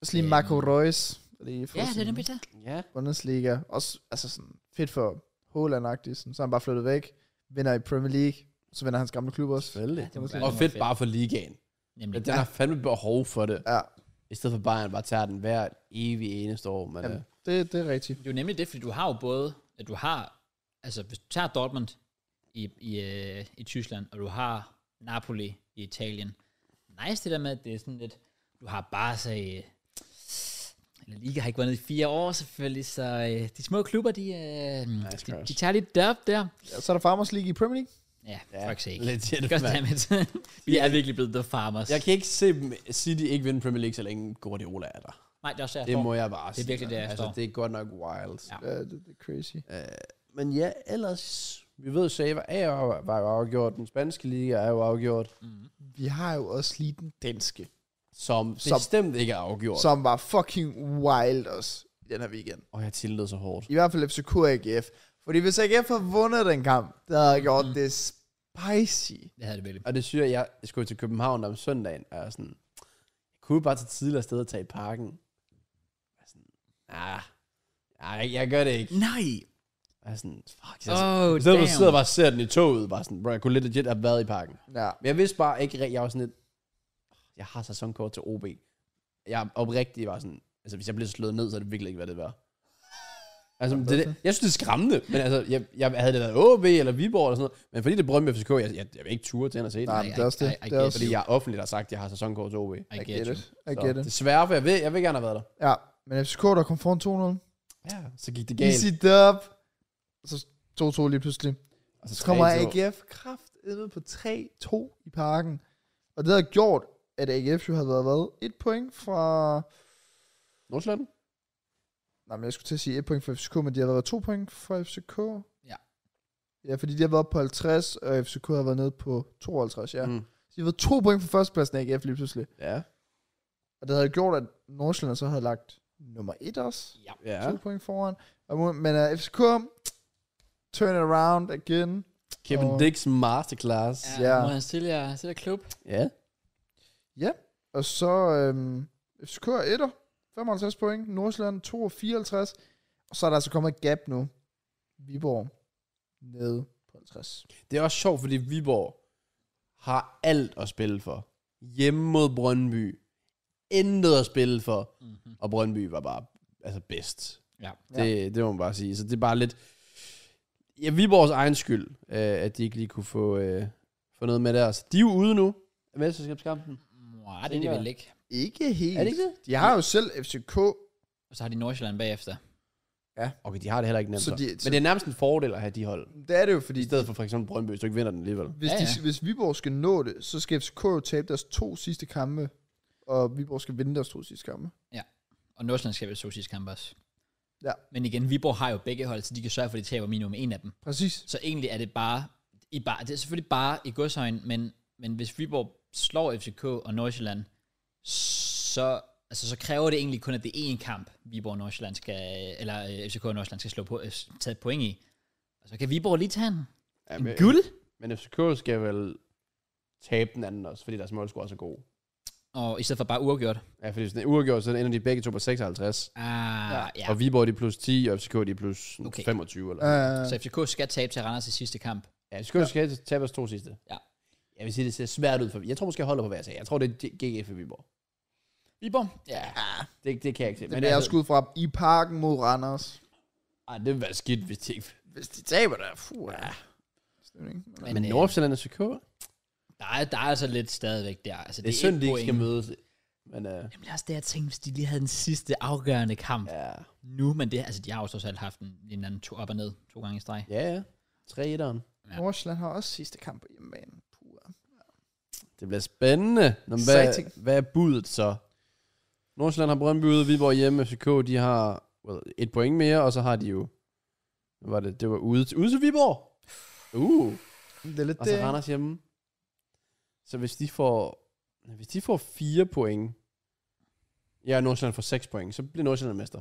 Også lige Marco Reus. Lige for
Ja, det er
sådan
nemlig det.
Ja.
Bundesliga. Også altså sådan, fedt for Holland-agtigt. Sådan, så er han bare flyttet væk. Vinder i Premier League. Så vinder hans gamle klub også.
Selvfølgelig.
Ja, det må
Og
være
fedt
fedt.
bare for ligaen.
Nemlig.
Men den har fandme behov for det.
Ja,
I stedet for Bayern bare tager den hver evig eneste år. Men,
Jamen,
øh,
det, det er rigtigt.
Det er jo nemlig det, fordi du har jo både, at du har, altså hvis du tager Dortmund i, i, øh, i Tyskland, og du har Napoli i Italien. Nice det der med, at det er sådan lidt, du har Barca i, eller Liga har ikke været nede i fire år selvfølgelig, så øh, de små klubber, de, øh,
Nice
de,
cross.
de tager lidt derop der.
Ja, så er der Farmers League i Premier League.
Ja, ja fuck sake.
øh, Legit, mand.
Goddammit. [laughs] Vi er virkelig blevet the farmers.
Jeg kan ikke se dem, City ikke vinde Premier League, så længe Guardiola er der.
Nej, det er også
Det
derfor.
må jeg bare
Det er virkelig det, jeg
altså,
står.
det er godt nok wild.
Ja.
Ja.
Ja, det, det er crazy.
Men ja, ellers... Vi ved, Save er jo- var jo afgjort. Den spanske liga er jo afgjort.
Vi har jo også lige den danske,
Som,
Som-
bestemt ikke er afgjort.
som var fucking wild også i den her weekend.
Og jeg tillede så hårdt.
I hvert fald FCK og AGF. Fordi hvis AGF havde vundet den kamp, der
Mm-hmm.
havde gjort det spicy.
Det havde det virkelig.
Og det synes jeg, jeg skulle til København om søndagen, og jeg er sådan, jeg kunne bare tage tidligere sted og tage i parken. Jeg er sådan, ah, nej, jeg gør det ikke.
Nej.
Jeg er sådan, fuck. Jeg oh,
Oh,
I stedet for at
damn.
sidde og bare ser den i toget, bare sådan, bro, jeg kunne lidt legit have været i parken.
Ja.
Men jeg vidste bare ikke rigtigt, jeg var sådan lidt, jeg har sæsonkort til OB. Jeg oprigtigt var sådan, altså hvis jeg blev slået ned, så er det virkelig ikke, hvad det var. Altså, det, det, jeg synes, det er skræmmende, men altså, jeg, jeg havde det været OB eller Viborg eller sådan noget, men fordi det er Brøndby FCK, jeg, jeg, jeg vil ikke ture til at se det.
Nej, men det er også det.
I- I- I
Det er
guess
også
Fordi
you.
jeg offentligt har sagt, at jeg har sæsonkort til OB.
I
I
get
get
you.
it. I get it.
desværre, for jeg vil, jeg vil gerne have været der.
Ja, men FCK, der kom foran 2-0.
Ja. Så gik det galt.
Easy dub. Og så 2-2 lige pludselig.
Og så,
Så kommer
3-2.
AGF kraftedeme på 3-2 i parken. Og det havde gjort, at AGF jo havde været hvad? Et point fra...
Nordsjælland?
Nej, men jeg skulle til at sige et point fra FCK, men de havde været to point fra FCK.
Ja.
Ja, fordi de har været på 50, og FCK har været nede på 52, ja. Mm.
Mm.
Så de har været to point fra førstepladsen af AGF lige pludselig.
Ja.
Og det havde gjort, at Nordsjælland så havde lagt nummer 1 også.
Ja.
Ja.
Ja. To point foran. Og mo- Men uh, FCK, turn it around again.
Kevin
Og-
Dix masterclass. Ja.
Ja,
Ja.
mod hans tidligere, tidligere klub.
ja.
Og så øhm, FCK er etter, 55 point. Nordsjælland 2 og 54. Og så er der altså kommet et gap nu. Viborg nede på 50.
Det er også sjovt, fordi Viborg har alt at spille for. Hjemme mod Brøndby. Intet at spille for.
Mm-hmm.
Og Brøndby var bare altså bedst.
Ja.
Det, det må man bare sige. Så det er bare lidt... Ja, Viborgs egen skyld, øh, at de ikke lige kunne få, øh, få noget med der. Så de er jo ude nu af mesterskabskampen.
Mwah, det er det vel ikke.
Ikke helt.
Er det ikke det?
De har jo selv FCK.
Og så har de Nordsjælland bagefter.
Okay, de har det heller ikke nemt.
Så
Så
de-
de, men det er nærmest en fordel at have de hold.
Det er det jo, fordi
I stedet for for eksempel Brøndby, hvis du ikke vinder den alligevel.
hvis,
Ja,
ja, ja.
ja.
De, hvis Viborg skal nå det, så skal FCK jo tabe deres to sidste kampe. Og Viborg skal vinde deres to sidste kampe.
Og Nordsjælland skal vel så sidste kamp også.
Ja.
Men igen, Viborg har jo begge hold, så de kan sørge for, at de taber minimum en af dem.
Præcis.
Så egentlig er det bare, i bare det er selvfølgelig bare i godshøjen, men, men hvis Viborg slår FCK og Nordsjælland, så, altså, så kræver det egentlig kun, at det er én kamp, Viborg og Nordsjælland skal, eller øh, FCK og Nordsjælland skal slå på, øh, tage et point i. Og så kan Viborg lige tage en,
Ja,
en
men,
guld.
øh, men FCK skal vel tabe den anden også, fordi deres målscore er så god.
Og i stedet for bare uafgjort.
Ja, fordi hvis den er uafgjort, så ender de begge to på 56.
Ah, ja. ja.
Ja. Og Viborg de er plus 10, og FCK de er plus sådan
Okay.
25. Eller.
Øh,
Så FCK skal tabe til Randers i sidste kamp.
Ja, FCK ja. skal tabe os to sidste.
Ja.
Jeg vil sige, det ser svært ud for Jeg tror måske, jeg holder på, hvad jeg sagde. Jeg tror, det er GF for Viborg.
Viborg? Ja.
Det, det kan jeg ikke se.
det bliver jeg
altså,
skudt fra i parken mod Randers.
ej, det vil være skidt, hvis det ikke...
Hvis de taber der, fuh. Ja. Stemning.
Men,
Men,
men
øh,
Nordsjælland og FCK, det,
Der er, der er altså lidt stadigvæk der. Altså,
det er
et
synd, de ikke
point.
skal mødes. Men øh,
Jamen, det er også det, jeg tænkte, hvis de lige havde den sidste afgørende kamp ja.
ja,
nu, men det, altså, de har jo trods alt haft en, en anden to op og ned, to gange i streg.
ja, ja. 3 etteren.
Ja.
Nordsjælland har også sidste kamp på hjemmebane. Puh.
Det bliver spændende. Nå, men hvad,
Exciting.
hvad er budet så? Nordsjælland har Brøndby ude, Viborg hjemme, FCK, de har well, et point mere, og så har de jo... Hvad var det? Det var ude til, ude til Viborg. Uh.
Det er lidt
Og så
det. ikke?
Randers hjemme. Så hvis de får... Hvis de får fire point... Ja, og Nordsjælland får seks point, så bliver Nordsjælland mester.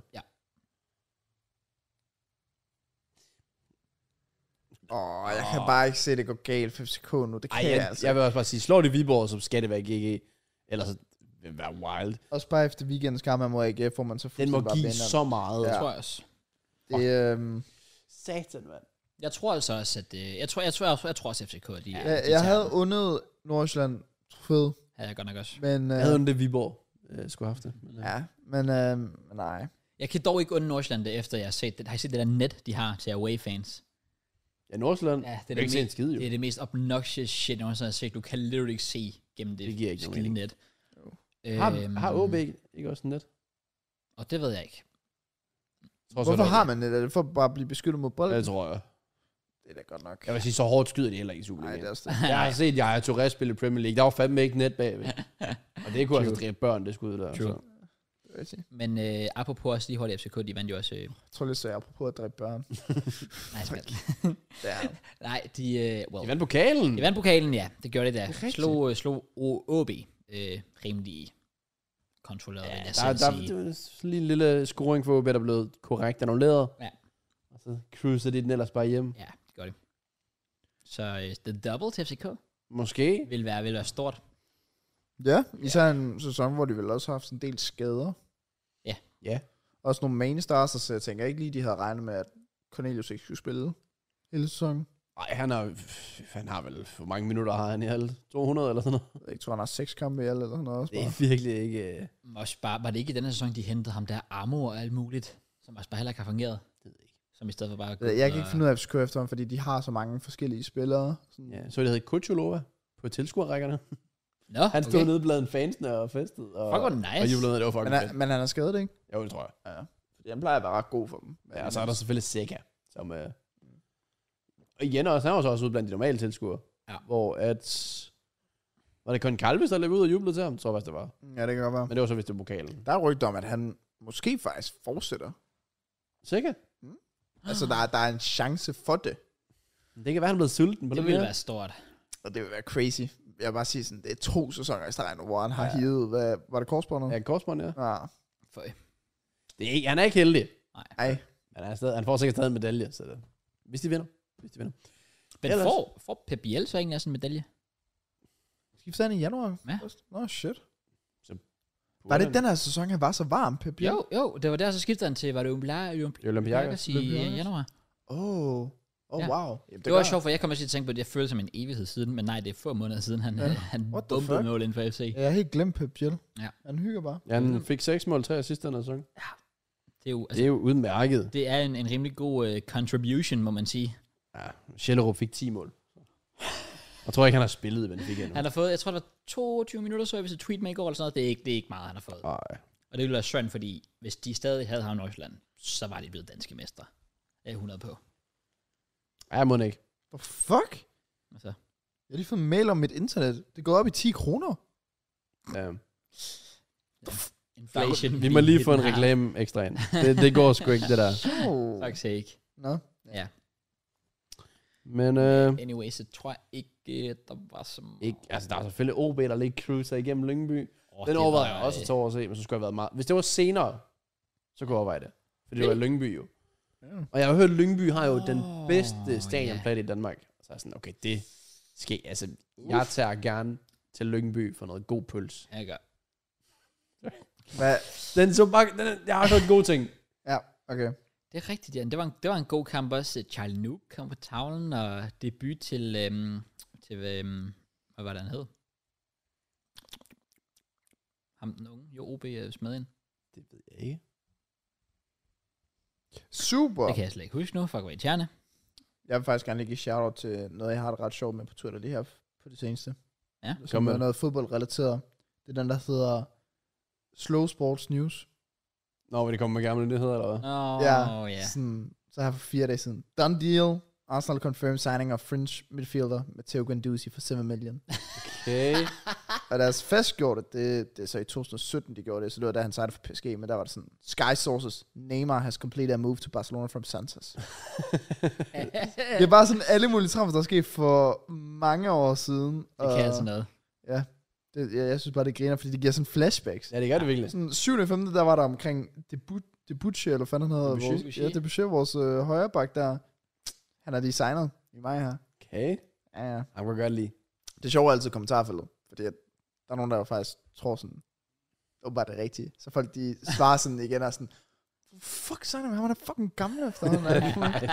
Åh, oh, jeg kan
Åh.
bare ikke se, at det går galt for FCK nu. Det kan
Ej,
Ej, jeg
jeg,
altså.
jeg vil også bare sige, slår de Viborg, så skal det være GG. Ellers så vil det være wild.
Også bare efter weekendens kamp her mod AGF, hvor man så
Den må
fuldstændig bare
give
vinder.
så meget.
Det
Ja.
Ja.
tror jeg også.
Det, øhm,
Satan, mand.
Jeg tror altså også, at... øh, Jeg tror, jeg tror, jeg tror, jeg tror også, at FCK, de, ja,
jeg, jeg havde undet Nordsjælland trofæet,
havde jeg godt nok også.
men, øh,
Jeg havde jo det Viborg øh, skulle have haft det. Men, øh.
ja, men øh, nej.
Jeg kan dog ikke undre Nordsjælland det, efter jeg har set det. Har I set det der net, de har til away-fans?
Ja, Nordsjælland.
Ja,
Ja,
det er
det er ikke
det
se en skid, jo.
Det er det mest obnoxious shit, jeg nogensinde har set. Du kan literally ikke se gennem det,
Det giver ikke nogen
skide net. Øh,
Har,
øhm,
har OB ikke, ikke også net?
Og det ved jeg ikke.
Trods
Hvorfor
alt,
har man det? Er det for bare at blive beskyttet mod
Ja,
bolden?
det tror jeg.
Det er da godt nok.
Jeg vil sige, så hårdt skyder de heller ikke i
Nej,
Superligaen.
det er også det.
Jeg har set Jaja Touré spille i Premier League. Der var fandme ikke net bagved. Og det kunne altså
True.
dræbe børn, det skud der. altså.
True.
Så.
det vil jeg sige.
Men øh, apropos også lige hurtigt, FCK, de vandt jo også... Øh,
Jeg tror lidt, så jeg er på at dræbe børn.
nice, mand.
Det er
Nej, de... Øh, well,
De vandt pokalen.
De vandt pokalen, ja. Det gjorde det da.
rigtigt.
Slog, øh, slog OB øh, rimelig kontrolleret, ja, vil jeg
Der,
selv
der,
sige.
det var sådan lige en lille scoring for OB, der blev korrekt annulleret.
Ja.
Og så cruiser de den ellers bare hjem.
Ja, det gjorde det. Så øh, the double til FCK
Måske.
vil være, vil være stort.
Ja, især en sæson, hvor de vel også har haft en del skader.
Ja.
Ja.
Også nogle main stars, så jeg tænker ikke lige, de havde regnet med, at Cornelius ikke skulle spille hele sæsonen.
Nej, han har, pff, han har vel... Hvor mange minutter har han i alt? 200 eller sådan noget?
Jeg ved ikke, tror, han har seks kampe i alt eller sådan noget også.
Det
Bare.
er virkelig ikke... øh,
Også bare, var det ikke i denne sæson, de hentede ham der Amo og alt muligt, som også bare heller ikke har fungeret?
Det ved jeg ikke.
Som i stedet for bare... at gå
Jeg ved-
ud
Jeg kan
og-
ikke finde ud af FCK efterhånden, fordi de har så mange forskellige spillere. Sådan,
Ja, så det hed Kuchulova på tilskuerrækkerne.
Nå,
Han stod
okay.
nede blandt fansene og festede. Og,
Fuck, hvor nice.
Og jublede, det var
men,
fucking fedt.
han, men han er skadet, ikke?
Jo, det tror jeg.
Ja. Fordi han plejer at være ret god for dem.
Ja, og så er der selvfølgelig Seca, som... Øh, og igen også, han var så også ude blandt de normale tilskuere.
Ja.
Hvor at... Var det Con Calves, der løb ud og jublede til ham? Tror jeg faktisk, det var.
Ja, det kan godt være.
Men det var så, hvis det var pokalen.
Der er rygter om, at han måske faktisk fortsætter.
Seca?
Altså, der er, der er en chance for det.
Det kan være, han er blevet sulten på
Det
det,
ville
mere.
være stort.
Og det vil være crazy. Jeg vil bare sige sådan, det er to sæsoner i streg nu, hvor han har
Ja.
ja. hivet, hvad, var det korsbåndet?
Ja, korsbånd, ja.
Ja.
For,
Det er ikke, han er ikke heldig.
Ej,
Men han, er stadig, han får sikkert stadig en medalje. Så det, hvis de vinder. Hvis de vinder.
men
Ellers-
får, får Pep Biel så egentlig også en medalje?
skifter han i januar?
Ja.
Nå, shit. Var det ikke den her sæson, han var så varm, Pep
Jo, jo, det var der, så skiftede han til, var det Umbla-
Det er Olympiakos.
Olympiakos i
Olympiakos.
øh, januar?
Oh. Oh,
Ja.
wow. Jamen,
Det, det var sjovt, for jeg kommer til at tænke på, at jeg føler som en evighed siden, men nej, det er få måneder siden, han,
Ja.
ja. han
What the
bumpede
fuck?
mål inden for FC. Ja.
Jeg har helt glemt Pep Biel.
Ja.
Han hygger bare.
Ja, han fik 6 mål, 3 sidste den her sæson.
Det er jo altså,
Det er jo udmærket.
det er en, en rimelig god uh, contribution, må man sige.
Ja, Schellerup fik 10 mål. Jeg tror ikke, han har spillet i Benfica endnu.
Han har fået, jeg tror, det var 22 minutter, så jeg, hvis jeg tweet med i går eller sådan noget. Det er ikke, det er ikke meget, han har fået.
Nej.
Og det ville være synd, fordi hvis de stadig havde ham i Nordsjælland, så var de blevet danske mestre. Det er jeg 100 på.
Ja, må ikke.
Hvor fuck?
Altså,
Jeg har lige fået en mail om mit internet. Det går op i 10 kroner.
Ja.
en Inflation.
Øhm, Vi må lige få en
den her.
reklame ekstra ind. Det, det går sgu ikke, det der.
Oh.
[laughs] Fuck's sake.
Nå.
Ja.
Men øh,
Anyway, så tror jeg ikke, at der var så meget.
ikke, altså, der er selvfølgelig OB, der lige cruiser igennem Lyngby.
Åh,
Den
det
overvejede
var,
jeg også
øh,
at tage over at se, men så skulle jeg have været meget... Hvis det var senere, så kunne jeg overveje det. For det var i Lyngby jo. Og jeg har hørt, at Lyngby har jo den
Åh,
bedste
ja.
stadionplads i Danmark. Så er jeg sådan, okay, det skal... Altså, jeg tager gerne til Lyngby for noget god pøls.
Ja, jeg gør.
Hvad?
Den så bare... Den, er- jeg har hørt gode ting.
Ja, okay.
Det er rigtigt, Jan. Det var en, det var en god kamp også. Øh, Charlie Nuke kom på tavlen, og debut til, øhm, til øhm, hvad var det, han hed? Ham den unge. Jo, OB øh, smed ind.
Det ved jeg ikke.
Super.
Det kan jeg slet ikke huske nu. Fuck, hvor irriterende.
Jeg vil faktisk gerne lige give shout-out til noget, jeg har det ret sjovt med på Twitter lige her på det seneste.
Ja.
Kom
Som
med
er
det.
noget fodboldrelateret. Det er den, der hedder Slow Sports News.
Nå, men det kommer med gamle nyheder, eller hvad?
Nå,
Ja.
ja. ja.
Sådan, så her for fire dage siden. Done deal. Arsenal confirmed signing of fringe midfielder Matteo Guendouzi for
[laughs]
7 million.
Okay.
Og deres fastgjorte, det, det er så i 2017, de gjorde det, så det var da han signede for PSG, men der var det sådan, Sky Sources, Neymar has completed a move to Barcelona from Santos. det er bare sådan alle mulige trammer, der er sket for mange år
[laughs]
siden.
Det kan
Øh.
altså noget.
Det, jeg, jeg synes bare, det griner, fordi det giver sådan flashbacks.
ja, det gør det virkelig.
Sådan 7. 5. der var der omkring debut, Debuchy, eller hvad fanden han hedder.
Debuchy?
Vores, ja, Debuchy, vores øh, højreback der. Han er designet i mig her.
Okay.
Ja, ja.
Jeg kan godt lide.
Det sjove er altid kommentarfeltet, fordi at der er nogen, der jo faktisk tror sådan, åbenbart bare det er rigtigt. Så folk, de svarer sådan igen og sådan, fuck signer med ham, han er fucking gammel efterhånden.
[laughs]
mand."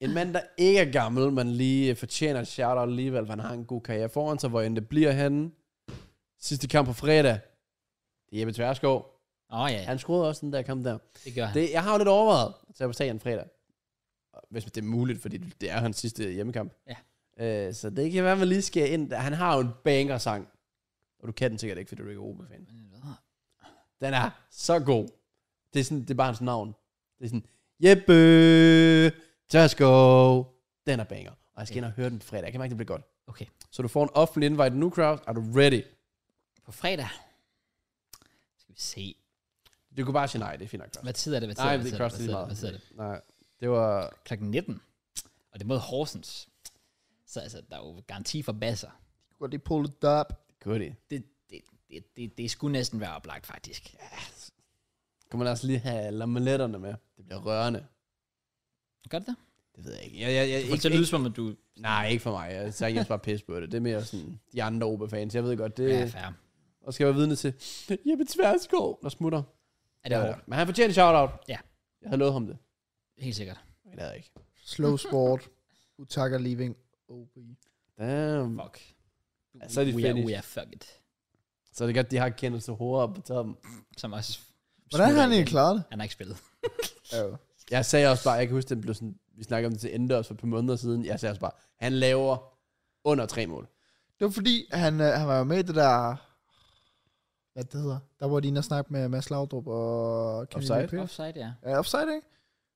En mand, der ikke er gammel, men lige øh, fortjener et shout-out alligevel, for han har en god karriere foran sig, hvor end det bliver henne. Sidste kamp på fredag, det er Jeppe Tverskov.
Åh, oh, ja, ja.
Han scorede også den der kamp der.
Det gør han.
Det, jeg har jo lidt overvejet at tage på stadion fredag. Og Hvis det er muligt, fordi det er hans sidste hjemmekamp.
Ja.
Øh, så det kan være, at man lige skal ind. Han har jo en banger-sang. Og du kan den sikkert ikke, fordi du ikke er OB-fan. Den er så god. Det er, sådan, det er bare hans navn. Det er sådan, Jeppe Tørskov. Den er banger. Og jeg skal ind og høre den på fredag. Jeg kan mærke, det bliver godt.
Okay.
Så du får en offentlig invite nu, crowd. Er du ready?
På fredag skal vi se.
Du kunne bare sige nej, det er fint nok. Kraus.
Hvad tid er det? Hvad tid
Nej,
hvad
det
tid hvad
er Kraus, det er
tid
lige
det? Hvad tid er det?
meget. Nej, det var...
Klokken 19. Og det er mod Horsens. Så altså, der er jo garanti for basser.
Du [laughs] kunne lige pull it up.
Good it.
Det, det, det, det, det skulle næsten være oplagt, faktisk. Ja.
Kunne man altså lige have lameletterne med? Det bliver rørende.
Gør det det?
Det ved jeg ikke. Jeg, jeg, jeg,
Ikke,
ikke,
det lyder
ikke,
som om, at du...
nej, ikke for mig. Jeg sagde ikke bare pis på det. Det er mere sådan de andre OB-fans. Jeg ved godt, det
Ja,
ja,
fair.
og skal jeg være vidne til. [laughs] Jeppe Tverskov, der smutter.
Er det hårdt?
Men han fortjener en shout-out.
Ja.
Jeg havde lovet ham det.
Helt sikkert.
Men det havde jeg ikke.
Slow sport. Utaka leaving OB.
Damn.
Fuck.
Ja, så er de
we are,
finished.
we are fucked.
Så er det godt, de har kendt så hårdt op på toppen.
Som også...
Hvordan har
smutter
han egentlig
igen.
klaret det?
Han har ikke spillet.
Oh.
Jeg sagde også bare, jeg kan huske, det blev sådan, vi snakkede om det til Enders for et par måneder siden. Jeg sagde også bare, han laver under tre mål.
Det var fordi, han, øh, han var jo med i det der... Hvad det hedder? Der var de inde og snakke med Mads Laudrup og... Kenny
Offside?
Napier.
Offside, ja.
Ja, offside, ikke?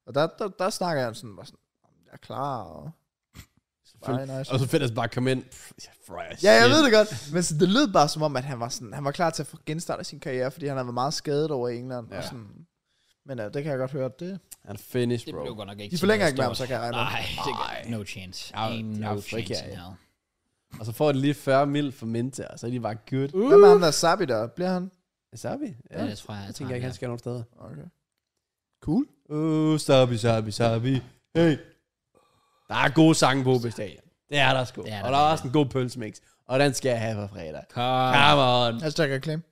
Og der, der, der snakker han sådan, var sådan, "Jamen, jeg er klar, og... Bare nice.
Og så fedt at bare komme ind. Pff, ja, fresh.
Ja, jeg ved det godt. Men så det lød bare som om, at han var, sådan, han var klar til at få genstarte sin karriere, fordi han havde været meget skadet over i England. Ja.
Ja.
Og sådan. Men ja, det kan jeg godt høre. Det.
Han er finished,
Det
bro.
blev godt nok ikke
De
til
forlænger
noget
ikke med ham,
stort.
så Ah. kan jeg regne med.
Nej, det gør
Nej.
No chance.
Ja,
Ain't
de er
no
jo
chance
frikager,
in
ja.
hell.
Og så får de lige 40 mil for Minta, og så er de bare good.
Hvad med ham der Sabi der? Bliver han?
Sabi? Ja,
Ja, det tror jeg,
jeg
jeg
tænker ikke, han
skal...
skal nogen steder.
Okay. Cool.
Uh, Sabi, Sabi, Sabi. Hey. Der er gode sange på OB Stadion. Det er der sgu.
Det er der
og der er
virkelig.
også en god pølsemix. Og den skal jeg have for fredag.
Kom.
Come on.
Hashtag reclaim.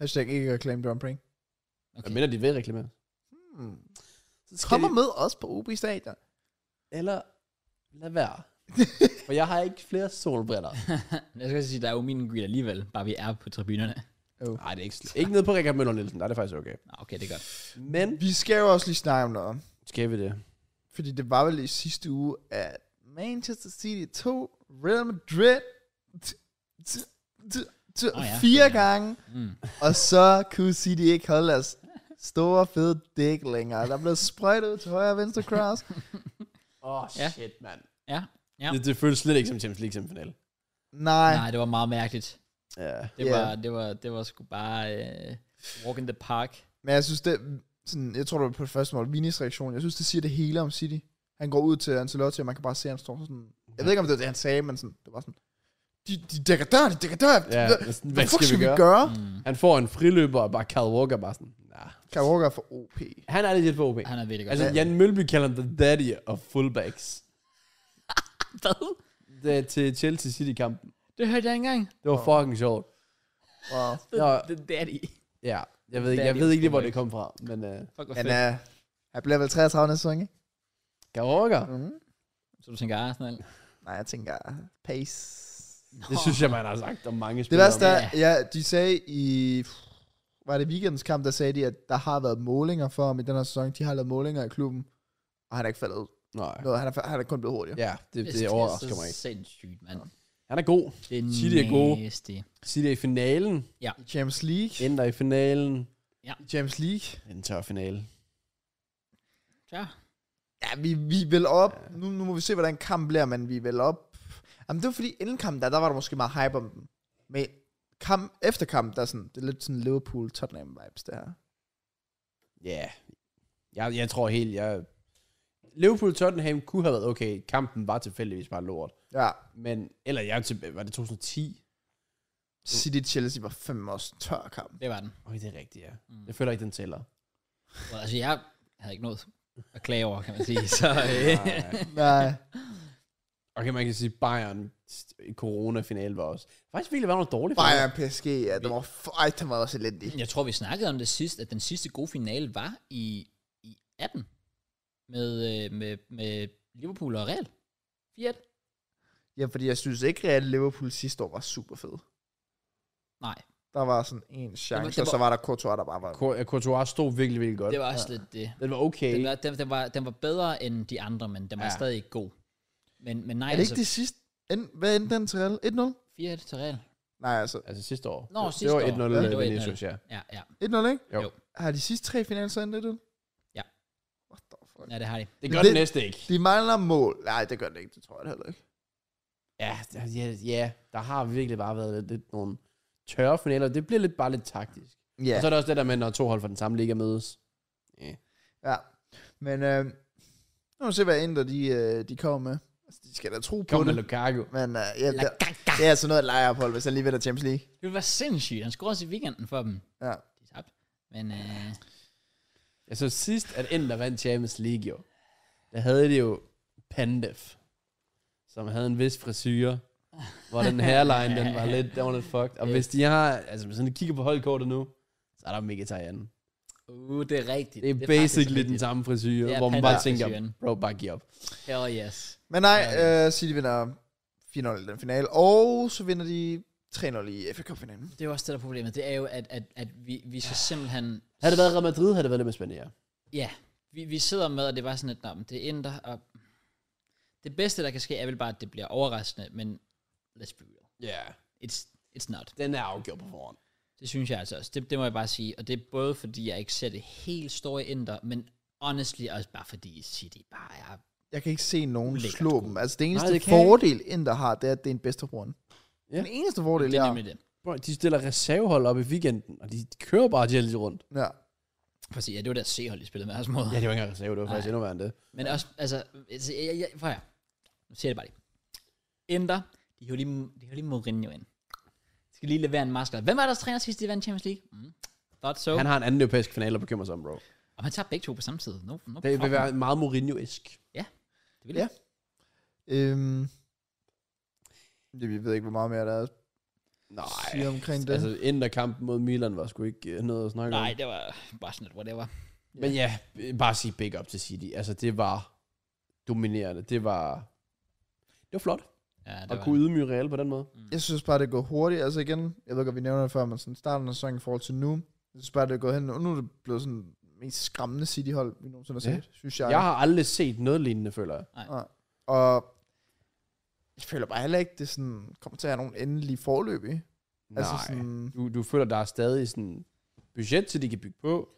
Hashtag ikke reclaim John Pring.
Jeg mener, de vil reklamere.
Hmm.
Så
Kommer med os på OB Stadion.
Eller lad være. For jeg har ikke flere solbriller.
[laughs] Jeg skal sige, der er jo min greet alligevel, bare vi er på tribunerne.
Nej, det er ikke slet. Ikke nede på Rikard Møller Nielsen. Nej, det er faktisk okay.
Nå, okay, det er godt.
Men
[laughs] Vi skal jo også lige snakke om noget.
skal vi det?
Fordi det var vel i sidste uge, at Manchester City 2, Real Madrid, t- t- t- t-
Nå ja,
fire
det er-
gange,
Mm.
og så kunne City ikke holde deres store fede dæk længere. Der blev sprøjtet ud til højre og venstre cross.
Åh, oh,
Ja.
mand.
Ja.
Det, det føles slet ikke som Champions League semifinal.
Nej,
Nej, det var meget mærkeligt.
Ja.
Det, yeah. var, det, var, det var sgu bare øh, walk in the park.
Men jeg synes, det, sådan, jeg tror, det var på det første mål, Vinis reaktion, jeg synes, det siger det hele om City. Han går ud til Ancelotti, og man kan bare se, at han står sådan... Jeg ved ikke, om det var det, han sagde, men sådan, det var sådan... De, de dækker dør, de dækker dør.
Ja,
hvad,
hvad
hvad fuck skal vi gøre? gøre? Mm.
Han får en friløber, og bare Kyle Walker bare sådan, nah.
Kyle Walker er for OP.
Han er lidt lidt for OB.
Han er virkelig godt.
Altså, Jan Mølby kalder ham the daddy of
[laughs]
fullbacks.
Hvad?
Det er til Chelsea City-kampen.
Det hørte jeg ikke engang.
Det var fucking sjovt.
Wow.
Det,
Nå.
det, det er de.
Ja, jeg ved ikke, jeg
Daddy
ved
of
ikke lige, hvor det
fullbacks.
kom fra, men uh,
Fuck, hvor
Han,
fedt.
er, han bliver vel 33 næste sæson, ikke?
Kyle Walker.
Mm.
Så du tænker Arsenal.
Nej, jeg tænker, pace.
Det synes jeg, man har sagt om mange
Det
spillere.
værste er, ja, de sagde i... Var det weekendens kamp, der sagde de, at der har været målinger for ham i den her sæson. De har lavet målinger i klubben, og han er ikke faldet ud.
Nej.
Noget, han er, han er kun blevet hurtigere.
Ja, det, det overrasker mig
Det er
ikke.
så sindssygt, mand.
Han er god.
Det er
City er gode.
nasty.
City er i finalen.
I Champions League.
Ender i finalen.
I Champions League.
En tør finale.
Ja.
Ja, vi, vi er vel op. Ja. Nu, nu må vi se, hvordan kampen bliver, men vi er vel op. Jamen, det var fordi, inden kampen der, der var der måske meget hype om den. Men kamp, efter kampen, der er sådan, det er lidt sådan Liverpool-Tottenham-vibes, det her.
Ja. Yeah. Jeg, jeg tror helt, jeg... Liverpool Tottenham kunne have været okay. Kampen var tilfældigvis bare lort.
Ja,
Men, eller jeg er til, var det 2010?
City-Chelsea var fem års tør [laughs] kamp.
Det var den.
Åh, oh, det er rigtigt, ja. Mm. Jeg føler ikke, den tæller.
Well, altså, jeg havde ikke noget at klage over, kan man sige. [laughs] Så, øh,
Nej.
Nej.
okay, man kan sige, Bayern i corona-finale var også... Faktisk virkelig var noget dårligt. for
Bayern PSG, ja, den var, f- ej, den var også elendig.
jeg tror, vi snakkede om det sidst, at den sidste gode finale var i, i 18 med, øh, med, med Liverpool og Real. 4-1.
Ja, fordi jeg synes ikke, at Liverpool sidste år var super fed.
Nej,
Der var sådan en
Det
chance,
var-
var,
det
og
var-
så var der Courtois, der bare var...
Cour- ja, Courtois stod virkelig, virkelig godt.
det var også lidt øh, det.
Den var okay.
Den var, den, den, var, den var bedre end de andre, men den var
Ja.
ja. stadig ikke god. Men, men nej,
Er det ikke det sidste? End, hvad endte den til Real? 1-0?
altså, 4-1 til Real.
Nej, altså.
Altså sidste år.
Nå,
det,
sidste år.
Det var 1-0
Ja,
ja,
det var
Vinicius, ja.
Ja, ja.
1-0, ikke?
Jo.
Jo.
Har de sidste tre finaler så endt 1-0?
Ja.
What the fuck?
ja, det har de.
Det
Men
gør
det-
det næste ikke.
De mangler mål. Nej, det gør det ikke. Det tror jeg da heller ikke.
Ja, det- ja, ja, der har virkelig bare været lidt, lidt nogle tørre finaler. Det bliver lidt bare lidt taktisk. Ja.
Ja.
Og så er der også det der med, når to hold fra den samme liga mødes.
ja. Men øh, nu må vi se, hvad Inter de, øh, de kommer med. Altså, de skal da tro på
Kom med
det.
Lukaku.
Men øh, ja,
La
det,
Gaga.
det, er altså noget lejeophold, hvis han lige vinder Champions League.
Det ville være sindssygt. Han scorede også i weekenden for dem.
Ja.
De tabte. Men øh,
Altså sidst, at Inter vandt Champions League jo, der havde de jo Pandev, som havde en vis frisyr, hvor den hairline, den var lidt, den var lidt fucked. Og hvis de har, altså hvis de kigger på holdkortet nu, så er der Mkhitaryan.
uh, det er rigtigt.
Det er,
faktisk
basically den
rigtigt.
samme frisyr,
Det er
hvor man bare
Pandev-frisyren.
tænker, bro, bare giv op.
Hell yes.
Men nej, øh, City vinder 4-0 i den finale. Og så vinder de 3-0 i FA Cup-finalen.
Det er jo også det, der er problemet. Det er jo, at, at, at vi, vi skal simpelthen...
Havde det været Real Madrid, havde det været lidt mere spændende, ja.
Ja, vi, vi sidder med, og det var sådan lidt, "Nå, men det ændrer, og det bedste, der kan ske, er vel bare, at det bliver overraskende, men let's be real.
Ja, yeah.
It's, it's not.
den er afgjort på forhånd.
Det synes jeg altså også. Det, det må jeg bare sige. Og det er både, fordi jeg ikke ser det helt store ændre, men honestly også bare fordi City bare er...
Jeg kan ikke se nogen
Ulækkert
slå dem. Altså, det eneste
det
nej,
kan jeg
fordel, Inter har, det er, at det er en bedste runde.
Ja.
Ja. Den eneste fordel,
Det er
jeg
nemlig det.
Bro, de stiller reservehold op i weekenden, og de kører bare Chelsea rundt.
Ja.
Præcis, ja, det var deres C-hold, de spillede med også mod.
Ja, det var ikke engang reserve, det var Nej. faktisk endnu værre end det.
Men også, altså, altså jeg, jeg, prøv her. Nu siger jeg det bare lige. Ændre, de hører lige, de hører lige Mourinho ind. De skal lige levere en masker. Hvem var deres træner sidst, de vandt Champions League? Mm. Thought so.
Han
Han,
har en anden europæisk finale at bekymre sig om, bro.
og han tager begge to på samme tid. No, no
Det vil
problem.
være meget Mourinho-isk.
Det vil
Ja.
ja.
Øhm, jeg ved ikke, hvor meget mere der er at
Nej.
sige omkring det.
Altså, inden af kampen mod Milan var sgu ikke øh, noget at snakke
Nej,
om.
det var bare sådan lidt whatever.
Men ja, øh, bare sige big up til City. Altså, det var dominerende. Det var... Det var flot
Ja, det
at
var,
kunne ydmyge Real på den måde.
Jeg synes bare, det går hurtigt. Altså igen, jeg ved godt, vi nævner det før, men sådan starten af sæsonen i forhold til nu, jeg synes bare, det er gået hen. Og nu er det blevet sådan det mest skræmmende City-hold, vi nogensinde har
Ja.
set, synes jeg.
Jeg har aldrig set noget lignende, føler jeg.
Ja. Og jeg føler bare heller ikke, det sådan, kommer til at have nogen endelige forløb i.
Nej.
Altså, sådan,
Du, du føler, der er stadig sådan budget, til de kan bygge på.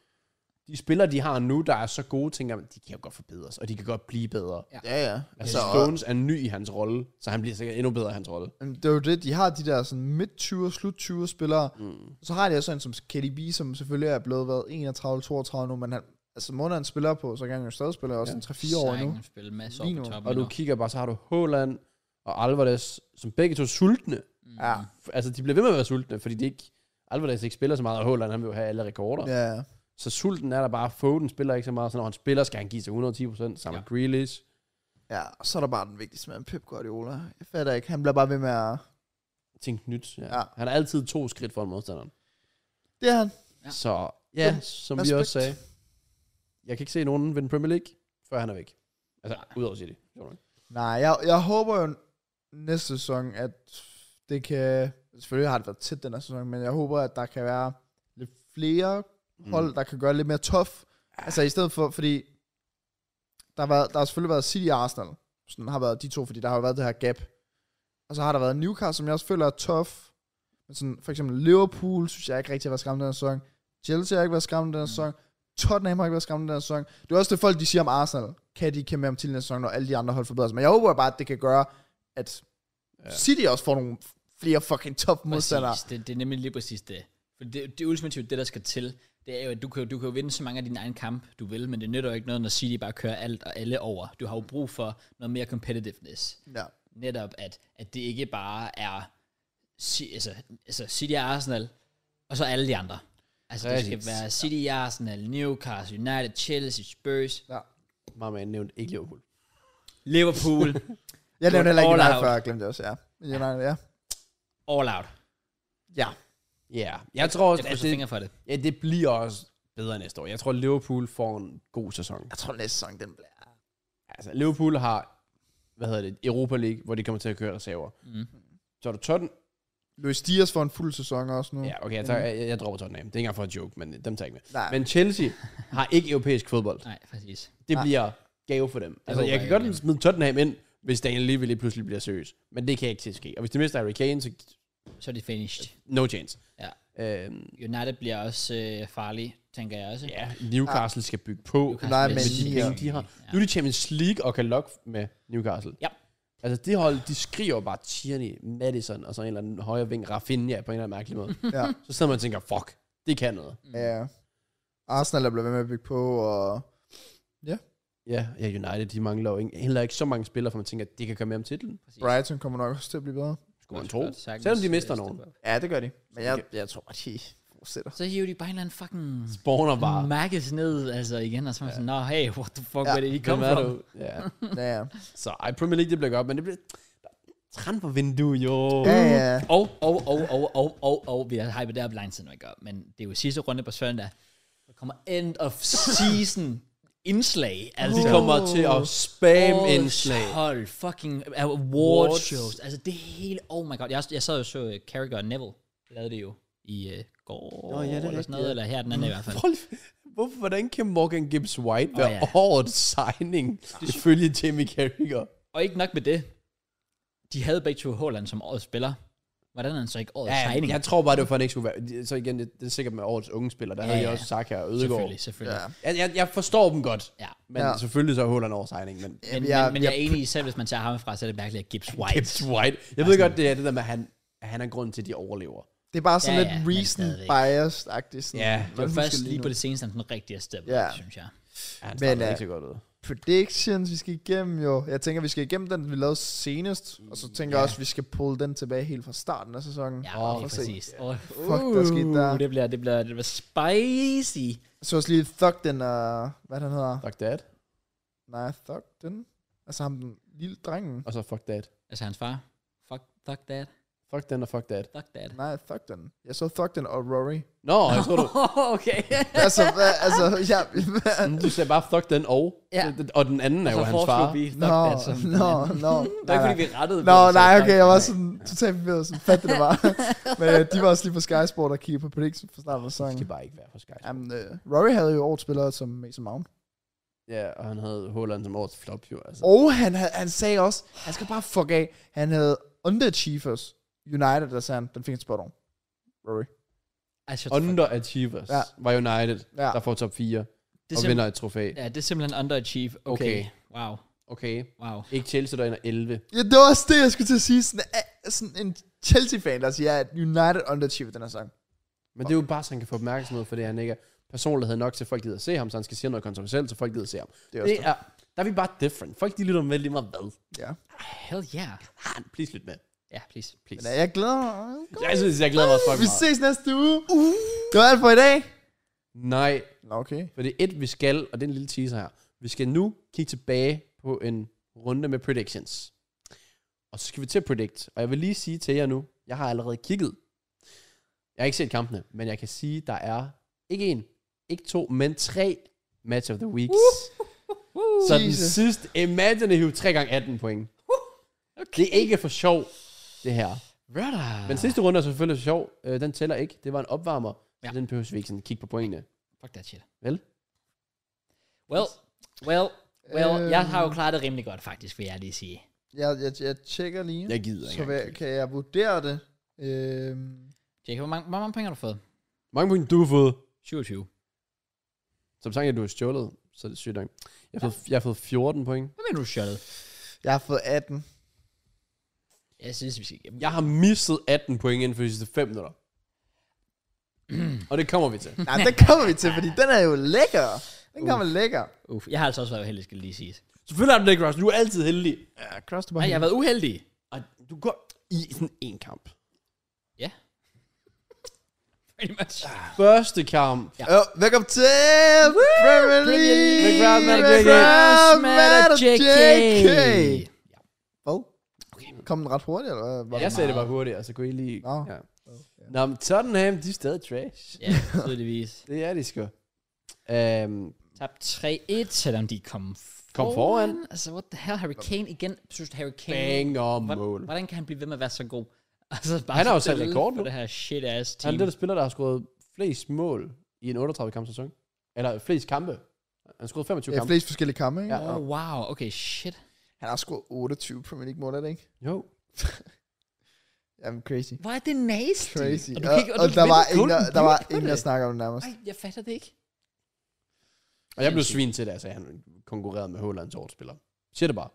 de spillere, de har nu, der er så gode, tænker man, de kan jo godt forbedres, og de kan godt blive bedre.
Ja.
Ja.
Ja, ja.
Altså,
Altså, og,
Stones er ny i hans rolle, så han bliver sikkert endnu bedre i hans rolle.
men det er jo det, de har de der sådan midt-20'er, slut-20'er spillere. Mm. Så har de også en som KDB, som selvfølgelig er blevet været 31-32 nu, men han, altså måneden han spiller på, så kan han jo stadig spille også ja. 3-4 år
Sangen
nu.
spille masser
Lige
op på
nu.
toppen.
Og
endnu.
du kigger bare, så har du Haaland og Alvarez, som begge to er sultne.
Mm.
Ja,
F- Altså, de bliver ved med at være sultne, fordi de ikke, Alvarez ikke spiller så meget, og Haaland, han vil jo have alle rekorder. Ja.
ja.
Så sulten er der bare, Foden spiller ikke så meget, så når han spiller, skal han give sig 110 procent, sammen med Grealish.
Ja, og så er der bare den vigtigste mand, Pep Guardiola. Jeg fatter ikke, han bliver bare ved med at...
Tænk nyt. Ja.
Ja.
ja. Han er altid to skridt foran modstanderen.
Det er han.
Ja.
Ja. Så ja,
Ja,
som vi
respekt.
også sagde, jeg kan ikke se nogen vinde Premier League, før han er væk. Altså, udover City. sjovt nok.
Nej, jeg, jeg håber jo næste sæson, at det kan... Selvfølgelig har det været tæt den her sæson, men jeg håber, at der kan være lidt flere hold, mm. der kan gøre det lidt mere tough. Altså i stedet for, fordi der har, været, der har selvfølgelig været City og Arsenal, sådan har været de to, fordi der har jo været det her gap. Og så har der været Newcastle, som jeg også føler er tough. Men sådan, for eksempel Liverpool, synes jeg ikke rigtig har været skræmt den her sæson. Chelsea har ikke været skræmt den her sæson. Tottenham har ikke været skræmt den her sæson. Det er også det folk, de siger om Arsenal. Kan de ikke kæmpe med om til den her sæson, når alle de andre hold forbedrer sig. Men jeg håber bare, at det kan gøre, at
Ja.
City også får nogle flere fucking top modstandere.
Præcis. Det, det er nemlig lige præcis det. For det, det ultimative, det der skal til, det er jo, at du kan, jo- du kan jo vinde så mange af dine egne kampe, du vil, men det nytter jo ikke noget, når City bare kører alt og alle over. Du har jo brug for noget mere competitiveness.
Ja.
Netop, at, at det ikke bare er Ci- altså, altså City og Arsenal, og så alle de andre. Altså, det skal
Præcis.
være City, Arsenal, Newcastle, United, Chelsea, Spurs,
ja.
Mamma nævnte ikke Liverpool. [laughs]
Liverpool,
Jeg
Du er
nævnte heller ikke
all
United
out.
før, jeg glemte det også, ja. United, ja.
all out.
Ja.
Ja, yeah. jeg tror også,
Jeg
at
altså fingre
det,
for det.
ja, det bliver også bedre næste år. Jeg tror, Liverpool får en god sæson.
Jeg tror næste sæson, den bliver...
Altså, Liverpool har, hvad hedder det, Europa League, hvor de kommer til at køre reserver.
Mm.
Så er du Tottenham.
Luis Diaz får en fuld sæson også
Mm.
nu.
Ja, okay, jeg, tager, jeg, jeg dropper Tottenham. Det er ikke engang for at joke, men øh, dem tager jeg ikke med.
Nej.
Men Chelsea har ikke europæisk fodbold.
Nej, præcis.
Det bliver gave for dem. Altså,
håber
jeg
jeg
kan godt
ikke.
smide Tottenham ind, hvis Daniel Levy lige pludselig bliver seriøs. Men det kan ikke til at ske. Og hvis de mister Harry Kane, så
Så er det finished.
no chance.
Ja.
Øhm,
United bliver også øh, farlig, tænker jeg også.
ja, Newcastle skal bygge på.
Newcastle
Nej,
bliver
men
Altså, Med de
syge.
ja.
penge, de har. Nu er de Champions League og kan lokke med Newcastle.
Ja.
Altså, det hold, de skriver bare Tierney, Madison og sådan en eller anden højre ving, Rafinha på en eller anden mærkelig måde.
ja.
Så sidder man og tænker, fuck, det kan noget.
[laughs] ja. Arsenal er blevet ved med at bygge på, og...
Ja, ja United, de mangler jo ikke, heller ikke så mange spillere, for man tænker, det kan komme med om titlen.
Præcis.
Brighton kommer nok også til at blive bedre.
Skulle man
Godt,
tro.
godt, sagtens. øh,
Selvom de mister nogen.
Ja, det gør de. Men jeg,
Okay.
jeg tror, at de fortsætter.
Så hiver de bare en eller anden fucking
Spawner bare.
mærkes ned, altså igen, og så er man sådan, nå, hey, what the fuck,
Ja,
ja, var det, I
Hvem
kom
er
fra?
du? Ja.
[laughs] Ja, ja.
Så ej, Premier League, det bliver godt, men det bliver... Transfervindue, jo.
ja, ja.
Og, og, og, og, og, og, og, vi har hypet det op lang tid, nu ikke op, men det er jo sidste runde på søndag. Der kommer end of
[laughs]
season indslag, altså.
De kommer til at spamme
årets
indslag.
Hold, fucking uh, award
Awards.
shows. Altså det hele, oh my god. Jeg, jeg sad jo så uh, Carragher og Neville lavede det jo i uh, går,
Nå, ja, det er
eller
rigtigt,
sådan noget,
ja.
eller her den anden i hvert fald.
Rolf, hvorfor, hvordan kan Morgan Gibbs White være
ja.
årets signing, ifølge Jamie Carragher?
Og ikke nok med det. De havde begge to Haaland som årets spiller. Hvordan er han så ikke årets ja, signing?
jeg tror bare, det var for, at han ikke skulle være... Så igen, det, det er sikkert med årets unge spillere. Der
Ja,
ja, havde jeg
ja.
også Saka og Ødegaard.
selvfølgelig, selvfølgelig.
Ja.
Ja.
Jeg, jeg, jeg forstår dem godt,
ja.
men
Ja.
ja. selvfølgelig så holder en årets signing, men...
Men,
Jamen,
jeg, men, men jeg, er enig i, selv hvis man tager ham fra, så er det mærkeligt, at Gibbs White.
Gibbs White. Jeg
Altså-
ved godt, det er det der med, at han, han er grunden til, at de overlever.
Det er bare sådan
Ja,
lidt
ja, men
reason
stadigvæk.
biased-agtigt. sådan.
Ja,
Det var
Husker
først lige
nu.
på det seneste, han sådan rigtig er steppet,
Ja.
ja. synes jeg.
Ja, han
Men,
starter
øh,
ikke så godt ud.
Predictions, vi skal igennem jo. Jeg tænker, vi skal igennem den, vi lavede senest. Og så tænker jeg også, vi skal pulle den tilbage helt fra starten af sæsonen.
Ja,
Åh,
oh,
for
præcis. Oh,
Fuck, der skete der.
Det bliver, det bliver, det bliver spicy.
Så også lige Thug den, og hvad han hedder.
Uh. Fuck that.
Nej, Thug den. Altså ham, den lille drengen.
Og så fuck that.
Altså hans far. Fuck, fuck that.
Fuck den og fuck that.
Fuck that.
Nej, Thug den. Jeg så Thug den og Rory.
Nå, jeg tror du...
[laughs] okay.
altså, hvad, altså,
[laughs]
ja.
Du sagde bare fuck den og.
Ja. Altså,
Og den anden er jo hans far.
Vi fuck
Nå,
that. Som,
nå,
[laughs]
nå.
Det er ikke, fordi vi rettede
Nå,
det, så
nej,
fuck
okay, jeg var
that.
sådan totalt forvirret, sådan fat det det
[laughs]
var. Men øh, de var også lige på Sky Sport og kiggede på prediction fra starten af
Det
sæsonen.
skal bare ikke være for Sky.
Jamen, øh, Rory havde jo årets spillere som Mason Mount.
Ja, og han havde Haaland som årets flop, jo. Altså.
Og han, havde, han sagde også, han skal bare fuck af, han havde underachievers United, der sagde han, den fik en spot on. Rory.
Altså,
Underachievers
Ja.
ja. var United,
Ja.
ja. der får top 4
det er
og
simp-
vinder et trofæ.
Ja, det er simpelthen underachieve. Okay. okay.
Okay.
Wow.
Okay.
Wow.
Ikke Chelsea, der ender 11.
Ja, det var også det, jeg skulle til at sige. Sådan, øh, sådan en Chelsea-fan, der siger, at United underachiever den her sang.
Men det er jo bare, så han kan få opmærksomhed for det, han ikke er personlighed nok til, at folk gider at se ham, så han skal sige noget kontroversielt, så folk gider at se ham.
Det er også
Det er, der er vi bare different. Folk de lytter med lige meget hvad.
Ja.
Hell yeah.
Han, please lyt med.
Ja, please.
Men
Please.
øh, jeg glæder mig.
Jeg synes, jeg glæder mig også fucking
Vi
meget.
ses næste uge. Uh. Det var alt for i dag.
Nej,
Nå, okay.
for det er et, vi skal, og det er en lille teaser her. Vi skal nu kigge tilbage på en runde med predictions. Og så skal vi til at predict. Og jeg vil lige sige til jer nu, jeg har allerede kigget. Jeg har ikke set kampene, men jeg kan sige, der er ikke en, ikke to, men tre match of the weeks. Så den
Jesus.
sidste, Imaginative 3 gange 18 point. Okay. Det er ikke for sjov, det her.
Brother.
Men sidste runde er selvfølgelig sjov. Øh, den tæller ikke. Det var en opvarmer.
Ja.
Ja. Den behøver vi ikke sådan kigge på pointene.
Fuck that shit.
Vel?
Well, well, well.
Øhm.
Jeg har jo klaret det rimelig godt, faktisk, vil jeg lige sige.
Jeg, jeg, jeg tjekker lige.
Jeg gider
så
ikke.
hvad,
engang kigge.
kan jeg vurdere det? Øhm,
Jacob, hvor mange, hvor mange penge har du fået?
Mange point du har fået.
27.
Som sagt, at du har stjålet, så er det sygt nok. Jeg har, fået, jeg har fået 14 point.
Hvad mener du, Charlotte?
jeg har fået 18.
Jeg synes, vi skal igennem.
Jeg har mistet 18 point inden for de sidste 5 minutter. [clears throat] Og det kommer vi til.
Nej, den kommer vi til, fordi den er jo lækker. Den kommer lækker.
Uff, jeg har altså også været uheldig, skal det lige siges.
Selvfølgelig har du det ikke, Ross. Du er altid heldig.
Ja, cross the
Nej, jeg har været uheldig.
Og du går i sådan en kamp.
Ja. Pretty much.
Ah. Første kamp.
Ja.
Jo, velkommen til Premier
Premier
League.
League.
Grand Madam JK.
Grand Madam JK.
Ja.
Hvad?
Okay.
Kom den ret hurtigt, eller hvad? var
Jeg
det?
sagde det bare hurtigere, så kunne I lige...
Nå.
Ja. Nå, men Tottenham, de er stadig trash.
Ja, tydeligvis.
Det er de sgu. Øhm,
Tabt 3-1, selvom de kom foran.
Kom foran.
Altså, what the hell? Harry Kane igen. Jeg synes, Harry Kane...
banger mål.
hvordan, hvordan kan han blive ved med at være så god? [laughs] Altså, bare
Han har jo
så
sat
spille
rekord
for
nu.
det her shit-ass team.
Han er den der spiller, der har scoret flest mål i en 38-kamp sæson. Eller flest kampe. Han har scoret 25
Ja,
kampe.
flest forskellige kampe, ikke?
Ja.
Oh, wow. Okay, shit.
Han har scoret 28 Premier League mål, er det ikke?
Jo.
Jamen, crazy.
Hvor er det nasty?
Crazy.
Og,
Og,
du
og,
kan ikke, og,
og
du
der,
vinder
var ingen,
Golden
der, der var
Boot på
ingen, der
det.
snakkede om det nærmest.
Ej, jeg fatter det ikke.
Og jeg blev svin til det, altså han konkurrerede med Hålands årsspiller. Siger det bare.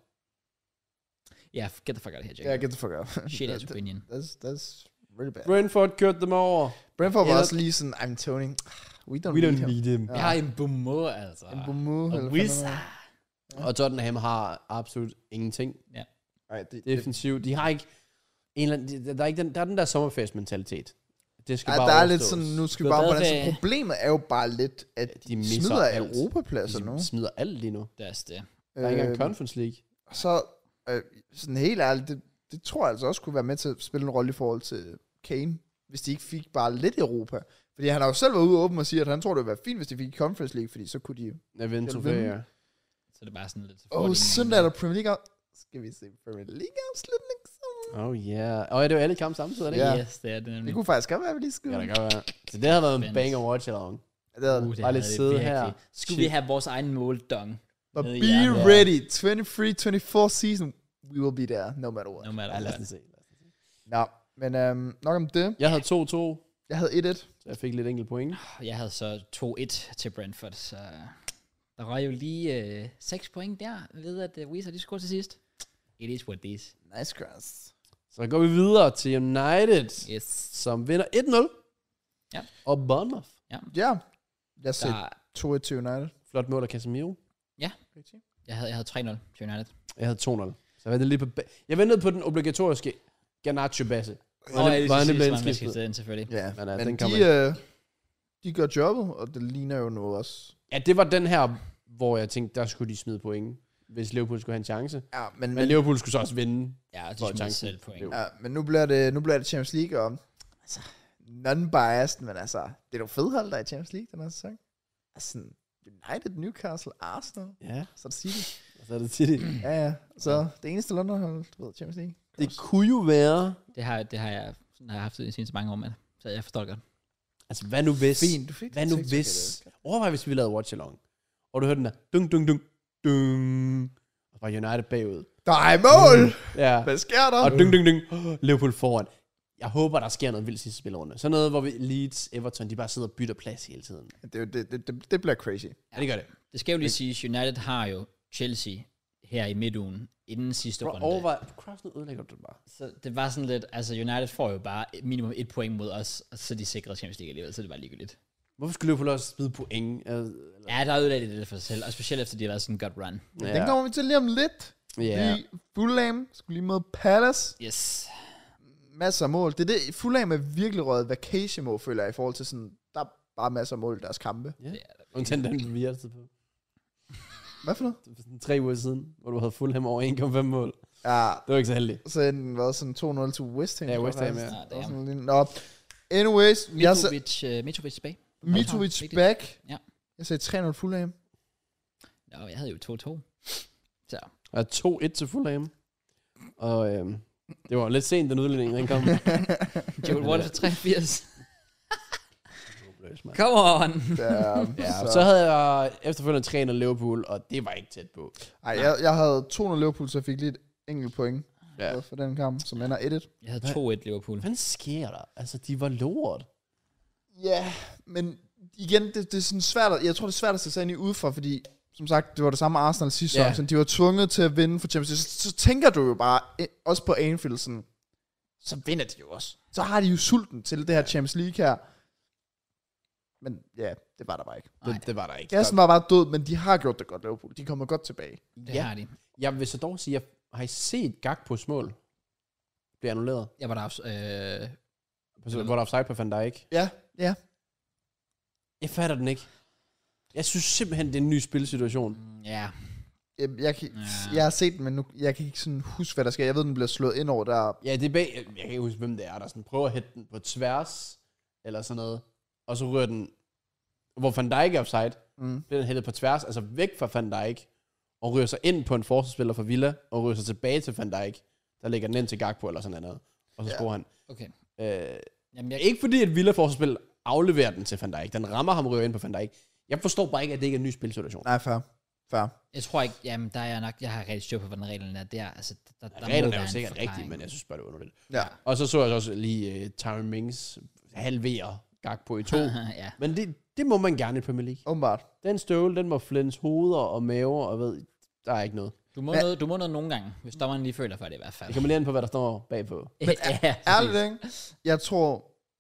Ja, yeah, get the fuck out of here,
Ja,
Jacob.
get the fuck out.
Shit ass opinion.
That's, that's really bad.
Brentford kørte dem over.
Brentford var
Eller-
også lige sådan, I'm Tony. [sighs] We don't,
We don't
need him.
need him.
Jeg har en bummer, altså.
En bumu.
Og Wizard.
Og Tottenham har absolut ingenting
Nej, det, det,
defensivt. De har ikke... En eller anden, de- der, er ikke den, der er den der sommerfest-mentalitet. Det skal
Ja,
bare
der er lidt
overstås.
sådan, nu skal vi
Du har
bare på
været
den. Så
ved-
problemet er jo bare lidt, at
de
de
misser
smider
alt.
europapladser altså nu.
De smider alt lige nu.
Det er det.
Der er ikke engang
Øh,
Conference League.
Og så, øh, sådan helt ærligt, det, det tror jeg altså også kunne være med til at spille en rolle i forhold til Kane, hvis de ikke fik bare lidt Europa. Fordi han har jo selv været ude og åben og sige, at han tror, det ville være fint, hvis de fik Conference League, fordi så kunne de...
Jeg vinder
Skal du
trofæer.
vinde?
Så det er bare sådan lidt...
Åh, oh, søndag er der Premier League af- Skal vi se Premier League afslutning?
Oh yeah. Og er det jo alle kampe samtidig, er det
Ja.
ikke?
Yes, det er det
Det
nemlig.
kunne faktisk godt være, at vi lige
Ja,
skulle...
det kan godt være. Så det har været en
Spændende.
banger watch along.
Det er,
Uh,
Bare lidt
havde det
sidde
virkelig.
her.
Skulle vi have vores egen måldong?
but
nede i
be
hjernen.
ready. 23-24 season. We will be there, no matter what.
No matter
Ja, lad os
what.
lige se.
Nå, men øhm, nok om det.
Jeg havde 2-2,
Jeg havde 1-1.
så jeg fik lidt enkelt point.
Jeg havde så 2-1 til Brentford, så der røg jo lige øh, 6 point der, ved at øh, Wizard de scorede til sidst. It is what it is.
Nice cross.
Så går vi videre til United,
Yes.
som vinder 1-0.
Ja.
Og Bournemouth.
Ja, jeg sagde
Der,
2-1 til United.
Flot mål af Casemiro.
jeg, havde, jeg havde 3-0 til United.
Jeg havde 2-0. Så jeg ventede lige på... ba- Jeg ventede på den obligatoriske Garnacho Basse.
Og øh, jeg lige
var han
skal
blevet
sige, man skal
indskiftet?
sidde ind selvfølgelig.
Ja,
Men,
men,
øh,
men
den
de,
kommer
øh, de gør jobbet, og det ligner jo noget også.
Ja, det var den her, hvor jeg tænkte, der skulle de smide point, hvis Liverpool skulle have en chance.
Ja, men,
Men
men,
Liverpool skulle så også vinde.
Ja, og de
Hvor er
smed
chancen?
selv point.
Jo.
ja, men nu, bliver det, nu bliver det Champions League, og altså, non-biased, men altså, det er jo fedhold, der er i Champions League den her sæson. Altså, sådan United, Newcastle, Arsenal,
Ja,
så er det [laughs] City.
og så er det City.
Ja, ja. Så det eneste Londonhold, du ved, Champions League.
[clears throat] Det kunne jo være...
Det har, det har jeg, sådan har jeg haft det i de seneste mange år, mand. Så jeg forstår det godt.
Altså, hvad nu hvis...
Fint, du fik
Hvad
det
nu
TikTok,
hvis...
jeg ved.
Overvej, hvis vi lavede Watch Along. Og du hørte den der... Dung, dung, dung, dung. Og var United bagud.
Der er mål!
Ja.
Hvad sker der?
Og dung, dung, dung. Liverpool foran. Jeg håber, der sker noget vildt sidste spillerunde. Sådan noget, hvor vi, Leeds, Everton, de bare sidder og bytter plads hele tiden.
Det, er jo- det, det, det, det bliver crazy.
Ja, det gør det.
Det skal jo lige siges, United har jo Chelsea her i midtugen inden sidste
Bro,
runde.
overvej, Kraus, nu ødelægger du det bare.
Så det var sådan lidt, altså United får jo bare minimum et point mod os, og så er de sikrede Champions League alligevel, så det var ligegyldigt.
Hvorfor skulle Liverpool også smide point? Øh,
Ja, der ødelagde de det lidt for sig selv, og specielt efter de har været sådan en godt run.
Ja. Den kommer vi til lige om lidt.
ja.
Fordi Fulham skulle lige møde Palace.
Yes.
Masser af mål. Det er det, Fulham er virkelig røget vacation mål, føler jeg, i forhold til sådan, der er bare masser af mål i deres kampe.
Undtagen den, vi altid på.
Hvad for noget?
Det var sådan tre uger siden, hvor du havde Fulham over 1,5 mål.
Ja,
Det var ikke så heldigt.
så er den været sådan 2-0 til West Ham.
Ja,
tror
West
jeg
Ham,
faktisk.
ja.
Det var sådan lige- Nå. Anyways, jeg så,
Mitrovic, uh, Mitrovic tilbage.
Mitrovic
Vigtigt.
back.
Ja.
Jeg sagde 3-0 Fulham.
Nå, jeg havde jo 2-2. Så,
Og 2-1 til Fulham. Og øhm, det var lidt sent, den udligning, den [laughs] kom.
Joel Ward [laughs] for 83.
Håbløs, mand.
Come on!
Ja,
[laughs] ja, så havde jeg efterfølgende trænet Liverpool, og det var ikke tæt på.
Ej, jeg, jeg havde 2-0 Liverpool, så jeg fik lige et enkelt point
Ja.
ja. for den kamp, som ender 1-1.
Jeg havde 2-1 Liverpool.
Hvad sker der? Altså, de var lort.
Ja, men igen, det, det er sådan svært, at- jeg tror det er svært at sætte sig ind i udefra, fordi som sagt, det var det samme Arsenal sidste
Ja.
yeah. sæson, de var tvunget til at vinde for Champions League, så, så tænker du jo bare, eh, også på Anfield, sådan, så vinder de jo også. Så har de jo sulten til det her Champions League her. Men ja, det var der bare ikke.
Nej.
Det, det var der ikke.
Gassen var bare død, men de har gjort det godt, Liverpool. De kommer godt tilbage.
Det
Ja.
har de.
Jeg vil så dog sige, at har I set Gakpo's mål? Bliver annulleret.
Jeg var der også, øh,
Hvor der er offside på Van Dijk.
Ja, ja.
Jeg fatter den ikke. Jeg synes simpelthen, det er en ny spilsituation.
mm, ja.
Jeg, jeg, kan,
Ja.
jeg har set den, men nu, jeg kan ikke sådan huske, hvad der sker. Jeg ved, den bliver slået ind over der.
Ja, det er bag, jeg kan ikke huske, hvem det er, der sådan prøver at hætte den på tværs, eller sådan noget, og så rører den, hvor Van Dijk er offside,
Mm.
bliver den hættet på tværs, altså væk fra Van Dijk, og rører sig ind på en forsvarsspiller fra Villa, og rører sig tilbage til Van Dijk, der lægger den ind til Gakpo eller sådan noget, og så
Ja.
scorer han.
Okay.
Øh,
Jamen, jeg,
ikke fordi, at Villa forsvarsspil afleverer den til Van Dijk, den rammer ham og rører ind på Van Dijk. Jeg forstår bare ikke, at det ikke er en ny spilsituation.
Nej, fair. Fair.
jeg tror ikke, jamen, der er jeg nok, jeg har rigtig styr på, hvordan reglerne er der. Altså, der, der, der må
Reglerne er
være
jo
en
sikkert
forklaring. [laughs]
rigtige, men jeg synes bare, det er underligt.
Ja.
Og så så jeg også lige uh, Tyron Mings halvere Gakpo
[laughs]
i to.
ja.
Men det, det må man gerne i Premier League.
Åbenbart.
Den støvle, den må flens hoveder og maver, og ved, der er ikke noget.
Du må,
Hva-
noget, du må noget nogle gange, hvis dommeren lige føler for det i hvert
[laughs]
fald.
Det kan man lære på, hvad der står bagpå.
Men, ja,
Ærligt, ikke? Jeg tror,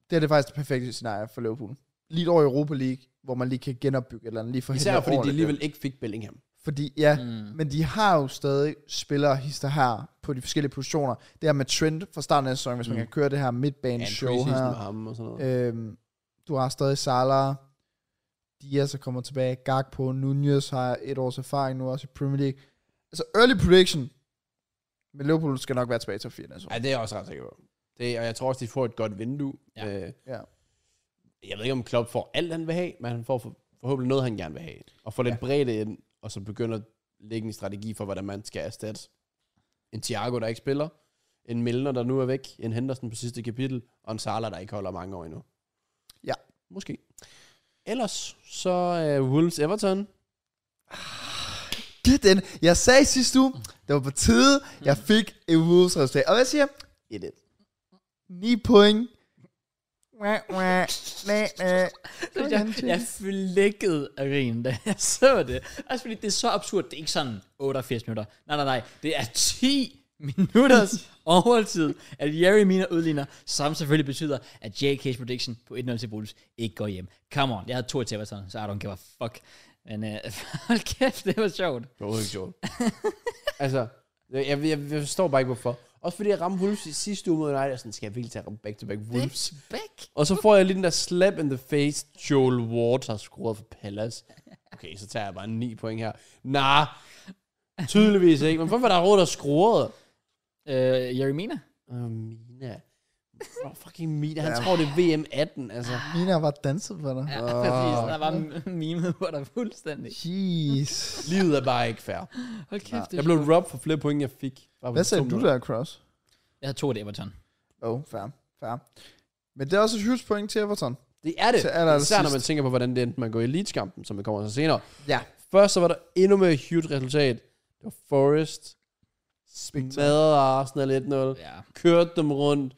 det her det er faktisk det perfekte scenarie for Liverpool. Lige et år i Europa League, hvor man lige kan genopbygge et eller andet. Lige for
Især fordi de alligevel ikke fik Bellingham.
Fordi, ja,
Mm.
mm. men de har jo stadig spillere og hister her på de forskellige positioner. Det her med Trent fra starten af sæsonen, hvis mm. man kan køre det her
Ja, en
midtbane-show
preseason
her.
med ham og sådan noget.
Øhm, du har stadig Salah, Diaz er kommet tilbage, Gakpo, Nunez har et års erfaring nu også i Premier League. Altså early prediction, men Liverpool skal nok være tilbage til 4. Altså.
Ja, det er jeg også ret sikker på. Det, og jeg tror også, de får et godt vindue.
Ja.
Øh,
Ja.
jeg ved ikke, om Klopp får alt, han vil have, men han får for, forhåbentlig noget, han gerne vil have. Og får lidt ja. bredde ind, og så begynder at lægge en strategi for, hvordan man skal erstatte en Thiago, der ikke spiller, en Milner, der nu er væk, en Henderson på sidste kapitel, og en Salah, der ikke holder mange år endnu.
Ja.
Måske. Ellers så uh, Wolves Everton.
Det er den. Jeg sagde sidste uge, det var på tide, jeg fik et Wolves resultat. Og hvad siger jeg? 1-1. 9 point. Mwah, mwah. Næ, næ.
jeg, jeg flækkede af grin, da jeg [laughs] så det. Også fordi det er så absurd. Det er ikke sådan 88 minutter. Nej, nej, nej. Det er 10
[laughs]
minutters overtid, at Jerry Mina udligner, som selvfølgelig betyder, at JK's prediction på 1-0 til Bulls ikke går hjem. Come on. Jeg havde to til Everton, så I don't give a fuck. Men øh, [laughs] hold kæft, det var sjovt.
Det var overhovedet ikke sjovt. [laughs] altså, jeg, jeg, jeg, jeg, forstår bare ikke, hvorfor. Også fordi jeg ramte Wolves i sidste uge mod United, og sådan, skal jeg virkelig tage back-to-back Wolves?
Back.
Og så får jeg lige den der slap in the face, Joel Ward har scoret for Palace. Okay, så tager jeg bare 9 point her. Nej, nah, tydeligvis ikke. Men hvorfor er der råd, der scorede?
Øh, Jerry Mina?
Åh, Mina. Hvor fucking Mina? Han tror, det er VM18, altså.
Ah.
Mina var danset for dig.
Ja, oh. præcis. Der var m- mimet på dig fuldstændig.
Jeez.
Livet er bare ikke fair.
Hold kæft, det
Jeg
er
blev robbed for flere point, end jeg fik. Bare på
Hvad
de
sagde
to
du
minutter.
der, Cross?
Jeg havde to til Everton.
Oh, fair, fair. Men det er også et huge point til Everton.
Det er det.
Til aller
Især når man
sidst.
tænker på, hvordan det endte man går i Leeds-kampen, som vi kommer til senere.
Ja.
Først så var der endnu mere huge resultat. Det var Forrest.
Spectre.
Smadrede Arsenal 1-0.
Ja.
kørte dem rundt.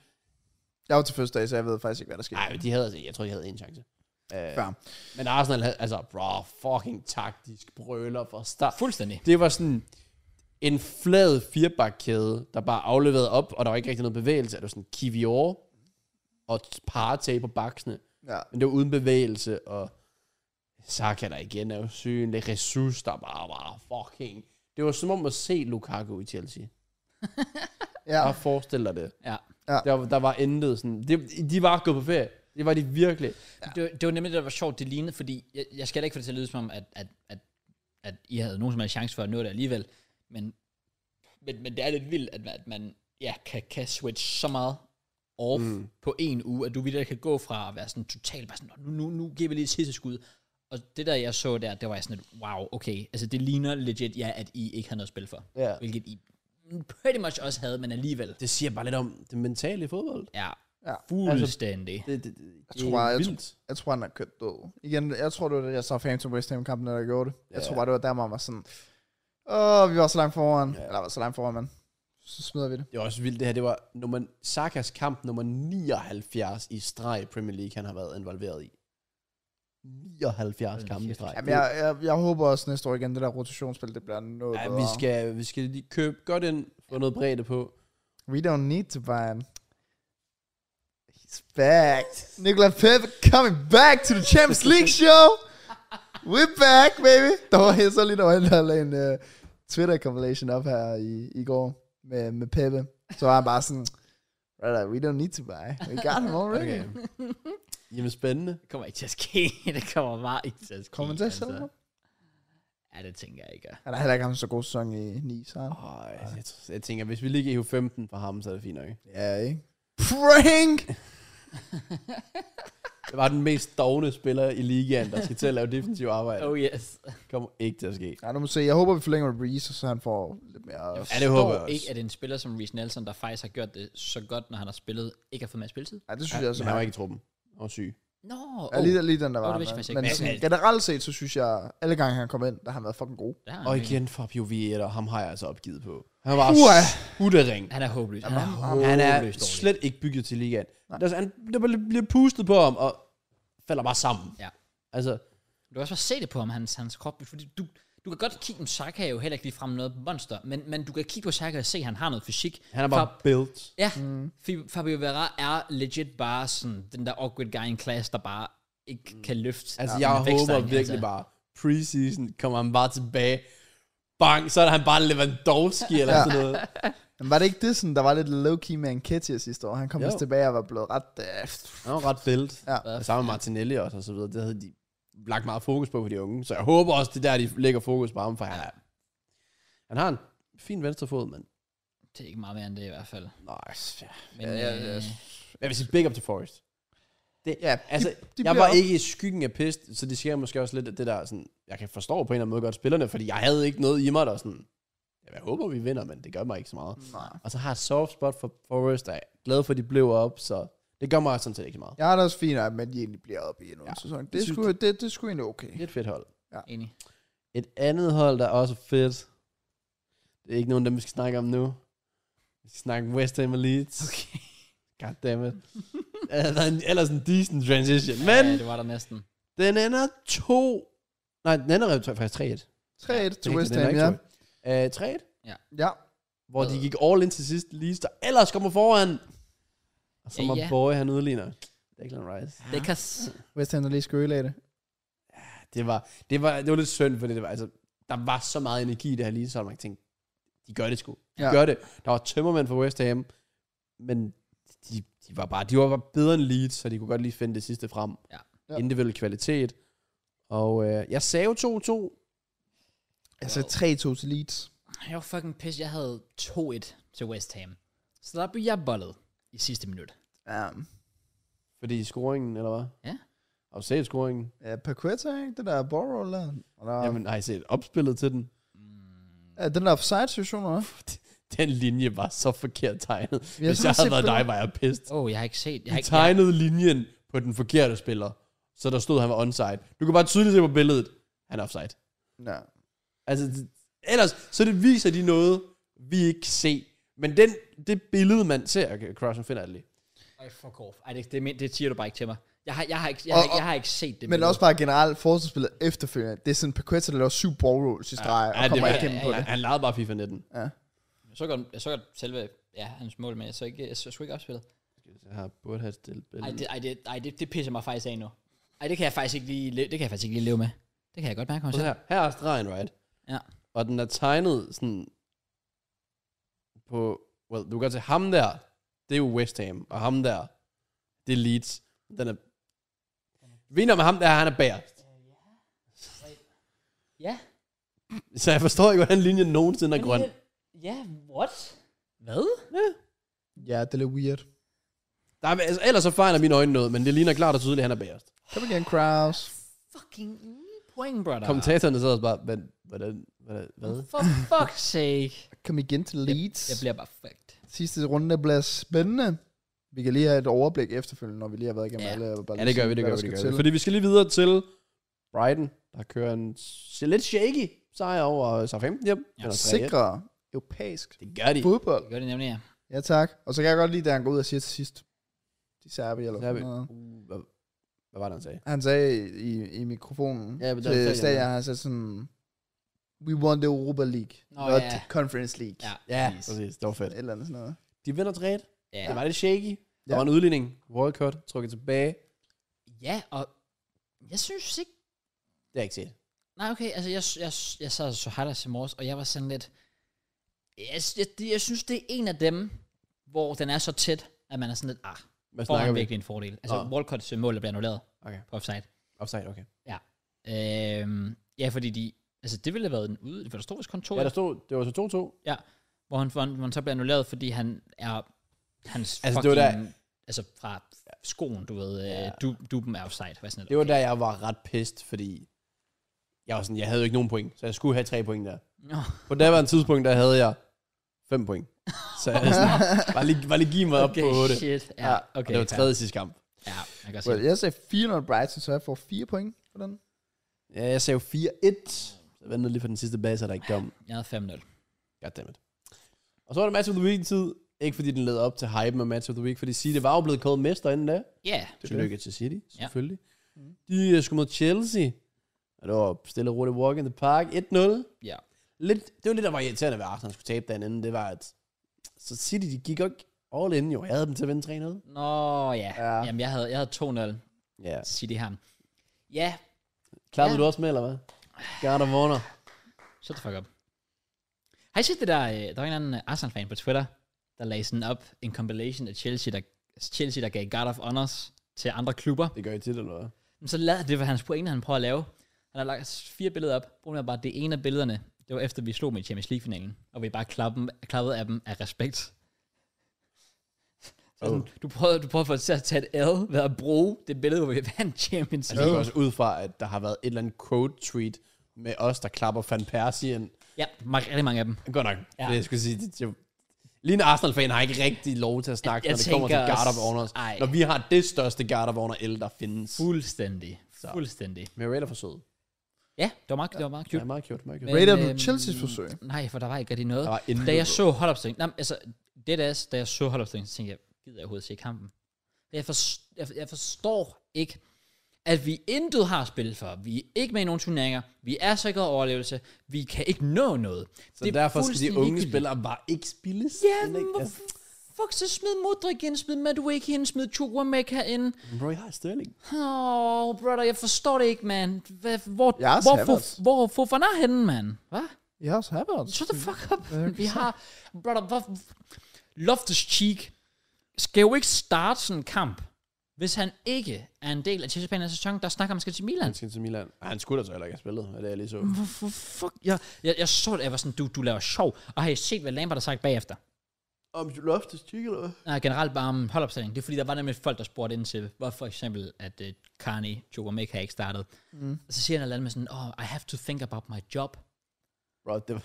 Jeg var til fødselsdag, så jeg ved faktisk ikke, hvad der skete.
Nej, de havde, jeg tror, de havde en chance. Øh,
Fair.
men Arsenal havde, altså, bro, fucking taktisk brøler for start.
Fuldstændig.
Det var sådan en flad firebakkæde, der bare afleverede op, og der var ikke rigtig noget bevægelse. Det var sådan Kivior og Partey på baksene.
Ja.
Men det var uden bevægelse, og Saka der igen er jo synlig. Jesus, der bare var fucking... Det var som om at se Lukaku i Chelsea.
[laughs] Ja.
Bare forestil dig det.
Ja.
Der, der var intet sådan... Det, de var gået på ferie. Det var de virkelig.
Det, var- det var nemlig det, der var sjovt, det lignede, fordi jeg, jeg skal da ikke få det til at lyde som om, at, at, at, at I havde nogen som helst chance for at nå det alligevel, men, men, men det er lidt vildt, at, man- at man ja, kan, kan switch så meget off mm. på en uge, at du virkelig kan gå fra at være sådan totalt bare sådan, nu, nu, nu giver vi lige et sidste skud, og det der, jeg så der, det var jeg sådan lidt, wow, okay, altså det ligner legit, ja, at I ikke har noget spil for,
Ja.
hvilket I pretty much også havde, men alligevel,
Det siger bare lidt om det mentale i fodbold.
ja,
Ja.
fuldstændig. Altså,
Det, det, det,
Jeg tror,
det er
jeg,
vildt.
tror, jeg tror, han er kørt død. Igen, jeg tror, det var det, jeg så fan til West Ham-kampen, der gjorde det. Jeg tror bare, det var der, man var sådan, åh, vi var så langt foran. Ja. Eller var så langt foran, men så smider vi det.
Det var også vildt, det her. Det var nummer, Sakas kamp nummer 79 i streg i Premier League, han har været involveret i. 79 kampe i streg.
Jamen, jeg, jeg, jeg, håber også næste år igen, det der rotationsspil, det bliver noget
ja,
bedre.
vi, skal, vi skal lige købe godt ind, få noget bredde på.
We don't need to buy him. He's back. Nicola Pepe coming back to the Champions League show. We're back, baby. Der var jeg så lige, der var en, der lagde en uh, Twitter-compilation op her i, i går med, med Pepe. Så var han bare sådan, right, we don't need to buy. We got him
Okay.
already. Okay.
Jamen spændende.
det kommer ikke til at ske, [laughs] det kommer bare ikke til at ske. altså.
Kommer han til at sælge ham?
Ja, det tænker jeg ikke.
Han har heller ikke haft en så god sæson i 9, så han.
Ej, jeg, tror- jeg, tænker, hvis vi ligger i EU 15 for ham, så er det fint nok.
Ja, ikke? Prank!
Det var den mest dogne spiller i ligaen, der skal til at lave defensiv [laughs] arbejde.
Oh yes.
Kommer ikke til at ske.
Ja, nu må vi se. Jeg håber, vi forlænger med Reese, så han får lidt mere...
Jeg
Ja, det håber jeg også.
ikke, at en spiller som Reece Nelson, der faktisk har gjort det så godt, når han har spillet, ikke har fået mere spilletid.
Ja, det synes
Ja,
jeg også.
men han var ikke i truppen. Han var syg.
Nå, oh. no,
Ja, lige, lige den der
Åh,
var.
det vidste jeg
men-
faktisk ikke.
men
Men-
sådan,
men-
generelt set, så synes jeg, alle gange han kom ind, der har han været fucking god.
Og igen Fabio Vieira, ham har jeg altså opgivet på. Han var
Uha.
skuttering.
Han er håbløs. Han, er
Han er
håbløst dårlig.
slet ikke bygget til ligaen. Altså, han, der bare bliver pustet på ham, og falder bare sammen.
Ja.
Altså,
Du kan også bare se det på ham, hans, hans krop. Fordi du, du kan godt kigge på Saka er jo heller ikke ligefrem noget monster, men, men du kan kigge på Saka og se, at han har noget fysik.
han er bare
Fab-
built.
Ja, mm. Fabio Vera er legit bare sådan den der awkward guy in class, der bare ikke
Mm.
kan løfte.
Altså,
sin
jeg
vækstang,
håber virkelig
altså.
bare, preseason kommer han bare tilbage. Bang, så er han bare Lewandowski eller
Ja.
sådan noget.
Men var det ikke det, sådan, der var lidt low-key med Enketia sidste år? Han kom
Jo.
vist tilbage og var blevet ret... Øh,
Han var ret built.
Ja.
Og sammen med Martinelli også, og så videre. Det havde de lagt meget fokus på for de unge. Så jeg håber også, det er der, de lægger fokus på ham, for han, er, han har en fin venstre fod, men
Det er ikke meget mere end det i hvert fald.
nej, ja.
Men,
Ja, ja, ja.
øh,
Jeg vil sige big up to Forest. Det,
Ja, de-
altså,
de
jeg
bliver
var
op-
ikke i skyggen af pist, så det sker måske også lidt af det der, sådan, jeg kan forstå på en eller anden måde godt spillerne, fordi jeg havde ikke noget i mig, der sådan, "Jamen, jeg håber, vi vinder, men det gør mig ikke så meget.
nej.
Og så har jeg et soft spot for Forest, og jeg er glad for, at de blev op, så det gør mig sådan set ikke så meget.
Jeg er da også fint, at man egentlig bliver op i endnu en
Ja.
sæson. Det,
Det
det,
synes
skulle, det, det skulle egentlig okay.
Det er et fedt hold.
Enig.
Et andet hold, der er også fedt, det er ikke nogen af dem, vi skal snakke om nu. Vi skal snakke om West Ham og Leeds.
Okay.
God damn it. Der er en- ellers en decent transition, men...
Ja, det var der næsten.
Den ender 2... Nej, den ender rent faktisk 3-1.
3-1 til
Det er
West
rigtigt,
Ham,
den
ja.
er ikke 2-1. Øh, 3-1,
Ja.
hvor de gik all in til sidst, lige der ellers kommer foran. Og så
Ja,
må
ja.
Boy, han udligner. Declan Rice.
Det kan...
West Ham, der lige skulle ødelægge det.
Det var, det var, det var lidt synd, fordi det var, altså, der var så meget energi i det her lige, så man tænkte, de gør det sgu. De
Ja.
ja. gør det. Der var tømmermænd for West Ham, men de, de, var bare, de var bare bedre end Leeds, så de kunne godt lige finde det sidste frem.
Ja.
Ja.
Individuel kvalitet. Og øh, jeg sagde jo 2-2,
Altså 3-2 til Leeds.
Jeg var fucking pissed. Jeg havde 2-1 til West Ham. Så der blev jeg bollet i sidste minut.
Ja.
Fordi scoringen, eller hvad?
Ja.
Har du set scoringen?
Ja, Paqueta, ikke? Det der borrow der. Og der
Ja. Jamen, har I set opspillet til den?
ja, den der offside-situation, eller hvad?
Den linje var så forkert tegnet.
Jeg
Jeg Hvis
har
jeg havde
set
været dig,
billeder.
var jeg pissed.
Åh, oh, jeg har ikke set... Jeg har
De
ikke, jeg,
tegnede linjen på den forkerte spiller, så der stod, at han var onside. Du kan bare tydeligt se på billedet, han er offside.
Ja.
Altså, det- ellers, så det viser de noget, vi ikke kan se. Men den, det billede, man ser, okay, Croshen finder det lige.
Ej, fuck off. Ej, det, det, men- det siger du bare ikke til mig. Jeg har, jeg har, ikke, jeg,
Og-
har, ikke-
og-
jeg har ikke set det.
Men også bare generelt forsvarsspillet efterfølgende. Det er sådan Paquetta, der laver syv ball rolls i streg,
Ja,
og
det
kommer
var-
igennem
ja,
på
ja.
det.
Han legede bare FIFA 19.
Jeg så godt, jeg så godt selve ja, hans mål, men jeg så ikke, jeg så, jeg så ikke opspillet.
Jeg har burde have stillet
Ej,
billedet.
det, ej, det, ej det, det, pisser mig faktisk af nu. Ej, det kan jeg faktisk ikke lige, le- det kan jeg faktisk ikke lige leve med. Det kan jeg godt mærke mig
Prøv
selv.
her. her er stregen, right?
Ja.
Og den er tegnet sådan på... Well, du kan godt se ham der, det er jo West Ham, og ham der, det er Leeds. Den er... Vinder med ham der, han er bagerst.
Ja.
Så jeg forstår ikke, hvordan linjen nogensinde er grøn.
Ja, what? Hvad?
Ja, det er lidt weird.
Der er, altså, ellers så fejler mine øjne noget, men det ligner klart og tydeligt, at han er bagerst.
Kom igen, Kraus.
Fucking ni point, brother.
Kommentatorerne sad også bare, hvad, hvordan, hvordan, hvad?
For fuck's sake.
Kom igen til Leeds.
Jeg bliver bare fucked.
Sidste runde bliver spændende. Vi kan lige have et overblik efterfølgende, når vi lige har været igennem
Ja.
alle. Jeg vil bare
Ja,
lige
det gør
sige,
vi, det
hvad
gør vi,
der
det
skal
gør vi.
til.
Fordi vi skal lige videre til Brighton, der kører en s- lidt shaky sejr over Southampton hjem.
Ja,
Eller 3-1.
Sikre europæisk
Det gør de.
fodbold.
Det gør det nemlig, ja.
Ja, tak. Og så kan jeg godt lide, da han går ud og siger til sidst, de serbi eller
Serbi.
sådan noget.
Uh, Hvad, hvad var det, han sagde?
Han sagde i, i mikrofonen
Ja, men der er
til
stadion,
stadion,
ja.
han sagde sådan, we won the Europa League,
Nå,
not
ja.
Conference League.
Ja,
Ja, præcis. Det var fedt.
Et eller andet sådan noget.
De vinder 3 ja.
Ja,
Det var lidt shaky. Der
Ja.
var en udligning. Walcott trukket tilbage.
ja og jeg synes ikke,
Det har jeg ikke set.
Nej, okay, altså jeg, jeg, jeg sad og så highlights i morges, og jeg var sådan lidt, jeg, jeg, jeg synes, det er en af dem, hvor den er så tæt, at man er sådan lidt, ah,
Hvad
får
snakker
han
vi?
virkelig en fordel. Altså,
Nå.
oh. Walcotts øh, mål, der bliver annulleret
Okay.
på offside.
Offside, okay.
Øhm, ja, fordi de, altså det ville have været en ude, for der stod vist kun to,
Ja, der stod, det var så 2-2.
hvor, han, hvor, han, hvor han så bliver annulleret, fordi han er, hans
Altså,
altså,
det
fucking,
var
det
da-
var der... altså fra skoen, du ved,
Ja.
ja. du, duben er offside. Var sådan lidt,
Det var der, jeg var ret pissed, fordi jeg var sådan, jeg havde jo ikke nogen point, så jeg skulle have tre point der.
Nå,
På det var en tidspunkt, der havde jeg fem point. Så
[laughs]
jeg sådan, var lige, var lige give mig op okay, på
okay,
8.
shit.
Ja,
Ja,
og
okay,
det var tredje sidste kamp.
Ja, jeg kan se.
Well, jeg sagde 4-0 Brighton, så jeg får 4 point for den.
Ja, jeg sagde jo 4-1. Så jeg ventede lige for den sidste base, der ikke kom.
Jeg havde 5-0.
Goddammit. Og så var det match of the week tid. Ikke fordi den leder op til hypen af match of the week, fordi City var jo blevet kaldt mester inden da.
Ja, yeah.
det.
Tillykke til City, selvfølgelig. De øh, skulle mod Chelsea. Og det var stille og roligt walk in the park. 1-0.
ja.
lidt, det var lidt, der var irriterende ved Arsenal skulle tabe dagen inden, det var, at så City, de gik jo ikke all in, jo. Jeg havde dem til at vinde 3-0.
Nå ja.
Ja.
ja. Jamen, jeg havde, jeg havde 2-0
Ja.
City ham. Ja,
Klappede
Ja.
du også med, eller hvad? God of Honor.
shut the fuck up. Har I set det der, øh, der var en eller anden øh, Arsenal-fan på Twitter, der lagde sådan op en compilation af Chelsea, der, Chelsea, der gav God of Honors til andre klubber.
Det gør I tit, eller hvad?
Men så lavede det var hans pointe, han prøver at lave. Han har lagt fire billeder op. Problemet er bare, at det ene af billederne, det var efter, vi slog med i Champions League-finalen, og vi bare klappede, klappede af dem af respekt. [laughs] Så sådan,
Oh.
du prøvede, du prøvede for at tage et L ved at bruge det billede, hvor vi [laughs] vandt Champions
Altså, det
League.
går også ud fra, at der har været et eller andet quote-tweet med os, der klapper Van Persie ind.
Ja, mange, rigtig mange af dem.
Godt nok. Ja.
Ja.
Det, jeg skulle sige, det, det, lige en Arsenal-fan har ikke rigtig lov til at snakke,
Jeg
når det kommer til
tænker
God of
også-
Honors.
ej.
Når vi har det største God of Honor el, der findes.
Fuldstændig. Så. Fuldstændig.
Men Raider for sød.
Ja, det var meget, det var meget
Ja,
cute.
meget cute, meget cute.
Men,
Rater du
øhm,
Chelsea's forsøg?
Nej, for der var ikke rigtig noget.
Der var intet.
Da jeg så holdopstillingen, nej, men altså, det der, da jeg så holdopstillingen, så tænkte jeg, gider jeg overhovedet se kampen? Jeg, for, jeg, jeg forstår ikke, at vi intet har at spille for. Vi er ikke med i nogen turneringer. Vi er sikret overlevelse. Vi kan ikke nå noget.
Så
Det er
derfor skal de
fuldstændig
unge
ligegyldigt.
spillere Altså- bare ikke spilles.
Ja, men hvorfor fuck, så smid Modric ind, smid Madueke ind, smid Chukwameka ind.
Bro, jeg har Sterling.
Åh, oh, brother, jeg forstår det ikke, man. Hvad, hvor,
Jeg er
hvor,
Havertz.
hvor, hvor Fofana er henne, man? Hvad?
Jeg har også Havertz.
Shut the fuck up. Vi har, brother, hvor, Loftus Cheek skal jo ikke starte sådan en kamp, hvis han ikke er en del af Chelsea Pan sæson, der snakker om, at han skal til Milan.
Han skal til Milan. Ej, han skulle da så heller ikke have spillet, er det jeg lige så.
Hvorfor fuck? Jeg, jeg, jeg så det, jeg var sådan, du, du laver sjov. Og har I set, hvad Lampard har sagt bagefter?
Om du Loftus Cheek, eller hvad?
Nej, generelt bare om holdopstillingen. Det er fordi, der var nemlig folk, der spurgte ind til, hvorfor for eksempel, at uh, Carney, Chukwameka ikke startede. Mm. Og så siger han et eller andet med sådan, oh, I have to think about my job.
Bro, det var...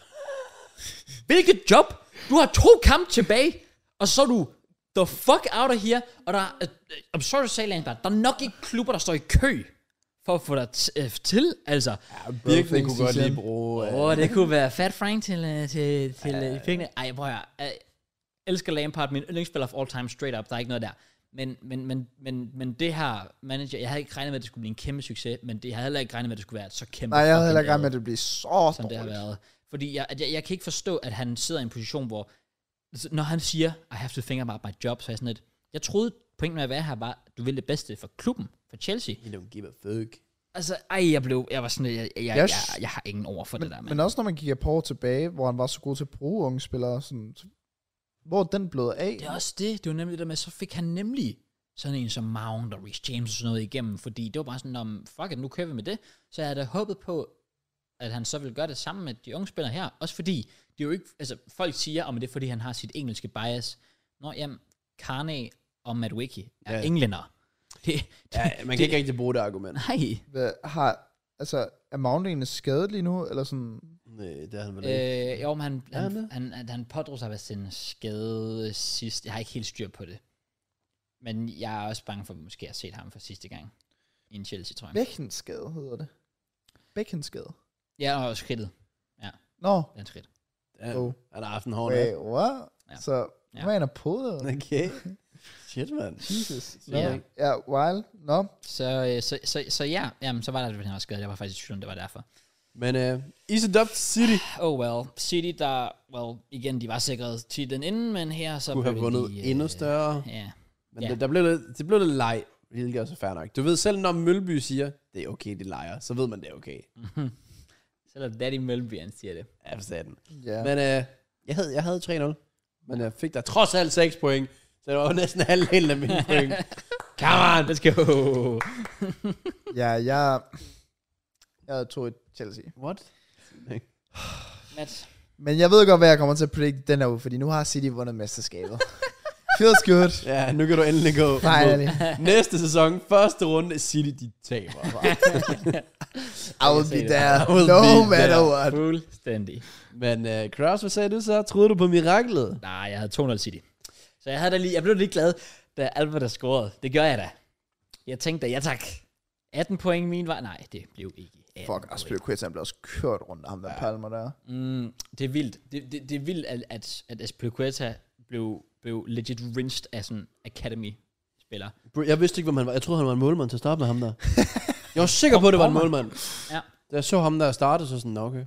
Hvilket job? Du har to kampe tilbage, og så er du the fuck out of here. Og der er, uh, I'm sorry to say, Lampard, der er nok ikke klubber, der står i kø for at få dig t- øh, til. Altså, åh,
Virkelig
things
kunne
he
godt
said.
lige bruge... øh,
oh, det kunne være Fat Frank til, øh, til, til øh, pengene. Ej, prøv at høre. Jeg elsker Lampard, min yndlingsspiller of all time, straight up. Der er ikke noget der. Men, men, men, men, men det her manager, jeg havde ikke regnet med, at det skulle blive en kæmpe succes, men det, jeg havde heller ikke regnet med, at det skulle være et så kæmpe
Nej, jeg havde
fucking
heller ikke regnet
ad,
med, at det blev så
som det har
dårligt.
været. Fordi jeg, at jeg, jeg kan ikke forstå, at han sidder i en position, hvor så når han siger, I have to think about my job, så er jeg sådan lidt, jeg troede, pointen med at være her var, at du ville det bedste for klubben, for Chelsea.
You don't give a fuck.
Altså, ej, jeg blev, jeg var sådan, jeg, jeg, jeg,
Yes.
jeg, jeg har ingen over for
Men,
det der, mand.
men også når man kigger på år tilbage, hvor han var så god til at bruge unge spillere, sådan, så- hvor er den blevet af?
Det er også det, det var nemlig det der med, så fik han nemlig sådan en som Mount og Rich James og sådan noget igennem, fordi det var bare sådan, om fuck it, nu kører vi med det. Så jeg havde da håbet på, at han så ville gøre det sammen med de unge spillere her, også fordi, det er jo ikke, altså folk siger, om det er fordi, han har sit engelske bias. Nå, jamen, Carne og Madwicki er
Ja.
ja. englænder. Det, det,
Ja, man kan det, ikke rigtig bruge det argument.
[laughs] nej.
Hvad, har, altså, er Mount egentlig skadet lige nu? Eller sådan?
Nej, det er han vel ikke.
Øh, jo, men han,
Er han
han,
det?
han, han, han pådrog sig ved sin skade sidst. Jeg har ikke helt styr på det. Men jeg er også bange for, at vi måske har set ham for sidste gang. I en Chelsea, tror jeg.
Bækkenskade hedder det. Bækkenskade.
Ja, og også skridtet.
Nå,
Den skridt.
Ja,
oh.
Han har haft en
Øh,
hård nat.
wait, what?
Ja.
Ja. Så,
Ja.
ja. man er på [laughs] det?
Okay. Shit, mand.
Jesus. Nå.
Ja.
Ja. ja, wild. Nå,
Så, øh, så, så, så ja, jamen, så var der, at han var skadet. Jeg var faktisk i tvivl, om det var derfor.
Men uh, is it up to City?
Oh well. City, der, well, igen, de var sikret titlen inden, men her så...
Kunne have
blev
vundet
de, øh,
endnu større.
Ja,
Men
Ja.
yeah. der blev lidt, det blev lidt leg, hvilket også er fair nok. Du ved, selv når Mølby siger, det er okay, de leger, så ved man, det er okay.
Mm. selvom Daddy Mølby, han siger det.
Ja, for satan.
ja.
Men øh, jeg, havde, jeg havde 3-0, men jeg fik der trods alt 6 point, så det var jo næsten [laughs] halvdelen af mine point.
Come on, let's go!
Ja, jeg... Jeg tog et Chelsea.
What?
Mads,
Men jeg ved godt, hvad jeg kommer til at predict den her uge, fordi nu har City vundet [laughs] mesterskabet. Feels good.
Ja, nu kan du endelig gå.
Finally.
Næste sæson, første runde, City, de taber.
[laughs]
I will be there,
I will
no
be
matter
there.
what.
fuldstændig.
Men øh, Kraus, hvad sagde du så? Troede du på miraklet?
Nej, jeg havde 200 City. Så jeg, havde da lige, jeg blev lige glad, da Albert der scorede. Det gør jeg da. Jeg tænkte da, ja tak. 18 point min vej. Nej, det blev ikke 18
Fuck, Aspilicueta blev også kørt rundt af ham der ja. Palmer der.
Mm, det er vildt. Det, det, det er vildt, at, at, at Aspilicueta blev, blev legit rinsed af sådan academy-spiller.
Bro, jeg vidste ikke, hvem han var. Jeg troede, han var en målmand til at starte med [laughs] ham der. Jeg var sikker på, at det var en målmand.
Ja.
Da jeg så ham der starte, så sådan, "Nå, okay.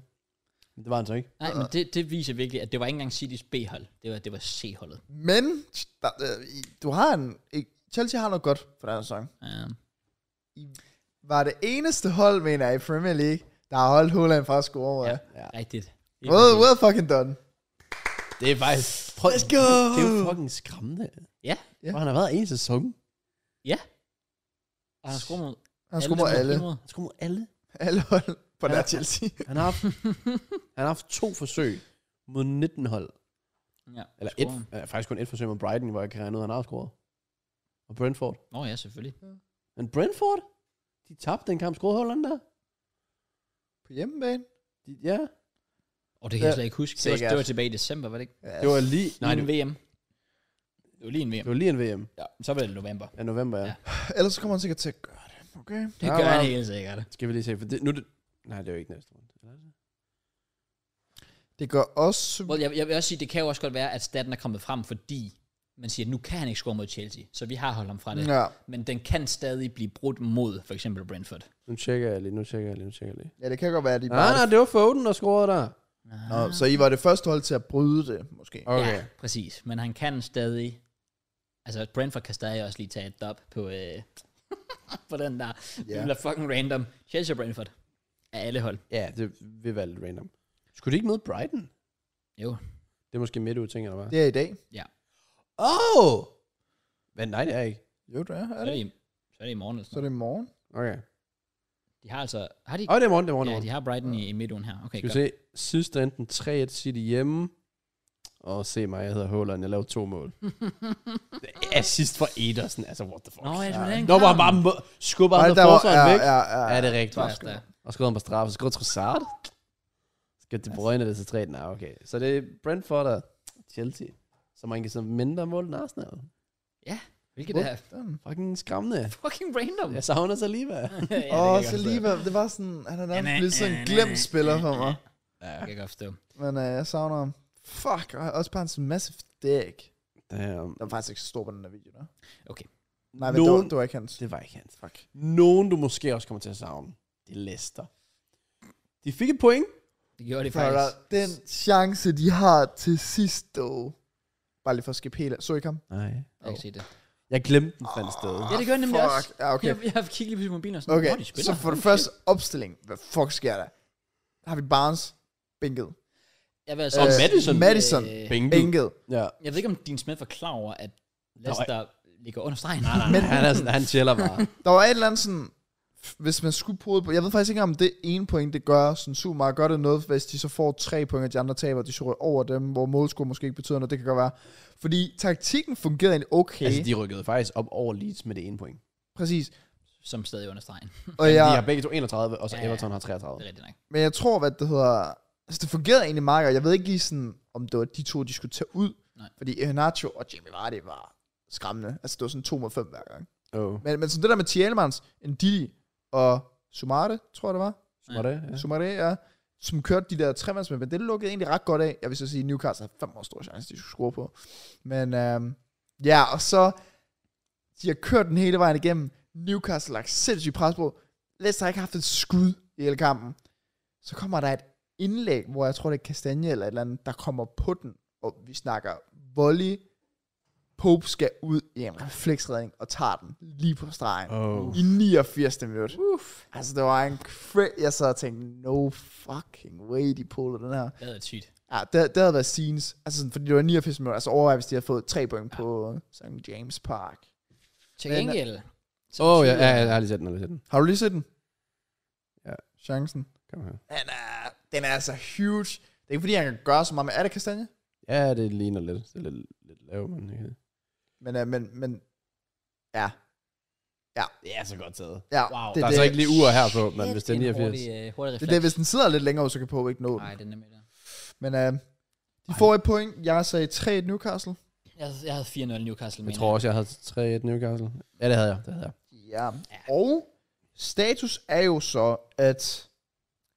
Men det var han så ikke.
Nej, men det, det viser virkelig, at det var ikke engang City's B-hold. Det var, det var C-holdet.
Men, der, øh, i- du har en... ikke- Chelsea har noget godt for den her sæson.
Um,
Var det eneste hold, mener jeg, i Premier League, der har holdt Holland fra at score. Ja.
ja. Rigtigt.
Well, well fucking done.
Det er faktisk... Prøv, Let's go! Det er jo fucking skræmmende.
Ja.
Ja. Og han har været en sæson.
Ja. Og han har scoret mod
Han skulle mod
dem,
alle.
han har spillet mod.
Han skulle mod alle.
Alle hold på
Ja.
ja. der Chelsea. [laughs]
Han har [laughs] haft, han har haft to forsøg mod 19 hold.
Ja,
Eller et,
scorer han.
ja, faktisk kun et forsøg mod Brighton, hvor jeg kan regne ud, han har scoret. Og Brentford.
Nå ja, selvfølgelig.
Men Brentford? De tabte den kamp, scorede Holland der.
På hjemmebane.
De, ja.
Og det kan jeg
Ja,
slet ikke huske. Det var,
sikkert.
det var tilbage i december, var det ikke?
Ja.
Det var lige...
Nej,
Altså, Nej,
lige
det,
en VM. Det var lige en VM.
det var lige en VM.
Ja, så var det november.
Ja, november, ja.
Ja.
Ellers så kommer han sikkert til at gøre det. Okay.
Det
Ja,
gør han
men-
helt sikkert.
Skal vi lige se, for det, nu er det, Nej, det er jo ikke næste runde. Eller er det?
Det gør også...
Well, jeg, jeg vil også sige, det kan jo også godt være, at staten er kommet frem, fordi man siger, at nu kan han ikke score mod Chelsea, så vi har holdt ham fra det. Ja.
Ja,
Men den kan stadig blive brudt mod for eksempel Brentford.
Nu tjekker jeg lige, nu tjekker jeg lige, nu tjekker jeg lige.
ja, det kan godt være, at de
Nej,
bare...
nej, det var Foden, der scorede der.
Nå, så I var det første hold til at bryde det, måske.
Okay.
Ja, præcis. Men han kan stadig... Altså, Brentford kan stadig også lige tage et dub på, øh, [laughs] på den der. Yeah.
Ja.
Den der fucking random. Chelsea og Brentford. Af alle hold.
Ja, det vil være lidt random. Skulle de ikke møde Brighton?
Jo.
Det er måske midt ud, tænker jeg, eller hvad?
Det er i dag.
Åh! Oh! Men nej, det er ikke.
Jo, det er,
Så
er
er det
det.
i, så er det i morgen. eller
Så er
sådan
det i morgen.
Okay.
noget. De har altså... Har de,
Åh, oh, det er morgen, det er morgen.
ja,
Ja,
de har Brighton i, i midtugen her. Okay,
Skal vi
godt.
se, sidst er enten 3-1 City hjemme. Og se mig, jeg hedder Håland, jeg lavede to [laughs] mål. Det er sidst for Edersen, altså what the fuck.
Nå, ja, det var den
Nå, var
kamp.
bare må- skubber
Nej,
han
der
der
var,
forsvaren
ja,
væk.
ja,
Ja,
ja,
det
ja.
er rigtigt.
Torsdag.
Og skrev han på straffe. Så skrev Trossard. Skal De Bruyne det til 3 Nej, okay. Så det er Brentford og Chelsea. Så man kan så mindre mål end Arsenal.
Hvilket er
Fucking skræmmende.
fucking [laughs] random.
Jeg savner Saliba. [laughs]
ja,
Åh,
det kan jeg godt
så
forstå.
lige hvad, det var sådan, han er
Ja,
nærmest
men-
blevet sådan
ja,
en glemt
men-
spiller for
ja,
mig.
Det kan jeg godt forstå.
Men øh, jeg savner ham. Fuck, og også bare en massive dick.
Damn.
Den var faktisk ikke så stor på den der video, der.
Okay.
Nej, men det var,
Nogen-
det var ikke hans.
Det var ikke hans.
Fuck.
Nogen, du måske også kommer til at savne. Det er Leicester. De fik et point.
Det gjorde det
Så er der
faktisk.
den chance, de har til sidst, dog. Bare lige for at skippe helt. af. Så I ikke ham?
Nej.
Jeg kan ikke se det.
Jeg glemte den fandt sted.
Ja, det gør jeg nemlig
fuck.
også.
Ja, okay.
Jeg, jeg har kigget lige på sin mobil og sådan, okay.
Okay,
hvor de spiller.
så for det første opstilling. Hvad fuck sker der? Der har vi Barnes. Bænket.
Jeg vil altså,
Og Øh, Madison.
Madison.
Øh,
Bænket.
Bænket.
Ja.
jeg ved ikke, om Dean Smith var klar over, at Leicester ligger under stregen. Nej,
Men han, er sådan, han chiller bare.
Der var et eller andet sådan... Hvis man skulle på på... Jeg ved faktisk ikke, om det ene point, det gør sådan super meget. Gør det noget, hvis de så får tre point, og de andre taber, de så ryger over dem, hvor målscore måske ikke betyder noget. Det kan godt være. Fordi taktikken fungerede egentlig okay.
altså, de rykkede faktisk op over Leeds med det ene point.
Præcis.
[laughs]
[laughs]
Som stadig er under stregen. Det
Og
Ja. De
jeg,
har begge to 31, og så
Ja.
Everton har
er
33.
rigtigt nok.
Men jeg tror, hvad det hedder... Altså, det fungerede egentlig meget godt. Jeg ved ikke lige sådan, om det var de to, de skulle tage ud.
Nej.
Fordi Ehenacho og Jamie Vardy var skræmmende. Altså, det var sådan 2 mod 5 hver gang.
Oh.
Men, men sådan det der med Thielmans, Ndidi og Sumare, tror jeg det var.
Var det? Ja.
Ja. Sumare, ja. Som kørte de der tremandsmænd, men det lukkede egentlig ret godt af. Jeg vil så sige, at Newcastle havde fem år stor chance, de skulle score på. Men øhm, ja, og så... De har kørt den hele vejen igennem. Newcastle har lagt sindssygt pres på. Leicester har ikke haft et skud i hele kampen. Så kommer der et indlæg, hvor jeg tror, det er Kastanje eller et eller andet, der kommer på den, og vi snakker volley. Pope skal ud i en refleksredning og tager den lige på stregen.
Oh.
I 89. minut. Uff. Altså, det var en cra- Jeg sad og tænkte, no fucking way, de puller den her.
Det er sygt.
Ja, det, det havde været scenes. Altså, sådan, fordi det var 89 minutter. Altså, overvej, hvis de havde fået tre point på St. James Park.
Til
Men-
gengæld. så
Åh, ja, ja,
betyder-
ja, jeg har lige set den, jeg har lige set den.
Har du lige set den?
Ja.
Chancen.
Kom her.
Den er, den er altså huge. Det er ikke fordi, han kan gøre så meget med... Er det kastanje?
Ja, det ligner lidt. Det er lidt, lidt lav, men ikke.
Men, øh, men, men... Ja.
Det er så godt taget.
ja
Wow.
Det,
Der er
det,
så ikke lige ur her på, men
Shit,
hvis det er
en
89.
Hurtig, øh, hurtig
det, er
refleks.
det, hvis den sidder lidt længere ud, så kan Pope ikke nå den.
Nej, den er nemlig der.
Men øh, de får et point. Jeg sagde 3 Newcastle.
Jeg, jeg havde 4-0 Newcastle.
Jeg
mener
tror også, jeg havde 3-1 Newcastle. Ja, det havde jeg. øh, Det havde jeg.
Ja. Og status er jo så, at...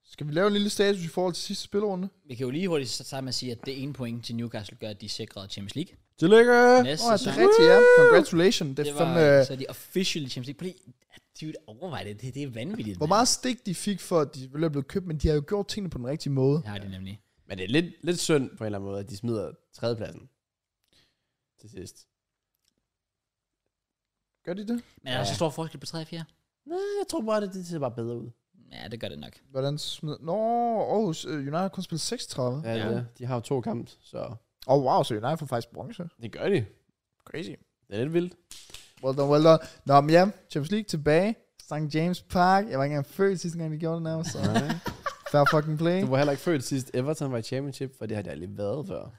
Skal vi lave en lille status i forhold til sidste spilrunde?
øh, Vi kan jo lige hurtigt starte med at sige, at det ene point til Newcastle gør, at de sikrede Champions League.
Tillykke!
Næste
Åh, oh, det
sæson,
er rigtigt, ja. Congratulations. Det
det
er
var,
fandme... øh,
så er de officially Champions League. Prøv lige, dude, overvej det. Det, det er vanvittigt.
Hvor
mand.
meget stik de fik for, at de ville have blevet købt, men de har jo gjort tingene på den rigtige måde.
Det har de nemlig.
Men det er lidt, lidt synd på en eller anden måde, at de smider tredjepladsen til sidst.
Gør de det?
Men er der
Ja.
så stor forskel på 3 og 4?
Nej, jeg tror bare, det, det ser bare bedre ud.
Ja, det gør det nok.
Hvordan smed... Nå, Aarhus, øh, United har kun spillet 36.
Ja,
Ja.
ja. De har jo to kampe, så
Åh, oh, wow, så United får faktisk bronze.
det gør de.
Crazy.
Det er lidt vildt.
Well done, well done. Nå, men ja, Champions League tilbage. St. James Park. Jeg var ikke engang født sidste gang, de gjorde det
[laughs]
nærmest. Så.
Nej.
Fair fucking play.
Du var heller ikke født sidst. Everton var i championship, for det har jeg aldrig været før.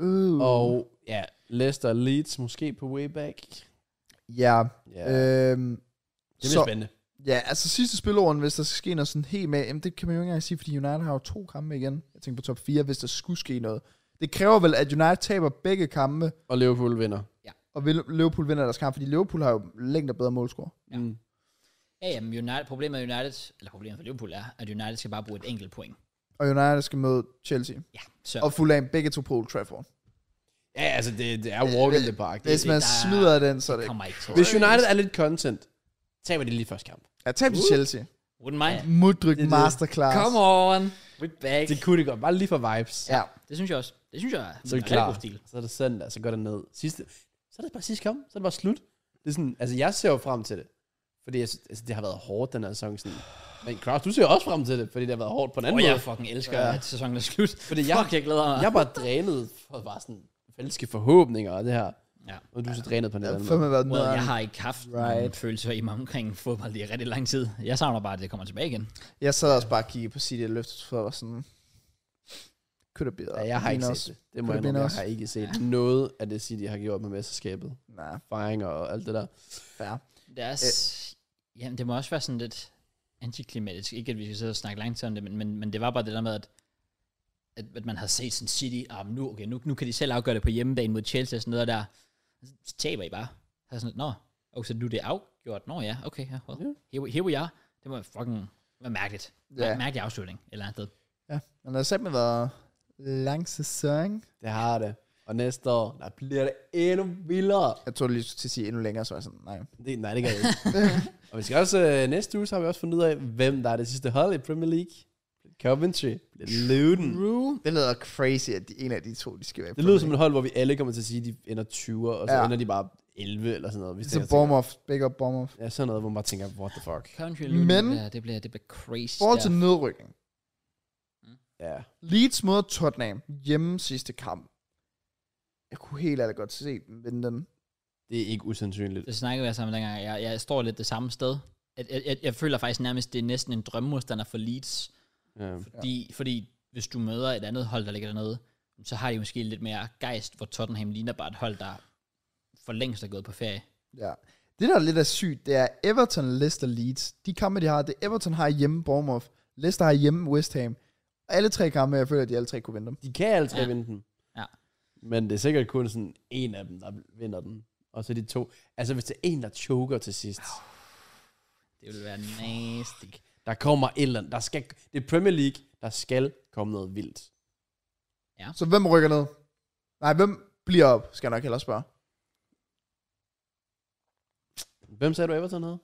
Uh.
Og ja, Leicester og Leeds måske på way back.
Ja.
Ja, øh,
Øhm,
det bliver
så-
spændende.
ja, altså sidste spilorden, hvis der skal ske noget sådan helt med, jamen det kan man jo ikke engang sige, fordi United har jo to kampe igen. Jeg tænker på top 4, hvis der skulle ske noget. Det kræver vel, at United taber begge kampe,
Og Liverpool vinder.
og vil- Liverpool vinder deres kamp, fordi Liverpool har jo længere bedre målscore.
Ja.
Mm.
Ja, jamen, United, problemet med United, eller problemet for Liverpool er, at United skal bare bruge et enkelt point.
Og United skal møde Chelsea.
Ja, så
Og Fulham, begge to på Old Trafford.
Ja, altså det, det er walk in the park. Det,
Hvis
det.
man
der-
smider den, så er det ikke.
kommer ikke til.
Hvis United er lidt content, taber de lige første kamp.
Ja, tab til Chelsea.
Wouldn't mind.
Mudryk
Det er det.
masterclass.
Come on. We're back.
Det kunne det godt. Bare lige for vibes.
Ja,
Det synes jeg også. Det synes jeg er
Så er
en
det klar.
god stil.
Så er det søndag, så går det ned. Sidste, så er det bare sidste kamp. Så er det bare slut. Det er sådan, altså jeg ser jo frem til det. Fordi jeg, synes- altså, det har været hårdt den her sæson. Sådan. Men Kraus, du ser jo også frem til det, fordi det har været hårdt på den
Åh,
anden
oh,
oh, måde.
jeg fucking elsker, ja. at sæsonen er slut.
Fordi jeg-
jeg, Fuck, jeg glæder mig.
Jeg er bare drænet for bare sådan falske forhåbninger og det her.
Ja.
Og du er så drænet på den
det har
anden måde.
fandme været
Well, jeg
noget.
har ikke haft right. nogen følelser i mig omkring fodbold i rigtig lang tid. Jeg savner bare, at det kommer tilbage igen.
Jeg sad også bare og kiggede på City og løftet for og sådan... Could have been
Ja, jeg har ikke
us.
set det. Det må
Kunne
jeg
det
indrømme.
binde
Jeg
os?
har ikke set noget af det City har gjort med mesterskabet.
Nej,
Fejringer og alt det der.
fair.
Det
Øh.
er også, jamen, det må også være sådan lidt antiklimatisk. Ikke, at vi skal sidde og snakke langt om det, men, men, men det var bare det der med, at, at, at man havde set sådan City, ah, men nu, okay, nu, nu kan de selv afgøre det på hjemmebane mod Chelsea og sådan noget der. Så taber I bare. Så er sådan, Nå, okay, så nu er det afgjort. Nå ja, okay, ja, well, here, we- here we are. Det var fucking var mærkeligt.
Ja.
Yeah. Mærkelig afslutning et eller andet sted.
Ja, men det har simpelthen været lang sæson.
Det har det. Og næste år, der bliver det endnu vildere.
Jeg tror lige til at sige endnu længere, så var jeg sådan, nej.
Det, nej, det gør jeg ikke. og vi skal også, øh, næste uge, så har vi også fundet ud af, hvem der er det sidste hold i Premier League. Coventry. Luton.
True.
Det lyder crazy, at de, en af de to, de skal være. i
Det
Premier
lyder som et hold, hvor vi alle kommer til at sige, at de ender 20'er, og så
Ja.
ja. ender de bare 11 eller sådan noget. Hvis
League.
det er
Så Ligesom Bournemouth, big up Bournemouth.
Ja, sådan noget, hvor man bare tænker, what the fuck.
Country Luton,
Men-
det bliver- det bliver, det bliver crazy.
I forhold til
der.
nedrykning.
Ja.
Leeds mod Tottenham hjemme sidste kamp. Jeg kunne helt ærligt godt se dem vinde den.
Det er ikke usandsynligt.
Det snakkede jeg sammen dengang. Jeg, jeg står lidt det samme sted. Jeg, jeg, jeg, jeg føler faktisk nærmest, det er næsten en drømmemodstander for Leeds.
Ja.
Fordi, ja. fordi hvis du møder et andet hold, der ligger dernede, så har de måske lidt mere gejst, hvor Tottenham ligner bare et hold, der for længst er gået på ferie.
Ja. Det, der er lidt af sygt, det er Everton, Leicester, Leeds. De kampe, de har, det er Everton har hjemme Bournemouth. Leicester har hjemme West Ham. Og alle tre kampe, jeg føler, at de alle tre kunne vinde dem.
De kan alle tre
Ja.
ja. vinde den.
Ja.
Men det er sikkert kun sådan en af dem, der vinder den. Og så de to. Altså, hvis det er en, der choker til sidst.
Det ville være nasty.
Der kommer et eller andet. Der skal, det er Premier League. Der skal komme noget vildt.
Så hvem rykker ned? Nej, hvem bliver op, skal jeg nok hellere spørge.
Hvem sagde du Everton havde?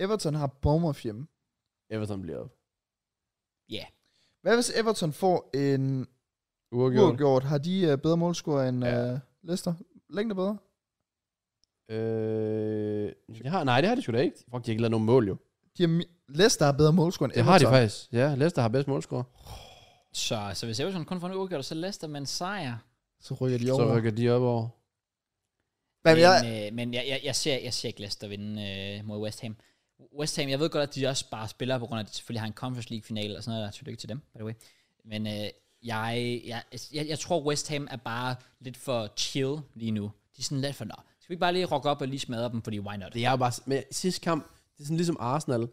Everton har Bournemouth hjemme.
Everton bliver op.
Hvad hvis Everton får en
Uafgjort.
uafgjort? Har de øh, bedre målscore end
Ja.
ja. uh, Leicester? Længde bedre?
Øh, jeg har, nej, det har de sgu da ikke. Fuck, de har ikke lavet nogen mål jo.
De har, mi- Leicester har bedre målscore end
Det har de
Everton.
faktisk. Ja, Leicester har bedst målscore.
Så, så hvis Everton kun får en uafgjort, så Leicester med en sejr.
Så rykker de
Så
over.
rykker de op over.
Hvad
men
med jeg,
øh, men jeg, jeg, jeg, ser, jeg ser ikke Leicester vinde øh, mod West Ham. West Ham, jeg ved godt, at de også bare spiller, på grund af, at de selvfølgelig har en Conference League-finale og sådan noget. der. Tillykke til dem, by the way. Men øh, jeg, jeg, jeg, jeg tror, West Ham er bare lidt for chill lige nu. De er sådan lidt for, nå, skal vi ikke bare lige rock op og lige smadre dem, fordi why not?
Det er jo bare... s- Men sidste kamp, det er sådan ligesom Arsenal.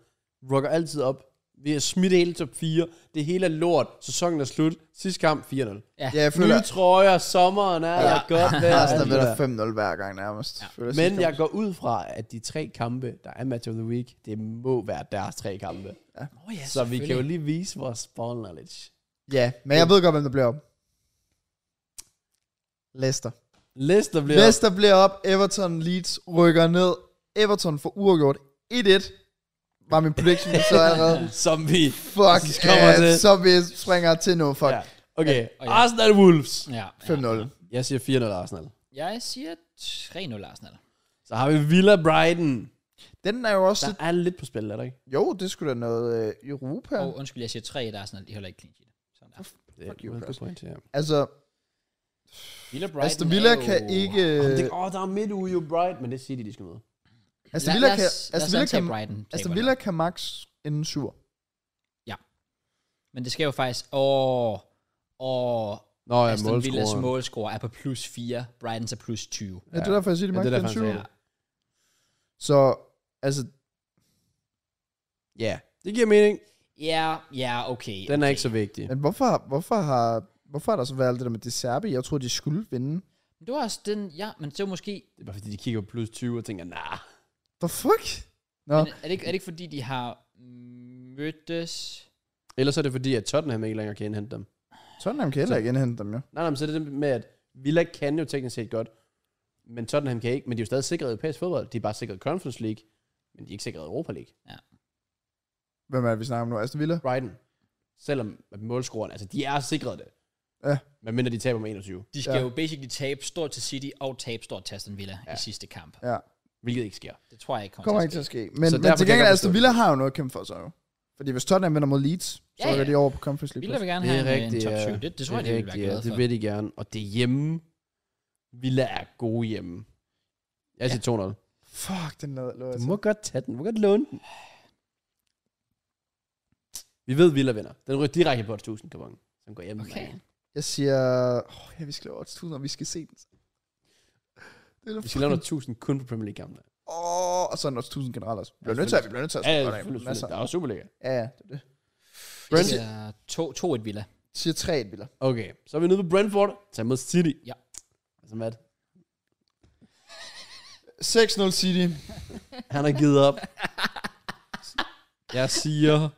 Rocker altid op. Vi har smidt hele top 4. Det hele er lort. Sæsonen er slut. Sidste kamp 4-0.
ja, jeg føler,
Nye trøjer, sommeren er ja. godt vejr.
Arsenal
alt det
vinder
der.
5-0 hver gang nærmest.
Ja.
Føler sidste
Men jeg går ud fra, at de tre kampe, der er match of the week, det må være deres tre kampe.
Oh, ja,
Så vi kan jo
selvfølgelig.
lige vise vores ball knowledge.
Ja, men jeg ved godt, hvem der bliver op. Leicester.
Leicester bliver...
Leicester bliver op, Everton Leeds rykker ned. Everton får uafgjort 1-1. Var min prediction så allerede.
Som vi...
Fuck,
Så kommer
ja,
det.
så vi springer til nu, fuck.
Ja. Okay,
og ja.
Arsenal Wolves.
Ja,
5-0.
Jeg siger 4-0 Arsenal.
ja. Jeg siger 3-0 Arsenal.
Så har vi Villa Brighton.
Den er jo også lidt...
Der er lidt på spil, er der ikke?
Jo, det skulle da noget øh, Europa.
Og undskyld, jeg siger 3 Arsenal. De holder ikke clean sheet. Sådan der.
Det er
Fuck you,
et
Claus.
godt point, ja.
Altså,
Villa Brighton
Aston Villa
er jo-
kan ikke... øh,
Åh, det- Åh, der er midtuge jo Bright, men det siger de, de skal møde.
Aston
Lad-
Villa
lad
kan...
os- lad os
Aston Villa
antage
kan...
Brighton
Aston
taber
Villa kan max inden 7.
Men det skal jo faktisk... Åh, åh,
Nå, ja,
Aston Villas
målscorer.
målscore er på plus 4, Brightons er plus 20.
Ja, det er derfor, jeg siger, de
Ja,
max
det er
inden
derfor,
7.
han sagde det.
Så, altså,
Ja, det giver mening.
Ja, ja, okay.
Den
okay.
er ikke så vigtig.
Men hvorfor, hvorfor, har, hvorfor har der så været alt det der med De Serbi? Jeg tror, de skulle vinde.
Men Det var også den, ja, men det var måske...
Det er bare fordi, de kigger på plus 20 og tænker, nah.
The fuck? Nå,
Men er, det ikke, er det ikke fordi, de har mødtes...
Ellers er det fordi, at Tottenham ikke længere kan indhente dem.
Tottenham kan heller ikke indhente dem, jo.
Nej, nej, men så er det det med, at Villa kan jo teknisk set godt, men Tottenham kan ikke, men de er jo stadig sikret europæisk fodbold. De er bare sikret Conference League, men de er ikke sikret Europa League.
Hvem er det, vi snakker om nu? Aston Villa?
Brighton, selvom at målscoren, altså de er sikret det.
Ja.
Men mindre de taber med 21,
De skal
Ja.
ja. jo basically tabe stort til City og tabe stort til Aston Villa ja. i sidste kamp.
Ja.
hvilket ikke sker.
Det tror jeg ikke kommer,
Kommer ikke
til
til
at
at ske. Men,
Så
men
derfor
til
kan jeg
gengæld,
godt
Aston
forstå
Villa har jo noget at kæmpe for sig, jo. Fordi hvis Tottenham vinder mod Leeds, så
Ja,
rykker
ja.
de over på Conference
ske.
League.
Villa vil gerne
Det er
have øh, en,
rigtigt,
en top
ja.
7. Det, det, tror jeg, de vil være
rigtigt,
glade
ja.
for.
Det vil de gerne, og det er hjemme. Villa er gode hjemme. Jeg siger 200.
Fuck, den lå lå jeg
Du
til.
må godt tage den. Du må godt låne den. Vi ved, Villa vinder. Den ryger direkte på 1000 kupongen, som går hjem.
Okay.
Jeg siger... Åh, ja, vi skal lave 8000, og vi skal se den. Det er
Vi skal lave noget 1000 kun på Premier League-kampene.
Åh, og så er den også 1000 generelt også. Vi bliver
Ja,
nødt til at... Vi bliver nødt til at...
Ja,
spille
ja,
den af.
selvfølgelig,
Masser.
selvfølgelig. Der er jo Superliga.
Ja, ja, det er det.
Jeg
Brent-
siger to- 2-1 Villa.
Siger 3-1 Villa.
Okay, så er vi nede på Brentford. Tag mod City.
Ja.
Altså, Matt,
6-0 City.
han har givet [laughs] op. Jeg siger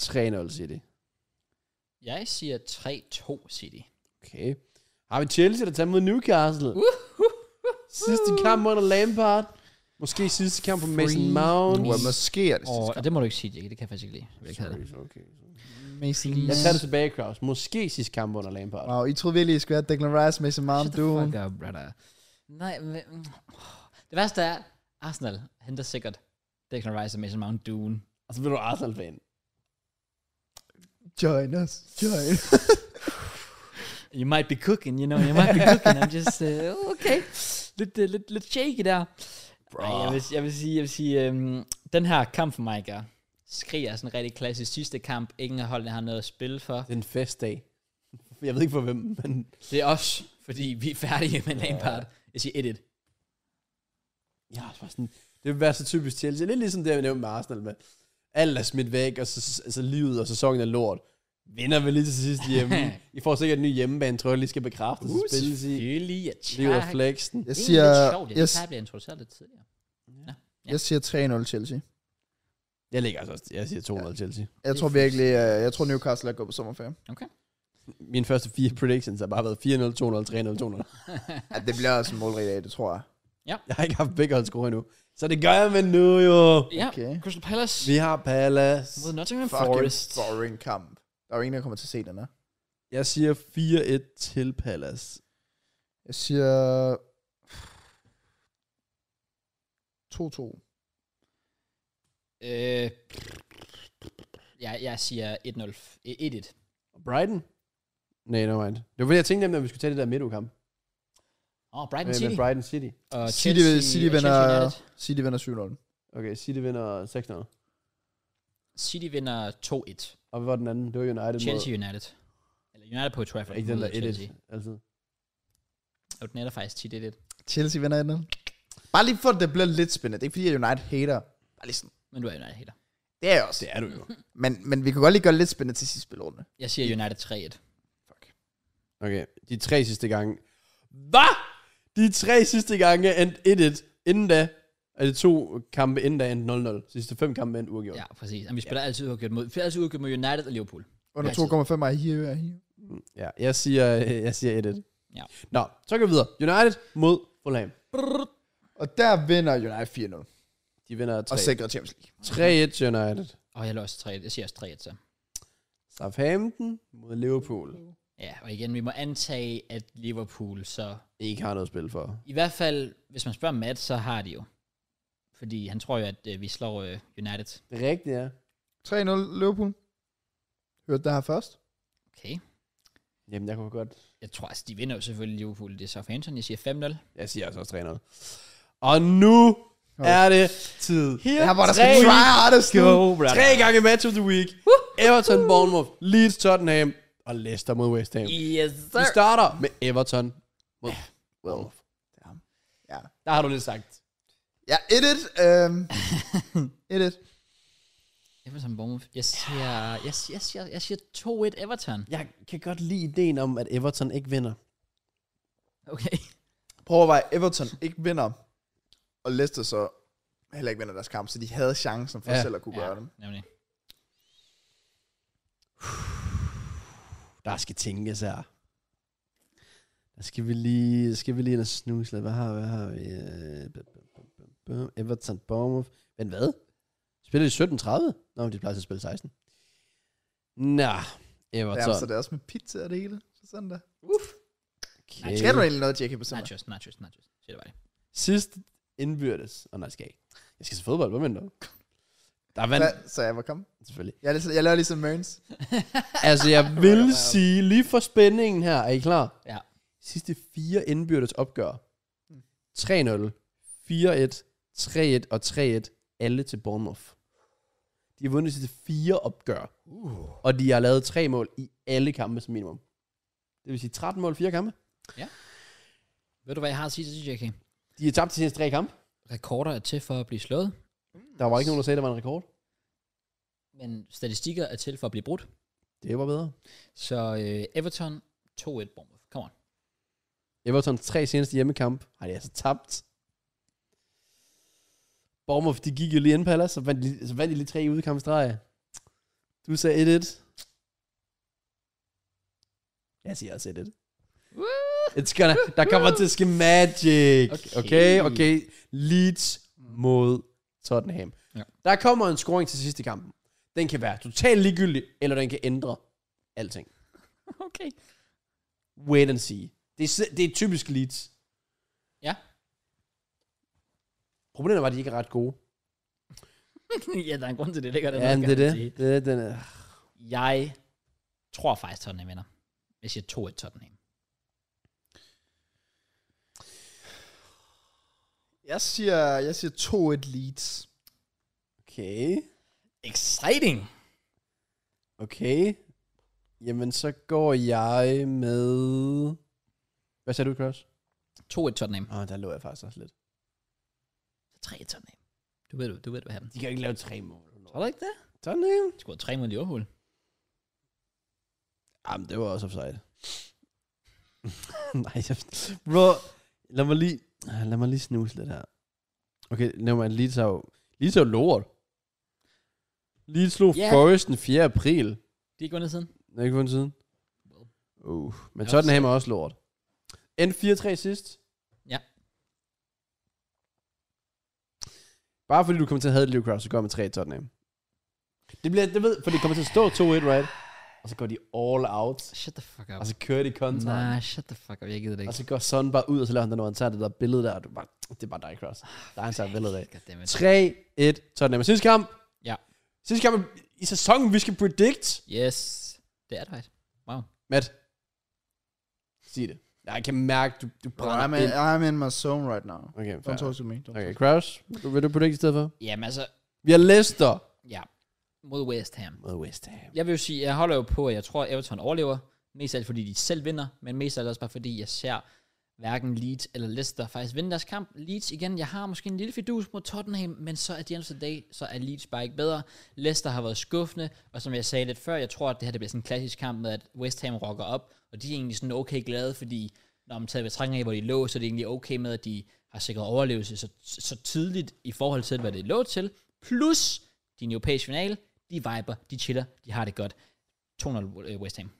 3-0 City.
Jeg siger 3-2 City.
Okay. Har vi Chelsea, der tager mod Newcastle? Uh, uh, Sidste kamp under Lampard. Måske sidste kamp på Mason Mount.
Well, måske er det
Og
sidste
ja, det må du ikke sige, Jake. Det kan jeg faktisk ikke lide. Jeg vil ikke have det.
Okay.
Mason
Jeg tager det tilbage, Kraus. Måske sidste kamp under Lampard.
Wow, I troede virkelig, I skulle have Declan Rice, Mason Mount,
Shut the
du.
fuck up, brother. Nej, men... mm, Det værste er, Arsenal henter sikkert Declan Rice og Mason Mount Dune.
Og så bliver Altså, du Arsenal-fan.
Join us, join.
You might be cooking, you know. You
[laughs]
might be cooking. I'm just, uh, okay. Lidt, uh, lidt, lidt shaky der. Ej, jeg, vil, jeg vil sige, jeg vil sige øhm, den her kamp for mig, gør, skriger sådan en rigtig klassisk sidste kamp. Ingen af holdene har noget at spille for.
Det er en festdag. [laughs] Jeg ved ikke for hvem, men...
Det er os, fordi vi er færdige med Lampard. Jeg siger 1-1.
Ja, det var sådan, det vil være så typisk Chelsea. Lidt ligesom det, jeg nævnte med Arsenal, med alt er smidt væk, og så, altså, livet og sæsonen er lort. Vinder vi lige til sidst
[laughs]
hjemme. I får sikkert en ny hjemmebane, tror jeg lige skal bekræftes og spilles i.
Selvfølgelig, ja, tak.
Livet er flexen.
Jeg
Det er
siger,
lidt sjovt, jeg
jeg,
yes. bliver introduceret lidt tidligere.
jeg siger 3-0 Chelsea.
Jeg ligger altså også, jeg siger 200 Chelsea.
Jeg tror virkelig, øh, jeg tror Newcastle er gået på sommerferie.
Mine første fire predictions har bare været 4-0, 200, 300, 200.
Ja, det bliver også en målrig dag, det tror jeg.
Jeg har ikke haft begge hold score endnu. Så det gør jeg med nu jo.
Ja,
Okay.
Crystal Palace
Vi har Palace.
mod Nottingham
Fucking
Forest.
boring kamp. Der er jo ingen, der kommer til at se den her.
Jeg siger 4-1 til Palace.
Jeg siger... 2-2.
Øh, jeg, jeg siger 1-0. Øh, 1-1.
Og Brighton? Nej, no mind. Det var fordi, jeg tænkte nemlig, at vi skulle tage det der midtugkamp.
Åh, oh, Brighton
Med,
City.
med Brighton City.
Og
City,
Chelsea,
City,
og
vinder,
Chelsea United.
City vinder 7-0.
Okay, City vinder 6-0.
City vinder 2-1.
Og hvad var den anden? Det var United
Chelsea United. Eller United på Trafford.
mod... Ikke den
mod
der
Chelsea.
1-1. Altid.
Og den er der faktisk tit 1-1.
Chelsea vinder 1-0. Bare lige for, at det bliver lidt spændende. Det er ikke fordi, at United hater. Bare lige sådan.
Men du er United hater.
Det er jeg også.
Det er du jo.
Men, men vi kan godt lige gøre det lidt spændende til sidste spilrunde.
Jeg siger United 3-1.
Okay, de tre sidste gange. Hvad? De tre sidste gange endte 1-1. Inden da, er det to kampe inden da endte 0-0. Sidste fem kampe endte uafgjort.
Ja, præcis. Jamen, vi spiller altid udgjort mod, vi spiller altid udgjort mod United og Liverpool.
Under
Ja,
2,5 er hive er hive.
ja jeg siger, øh, jeg siger 1-1.
Ja.
Nå, så går vi videre. United mod Fulham.
Og der vinder United 4-0.
De vinder 3
Og sikrer Champions League.
3-1 til United.
Og jeg lå også 3 Jeg siger også 3-1 så.
Southampton mod Liverpool.
Ja, og igen, vi må antage, at Liverpool så...
Ikke har noget at spille for.
I hvert fald, hvis man spørger Matt, så har de jo. Fordi han tror jo, at øh, vi slår øh, United.
Det er rigtigt, ja.
3-0 Liverpool. Hørte det her først?
Okay.
Jamen, jeg kunne godt...
Jeg tror, altså, de vinder jo selvfølgelig Liverpool. Det er Southampton. Jeg siger 5-0.
Jeg siger altså også 3-0. Og nu er det tid.
Her
Det her, hvor der
tre-
skal try hardest nu.
Go, brother.
Tre gange match of the week. Everton, Bournemouth, Leeds, Tottenham og Leicester mod West Ham.
Yes,
Vi
sir.
starter med Everton mod Bournemouth.
Ja.
Der har du lidt sagt.
Ja, 1-1. Øhm, 1-1.
Everton Bournemouth. Jeg siger, jeg, siger- jeg, siger, jeg siger 2-1 Everton.
Jeg kan godt lide ideen om, at Everton ikke vinder.
Okay.
Prøv at overveje, Everton ikke vinder, og Leicester så heller ikke vinder deres kamp, så de havde chancen for
Ja.
ja. selv at kunne ja. gøre dem.
nemlig.
Der skal tænkes her. Der skal vi lige, skal vi lige ind og snuse lidt. Hvad har vi? Hvad har vi? Øh, bum, bum, bum, bum. Everton, Bournemouth. Men hvad? Spiller de 17.30? Nå, men de plejer til at spille 16. Nå,
Ja, så
Everton.
det er også med pizza og det hele. Så sådan der.
Nej,
Okay.
Skal du egentlig noget, Jacob, på søndag?
Nachos, nachos, nachos. Siger det bare det.
Sidst indbyrdes. Og oh, nej, skal jeg ikke. Jeg skal til fodbold. Hvad mener du? Der vandt,
Hvad- Så jeg var kommet.
selvfølgelig.
Jeg, er ligesom- jeg laver ligesom Mørns.
Altså, jeg vil sige, lige for spændingen her, er I klar?
Ja.
Sidste fire indbyrdes opgør. 3-0, 4-1, 3-1 og 3-1, alle til Bournemouth. De har vundet de sidste fire opgør,
Uh.
og de har lavet tre mål i alle kampe som minimum. Det vil sige 13 mål, fire kampe.
Ved du, hvad jeg har at sige til det, JK?
De har tabt de seneste tre kampe.
Rekorder er til for at blive slået,
Der var ikke nogen, der sagde, at der var en rekord.
men statistikker er til for at blive brudt.
Det var bedre.
Så øh, Everton 2-1 Bournemouth. Kom on.
Evertons tre seneste hjemmekamp har de altså tabt. Bournemouth, de gik jo lige ind på Palace, så vandt de, så vandt de lige tre i udkampstreg. Du sagde 1-1. Jeg siger også 1-1. It's gonna, der kommer til at ske magic. Okay, okay. okay. Leeds mod Tottenham.
Ja.
Ja. Der kommer en scoring til sidste kampen. Den kan være totalt ligegyldig, eller den kan ændre alting.
Okay.
Wait and see. Det er, si- det er typisk Leeds.
Ja.
Problemet var, at de ikke er ret gode.
[laughs] ja, der er en grund til det, det gør det.
Ja,
nok,
men det
kan
er
man sige.
det. det, er, den er.
Jeg tror faktisk, Tottenham vinder. Jeg siger 2-1 Tottenham.
Jeg siger, jeg siger 2-1 Leeds.
Okay.
Exciting!
Okay. Jamen, så går jeg med... Hvad sagde du, Cross?
2-1 Tottenham.
Åh, oh, der lå jeg faktisk også lidt.
3-1 Tottenham. Du ved, du, du ved, hvad han.
De kan jo ikke lave tre mål.
Tror du ikke det?
Tottenham?
De scorede 3 mod Liverpool.
Jamen, det var også offside. [laughs] Nej, jeg... Bro, lad mig lige... ah, Lad mig lige snuse lidt her. Okay, lad mig lige tage... Lige tage lort. Lige slog
Ja.
yeah. Forest den 4. april.
De er ikke vundet siden.
Den er ikke vundet siden.
Well.
Uh, men
Ja,
Tottenham er også lort. End 4-3 sidst.
Ja.
Bare fordi du kommer til at have Leo Cross, så går jeg med 3 i Tottenham. Det bliver, det ved, for det kommer til at stå 2-1, right? Og så går de all out.
Ah, Shut the fuck up.
Og så kører de kontra.
Nej, shut the fuck up. Jeg gider det ikke.
Og så går Son bare ud, og så laver han den, når han tager det der billede der, og du bare, det er bare dig, Cross. Der er han tager billedet af.
Ah, Goddammit.
3-1, Tottenham. Sidste kamp.
Ja.
Sidste kamp i sæsonen, vi skal predict.
Yes. Det er det faktisk. Wow.
Matt. Sig det. Jeg kan mærke, du, du brænder
I'm in,
ind.
I'm in my zone right now.
Okay, fair.
Don't talk to me. Don't
Okay,
talk to
Kraus, du- vil du predict i stedet for?
Jamen altså,
Vi har Leicester.
ja. Mod West Ham.
Mod West Ham.
Jeg vil jo sige, jeg holder jo på, at jeg tror, at Everton overlever. Mest af alt, fordi de selv vinder, men mest af alt også bare, fordi jeg ser hverken Leeds eller Leicester faktisk vinde deres kamp. Leeds igen, jeg har måske en lille fidus mod Tottenham, men så er de end of the day, så er Leeds bare ikke bedre. Leicester har været skuffende, og som jeg sagde lidt før, jeg tror, at det her det bliver sådan en klassisk kamp med, at West Ham rocker op, og de er egentlig sådan okay glade, fordi når man tager betragtning af, hvor de lå, så er det egentlig okay med, at de har sikret overlevelse så, så tidligt i forhold til, hvad det lå til. Plus, de er i en europæisk finale, de viber, de chiller, de har det godt. 2-0 West Ham.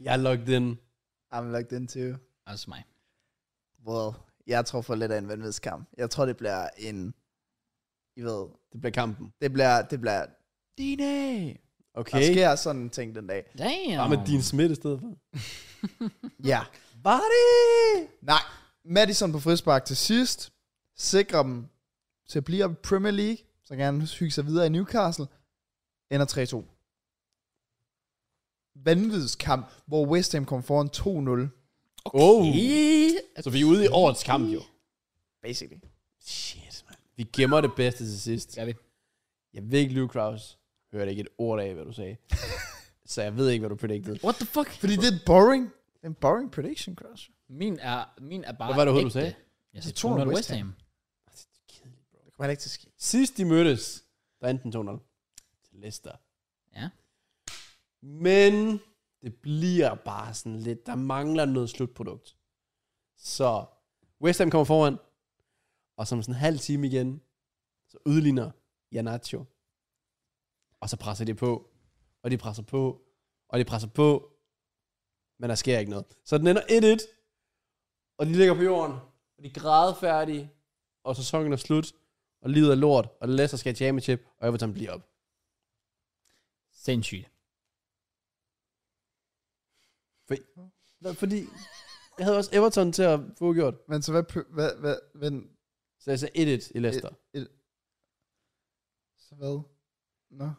Jeg er logged in.
me. I'm locked into.
Altså mig.
Well, jeg tror for lidt af en vanvidskamp. Jeg tror, det bliver en... I ved,
Det bliver kampen.
det bliver... Det bliver DNA! Der
Okay.
okay. sker sådan en ting den dag.
Damn.
Bare med din smidt i stedet for.
Ja.
Var det?
Nej. Madison på frispark til sidst. Sikrer dem til at blive op i Premier League. Så kan han hygge sig videre i Newcastle. Ender 3-2. Vanvidskamp, hvor West Ham kom foran 2-0.
Oh. Så vi er ude i årets kamp, jo.
Basically.
Shit, man. Vi gemmer det bedste til sidst.
Gør vi.
Jeg ved ikke, Luke Kraus. Hørte ikke et ord af, hvad du sagde. så jeg ved ikke, hvad du predicted.
What the fuck?
Fordi det er boring. Det er en boring prediction, Cross.
Min er, min er bare
Hvad var det,
ægte.
du sagde?
Jeg sagde
Det er
2-0
2-0
West Ham.
Det kommer heller ikke til at ske.
Sidst de mødtes, der endte den 2-0. Til Leicester.
Ja.
Men det bliver bare sådan lidt, der mangler noget slutprodukt. Så West Ham kommer foran, og som sådan en halv time igen, så udligner Janacho. Og så presser de på, og de presser på, og de presser på, men der sker ikke noget. Så den ender 1-1, og de ligger på jorden, og de er grædefærdige, og sæsonen er slut, og livet er lort, og Leicester skal i championship, og Everton bliver op.
[laughs] Sindssygt.
Hvad, fordi jeg havde også Everton til at få gjort.
Men så hvad, pr- hvad, hvad, hvad,
Så jeg sagde 1-1 i Leicester.
så hvad? Nå.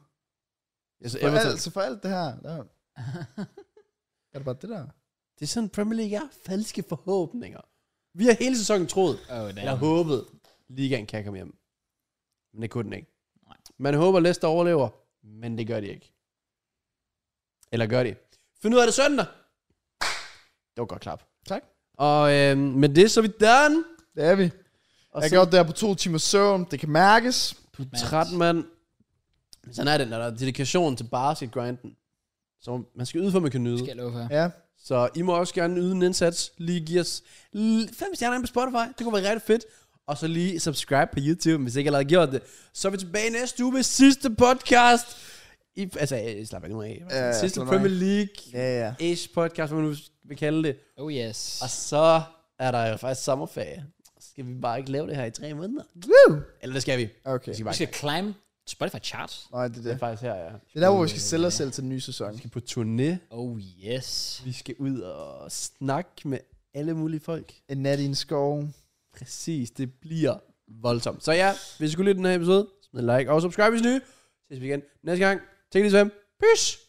Jeg
Så
sagde
for,
Everton.
alt, så for alt det her, der, er det bare det der?
Det er sådan, Premier League er falske forhåbninger. Vi har hele sæsonen troet,
oh, damn.
eller håbet, ligaen kan komme hjem. Men det kunne den ikke.
Nej.
Man håber, Leicester overlever, men det gør de ikke. Eller gør de. Find ud af det søndag. Det var godt klap.
Tak.
Og øhm, med det, så er vi done.
Det er vi.
Og
jeg
så-
har gjort det her på to timer søvn. Det kan mærkes.
Du er træt, mand. Men Sådan er det, når der er dedikation til basketgrinden. Så man skal yde, for man kan nyde.
Skal jeg love for.
Ja.
Så I må også gerne yde en indsats. Lige give os l- fem stjerner ind på Spotify. Det kunne være rigtig fedt. Og så lige subscribe på YouTube, hvis I ikke allerede har gjort det. Så er vi tilbage næste uge med sidste podcast I, altså, øh, slap af nu af.
Ja, ja,
Sidste
slap
Premier
af.
League
Ja, ja.
ish podcast, hvad man nu vil kalde det.
Oh yes.
Og så er der jo faktisk sommerferie. Så skal vi bare ikke lave det her i tre måneder.
Woo!
Eller det skal vi. Vi
Okay.
skal
Vi
bare
skal climb Spotify charts.
Nej, det er
det er
det.
faktisk her, ja.
Det er der, hvor vi skal sælge os selv til den nye sæson.
Vi skal på turné.
Oh yes.
Vi skal ud og snakke med alle mulige folk.
En nat i en skov.
Præcis, det bliver voldsomt. Så ja, hvis I kunne lide den her episode, smid en like og subscribe, hvis I er nye. Ses vi igen næste gang. Tak lige så Peace!